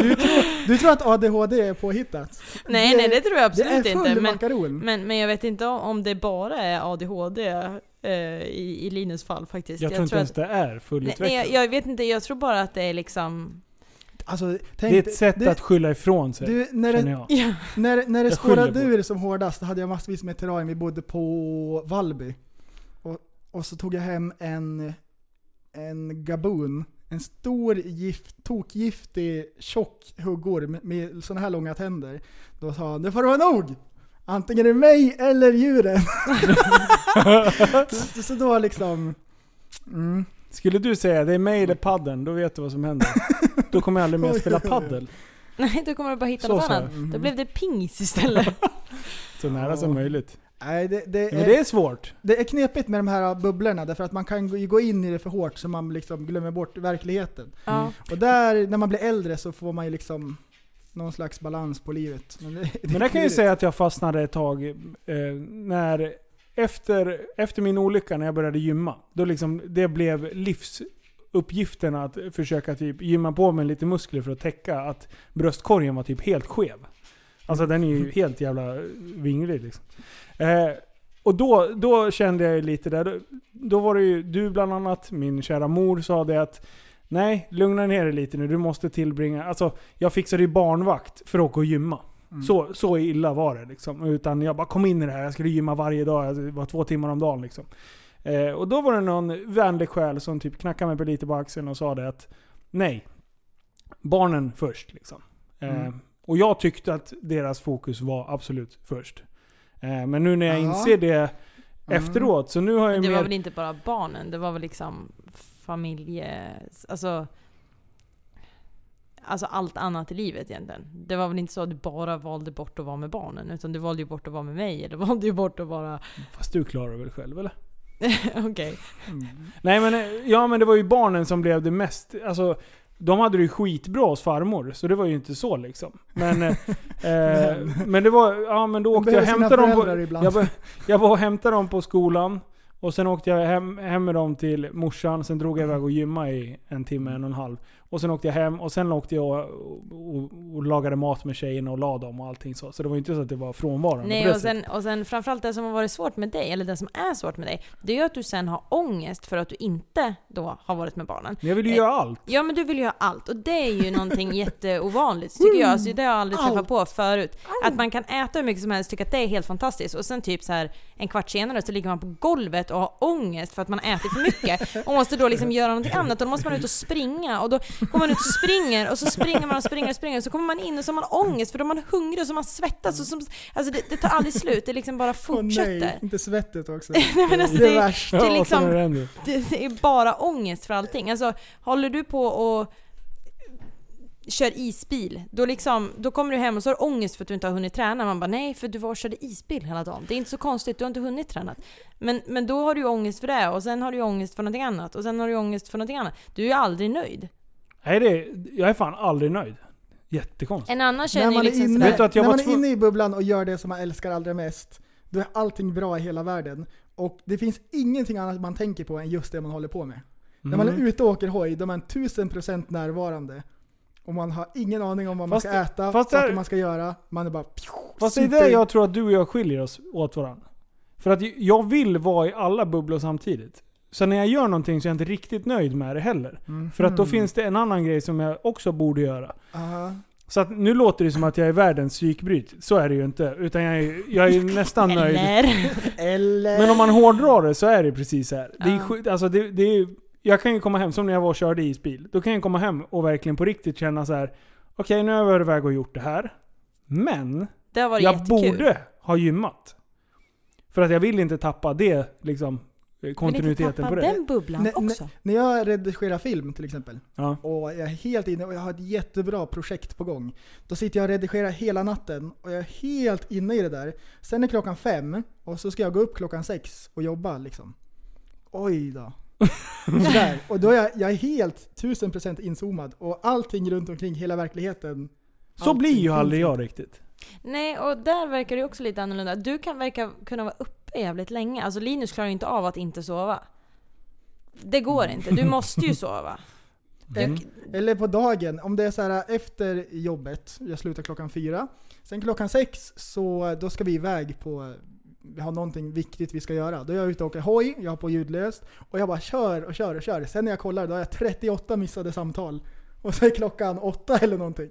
[SPEAKER 5] du, tror, du tror att ADHD är påhittat?
[SPEAKER 6] Nej, nej det tror jag absolut
[SPEAKER 5] Det är full
[SPEAKER 6] inte. Men,
[SPEAKER 5] makaron.
[SPEAKER 6] Men, men jag vet inte om- om det bara är ADHD eh, i, i Linus fall faktiskt.
[SPEAKER 4] Jag tror inte ens
[SPEAKER 6] att,
[SPEAKER 4] det är
[SPEAKER 6] nej,
[SPEAKER 4] fullutvecklat.
[SPEAKER 6] nej, jag, jag vet inte, jag tror bara att det är liksom... *laughs*
[SPEAKER 5] Alltså, tänk,
[SPEAKER 4] Det är ett sätt
[SPEAKER 5] du,
[SPEAKER 4] att skylla ifrån sig,
[SPEAKER 5] du, när,
[SPEAKER 4] känner
[SPEAKER 5] det,
[SPEAKER 4] jag.
[SPEAKER 6] Ja.
[SPEAKER 5] när, när det
[SPEAKER 4] Jag skyller
[SPEAKER 5] spårade
[SPEAKER 4] på
[SPEAKER 5] ur som hårdast då hade jag massvis med terrarium. Vi bodde på Vallby. Och, och så tog jag hem en, en gaboon. En stor, gift, tokgiftig, tjock huggorm med sådana här långa tänder. Då sa han, nu får det vara nog! Antingen är det mig eller djuren. *laughs* så, så då liksom... Mm.
[SPEAKER 4] Skulle du säga det är mig eller padden, då vet du vad som händer. Då kommer Mm. jag *laughs* aldrig mer spela paddel
[SPEAKER 6] Nej, då kommer du bara hitta
[SPEAKER 4] Så Mm.
[SPEAKER 6] något
[SPEAKER 4] sa jag.
[SPEAKER 6] annat. Då blev det
[SPEAKER 4] *laughs*
[SPEAKER 6] pingis istället.
[SPEAKER 4] så nära som
[SPEAKER 5] Ja.
[SPEAKER 4] möjligt.
[SPEAKER 5] Nej, det,
[SPEAKER 4] Ja,
[SPEAKER 5] det,
[SPEAKER 4] Men
[SPEAKER 5] är,
[SPEAKER 4] det är svårt.
[SPEAKER 5] Det är knepigt med de här bubblorna därför att man kan ju gå in i det för hårt så man liksom glömmer bort verkligheten.
[SPEAKER 4] Mm.
[SPEAKER 6] ja.
[SPEAKER 5] Och där, när man blir äldre så får man ju liksom någon slags balans på livet. Men, det, det är
[SPEAKER 4] Men där kan jag ju
[SPEAKER 5] klurigt.
[SPEAKER 4] säga att jag fastnade ett tag eh, när, efter, efter min olycka när jag började gymma. Då liksom, det blev livsuppgiften att försöka typ gymma på mig lite muskler för att täcka att bröstkorgen var typ helt skev. Alltså den är
[SPEAKER 5] Mm.
[SPEAKER 4] ju helt jävla vinglig liksom. Eh, och då, då kände jag ju lite där, då, då var det ju du bland annat, min kära mor sa det att Nej, lugna ner dig lite nu. Du måste tillbringa... Alltså, jag fixade ju barnvakt för att gå och gymma. Så, så illa var det liksom. Utan jag bara kom in i det här, jag skulle gymma varje dag, Alltså, det var två timmar om dagen liksom. Eh, och då var det någon vänlig själ som typ knackade mig på lite på axeln och sa det att nej, barnen först liksom. Eh,
[SPEAKER 5] Mm.
[SPEAKER 4] Och jag tyckte att deras fokus var absolut först. Eh, men nu när jag
[SPEAKER 5] Ja.
[SPEAKER 4] inser det
[SPEAKER 5] Mm.
[SPEAKER 4] efteråt, så nu har jag
[SPEAKER 6] Det
[SPEAKER 4] ju
[SPEAKER 6] var
[SPEAKER 4] mer
[SPEAKER 6] väl inte bara barnen, det var väl liksom familje... Alltså... Alltså allt annat i livet egentligen. Det var väl inte så att du bara valde bort att vara med barnen, utan du valde ju bort att vara med mig, eller *laughs* valde ju bort att vara... *laughs*
[SPEAKER 4] Fast du klarar väl själv eller?
[SPEAKER 6] Okej.
[SPEAKER 5] Mm.
[SPEAKER 4] Nej men, eh, ja men det var ju barnen som blev det mest, alltså de hade det ju skitbra hos farmor, så det var ju inte så liksom.
[SPEAKER 5] *laughs*
[SPEAKER 4] Men, eh, eh, men det var, ja men då
[SPEAKER 5] De
[SPEAKER 4] åkte jag och
[SPEAKER 5] behöver sina
[SPEAKER 4] hämtade dem
[SPEAKER 5] föräldrar
[SPEAKER 4] på,
[SPEAKER 5] ibland.
[SPEAKER 4] jag, be- jag var och hämtade dem på skolan. Och sen åkte jag hem, hem med dem till morsan, sen drog jag iväg och gymma i en timme, en och en halv. Och sen åkte jag hem och sen åkte jag och, och, och lagade mat med tjejerna och la dem och allting så. Så det var ju inte så att det var frånvarande på
[SPEAKER 6] Nej
[SPEAKER 4] det
[SPEAKER 6] och
[SPEAKER 4] sättet.
[SPEAKER 6] sen, och sen framförallt det som har varit svårt med dig, eller det som är svårt med dig, det är ju att du sen har ångest för att du inte då har varit med barnen.
[SPEAKER 4] Men jag ville ju göra allt.
[SPEAKER 6] Ja men du vill ju ha allt och det är ju någonting *laughs* jätteovanligt tycker jag. Alltså, det har jag aldrig träffat på förut. Att man kan äta hur mycket som helst tycka att det är helt fantastiskt och sen typ så här en kvart senare så ligger man på golvet och har ångest för att man har ätit för
[SPEAKER 5] *laughs*
[SPEAKER 6] mycket och måste då liksom göra någonting annat och då måste man ut och springa och då kommer man ut och springer och så springer man och springer och springer och så kommer man in och så har man ångest för då är man hungrig och så har man svettas och så, alltså det, det tar aldrig slut, det liksom bara
[SPEAKER 5] Åh nej,
[SPEAKER 6] fortsätter.
[SPEAKER 5] inte svettet
[SPEAKER 6] *laughs*
[SPEAKER 5] också.
[SPEAKER 6] men alltså,
[SPEAKER 5] det
[SPEAKER 6] det-
[SPEAKER 5] är värst.
[SPEAKER 6] det är
[SPEAKER 4] och
[SPEAKER 6] liksom-
[SPEAKER 4] sen är det ändå.
[SPEAKER 6] det, det är bara ångest för allting. Alltså, håller du på och kör isbil, då, liksom, då kommer du hem och så har du ångest för att du inte har hunnit träna. Man bara nej, för du var och körde isbil hela dagen. Det är inte så konstigt, du har inte hunnit träna. Men, men då har du ju ångest för det och sen har du ju ångest för någonting annat och sen har du ju ångest för någonting annat. Du är ju aldrig nöjd.
[SPEAKER 4] Nej det, jag är fan aldrig nöjd. Jättekonstigt.
[SPEAKER 6] En annan känner
[SPEAKER 5] När
[SPEAKER 6] ju
[SPEAKER 5] man,
[SPEAKER 6] liksom
[SPEAKER 5] är inne,
[SPEAKER 4] Vet du
[SPEAKER 6] sådär,
[SPEAKER 4] att jag
[SPEAKER 5] när
[SPEAKER 4] var
[SPEAKER 5] man är
[SPEAKER 4] tvungen-
[SPEAKER 5] inne i bubblan och gör det som man älskar allra mest, då är allting bra i hela världen. Och det finns ingenting annat man tänker på än just det man håller på med. När man
[SPEAKER 4] Mm.
[SPEAKER 5] är ute och åker hoj, då är man 1000% närvarande. Och man har ingen aning om vad man
[SPEAKER 4] Fast
[SPEAKER 5] ska
[SPEAKER 4] det-
[SPEAKER 5] äta,
[SPEAKER 4] fast
[SPEAKER 5] saker
[SPEAKER 4] där-
[SPEAKER 5] man ska göra. Man är bara...
[SPEAKER 4] Fast det är
[SPEAKER 5] super-
[SPEAKER 4] där jag tror att du och jag skiljer oss åt varandra. För att jag vill vara i alla bubblor samtidigt. Så när jag gör någonting så är jag inte riktigt nöjd med det heller. För att då finns det en annan grej som jag också borde göra.
[SPEAKER 5] Aha.
[SPEAKER 4] Så att nu låter det som att jag är världens psykbryt. Så är det ju inte. Utan jag är, jag är ju nästan nöjd.
[SPEAKER 6] eller?
[SPEAKER 5] Eller...
[SPEAKER 4] Men om man hårdrar det så är det precis så här. Det är
[SPEAKER 6] Ja.
[SPEAKER 4] skit, alltså det, det är, ju- jag kan ju komma hem, som när jag var och körde isbil. Då kan jag komma hem och verkligen på riktigt känna så här. Okej, nu har jag varit iväg och gjort det här. Men
[SPEAKER 6] Det har varit
[SPEAKER 4] jag
[SPEAKER 6] jättekul.
[SPEAKER 4] borde ha gymmat. För att jag vill inte tappa det, liksom, eh,
[SPEAKER 6] Men inte
[SPEAKER 4] kontinuiteten
[SPEAKER 6] tappa
[SPEAKER 4] på det.
[SPEAKER 6] den bubblan
[SPEAKER 5] Nej,
[SPEAKER 6] också.
[SPEAKER 5] När jag redigerar film till exempel,
[SPEAKER 4] Ja.
[SPEAKER 5] och jag är helt inne och jag har ett jättebra projekt på gång. Då sitter jag och redigerar hela natten och jag är helt inne i det där. Sen är klockan fem och så ska jag gå upp klockan sex och jobba liksom. Oj då. Sådär. Och då är jag, jag är helt tusen procent inzoomad och allting runt omkring, hela verkligheten.
[SPEAKER 4] Så
[SPEAKER 5] allting
[SPEAKER 4] blir ju
[SPEAKER 5] finns
[SPEAKER 4] aldrig
[SPEAKER 5] inte.
[SPEAKER 4] jag riktigt.
[SPEAKER 6] Nej, och där verkar det ju också lite annorlunda. Du kan verka kunna vara uppe jävligt länge. Alltså Linus klarar ju inte av att inte sova. Det går
[SPEAKER 5] Mm.
[SPEAKER 6] inte. Du måste
[SPEAKER 5] *laughs*
[SPEAKER 6] ju sova. Du,
[SPEAKER 5] Eller på dagen, om det är så här äh, efter jobbet, jag slutar klockan fyra. Sen klockan sex, så äh, då ska vi iväg på, äh, vi har någonting viktigt vi ska göra. Då är jag ute och åker hoj, jag har på ljudlöst och jag bara kör och kör och kör. Sen när jag kollar då har jag 38 missade samtal. Och så är klockan åtta eller någonting.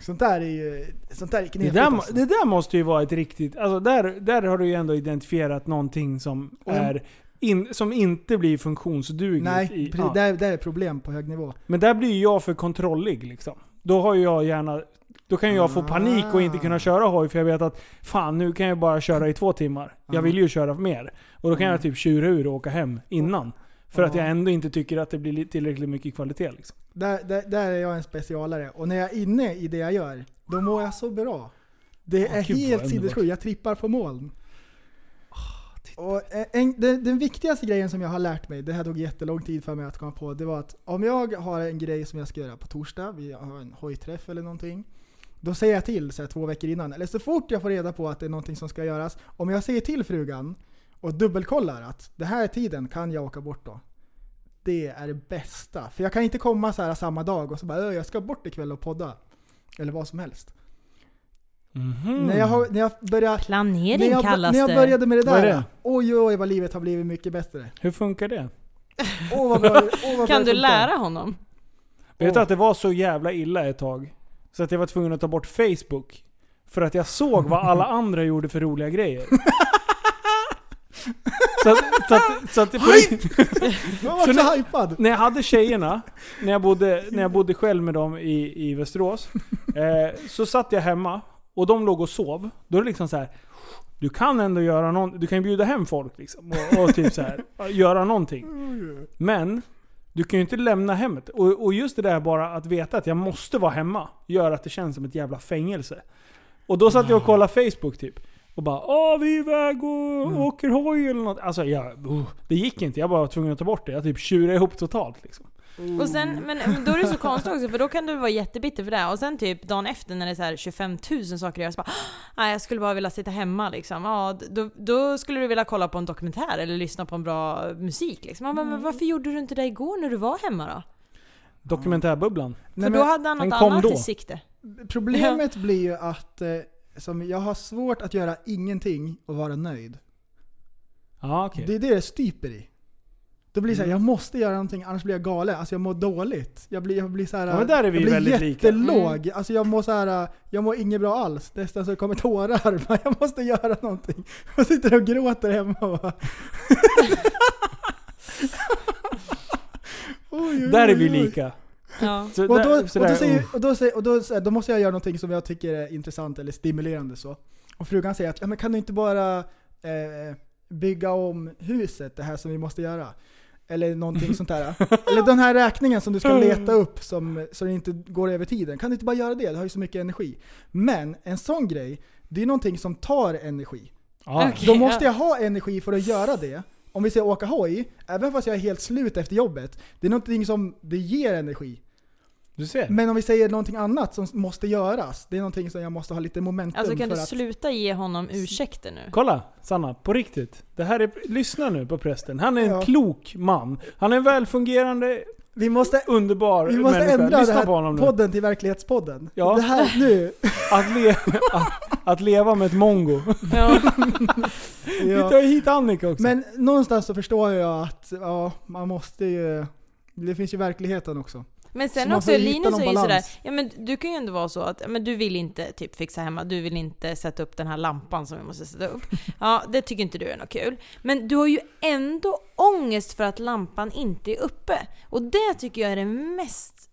[SPEAKER 5] Sånt där är ju, sånt där är
[SPEAKER 4] Det
[SPEAKER 5] knepigt
[SPEAKER 4] där,
[SPEAKER 5] alltså.
[SPEAKER 4] må- det där måste ju vara ett riktigt... Alltså där, där har du ju ändå identifierat någonting som,
[SPEAKER 5] Om-
[SPEAKER 4] är in, som inte blir funktionsdugligt.
[SPEAKER 5] Nej,
[SPEAKER 4] i,
[SPEAKER 5] precis,
[SPEAKER 4] ja.
[SPEAKER 5] det, är, det är problem på hög nivå.
[SPEAKER 4] Men där blir ju jag för kontrollig liksom. Då har ju jag gärna... Då kan ju jag få panik och inte kunna köra hoj för jag vet att fan nu kan jag bara köra i två timmar. Jag vill ju köra mer. Och då kan jag typ tjura ur och åka hem innan. För att jag ändå inte tycker att det blir li- tillräckligt mycket kvalitet liksom.
[SPEAKER 5] Där, där, där är jag en specialare. Och när jag är inne i det jag gör, då mår jag så bra. Det
[SPEAKER 4] Åh,
[SPEAKER 5] är
[SPEAKER 4] gud, vad
[SPEAKER 5] helt
[SPEAKER 4] underbart. Ah,
[SPEAKER 5] sinnessjukt. Jag trippar på moln. Och en, den, den viktigaste grejen som jag har lärt mig, det här tog jättelång tid för mig att komma på, det var att om jag har en grej som jag ska göra på torsdag, vi har en hojträff eller någonting. Då säger jag till så här, två veckor innan, eller så fort jag får reda på att det är någonting som ska göras. Om jag säger till frugan och dubbelkollar att det här är tiden, kan jag åka bort då? Det är det bästa. För jag kan inte komma så här samma dag och så bara "Ö, jag ska bort ikväll och podda. Eller vad som helst.
[SPEAKER 4] Mm.
[SPEAKER 5] När, jag, har- när jag börjar
[SPEAKER 6] planering
[SPEAKER 5] när jag,
[SPEAKER 6] kallas
[SPEAKER 5] när jag
[SPEAKER 6] det.
[SPEAKER 5] började med det
[SPEAKER 4] Vad är
[SPEAKER 5] där,
[SPEAKER 4] det?
[SPEAKER 5] oj oj oj vad livet har blivit mycket bättre.
[SPEAKER 4] Hur funkar det?
[SPEAKER 5] Åh vad bra, åh, vad bra
[SPEAKER 6] Kan du
[SPEAKER 5] det funkar.
[SPEAKER 6] lära honom?
[SPEAKER 4] Vet du att det var så jävla illa ett tag? Så att jag var tvungen att ta bort Facebook. För att jag såg vad alla andra gjorde för roliga grejer. Så att, så att, så att det,
[SPEAKER 5] Jag var
[SPEAKER 4] Så
[SPEAKER 5] så,
[SPEAKER 4] nu-
[SPEAKER 5] hypad.
[SPEAKER 4] när jag hade tjejerna, när jag bodde, när jag bodde själv med dem i, i Västerås. Eh, så satt jag hemma och de låg och sov. Då är det liksom så här. Du kan ändå göra någonting. Du kan ju bjuda hem folk liksom. Och, och typ så här, göra någonting. Men du kan ju inte lämna hemmet. Och, och just det där bara att veta att jag måste vara hemma gör att det känns som ett jävla fängelse. Och då satt jag och kollade Facebook typ. Och bara Åh, vi är iväg och
[SPEAKER 5] Mm.
[SPEAKER 4] åker hoj eller något. Alltså jag, uh, det gick inte. Jag bara var tvungen att ta bort det. Jag typ tjurade ihop totalt liksom.
[SPEAKER 6] Och sen,
[SPEAKER 5] Mm.
[SPEAKER 6] men då är det så konstigt också för då kan du vara jättebitter för det. Och sen typ dagen efter när det är så här 25 000 saker att göra så bara "Ah, Nej jag skulle bara vilja sitta hemma liksom. Ja, då, då skulle du vilja kolla på en dokumentär eller lyssna på en bra musik liksom. Ja, men,
[SPEAKER 5] Mm.
[SPEAKER 6] men varför gjorde du inte det igår när du var hemma då?
[SPEAKER 4] Dokumentärbubblan.
[SPEAKER 5] Nej,
[SPEAKER 6] för då
[SPEAKER 5] men
[SPEAKER 6] hade han
[SPEAKER 4] han
[SPEAKER 6] något
[SPEAKER 4] kom
[SPEAKER 6] annat
[SPEAKER 4] då.
[SPEAKER 6] i sikte.
[SPEAKER 5] problemet blir ju att eh, som jag har svårt att göra ingenting och vara nöjd.
[SPEAKER 4] Ja okej. Mm.
[SPEAKER 5] Det är det jag stryper i. Då blir det såhär, jag måste göra någonting annars blir jag galen. Alltså jag mår dåligt. Jag blir, jag blir såhär...
[SPEAKER 4] Ja, men där är vi
[SPEAKER 5] jag blir
[SPEAKER 4] väldigt lika. Mm.
[SPEAKER 5] jättelåg. Alltså jag mår såhär, jag mår inget bra alls. Nästan så det kommer tårar. Men *laughs* jag måste göra någonting. Jag sitter och gråter hemma och bara,
[SPEAKER 4] *laughs* Där
[SPEAKER 5] *laughs*
[SPEAKER 4] är vi lika.
[SPEAKER 6] Ja.
[SPEAKER 4] Så
[SPEAKER 5] Mm. och
[SPEAKER 4] där-
[SPEAKER 5] då, och
[SPEAKER 4] så där,
[SPEAKER 5] då, säger,
[SPEAKER 4] uh.
[SPEAKER 5] och då, säger, och då, säger, då måste jag göra någonting som jag tycker är intressant eller stimulerande så. Och frugan säger att, ja men kan du inte bara eh, bygga om huset, det här som vi måste göra? Eller någonting
[SPEAKER 4] *laughs*
[SPEAKER 5] sånt där. Eller den här räkningen som du
[SPEAKER 4] Mm.
[SPEAKER 5] ska leta upp som, så det inte går över tiden. Kan du inte bara göra det? Du har ju så mycket energi. Men en sån grej, det är någonting som tar energi.
[SPEAKER 4] Ja.
[SPEAKER 6] Okej.
[SPEAKER 5] Då måste jag ha energi för att göra det. Om vi säger åka hoj, även fast jag är helt slut efter jobbet, det är någonting som det ger energi.
[SPEAKER 4] Du ser.
[SPEAKER 5] Men om vi säger någonting annat som måste göras, det är någonting som jag måste ha lite momentum
[SPEAKER 6] Alltså kan
[SPEAKER 5] för
[SPEAKER 6] du
[SPEAKER 5] att...
[SPEAKER 6] sluta ge honom ursäkter nu?
[SPEAKER 4] Kolla Sanna, på riktigt. Det här är, lyssna nu på prästen. Han är en
[SPEAKER 5] Ja.
[SPEAKER 4] klok man. Han är en välfungerande,
[SPEAKER 5] Vi måste,
[SPEAKER 4] underbar
[SPEAKER 5] vi måste
[SPEAKER 4] människa.
[SPEAKER 5] ändra
[SPEAKER 4] lyssna
[SPEAKER 5] den här
[SPEAKER 4] på honom nu.
[SPEAKER 5] podden till Verklighetspodden.
[SPEAKER 4] Ja.
[SPEAKER 5] Det här
[SPEAKER 4] *laughs*
[SPEAKER 5] nu.
[SPEAKER 4] Att, le- *laughs* att, att leva med ett mongo.
[SPEAKER 6] Ja.
[SPEAKER 4] Vi
[SPEAKER 5] Ja.
[SPEAKER 4] tar hit Annika också.
[SPEAKER 5] Men någonstans så förstår jag att ja, man måste ju... Det finns ju verkligheten också.
[SPEAKER 6] Men sen
[SPEAKER 5] Så man
[SPEAKER 6] också,
[SPEAKER 5] får hitta
[SPEAKER 6] Linus
[SPEAKER 5] någon
[SPEAKER 6] är ju sådär,
[SPEAKER 5] balans.
[SPEAKER 6] ja men du kan ju ändå vara så att, ja, men du vill inte typ fixa hemma, du vill inte sätta upp den här lampan som vi måste sätta
[SPEAKER 5] *laughs*
[SPEAKER 6] upp. Ja, det tycker inte du är något kul. Men du har ju ändå ångest för att lampan inte är uppe. Och det tycker jag är det mest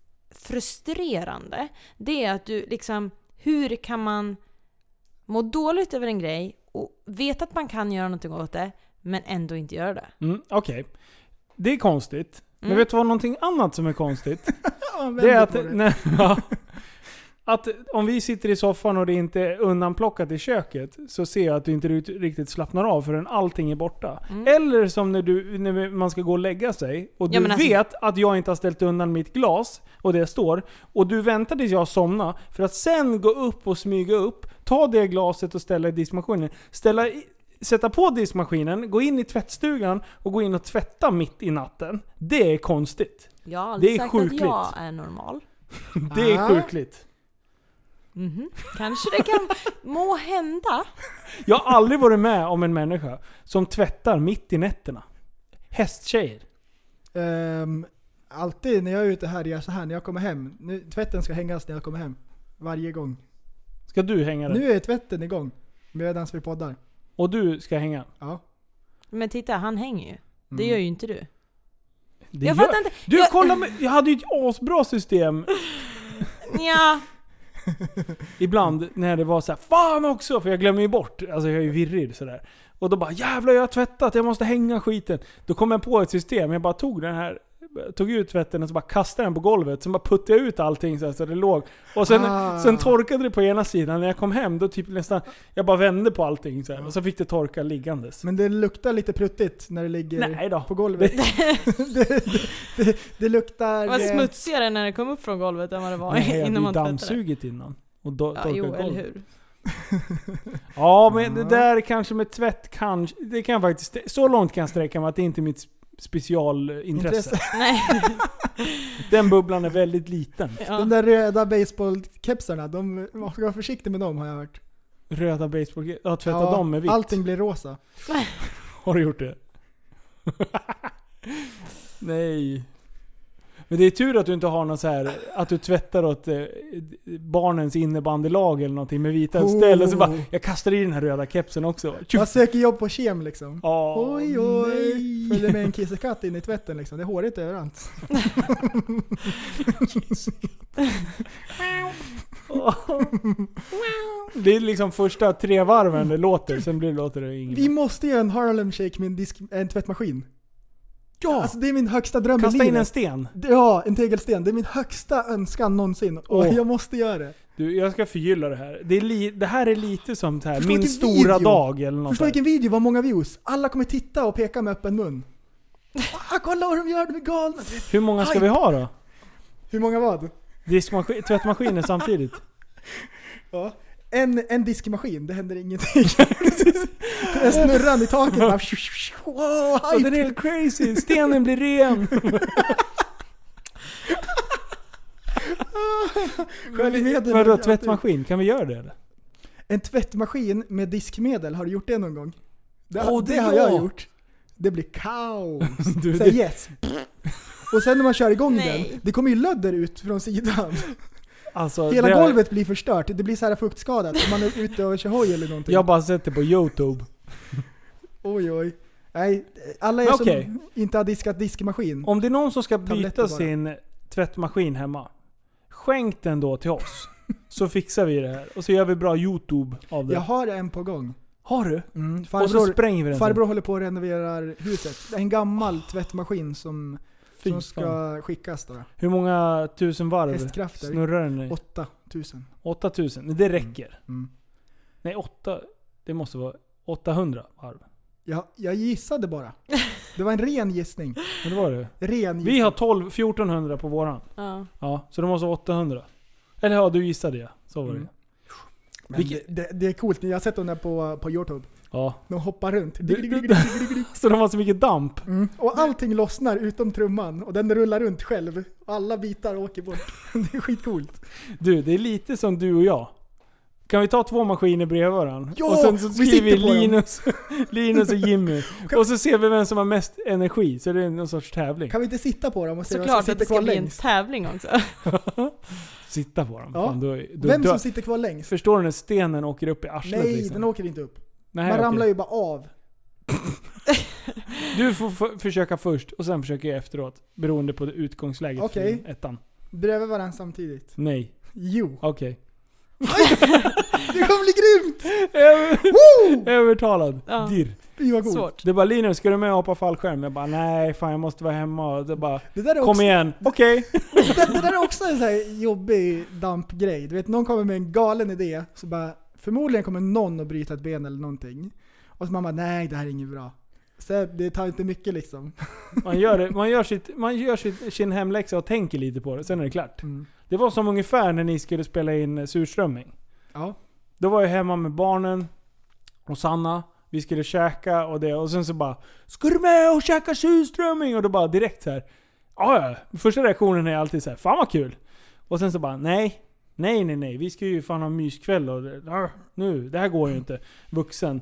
[SPEAKER 6] frustrerande. Det är att du liksom, hur kan man må dåligt över en grej och veta att man kan göra någonting åt det, men ändå inte göra det?
[SPEAKER 4] Mm, Okej. Det är konstigt.
[SPEAKER 6] Mm.
[SPEAKER 4] Men vet du vad någonting annat som är konstigt?
[SPEAKER 5] Ja, vänd
[SPEAKER 4] det är
[SPEAKER 5] på
[SPEAKER 4] att,
[SPEAKER 5] *laughs*
[SPEAKER 4] nej, ja, att om vi sitter i soffan och det inte är undanplockat i köket så ser jag att du inte rut- riktigt slappnar av förrän allting är borta. Eller som när, du, när man ska gå och lägga sig och du
[SPEAKER 6] Mm. Ja, men alltså-
[SPEAKER 4] vet att jag inte har ställt undan mitt glas och det står och du väntar tills jag somnar för att sen gå upp och smyga upp, ta det glaset och ställa i diskmaskinen. Ställa i, sätta på diskmaskinen, gå in i tvättstugan och gå in och tvätta mitt i natten. Det är konstigt. *laughs*
[SPEAKER 6] Jag har aldrig
[SPEAKER 4] Det är
[SPEAKER 6] sagt att
[SPEAKER 4] sjukligt.
[SPEAKER 6] jag är normal.
[SPEAKER 4] Det är
[SPEAKER 5] Ah.
[SPEAKER 4] sjukligt.
[SPEAKER 6] Mhm. Kanske det kan må hända.
[SPEAKER 4] Jag har aldrig varit med om en människa som tvättar mitt i nätterna. Hästtjejer.
[SPEAKER 5] Ehm, alltid när jag är ute här, jag gör så här när jag kommer hem. Nu, tvätten ska hängas när jag kommer hem. Varje gång.
[SPEAKER 4] Ska du hänga den?
[SPEAKER 5] Nu är tvätten igång. Medan vi poddar.
[SPEAKER 4] Och du ska hänga.
[SPEAKER 5] Ja.
[SPEAKER 6] Men titta, han hänger ju.
[SPEAKER 5] Mm.
[SPEAKER 6] Det gör ju inte du.
[SPEAKER 4] Det
[SPEAKER 6] jag
[SPEAKER 4] gör-
[SPEAKER 6] fattar inte.
[SPEAKER 4] Du
[SPEAKER 6] jag,
[SPEAKER 4] kolla, med, jag hade ju ett asbra system
[SPEAKER 6] Ja, *laughs*
[SPEAKER 4] ibland när det var så här, Fan också! För jag glömmer ju bort. Alltså jag är ju virrig sådär. Och då bara jävlar jag har tvättat, jag måste hänga skiten. Då kom jag på ett system, jag bara tog den här Tog ut tvätten och så bara kastade den på golvet, sen bara puttade jag ut allting så, här, så det låg. Och sen,
[SPEAKER 5] Ah.
[SPEAKER 4] sen torkade det på ena sidan, när jag kom hem då typ nästan... Jag bara vände på allting så här, och så fick det torka liggandes.
[SPEAKER 5] Men det luktar lite pruttigt när det ligger
[SPEAKER 4] Nej då. *laughs*
[SPEAKER 5] på golvet. det, det, det, det luktar...
[SPEAKER 6] det var
[SPEAKER 5] eh,
[SPEAKER 6] smutsigare när det kom upp från golvet än vad det var
[SPEAKER 4] Nej, jag hade
[SPEAKER 6] innan
[SPEAKER 4] ju
[SPEAKER 6] man tvättade.
[SPEAKER 4] dammsugit innan. Och do-
[SPEAKER 6] Ja,
[SPEAKER 4] torkat
[SPEAKER 6] jo, eller
[SPEAKER 4] golvet.
[SPEAKER 6] hur.
[SPEAKER 4] Ja, men det där kanske med tvätt kanske... Det kan jag faktiskt... Så långt kan jag sträcka mig att det inte är mitt sp- specialintresse. *laughs*
[SPEAKER 5] Intresse.
[SPEAKER 6] Nej,
[SPEAKER 4] Den bubblan är väldigt liten.
[SPEAKER 5] De
[SPEAKER 6] ja.
[SPEAKER 5] där röda baseballkepsarna, de man ska vara försiktig med dem har jag hört.
[SPEAKER 4] Röda baseball... Jag har tvättat dem med vitt.
[SPEAKER 5] Allting blir rosa.
[SPEAKER 4] Har du gjort det? *laughs* Nej. Men det är tur att du inte har någon så här att du tvättar åt eh, barnens innebandylag eller någonting med vita
[SPEAKER 5] Oh.
[SPEAKER 4] ställ och så bara jag kastar i den här röda kepsen också.
[SPEAKER 5] Jag
[SPEAKER 4] Tjuff.
[SPEAKER 5] söker jobb på kem liksom.
[SPEAKER 4] Ja,
[SPEAKER 5] oj oj.
[SPEAKER 4] nej.
[SPEAKER 5] Följer med en kissekatt in i tvätten liksom. Det är hårigt överallt.
[SPEAKER 4] *laughs* Det är liksom första tre varven det låter, sen blir det låter det
[SPEAKER 5] Vi
[SPEAKER 4] inget.
[SPEAKER 5] måste göra en Harlem Shake med en, disk, en tvättmaskin.
[SPEAKER 4] Ja!
[SPEAKER 5] Alltså det är min högsta dröm
[SPEAKER 4] Kasta in
[SPEAKER 5] i
[SPEAKER 4] en
[SPEAKER 5] livet.
[SPEAKER 4] sten.
[SPEAKER 5] Ja, en tegelsten. Det är min högsta önskan någonsin. Och
[SPEAKER 4] Åh.
[SPEAKER 5] jag måste göra det.
[SPEAKER 4] Du, jag ska förgylla det här. Det, är li, det här är lite som så här,
[SPEAKER 5] Förstå
[SPEAKER 4] min
[SPEAKER 5] vilken
[SPEAKER 4] stora
[SPEAKER 5] video.
[SPEAKER 4] dag eller något
[SPEAKER 5] Förstå
[SPEAKER 4] sånt.
[SPEAKER 5] vilken video, vad många views. Alla kommer titta och peka med öppen mun. Ah, kolla vad de gör, de är galna.
[SPEAKER 4] Hur många ska vi ha då?
[SPEAKER 5] Hur många vad?
[SPEAKER 4] Diskmaskin, tvättmaskiner samtidigt?
[SPEAKER 5] Ja. En, en diskmaskin, det händer ingenting. *laughs* den är snurran i taket bara... Wow,
[SPEAKER 4] Ja,
[SPEAKER 5] hype.
[SPEAKER 4] den är helt
[SPEAKER 5] *laughs*
[SPEAKER 4] crazy! Stenen blir ren!
[SPEAKER 5] Sköljmedel.
[SPEAKER 4] Vadå tvättmaskin? Kan vi göra det
[SPEAKER 5] *laughs*
[SPEAKER 4] eller?
[SPEAKER 5] En tvättmaskin med diskmedel, har du gjort det någon gång? Det,
[SPEAKER 4] Åh, det
[SPEAKER 5] det har
[SPEAKER 4] ja.
[SPEAKER 5] jag gjort. Det blir kaos.
[SPEAKER 4] Du,
[SPEAKER 5] Säg yes. Och sen när man kör igång
[SPEAKER 6] Nej.
[SPEAKER 5] den, det kommer ju lödder ut från sidan.
[SPEAKER 4] alltså,
[SPEAKER 5] Hela
[SPEAKER 4] det-
[SPEAKER 5] golvet blir förstört, det blir så här fuktskadat. Om man är ute och kör hoj eller någonting.
[SPEAKER 4] Jag har bara sett det på youtube.
[SPEAKER 5] Oj oj. Nej, alla
[SPEAKER 4] Men
[SPEAKER 5] er
[SPEAKER 4] okej.
[SPEAKER 5] som inte har diskat diskmaskin.
[SPEAKER 4] Om det är någon som ska
[SPEAKER 5] Tabletter
[SPEAKER 4] byta
[SPEAKER 5] bara.
[SPEAKER 4] sin tvättmaskin hemma, skänk den då till oss. Så fixar vi det här. Och så gör vi bra youtube av det.
[SPEAKER 5] Jag har en på gång.
[SPEAKER 4] Har du?
[SPEAKER 5] Mm,
[SPEAKER 4] Och så
[SPEAKER 5] farbror,
[SPEAKER 4] spränger vi den. sen.
[SPEAKER 5] farbror håller på att renovera huset. Det är en gammal tvättmaskin som,
[SPEAKER 4] Fy
[SPEAKER 5] som
[SPEAKER 4] fan.
[SPEAKER 5] ska skickas då.
[SPEAKER 4] Hur många tusen varv
[SPEAKER 5] Hästkrafter.
[SPEAKER 4] snurrar den i?
[SPEAKER 5] 8000.
[SPEAKER 4] 8000? Men Det räcker.
[SPEAKER 5] Mm.
[SPEAKER 4] Nej, 8... Det måste vara 800 varv.
[SPEAKER 5] Jag, jag gissade bara. Det var en ren gissning.
[SPEAKER 4] Men det var det.
[SPEAKER 5] Ren gissning.
[SPEAKER 4] Vi har 12, 1400 på våran.
[SPEAKER 6] Ja.
[SPEAKER 4] Ja, så de måste vara 800. Eller ja, du gissade ja. Så var det.
[SPEAKER 5] Mm. Men
[SPEAKER 4] vilket-
[SPEAKER 5] det, det, det är coolt, jag har sett dem där på, på Youtube.
[SPEAKER 4] Ja. *laughs*
[SPEAKER 5] De hoppar runt.
[SPEAKER 4] Så de har så mycket damp.
[SPEAKER 5] Mm. Och allting lossnar utom trumman och den rullar runt själv. Och alla bitar åker bort. *laughs* Det är skitcoolt.
[SPEAKER 4] Du, det är lite som du och jag. Kan vi ta två maskiner bredvid varandra?
[SPEAKER 5] Ja,
[SPEAKER 4] och sen så
[SPEAKER 5] vi
[SPEAKER 4] skriver vi
[SPEAKER 5] sitter på dem.
[SPEAKER 4] Linus, Linus och *laughs* Jimmy. Och så ser vi vem som har mest energi, så det är någon sorts tävling.
[SPEAKER 5] Kan vi inte sitta på dem och se vem
[SPEAKER 6] Såklart
[SPEAKER 5] som
[SPEAKER 6] att det
[SPEAKER 5] sitter
[SPEAKER 6] ska
[SPEAKER 5] kvar
[SPEAKER 6] bli en
[SPEAKER 5] längst?
[SPEAKER 6] tävling också.
[SPEAKER 4] Sitta på dem.
[SPEAKER 5] Ja.
[SPEAKER 4] Fan, då, då
[SPEAKER 5] Vem
[SPEAKER 4] dör.
[SPEAKER 5] som sitter kvar längst?
[SPEAKER 4] Förstår du när stenen åker upp i arslet
[SPEAKER 5] Nej,
[SPEAKER 4] liksom?
[SPEAKER 5] den åker inte upp.
[SPEAKER 4] Nej,
[SPEAKER 5] Man
[SPEAKER 4] okej.
[SPEAKER 5] ramlar ju bara av.
[SPEAKER 4] Du får f- försöka först och sen försöker jag efteråt. Beroende på det utgångsläget
[SPEAKER 5] Okej.
[SPEAKER 4] för ettan.
[SPEAKER 5] Bredvid varandra samtidigt.
[SPEAKER 4] Nej. *laughs*
[SPEAKER 5] Jo. *laughs*
[SPEAKER 4] Okej.
[SPEAKER 5] Det kommer bli grymt!
[SPEAKER 4] Över-
[SPEAKER 5] Woo!
[SPEAKER 4] Övertalad.
[SPEAKER 6] Ja.
[SPEAKER 4] Dirr.
[SPEAKER 5] Fy vad coolt.
[SPEAKER 6] Svårt.
[SPEAKER 4] Typ. Det är bara Linus, ska du med och hoppa fallskärm? Jag bara nej, fan jag måste vara hemma. Och Det bara,
[SPEAKER 5] Det där är
[SPEAKER 4] kom
[SPEAKER 5] också *laughs*
[SPEAKER 4] igen. Okej.
[SPEAKER 5] det, *laughs* det där är också en så här jobbig dampgrej. Du vet, någon kommer med en galen idé, så bara, förmodligen kommer någon att bryta ett ben eller någonting. Och så man bara, nej det här är inget bra. Så det tar inte mycket liksom. *laughs*
[SPEAKER 4] Man gör, det, man gör, sitt, man gör sitt, sin hemläxa och tänker lite på det, sen är det klart.
[SPEAKER 5] Mm.
[SPEAKER 4] Det var som ungefär när ni skulle spela in eh, surströmming.
[SPEAKER 5] Ja.
[SPEAKER 4] Då var jag hemma med barnen och Sanna. Vi skulle käka och det och sen så bara Ska du med och käka surströmming? Och då bara direkt så här. "Ja, ja." Första reaktionen är alltid så här, Fan vad kul! Och sen så bara nej. Nej nej nej, vi ska ju fan ha myskväll och det- "Arr, nu, det här går ju inte. Vuxen.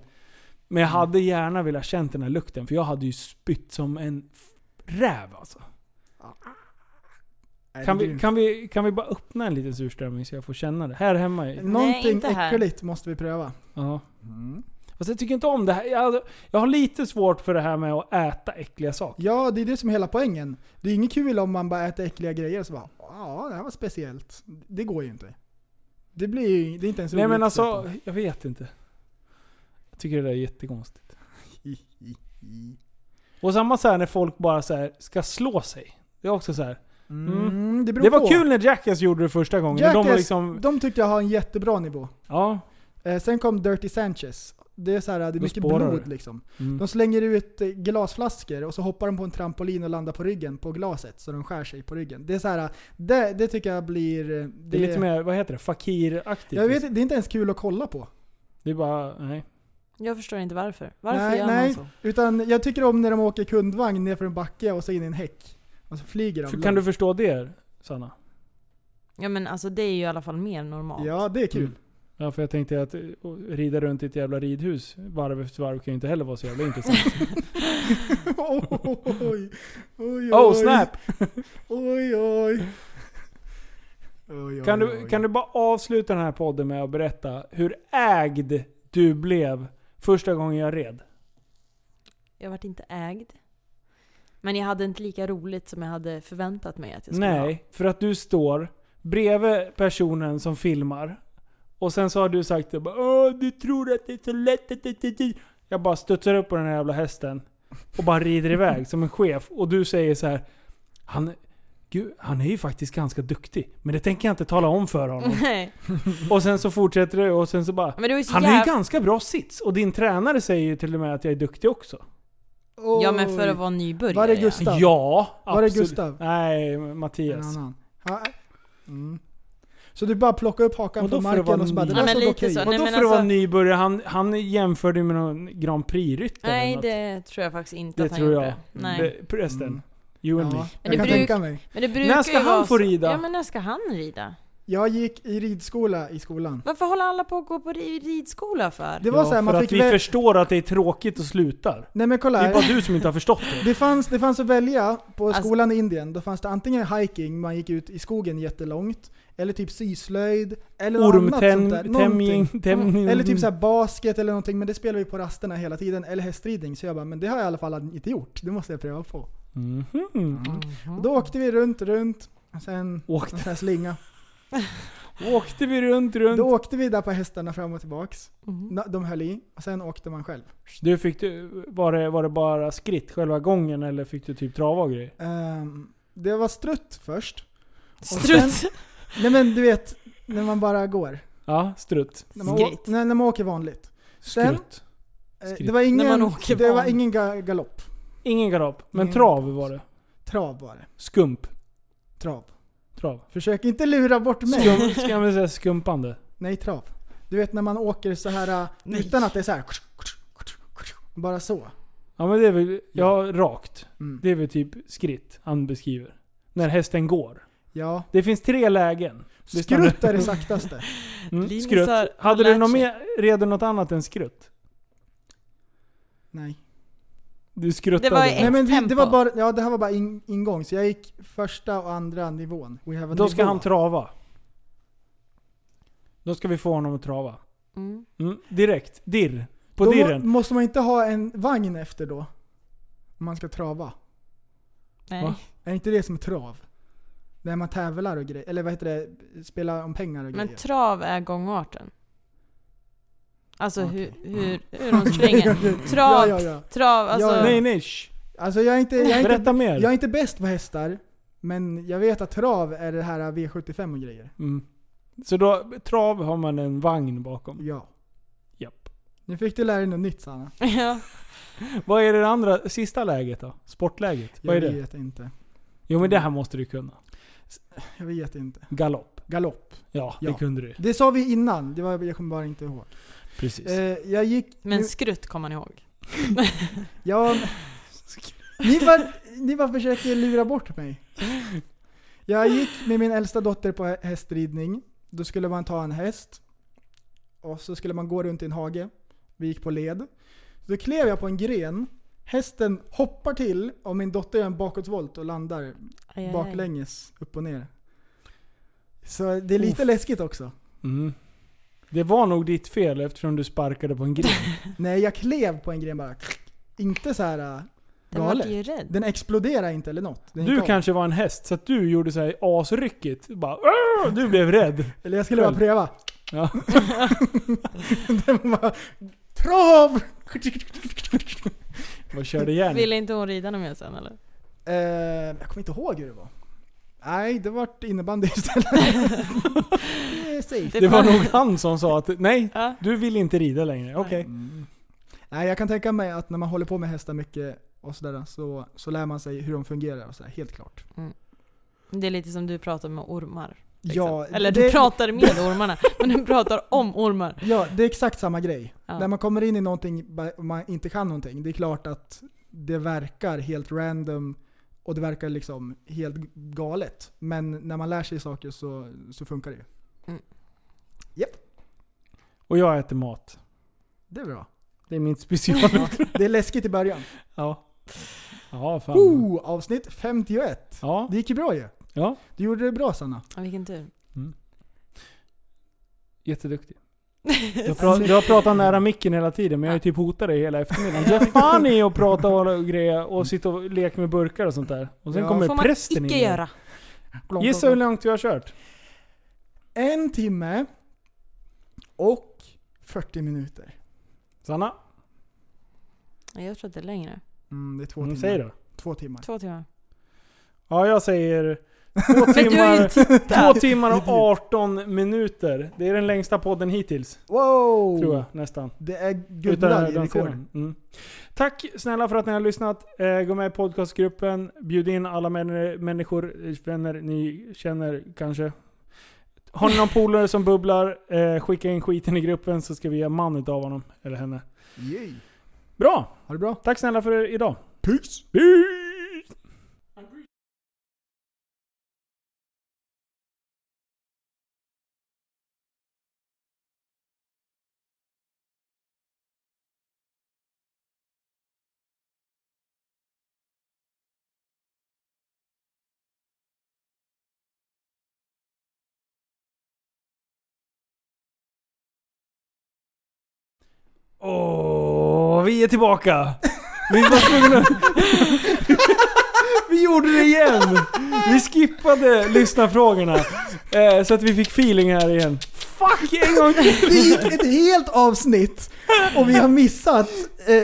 [SPEAKER 4] Men jag hade gärna velat känt den här lukten för jag hade ju spytt som en f- räv alltså.
[SPEAKER 5] Nej,
[SPEAKER 4] Kan
[SPEAKER 5] det är
[SPEAKER 4] vi,
[SPEAKER 5] grymt.
[SPEAKER 4] kan, vi, kan vi bara öppna en liten surströmming så jag får känna det? Här hemma
[SPEAKER 5] Mm.
[SPEAKER 4] i...
[SPEAKER 6] Nej,
[SPEAKER 5] Någonting
[SPEAKER 6] inte här.
[SPEAKER 5] äckligt måste vi pröva.
[SPEAKER 4] Ja. Fast jag tycker inte om det här. Jag, jag har lite svårt för det här med att äta äckliga saker.
[SPEAKER 5] Ja, det är det som är hela poängen. Det är inget kul om man bara äter äckliga grejer och så bara, ja det här var speciellt. Det går ju inte. Det blir ju, det är inte ens
[SPEAKER 4] Nej
[SPEAKER 5] roligt typ.
[SPEAKER 4] men
[SPEAKER 5] att se
[SPEAKER 4] alltså, jag vet inte. Jag tycker det där är jättekonstigt. Och samma så här när folk bara så här ska slå sig. Det är också så här.
[SPEAKER 5] på. Mm, det beror
[SPEAKER 4] Det var
[SPEAKER 5] på.
[SPEAKER 4] kul när Jackass gjorde det första gången. Jackass, de var
[SPEAKER 5] Jackass,
[SPEAKER 4] liksom...
[SPEAKER 5] de tyckte jag har en jättebra nivå.
[SPEAKER 4] Ja.
[SPEAKER 5] Eh, sen kom Dirty Sanchez. Det är så här, det är mycket
[SPEAKER 4] spårar
[SPEAKER 5] blod
[SPEAKER 4] det.
[SPEAKER 5] liksom.
[SPEAKER 4] Mm.
[SPEAKER 5] De slänger ut eh, glasflaskor och så hoppar de på en trampolin och landar på ryggen på glaset så de skär sig på ryggen. Det är så här, det, det tycker jag blir... eh, Det,
[SPEAKER 4] Det är lite mer, vad heter det? Fakiraktigt.
[SPEAKER 5] jag vet, inte, det är inte ens kul att kolla på.
[SPEAKER 4] Det är bara, nej.
[SPEAKER 6] Jag förstår inte varför. Varför
[SPEAKER 5] Nej,
[SPEAKER 6] gör
[SPEAKER 5] nej.
[SPEAKER 6] man så?
[SPEAKER 5] Utan jag tycker om när de åker kundvagn ner för en backe och så in i en häck. Och så flyger de.
[SPEAKER 4] För, kan du förstå det Sanna?
[SPEAKER 6] Ja men alltså det är ju i alla fall mer normalt.
[SPEAKER 5] Ja, det är kul.
[SPEAKER 4] Mm. Ja, för jag tänkte att eh, rida runt i ett jävla ridhus varv efter varv kan ju inte heller vara så jävla intressant.
[SPEAKER 5] *laughs* Oj, oj, *laughs* oj.
[SPEAKER 4] Oh snap!
[SPEAKER 5] Oj, oj. Oj,
[SPEAKER 4] Kan
[SPEAKER 5] oj,
[SPEAKER 4] du,
[SPEAKER 5] oj.
[SPEAKER 4] kan du bara avsluta den här podden med att berätta hur ägd du blev första gången jag red?
[SPEAKER 6] Jag vart inte ägd. Men jag hade inte lika roligt som jag hade förväntat mig att jag skulle ha.
[SPEAKER 4] Nej, för att du står bredvid personen som filmar. Och sen så har du sagt det bara, Åh, du tror att det är så lätt att... det- det- det." Jag bara studsar upp på den här jävla hästen och bara rider iväg som en chef. Och du säger så här, han, gud, han är ju faktiskt ganska duktig. Men det tänker jag inte tala om för honom.
[SPEAKER 6] *laughs* Nej.
[SPEAKER 4] Och sen så fortsätter du och sen så bara,
[SPEAKER 6] Men det var ju så
[SPEAKER 4] han har ju
[SPEAKER 6] jävla...
[SPEAKER 4] ganska bra sits. Och din tränare säger ju till och med att jag är duktig också.
[SPEAKER 6] Ja men för att vara nybörjare
[SPEAKER 5] Var det
[SPEAKER 6] ja.
[SPEAKER 5] Gustav?
[SPEAKER 4] Ja,
[SPEAKER 5] Var det
[SPEAKER 4] absolut.
[SPEAKER 5] Gustav?
[SPEAKER 4] Nej,
[SPEAKER 5] En
[SPEAKER 4] Mattias.
[SPEAKER 5] annan. Ja. Mm. Så du bara plockade upp hakan
[SPEAKER 4] Vadå
[SPEAKER 5] från
[SPEAKER 4] för att vara
[SPEAKER 5] marken och så bara, det
[SPEAKER 4] ny?
[SPEAKER 5] där
[SPEAKER 6] Ja, men
[SPEAKER 5] såg
[SPEAKER 6] lite
[SPEAKER 5] okej
[SPEAKER 6] så.
[SPEAKER 5] ut.
[SPEAKER 4] Vadå
[SPEAKER 6] Nej,
[SPEAKER 4] för
[SPEAKER 6] men
[SPEAKER 4] att vara
[SPEAKER 6] alltså-
[SPEAKER 4] nybörjare? Han, han jämförde ju med någon Grand Prix-ryttare.
[SPEAKER 6] Nej
[SPEAKER 4] eller
[SPEAKER 6] det tror jag faktiskt inte
[SPEAKER 4] Det
[SPEAKER 6] att han
[SPEAKER 4] tror
[SPEAKER 6] gjorde.
[SPEAKER 4] jag.
[SPEAKER 6] Nej.
[SPEAKER 4] något. Det- Förresten.
[SPEAKER 5] Mm.
[SPEAKER 4] You and
[SPEAKER 5] Ja,
[SPEAKER 4] me.
[SPEAKER 6] Men
[SPEAKER 5] jag
[SPEAKER 6] det
[SPEAKER 5] kan
[SPEAKER 6] bruk-
[SPEAKER 5] tänka mig.
[SPEAKER 6] Men det brukar
[SPEAKER 4] När ska
[SPEAKER 6] ju
[SPEAKER 4] han
[SPEAKER 6] vara
[SPEAKER 4] få
[SPEAKER 6] så-
[SPEAKER 4] rida?
[SPEAKER 6] Ja men när ska han rida?
[SPEAKER 5] Jag gick i ridskola i skolan.
[SPEAKER 6] Varför håller alla på att gå på ri- ridskola för?
[SPEAKER 5] Det var
[SPEAKER 4] ja,
[SPEAKER 5] så här,
[SPEAKER 4] för
[SPEAKER 5] man
[SPEAKER 4] att
[SPEAKER 5] fick
[SPEAKER 4] vi
[SPEAKER 5] väl...
[SPEAKER 4] förstår att det är tråkigt och slutar.
[SPEAKER 5] Nej men kolla
[SPEAKER 4] Det är
[SPEAKER 5] här.
[SPEAKER 4] bara du som inte har förstått det.
[SPEAKER 5] Det fanns, det fanns att välja på
[SPEAKER 6] Alltså-
[SPEAKER 5] skolan i Indien. Då fanns det antingen hiking, man gick ut i skogen jättelångt. Eller typ syslöjd. *laughs* Eller något annat sånt där. Någonting.
[SPEAKER 4] Ormtämjning... tämjning-
[SPEAKER 5] Eller typ såhär basket eller någonting, men det spelar vi på rasterna hela tiden. Eller hästridning. Så jag bara, men det har jag i alla fall inte gjort. Det måste jag pröva på.
[SPEAKER 4] Mhm.
[SPEAKER 5] Och då åkte vi runt, runt. och Sen
[SPEAKER 4] Åkte.
[SPEAKER 5] någon sån här slinga.
[SPEAKER 4] Åkte vi runt, runt.
[SPEAKER 5] Då åkte vi där på hästarna fram och tillbaks.
[SPEAKER 6] Mhm.
[SPEAKER 5] Nå- De höll i. Och sen åkte man själv.
[SPEAKER 4] Du fick, du- var, det, var det bara skritt själva gången eller fick du typ trava och grejer?
[SPEAKER 5] Ehm, det var strutt först.
[SPEAKER 6] Struts!
[SPEAKER 5] Nej men du vet, när man bara går.
[SPEAKER 4] Ja, strutt.
[SPEAKER 5] När man,
[SPEAKER 6] Skritt.
[SPEAKER 5] å- när, när man åker vanligt. Sen-
[SPEAKER 4] Skrutt.
[SPEAKER 5] Eh,
[SPEAKER 4] Skritt.
[SPEAKER 5] Det var ingen,
[SPEAKER 6] När man åker
[SPEAKER 5] det var
[SPEAKER 6] van.
[SPEAKER 5] ingen ga- galopp.
[SPEAKER 4] Ingen galopp, men
[SPEAKER 5] Ingen
[SPEAKER 4] trav var det.
[SPEAKER 5] Trav var det.
[SPEAKER 4] Skump.
[SPEAKER 5] Trav.
[SPEAKER 4] Trav.
[SPEAKER 5] Försök inte lura bort mig.
[SPEAKER 4] Skum, ska man säga skumpande?
[SPEAKER 5] Nej, trav. Du vet när man åker så här eh, utan att det är så här. Bara så.
[SPEAKER 4] Ja men det är väl, ja rakt.
[SPEAKER 5] Mm.
[SPEAKER 4] Det är väl typ skritt han beskriver. När hästen går.
[SPEAKER 5] Ja.
[SPEAKER 4] Det finns tre lägen. Lyssna nu.
[SPEAKER 5] Skrutt är det saktaste.
[SPEAKER 4] Mm,
[SPEAKER 6] Linus
[SPEAKER 4] skrutt.
[SPEAKER 6] har-
[SPEAKER 4] Hade
[SPEAKER 6] har
[SPEAKER 4] du
[SPEAKER 6] lärt
[SPEAKER 4] något
[SPEAKER 6] sig.
[SPEAKER 4] mer, redan något annat än skrutt?
[SPEAKER 5] Nej.
[SPEAKER 4] Du skruttade.
[SPEAKER 6] Det var ju
[SPEAKER 5] Nej men vi, det
[SPEAKER 6] tempo.
[SPEAKER 5] var bara, ja det här var bara in, ingång. Så jag gick första och andra nivån. We have a
[SPEAKER 4] Då ska
[SPEAKER 5] nivå.
[SPEAKER 4] han trava. Då ska vi få honom att trava.
[SPEAKER 6] Mm.
[SPEAKER 4] Mm, direkt. Dirr. På
[SPEAKER 5] Då må-
[SPEAKER 4] dirren.
[SPEAKER 5] måste man inte ha en vagn efter då. Om man ska trava.
[SPEAKER 6] Nej.
[SPEAKER 4] Va?
[SPEAKER 5] Är inte det som trav? När man tävlar och grejer. Eller vad heter det? Spelar om pengar och
[SPEAKER 6] Men
[SPEAKER 5] grejer.
[SPEAKER 6] trav är gångarten. Alltså
[SPEAKER 5] Okej.
[SPEAKER 6] hur, hur, hur de springer.
[SPEAKER 5] *laughs* Ja,
[SPEAKER 6] Trav,
[SPEAKER 5] ja, ja.
[SPEAKER 6] trav, alltså.
[SPEAKER 5] Ja,
[SPEAKER 4] Nej nej shh.
[SPEAKER 5] Alltså jag är inte, jag är inte,
[SPEAKER 4] Berätta mer.
[SPEAKER 5] jag är inte bäst på hästar. Men jag vet att trav är det här V75 och grejer.
[SPEAKER 4] Mm. Så då, trav har man en vagn bakom.
[SPEAKER 5] Ja.
[SPEAKER 4] Japp.
[SPEAKER 5] Nu fick du lära dig något nytt Sanna.
[SPEAKER 6] *laughs* Ja.
[SPEAKER 4] Vad är det andra, sista läget då? Sportläget? Vad är
[SPEAKER 5] Jag
[SPEAKER 4] det?
[SPEAKER 5] vet inte.
[SPEAKER 4] Jo men det här måste du kunna.
[SPEAKER 5] Jag vet inte.
[SPEAKER 4] Galopp.
[SPEAKER 5] Galopp.
[SPEAKER 4] Ja, det
[SPEAKER 5] Ja.
[SPEAKER 4] kunde du.
[SPEAKER 5] Det sa vi innan. Det var, jag kommer bara inte ihåg.
[SPEAKER 4] Precis.
[SPEAKER 5] Eh, jag gick...
[SPEAKER 6] Men
[SPEAKER 5] nu-
[SPEAKER 6] skrutt kommer man ihåg.
[SPEAKER 5] Ja, ni, bara, ni bara försöker lura bort mig. Jag gick med min äldsta dotter på hä- hästridning. Då skulle man ta en häst. Och så skulle man gå runt i en hage. Vi gick på led. Då klev jag på en gren. Hästen hoppar till och min dotter gör en bakåtvolt och landar
[SPEAKER 6] Aj, aj, aj.
[SPEAKER 5] baklänges upp och ner. Så det är lite läskigt också.
[SPEAKER 4] Mm. Det var nog ditt fel eftersom du sparkade på en grej.
[SPEAKER 5] *laughs* Nej, jag klev på en gren bara. Inte så här äh,
[SPEAKER 6] Den vart
[SPEAKER 5] galet.
[SPEAKER 6] ju rädd.
[SPEAKER 5] Den exploderar inte eller något. Den gick
[SPEAKER 4] Du
[SPEAKER 5] av.
[SPEAKER 4] kanske var en häst så att du gjorde så här asryckigt. Bara, "Åh!" du blev rädd.
[SPEAKER 5] Eller jag skulle bara
[SPEAKER 4] Själv.
[SPEAKER 5] pröva.
[SPEAKER 4] Ja.
[SPEAKER 5] *laughs* Den bara, trav!
[SPEAKER 4] Vad körde igen.
[SPEAKER 6] Ville inte hon rida någon mer sen eller?
[SPEAKER 5] Eh, jag kommer inte ihåg hur det var. Nej, det vart innebandy istället. det är safe.
[SPEAKER 4] Det var nog han som sa att nej,
[SPEAKER 6] Ja.
[SPEAKER 4] du vill inte rida längre. Okej.
[SPEAKER 5] Nej, jag kan tänka mig att när man håller på med hästar mycket och sådär så, så lär man sig hur de fungerar och sådär, helt klart.
[SPEAKER 6] Det är lite som du pratar med ormar. till
[SPEAKER 5] Ja,
[SPEAKER 6] exempel. eller
[SPEAKER 5] det-
[SPEAKER 6] du pratar med ormarna, men du pratar om ormar.
[SPEAKER 5] Ja, det är exakt samma grej.
[SPEAKER 6] Ja.
[SPEAKER 5] När man kommer in i någonting ba- och man inte kan någonting, det är klart att det verkar helt random och det verkar liksom helt g- galet. Men när man lär sig saker så, så funkar det ju.
[SPEAKER 6] Mm.
[SPEAKER 5] Japp.
[SPEAKER 4] Och jag äter mat.
[SPEAKER 5] Det är bra.
[SPEAKER 4] Det är min special.
[SPEAKER 5] Det är läskigt i början.
[SPEAKER 4] ja. Ja, fan.
[SPEAKER 5] Oh, avsnitt 51.
[SPEAKER 4] Ja,
[SPEAKER 5] Det gick ju bra ju.
[SPEAKER 4] ja.
[SPEAKER 5] Du gjorde det bra Sanna.
[SPEAKER 6] Ja, vilken tur. *laughs*
[SPEAKER 4] Jätteduktig. Du har, pra- du har pratat nära micken hela tiden, men jag har ju typ hotat dig hela
[SPEAKER 6] *laughs*
[SPEAKER 4] eftermiddagen. Ge fan i att prata och grejer och sitta och leka med burkar och sånt där. Och sen
[SPEAKER 5] Ja.
[SPEAKER 4] kommer
[SPEAKER 6] får man
[SPEAKER 4] prästen
[SPEAKER 6] icke
[SPEAKER 4] in.
[SPEAKER 6] göra.
[SPEAKER 4] Gissa hur långt vi har kört?
[SPEAKER 5] En timme och 40 minuter.
[SPEAKER 4] Sanna?
[SPEAKER 6] Nej, Jag tror att det är längre.
[SPEAKER 5] Mm, det är två
[SPEAKER 4] Mm,
[SPEAKER 5] timmar.
[SPEAKER 4] säg då.
[SPEAKER 5] Två timmar.
[SPEAKER 6] Två timmar.
[SPEAKER 4] Ja, jag
[SPEAKER 6] *laughs*
[SPEAKER 4] säger två
[SPEAKER 6] Men du har ju
[SPEAKER 4] timmar, två timmar och 18 minuter. Det är den längsta podden hittills,
[SPEAKER 5] Wow!
[SPEAKER 4] tror jag nästan.
[SPEAKER 5] Det är
[SPEAKER 4] Utan
[SPEAKER 5] guldmedalj i
[SPEAKER 4] den
[SPEAKER 5] rekord.
[SPEAKER 4] sedan. Mm. Tack snälla för att ni har lyssnat. Eh, gå med i podcastgruppen. Bjud in alla män- människor, eh, vänner ni känner kanske. Har ni någon polare som bubblar, eh, skicka in skiten i gruppen så ska vi ge man utav honom, eller henne.
[SPEAKER 5] Yay.
[SPEAKER 4] Bra!
[SPEAKER 5] Ha det bra.
[SPEAKER 4] Tack snälla för idag.
[SPEAKER 5] Peace!
[SPEAKER 4] Peace! Åh, vi är tillbaka! Vi var tvungna... *laughs* vi gjorde det igen! Vi skippade lyssnarfrågorna. Eh, så att vi fick feeling här igen. Fuck, en gång till!
[SPEAKER 5] Det gick ett helt avsnitt och vi har missat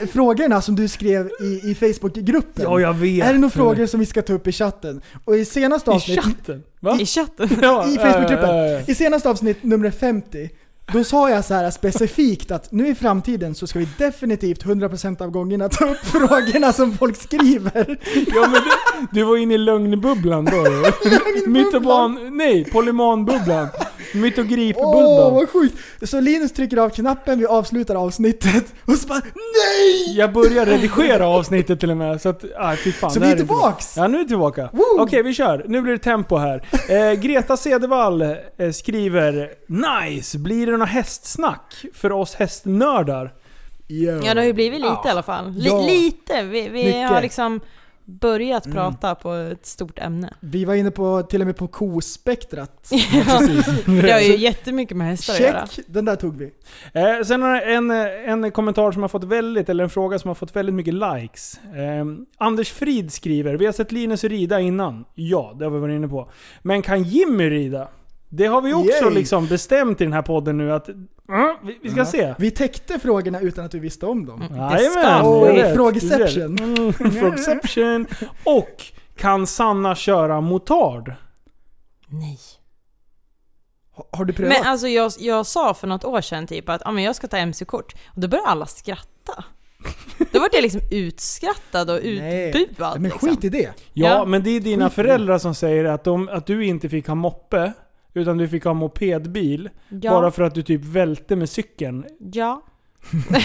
[SPEAKER 5] eh, frågorna som du skrev i, i Facebookgruppen.
[SPEAKER 4] Ja, jag vet.
[SPEAKER 5] Är det några frågor som vi ska ta upp i chatten? Och i senaste
[SPEAKER 4] I
[SPEAKER 5] avsnitt,
[SPEAKER 4] chatten? Va?
[SPEAKER 6] I chatten.
[SPEAKER 4] Ja,
[SPEAKER 5] i Facebookgruppen.
[SPEAKER 4] ja, ja, ja.
[SPEAKER 5] i senaste avsnitt nummer 50, då sa jag så här specifikt att nu i framtiden så ska vi definitivt 100% av gångerna ta upp *laughs* frågorna som folk skriver.
[SPEAKER 4] Ja, men du, du var inne i lögnbubblan då. Mytoban... Nej, polymanbubblan.
[SPEAKER 5] Åh,
[SPEAKER 4] Mytogripbubblan.
[SPEAKER 5] vad sjukt! Så Linus trycker av knappen, vi avslutar avsnittet och så bara NEJ!
[SPEAKER 4] Jag började redigera avsnittet till och med, så att... Ah, fy fan, det
[SPEAKER 5] Så vi
[SPEAKER 4] här
[SPEAKER 5] är
[SPEAKER 4] inte bra.
[SPEAKER 5] tillbaks!
[SPEAKER 4] Ja, nu är vi tillbaka. Okej, vi kör. Nu blir det tempo här. Eh, Greta Cedervall eh, skriver Nice! Blir det något hästsnack för oss hästnördar?
[SPEAKER 6] Ja, det har ju blivit lite i alla fall. Li-
[SPEAKER 5] Ja.
[SPEAKER 6] Lite. Vi, vi
[SPEAKER 5] Mycket.
[SPEAKER 6] har liksom börjat prata på ett stort *laughs* ämne.
[SPEAKER 5] Vi var inne på, till och med på
[SPEAKER 6] *laughs*
[SPEAKER 5] kospektrat.
[SPEAKER 6] det har ju jättemycket med hästar att göra.
[SPEAKER 5] Check! Den där tog vi.
[SPEAKER 4] Eh, sen har jag en, eh, en kommentar som har fått väldigt, eller en fråga som har fått väldigt mycket likes. Eh, Anders Frid skriver, vi har sett Linus rida innan. Ja, det har vi varit inne på. Men kan Jimmy rida? Det har vi också
[SPEAKER 5] Yay.
[SPEAKER 4] liksom bestämt i den här podden nu att... Mm, vi, vi ska
[SPEAKER 5] Ja.
[SPEAKER 4] se.
[SPEAKER 5] Vi täckte frågorna utan att vi visste om dem.
[SPEAKER 6] Mm.
[SPEAKER 4] Jajamän!
[SPEAKER 5] Åh,
[SPEAKER 4] jag vet.
[SPEAKER 5] frågeception.
[SPEAKER 4] Mm, frågeception. Och kan Sanna köra motard?
[SPEAKER 6] Nej.
[SPEAKER 5] Har- Har du prövat?
[SPEAKER 6] Men alltså jag, jag sa för något år sedan typ att ah, men jag ska ta mc-kort. Och då började alla skratta. Då vart jag liksom utskrattad och
[SPEAKER 5] Nej.
[SPEAKER 6] utbuad.
[SPEAKER 5] Men
[SPEAKER 6] liksom.
[SPEAKER 5] skit i det.
[SPEAKER 4] Ja,
[SPEAKER 6] Ja.
[SPEAKER 4] men det är dina föräldrar som säger att, de, att du inte fick ha moppe, utan du fick ha mopedbil.
[SPEAKER 6] ja,
[SPEAKER 4] Bara för att du typ välte med cykeln.
[SPEAKER 6] ja.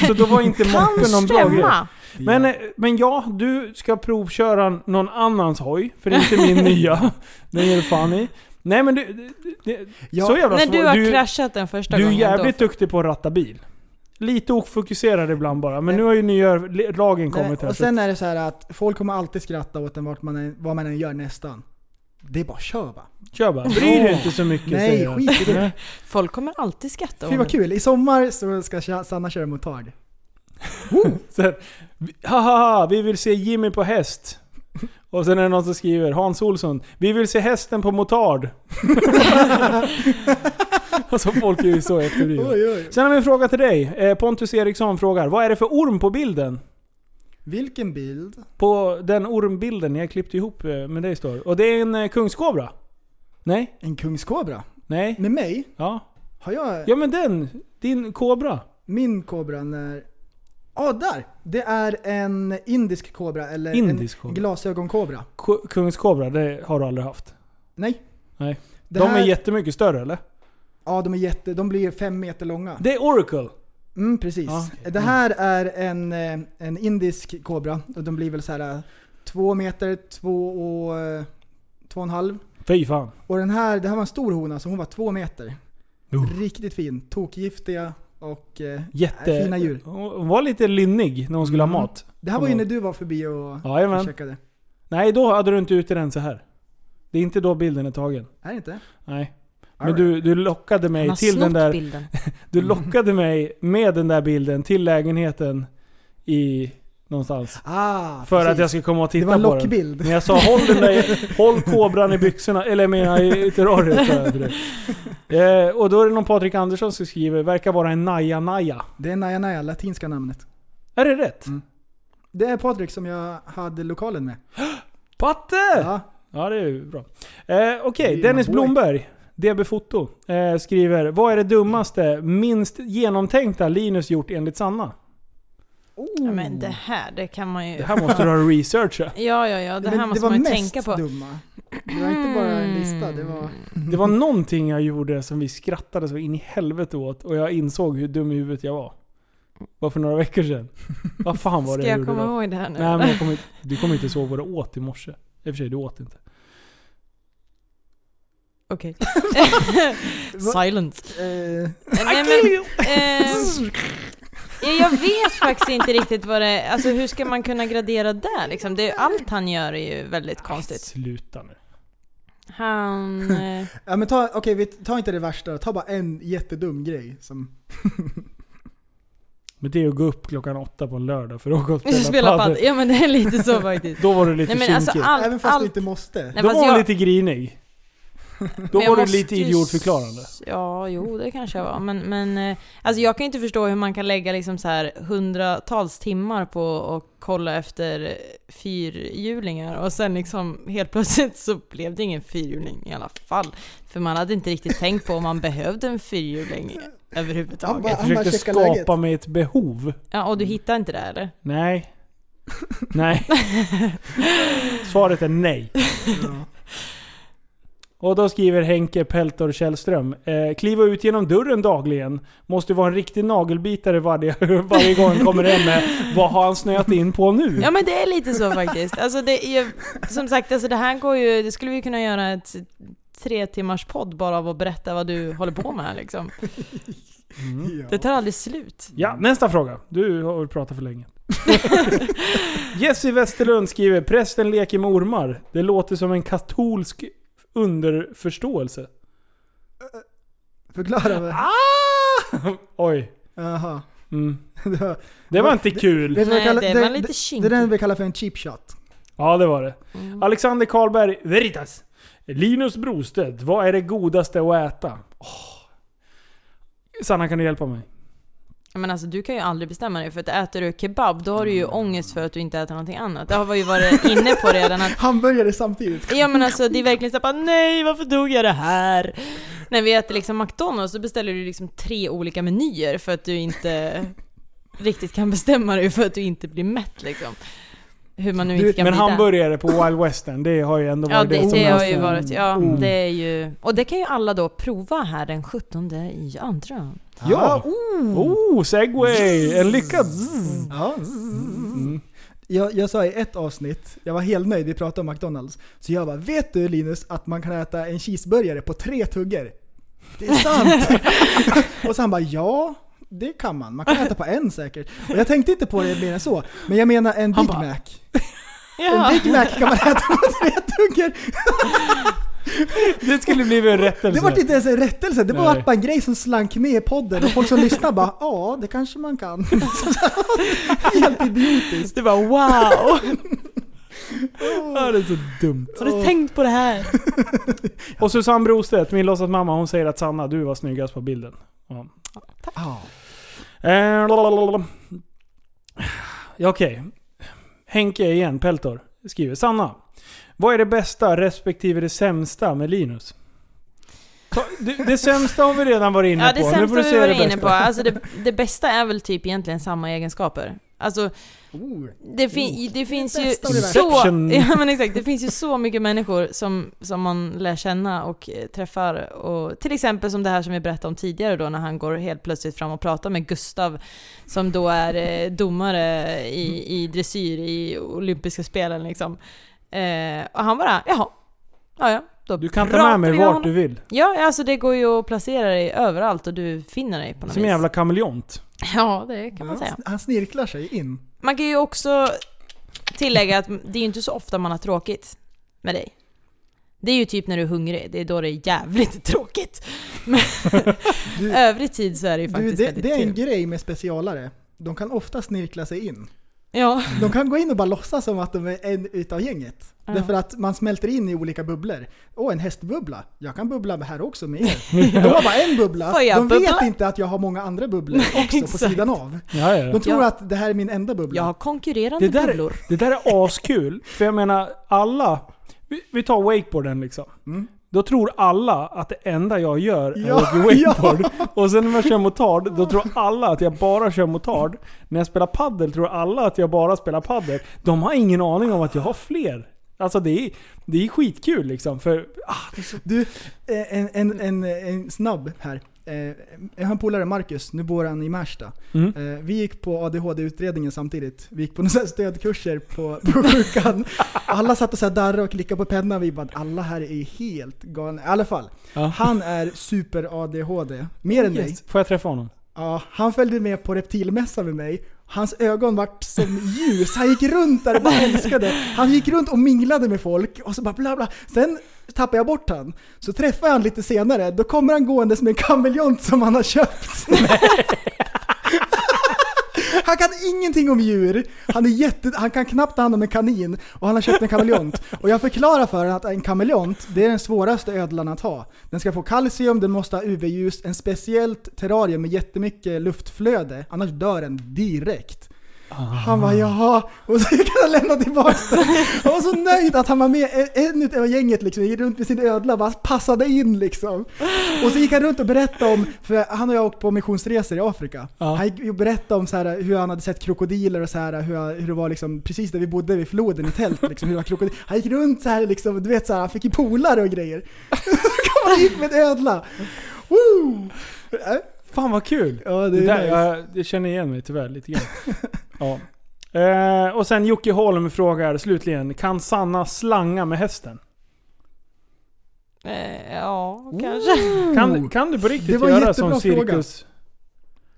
[SPEAKER 4] Så då var inte
[SPEAKER 6] *laughs* Kan
[SPEAKER 4] moppen någon bra grej.
[SPEAKER 6] stämma.
[SPEAKER 4] Men, eh, men ja, du ska provköra någon annans hoj, för det är inte
[SPEAKER 6] *laughs*
[SPEAKER 4] min nya. Den ger du fan i. Nej men du... du- du-
[SPEAKER 5] Ja,
[SPEAKER 4] så jävla
[SPEAKER 6] När
[SPEAKER 4] svår-
[SPEAKER 6] du har
[SPEAKER 4] du,
[SPEAKER 6] kraschat den första
[SPEAKER 4] Du är
[SPEAKER 6] gången.
[SPEAKER 4] jävligt
[SPEAKER 6] då.
[SPEAKER 4] duktig på att ratta bil. Lite ofokuserad ibland bara, men nu har ju nya le- lagen kommit
[SPEAKER 5] Nej,
[SPEAKER 4] här.
[SPEAKER 5] och
[SPEAKER 4] så att-
[SPEAKER 5] sen är det så här att folk kommer alltid skratta åt en vart man än, vad man än gör nästan. Det är bara kör va?
[SPEAKER 4] Kör bara, bry dig inte så mycket
[SPEAKER 5] Nej,
[SPEAKER 4] säger jag.
[SPEAKER 5] skit i
[SPEAKER 6] *laughs*
[SPEAKER 5] det.
[SPEAKER 6] Folk kommer alltid
[SPEAKER 5] Fy
[SPEAKER 6] skratta om
[SPEAKER 5] vad
[SPEAKER 6] det.
[SPEAKER 5] kul. I sommar så ska Sha- Sanna köra motard.
[SPEAKER 4] Så här, vi- Haha, vi vill se Jimmy på häst. Och sen är det någon som skriver, Hans Olsson, vi vill se hästen på motard. *laughs* alltså folk är ju så efterblivna.
[SPEAKER 5] Oj, oj.
[SPEAKER 4] Sen har vi en fråga till dig. Eh, Pontus Eriksson frågar, vad är det för orm på bilden?
[SPEAKER 5] Vilken bild?
[SPEAKER 4] På den ormbilden jag klippte ihop eh, med dig står. Och det är en eh, kungskobra? Nej?
[SPEAKER 5] En kungskobra?
[SPEAKER 4] Nej?
[SPEAKER 5] Med mig?
[SPEAKER 4] Ja.
[SPEAKER 5] Har jag
[SPEAKER 4] Ja men den! Din kobra.
[SPEAKER 5] min kobra när... Ja, där! Det är en indisk kobra eller
[SPEAKER 4] Indisk
[SPEAKER 5] en
[SPEAKER 4] kobra.
[SPEAKER 5] glasögonkobra.
[SPEAKER 4] Ko- Kungskobra, det har du aldrig haft.
[SPEAKER 5] Nej.
[SPEAKER 4] Nej.
[SPEAKER 5] Det
[SPEAKER 4] de
[SPEAKER 5] här-
[SPEAKER 4] är jättemycket större eller?
[SPEAKER 5] Ja, de är jätte... De blir ju fem meter långa.
[SPEAKER 4] Det är Oracle.
[SPEAKER 5] Mm, precis.
[SPEAKER 4] Ja, okej.
[SPEAKER 5] Det här är en, eh, en indisk kobra och de blir väl så här eh, två meter, två och, eh, två och en halv.
[SPEAKER 4] Fy fan.
[SPEAKER 5] Och den här, det här var en stor hona, så hon var två meter. Riktigt fin. Tokgiftiga Och eh,
[SPEAKER 4] Jätte...
[SPEAKER 5] Nej, fina djur.
[SPEAKER 4] Hon var lite lynnig när hon skulle
[SPEAKER 5] Mm.
[SPEAKER 4] ha mat.
[SPEAKER 5] det här var ju när du var förbi och och
[SPEAKER 4] Jajamän.
[SPEAKER 5] checkade.
[SPEAKER 4] Nej, då hade du inte ute den så här. Det är inte då bilden är tagen.
[SPEAKER 5] Är det inte?
[SPEAKER 4] Nej. Men
[SPEAKER 5] Alright.
[SPEAKER 4] du, du lockade
[SPEAKER 6] Han
[SPEAKER 4] mig
[SPEAKER 6] har
[SPEAKER 4] till den
[SPEAKER 6] snott
[SPEAKER 4] där...
[SPEAKER 6] bilden.
[SPEAKER 4] Du lockade mig med den där bilden till lägenheten i... Någonstans.
[SPEAKER 5] Ah,
[SPEAKER 4] För
[SPEAKER 5] precis.
[SPEAKER 4] att jag skulle komma och
[SPEAKER 5] Det
[SPEAKER 4] titta
[SPEAKER 5] var en
[SPEAKER 4] på den.
[SPEAKER 5] lockbild.
[SPEAKER 4] Men jag sa håll den där, håll kobran i byxorna, eller menar i terrariet sa jag till dig. eh, Och då är det någon Patrik Andersson som skriver, verkar vara en Naja Naja.
[SPEAKER 5] Det är Naja Naja, latinska namnet.
[SPEAKER 4] Är det rätt?
[SPEAKER 5] Mm. Det är Patrik som jag hade lokalen med.
[SPEAKER 4] Äh! Patte! Ja,
[SPEAKER 5] Ja,
[SPEAKER 4] det är ju bra. Eh, Okej,
[SPEAKER 5] Det är ju
[SPEAKER 4] Dennis
[SPEAKER 5] my boy.
[SPEAKER 4] Blomberg, DB Foto, eh, skriver, vad är det dummaste, minst genomtänkta Linus gjort enligt Sanna?
[SPEAKER 6] *laughs* Ja, men det här, det kan man ju...
[SPEAKER 4] Det här måste du ha researchat.
[SPEAKER 6] *laughs* Ja, ja, ja. Det här
[SPEAKER 5] men
[SPEAKER 6] måste
[SPEAKER 5] var
[SPEAKER 6] man ju
[SPEAKER 5] mest
[SPEAKER 6] tänka på. Mm.
[SPEAKER 5] dumma. Det var inte bara en lista, det var...
[SPEAKER 4] Det var någonting jag gjorde som vi skrattade så in i helvete åt och jag insåg hur dum i huvudet jag var. Var för några veckor sedan. Vad fan var det
[SPEAKER 6] Ska jag
[SPEAKER 4] gjorde
[SPEAKER 6] komma
[SPEAKER 4] då?
[SPEAKER 6] ihåg det här nu?
[SPEAKER 4] Nej men *laughs* jag
[SPEAKER 6] *laughs*
[SPEAKER 4] kommer, inte- du kommer inte ihåg vad du åt i morse. I och för sig, du åt inte.
[SPEAKER 6] Okej. Silence.
[SPEAKER 5] Eh,
[SPEAKER 6] Nej, men, eh, ja, jag vet faktiskt inte riktigt vad det är. Alltså hur ska man kunna gradera där liksom? det är, Allt han gör är ju väldigt konstigt.
[SPEAKER 4] Sluta nu.
[SPEAKER 6] Han... Eh,
[SPEAKER 5] ja men ta, okej vi tar inte det värsta ta bara en jättedum grej som...
[SPEAKER 4] Men det är ju att gå upp klockan åtta på en lördag för att åka och
[SPEAKER 6] vi
[SPEAKER 4] spela,
[SPEAKER 6] ska *laughs* spela
[SPEAKER 4] padel.
[SPEAKER 6] padel. Ja men det är lite
[SPEAKER 4] *laughs*
[SPEAKER 6] så faktiskt.
[SPEAKER 4] Då var du lite
[SPEAKER 6] Nej
[SPEAKER 4] kinkig.
[SPEAKER 6] men alltså
[SPEAKER 5] Även
[SPEAKER 6] allt...
[SPEAKER 5] fast du
[SPEAKER 6] allt
[SPEAKER 5] inte måste.
[SPEAKER 6] nej,
[SPEAKER 4] Då
[SPEAKER 6] fast
[SPEAKER 4] var du
[SPEAKER 6] jag-
[SPEAKER 4] lite
[SPEAKER 6] *laughs*
[SPEAKER 4] grinig. Då
[SPEAKER 6] Men jag
[SPEAKER 4] var du
[SPEAKER 6] måste
[SPEAKER 4] lite
[SPEAKER 6] ju s-
[SPEAKER 4] idiotförklarande.
[SPEAKER 6] Ja, jo det kanske jag var. Men, men eh, alltså jag kan inte förstå hur man kan lägga liksom så här hundratals timmar på att kolla efter fyrhjulingar och sen liksom helt plötsligt så blev det ingen fyrhjuling i alla fall. För man hade inte riktigt tänkt på om man behövde en fyrhjuling
[SPEAKER 5] Ja,
[SPEAKER 6] överhuvudtaget.
[SPEAKER 5] bara-
[SPEAKER 4] Jag
[SPEAKER 5] Han
[SPEAKER 4] försökte
[SPEAKER 5] checkar
[SPEAKER 4] skapa
[SPEAKER 5] läget.
[SPEAKER 4] mig ett behov.
[SPEAKER 6] Ja, och du hittade inte det eller?
[SPEAKER 4] Nej. Nej. Svaret är nej. Och då skriver Henke Peltor Källström. Eh, kliva ut genom dörren dagligen. Måste vara en riktig nagelbitare varje, *laughs* varje gång han kommer hem med. Vad har han snöat in på nu?
[SPEAKER 6] Ja men det är lite så faktiskt. Alltså det är, ju- som sagt, alltså det här går ju, det skulle vi kunna göra ett tre timmars podd bara av att berätta vad du håller på med liksom. Det tar aldrig slut.
[SPEAKER 4] Ja, nästa fråga. Du har väl pratat för länge. Jesse Westerlund skriver “Prästen leker med ormar. Det låter som en katolsk underförståelse”.
[SPEAKER 5] Förklara vad...
[SPEAKER 4] Oj.
[SPEAKER 5] Jaha.
[SPEAKER 4] Mm.
[SPEAKER 5] Det var, vet
[SPEAKER 4] Det var inte kul.
[SPEAKER 5] du vad jag
[SPEAKER 6] Nej,
[SPEAKER 5] kallar-
[SPEAKER 6] det var lite
[SPEAKER 5] det är den
[SPEAKER 6] kinkigt.
[SPEAKER 5] vi kallar för en cheap shot.
[SPEAKER 4] Ja, det var det.
[SPEAKER 6] Mm.
[SPEAKER 4] Alexander Karlberg Veritas. Linus Brostedt, vad är det godaste att äta? Åh. Sanna, kan du hjälpa mig?
[SPEAKER 6] Men alltså du kan ju aldrig bestämma dig för att äter du kebab då har du ju ångest för att du inte äter någonting annat. Det har vi ju varit inne på redan att
[SPEAKER 5] Hamburgare samtidigt.
[SPEAKER 6] Ja men alltså det är verkligen såhär nej varför tog jag det här? När vi äter liksom McDonalds så beställer du liksom tre olika menyer för att du inte riktigt kan bestämma dig för att du inte blir mätt liksom. Hur man nu inte kan
[SPEAKER 4] Men
[SPEAKER 6] bli där.
[SPEAKER 4] hamburgare på Wild Western, det har ju ändå
[SPEAKER 6] Ja
[SPEAKER 4] varit
[SPEAKER 6] det,
[SPEAKER 4] som
[SPEAKER 6] det har ju
[SPEAKER 4] nästan-
[SPEAKER 6] varit, ja
[SPEAKER 4] Mm.
[SPEAKER 6] det är ju, och det kan ju alla då prova här den 17 i andra.
[SPEAKER 4] Ja! Oh, segway! En lyckad...
[SPEAKER 5] Ja. Jag, jag sa i ett avsnitt, jag var helt nöjd, vi pratade om McDonalds. Så jag bara, vet du Linus att man kan äta en cheeseburgare på tre tuggor? Det är sant! *laughs* och så han bara, ja det kan man. Man kan äta på en säkert. Och jag tänkte inte på det mer än så. Men jag menar en Big Mac. En Big Mac kan man äta på tre tuggor.
[SPEAKER 4] Det skulle bli en rättelse.
[SPEAKER 5] Det var
[SPEAKER 6] typ-
[SPEAKER 5] inte ens en rättelse, det var
[SPEAKER 4] Alltså. Nej.
[SPEAKER 5] bara en grej som slank med i podden och folk som lyssnade bara, ja det kanske man kan. helt idiotiskt.
[SPEAKER 6] Det var wow!
[SPEAKER 4] *laughs* Ja, det är så dumt.
[SPEAKER 6] Har du tänkt på det här?
[SPEAKER 4] Och Susanne Brostedt, min låtsas mamma, hon säger att Sanna, du var snyggast på bilden. Ja.
[SPEAKER 5] Ja.
[SPEAKER 4] Eh, lalalala. Ja, Okej. Henke igen, Peltor, skriver Sanna. Vad är det bästa respektive det sämsta med Linus? Ta, det, det sämsta har vi redan varit inne
[SPEAKER 6] Ja,
[SPEAKER 4] på.
[SPEAKER 6] det
[SPEAKER 4] Nu får
[SPEAKER 6] sämsta
[SPEAKER 4] du
[SPEAKER 6] vi
[SPEAKER 4] säga
[SPEAKER 6] var
[SPEAKER 4] det
[SPEAKER 6] inne
[SPEAKER 4] bästa.
[SPEAKER 6] på. Alltså det, det bästa är väl typ egentligen samma egenskaper. Alltså, det, fin, det finns ju
[SPEAKER 5] bästa och det värsta.
[SPEAKER 6] så...
[SPEAKER 4] Inception.
[SPEAKER 6] *laughs* Ja, men exakt. Det finns ju så mycket människor som, som man lär känna och eh, träffar. Och, till exempel som det här som vi berättade om tidigare då när han går helt plötsligt fram och pratar med Gustav som då är eh, domare i, i dressyr i olympiska spelen liksom. Eh, och han bara, jaha, ja ja. då
[SPEAKER 4] Du kan ta
[SPEAKER 6] pratar
[SPEAKER 4] med mig
[SPEAKER 6] vi
[SPEAKER 4] vart
[SPEAKER 6] honom.
[SPEAKER 4] du vill.
[SPEAKER 6] Ja, alltså det går ju att placera dig överallt och du finner dig på något
[SPEAKER 4] Som en
[SPEAKER 6] vis.
[SPEAKER 4] jävla kameleont.
[SPEAKER 6] Ja, det kan man
[SPEAKER 5] Han
[SPEAKER 6] säga.
[SPEAKER 5] sn- Han snirklar sig in.
[SPEAKER 6] Man kan ju också tillägga att det är ju inte så ofta man har tråkigt med dig. Det är ju typ när du är hungrig, det är då det är jävligt *laughs* tråkigt. Men
[SPEAKER 5] Du-
[SPEAKER 6] *laughs* övrig tid så är det ju
[SPEAKER 5] Du,
[SPEAKER 6] faktiskt
[SPEAKER 5] det,
[SPEAKER 6] väldigt
[SPEAKER 5] det är en
[SPEAKER 6] kul.
[SPEAKER 5] grej med specialare. De kan ofta snirkla sig in.
[SPEAKER 6] ja.
[SPEAKER 5] De kan gå in och bara låtsas som att de är en utav gänget.
[SPEAKER 6] Ja.
[SPEAKER 5] Därför att man smälter in i olika bubblor. Åh, en hästbubbla. Jag kan bubbla med här också med
[SPEAKER 6] *laughs*
[SPEAKER 5] er. De har bara en bubbla.
[SPEAKER 6] Får jag
[SPEAKER 5] De vet
[SPEAKER 6] bubbla?
[SPEAKER 5] inte att jag har många andra bubblor också på
[SPEAKER 6] *laughs* exakt.
[SPEAKER 5] sidan av.
[SPEAKER 4] Ja, ja.
[SPEAKER 5] De tror
[SPEAKER 6] Ja.
[SPEAKER 5] att det här är min enda bubbla.
[SPEAKER 6] Jag har
[SPEAKER 4] Det
[SPEAKER 6] konkurrerande
[SPEAKER 4] där,
[SPEAKER 6] bubblor.
[SPEAKER 4] det där är askul, för jag menar alla... Vi, vi tar wakeboarden liksom.
[SPEAKER 5] Mm.
[SPEAKER 4] Då tror alla att det enda jag gör är
[SPEAKER 5] *laughs* Ja,
[SPEAKER 4] att åka wakeboard. Och sen när jag kör motard, då tror alla att jag bara kör motard. När jag spelar paddel tror alla att jag bara spelar paddel. De har ingen aning om att jag har fler. Alltså det är, det är skitkul liksom. För, ah, det är så...
[SPEAKER 5] Du, eh, en, en, en, en snabb här. Eh, Jag har en polare, Marcus, nu bor han i Märsta.
[SPEAKER 4] Mm.
[SPEAKER 5] Eh, Vi gick på ADHD-utredningen samtidigt. Vi gick på några stödkurser på, på sjukan. Alla satt och så här darrade och klickade på pennan. Vi bara alla här är helt galna. I alla fall,
[SPEAKER 4] Ja.
[SPEAKER 5] han är super-ADHD. Mer än mig.
[SPEAKER 4] Får jag träffa honom?
[SPEAKER 5] Ja, han följde med på reptilmässan med mig. Hans ögon vart som ljus. Han gick runt där och bara älskade. Han gick runt och minglade med folk och så bara bla bla. Sen tappade jag bort han. Så träffade jag han lite senare. Då kommer han gåendes med en kameleont som han har köpt. Han kan ingenting om djur. Han, är jätte, han kan knappt ta hand om en kanin och han har köpt en kameleont. Och jag förklarar för honom att en kameleont, det är den svåraste ödlan att ha. Den ska få kalcium, den måste ha UV-ljus, en speciellt terrarium med jättemycket luftflöde, annars dör den direkt. Han bara jaha, och så kan han lämna tillbaka den. Han var så nöjd att han var med en- en utav gänget liksom, gick runt med sin ödla bara passade in liksom. Och så gick han runt och berättade om, för han och jag har åkt på missionsresor i Afrika.
[SPEAKER 4] Ja.
[SPEAKER 5] Han gick och berättade om så här, hur han hade sett krokodiler och så här, hur, han- hur det var liksom, precis där vi bodde vid floden i tält. Liksom, hur det var krokodil. Han gick runt så här, liksom, du vet så här, han fick ju polare och grejer. *laughs* Så kom han hit med en ödla. Woo! Äh,
[SPEAKER 4] Fan vad kul!
[SPEAKER 5] Ja, det
[SPEAKER 4] Det
[SPEAKER 5] är
[SPEAKER 4] där,
[SPEAKER 5] nice.
[SPEAKER 4] jag, jag känner igen mig tyvärr lite grann. ja. eh, och sen Jocke Holm frågar slutligen, kan Sanna slanga med hästen?
[SPEAKER 6] Eh, ja, kanske.
[SPEAKER 4] Kan, kan du på riktigt
[SPEAKER 5] Det var en
[SPEAKER 4] göra
[SPEAKER 5] jättebra
[SPEAKER 4] som cirkus?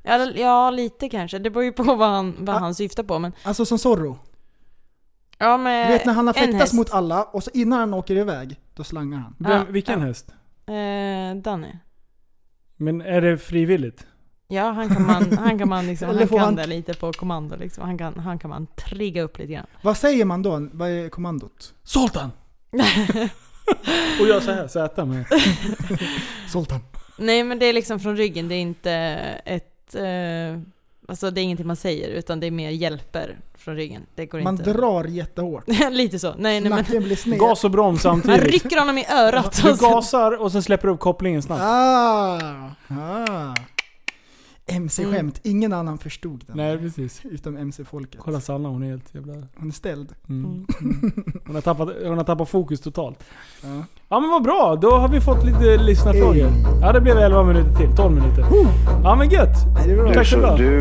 [SPEAKER 6] Ja, l- ja, lite kanske. Det beror ju på vad han, vad
[SPEAKER 5] Ah.
[SPEAKER 6] han syftar på. Men,
[SPEAKER 5] Alltså som Zorro.
[SPEAKER 6] ja,
[SPEAKER 5] Du
[SPEAKER 6] men
[SPEAKER 5] vet när han har
[SPEAKER 6] Eh, en häst.
[SPEAKER 5] fäktats mot alla och så innan han åker iväg, då slangar han.
[SPEAKER 4] Vem,
[SPEAKER 6] Ja,
[SPEAKER 4] vilken
[SPEAKER 6] ja.
[SPEAKER 4] häst?
[SPEAKER 6] Eh, Danny.
[SPEAKER 4] Men är det frivilligt?
[SPEAKER 6] Ja, han kan man, han kan
[SPEAKER 5] *laughs*
[SPEAKER 6] man liksom,
[SPEAKER 5] Eller
[SPEAKER 6] han
[SPEAKER 5] får
[SPEAKER 6] kan
[SPEAKER 5] han-
[SPEAKER 6] det lite på kommando liksom. Han kan, han kan man trigga upp
[SPEAKER 5] *laughs*
[SPEAKER 6] lite grann.
[SPEAKER 5] Vad säger man då? Vad är kommandot?
[SPEAKER 4] Sultan! och jag så här, Z med.
[SPEAKER 5] Sultan.
[SPEAKER 6] Nej men det är liksom från ryggen, det är inte ett... Eh, alltså det är ingenting man säger utan det är mer hjälper från ryggen. Det går
[SPEAKER 5] Man
[SPEAKER 6] inte...
[SPEAKER 5] drar jättehårt.
[SPEAKER 6] *laughs* lite så. Nej, *laughs* nej men...
[SPEAKER 5] Nacken blir sned.
[SPEAKER 4] Gas och broms
[SPEAKER 6] Man
[SPEAKER 4] samtidigt.
[SPEAKER 6] rycker honom i örat.
[SPEAKER 4] Du
[SPEAKER 6] och så-
[SPEAKER 4] gasar och sen släpper du upp kopplingen snabbt.
[SPEAKER 5] Ah, ah. MC-skämt. Ingen annan förstod den.
[SPEAKER 4] Mm. Nej precis.
[SPEAKER 5] Utom MC-folket.
[SPEAKER 4] Kolla Sanna, hon är helt jävla...
[SPEAKER 5] Hon är ställd.
[SPEAKER 4] Mm.
[SPEAKER 6] Mm.
[SPEAKER 4] Hon, har tappat, hon har tappat fokus totalt.
[SPEAKER 5] Ja.
[SPEAKER 4] Ja men vad bra, då har vi fått lite lyssnarfrågor. Ja det blev 11 minuter till, 12 minuter. Ja men gött!
[SPEAKER 1] Du,
[SPEAKER 4] Tack så
[SPEAKER 1] så,
[SPEAKER 4] bra.
[SPEAKER 1] du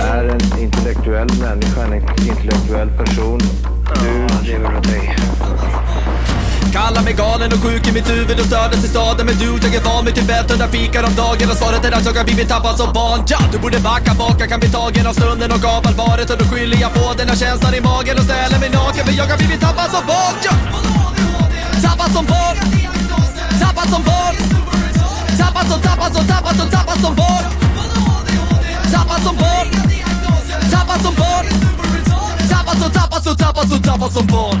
[SPEAKER 1] är en intellektuell människa, en intellektuell person. Du lever av dig.
[SPEAKER 2] Kallar mig galen och sjuk i mitt huvud och stördes i staden Men du, jag är van vid Tibet och där fikar om dagen Och svaret är att jag har blivit tappad som barn ja, Du borde backa bak, jag kan bli tagen av stunden och av allvaret Och då skyller jag på den här känslan i magen och ställer mig naken För jag har blivit tappad som barn ja. Tappad som barn Tappad som barn Tappad som, tappad som, tappad som, tappad som barn Tappad som barn Tappad som barn Tappad som, tappad som, tappad som, tappad som barn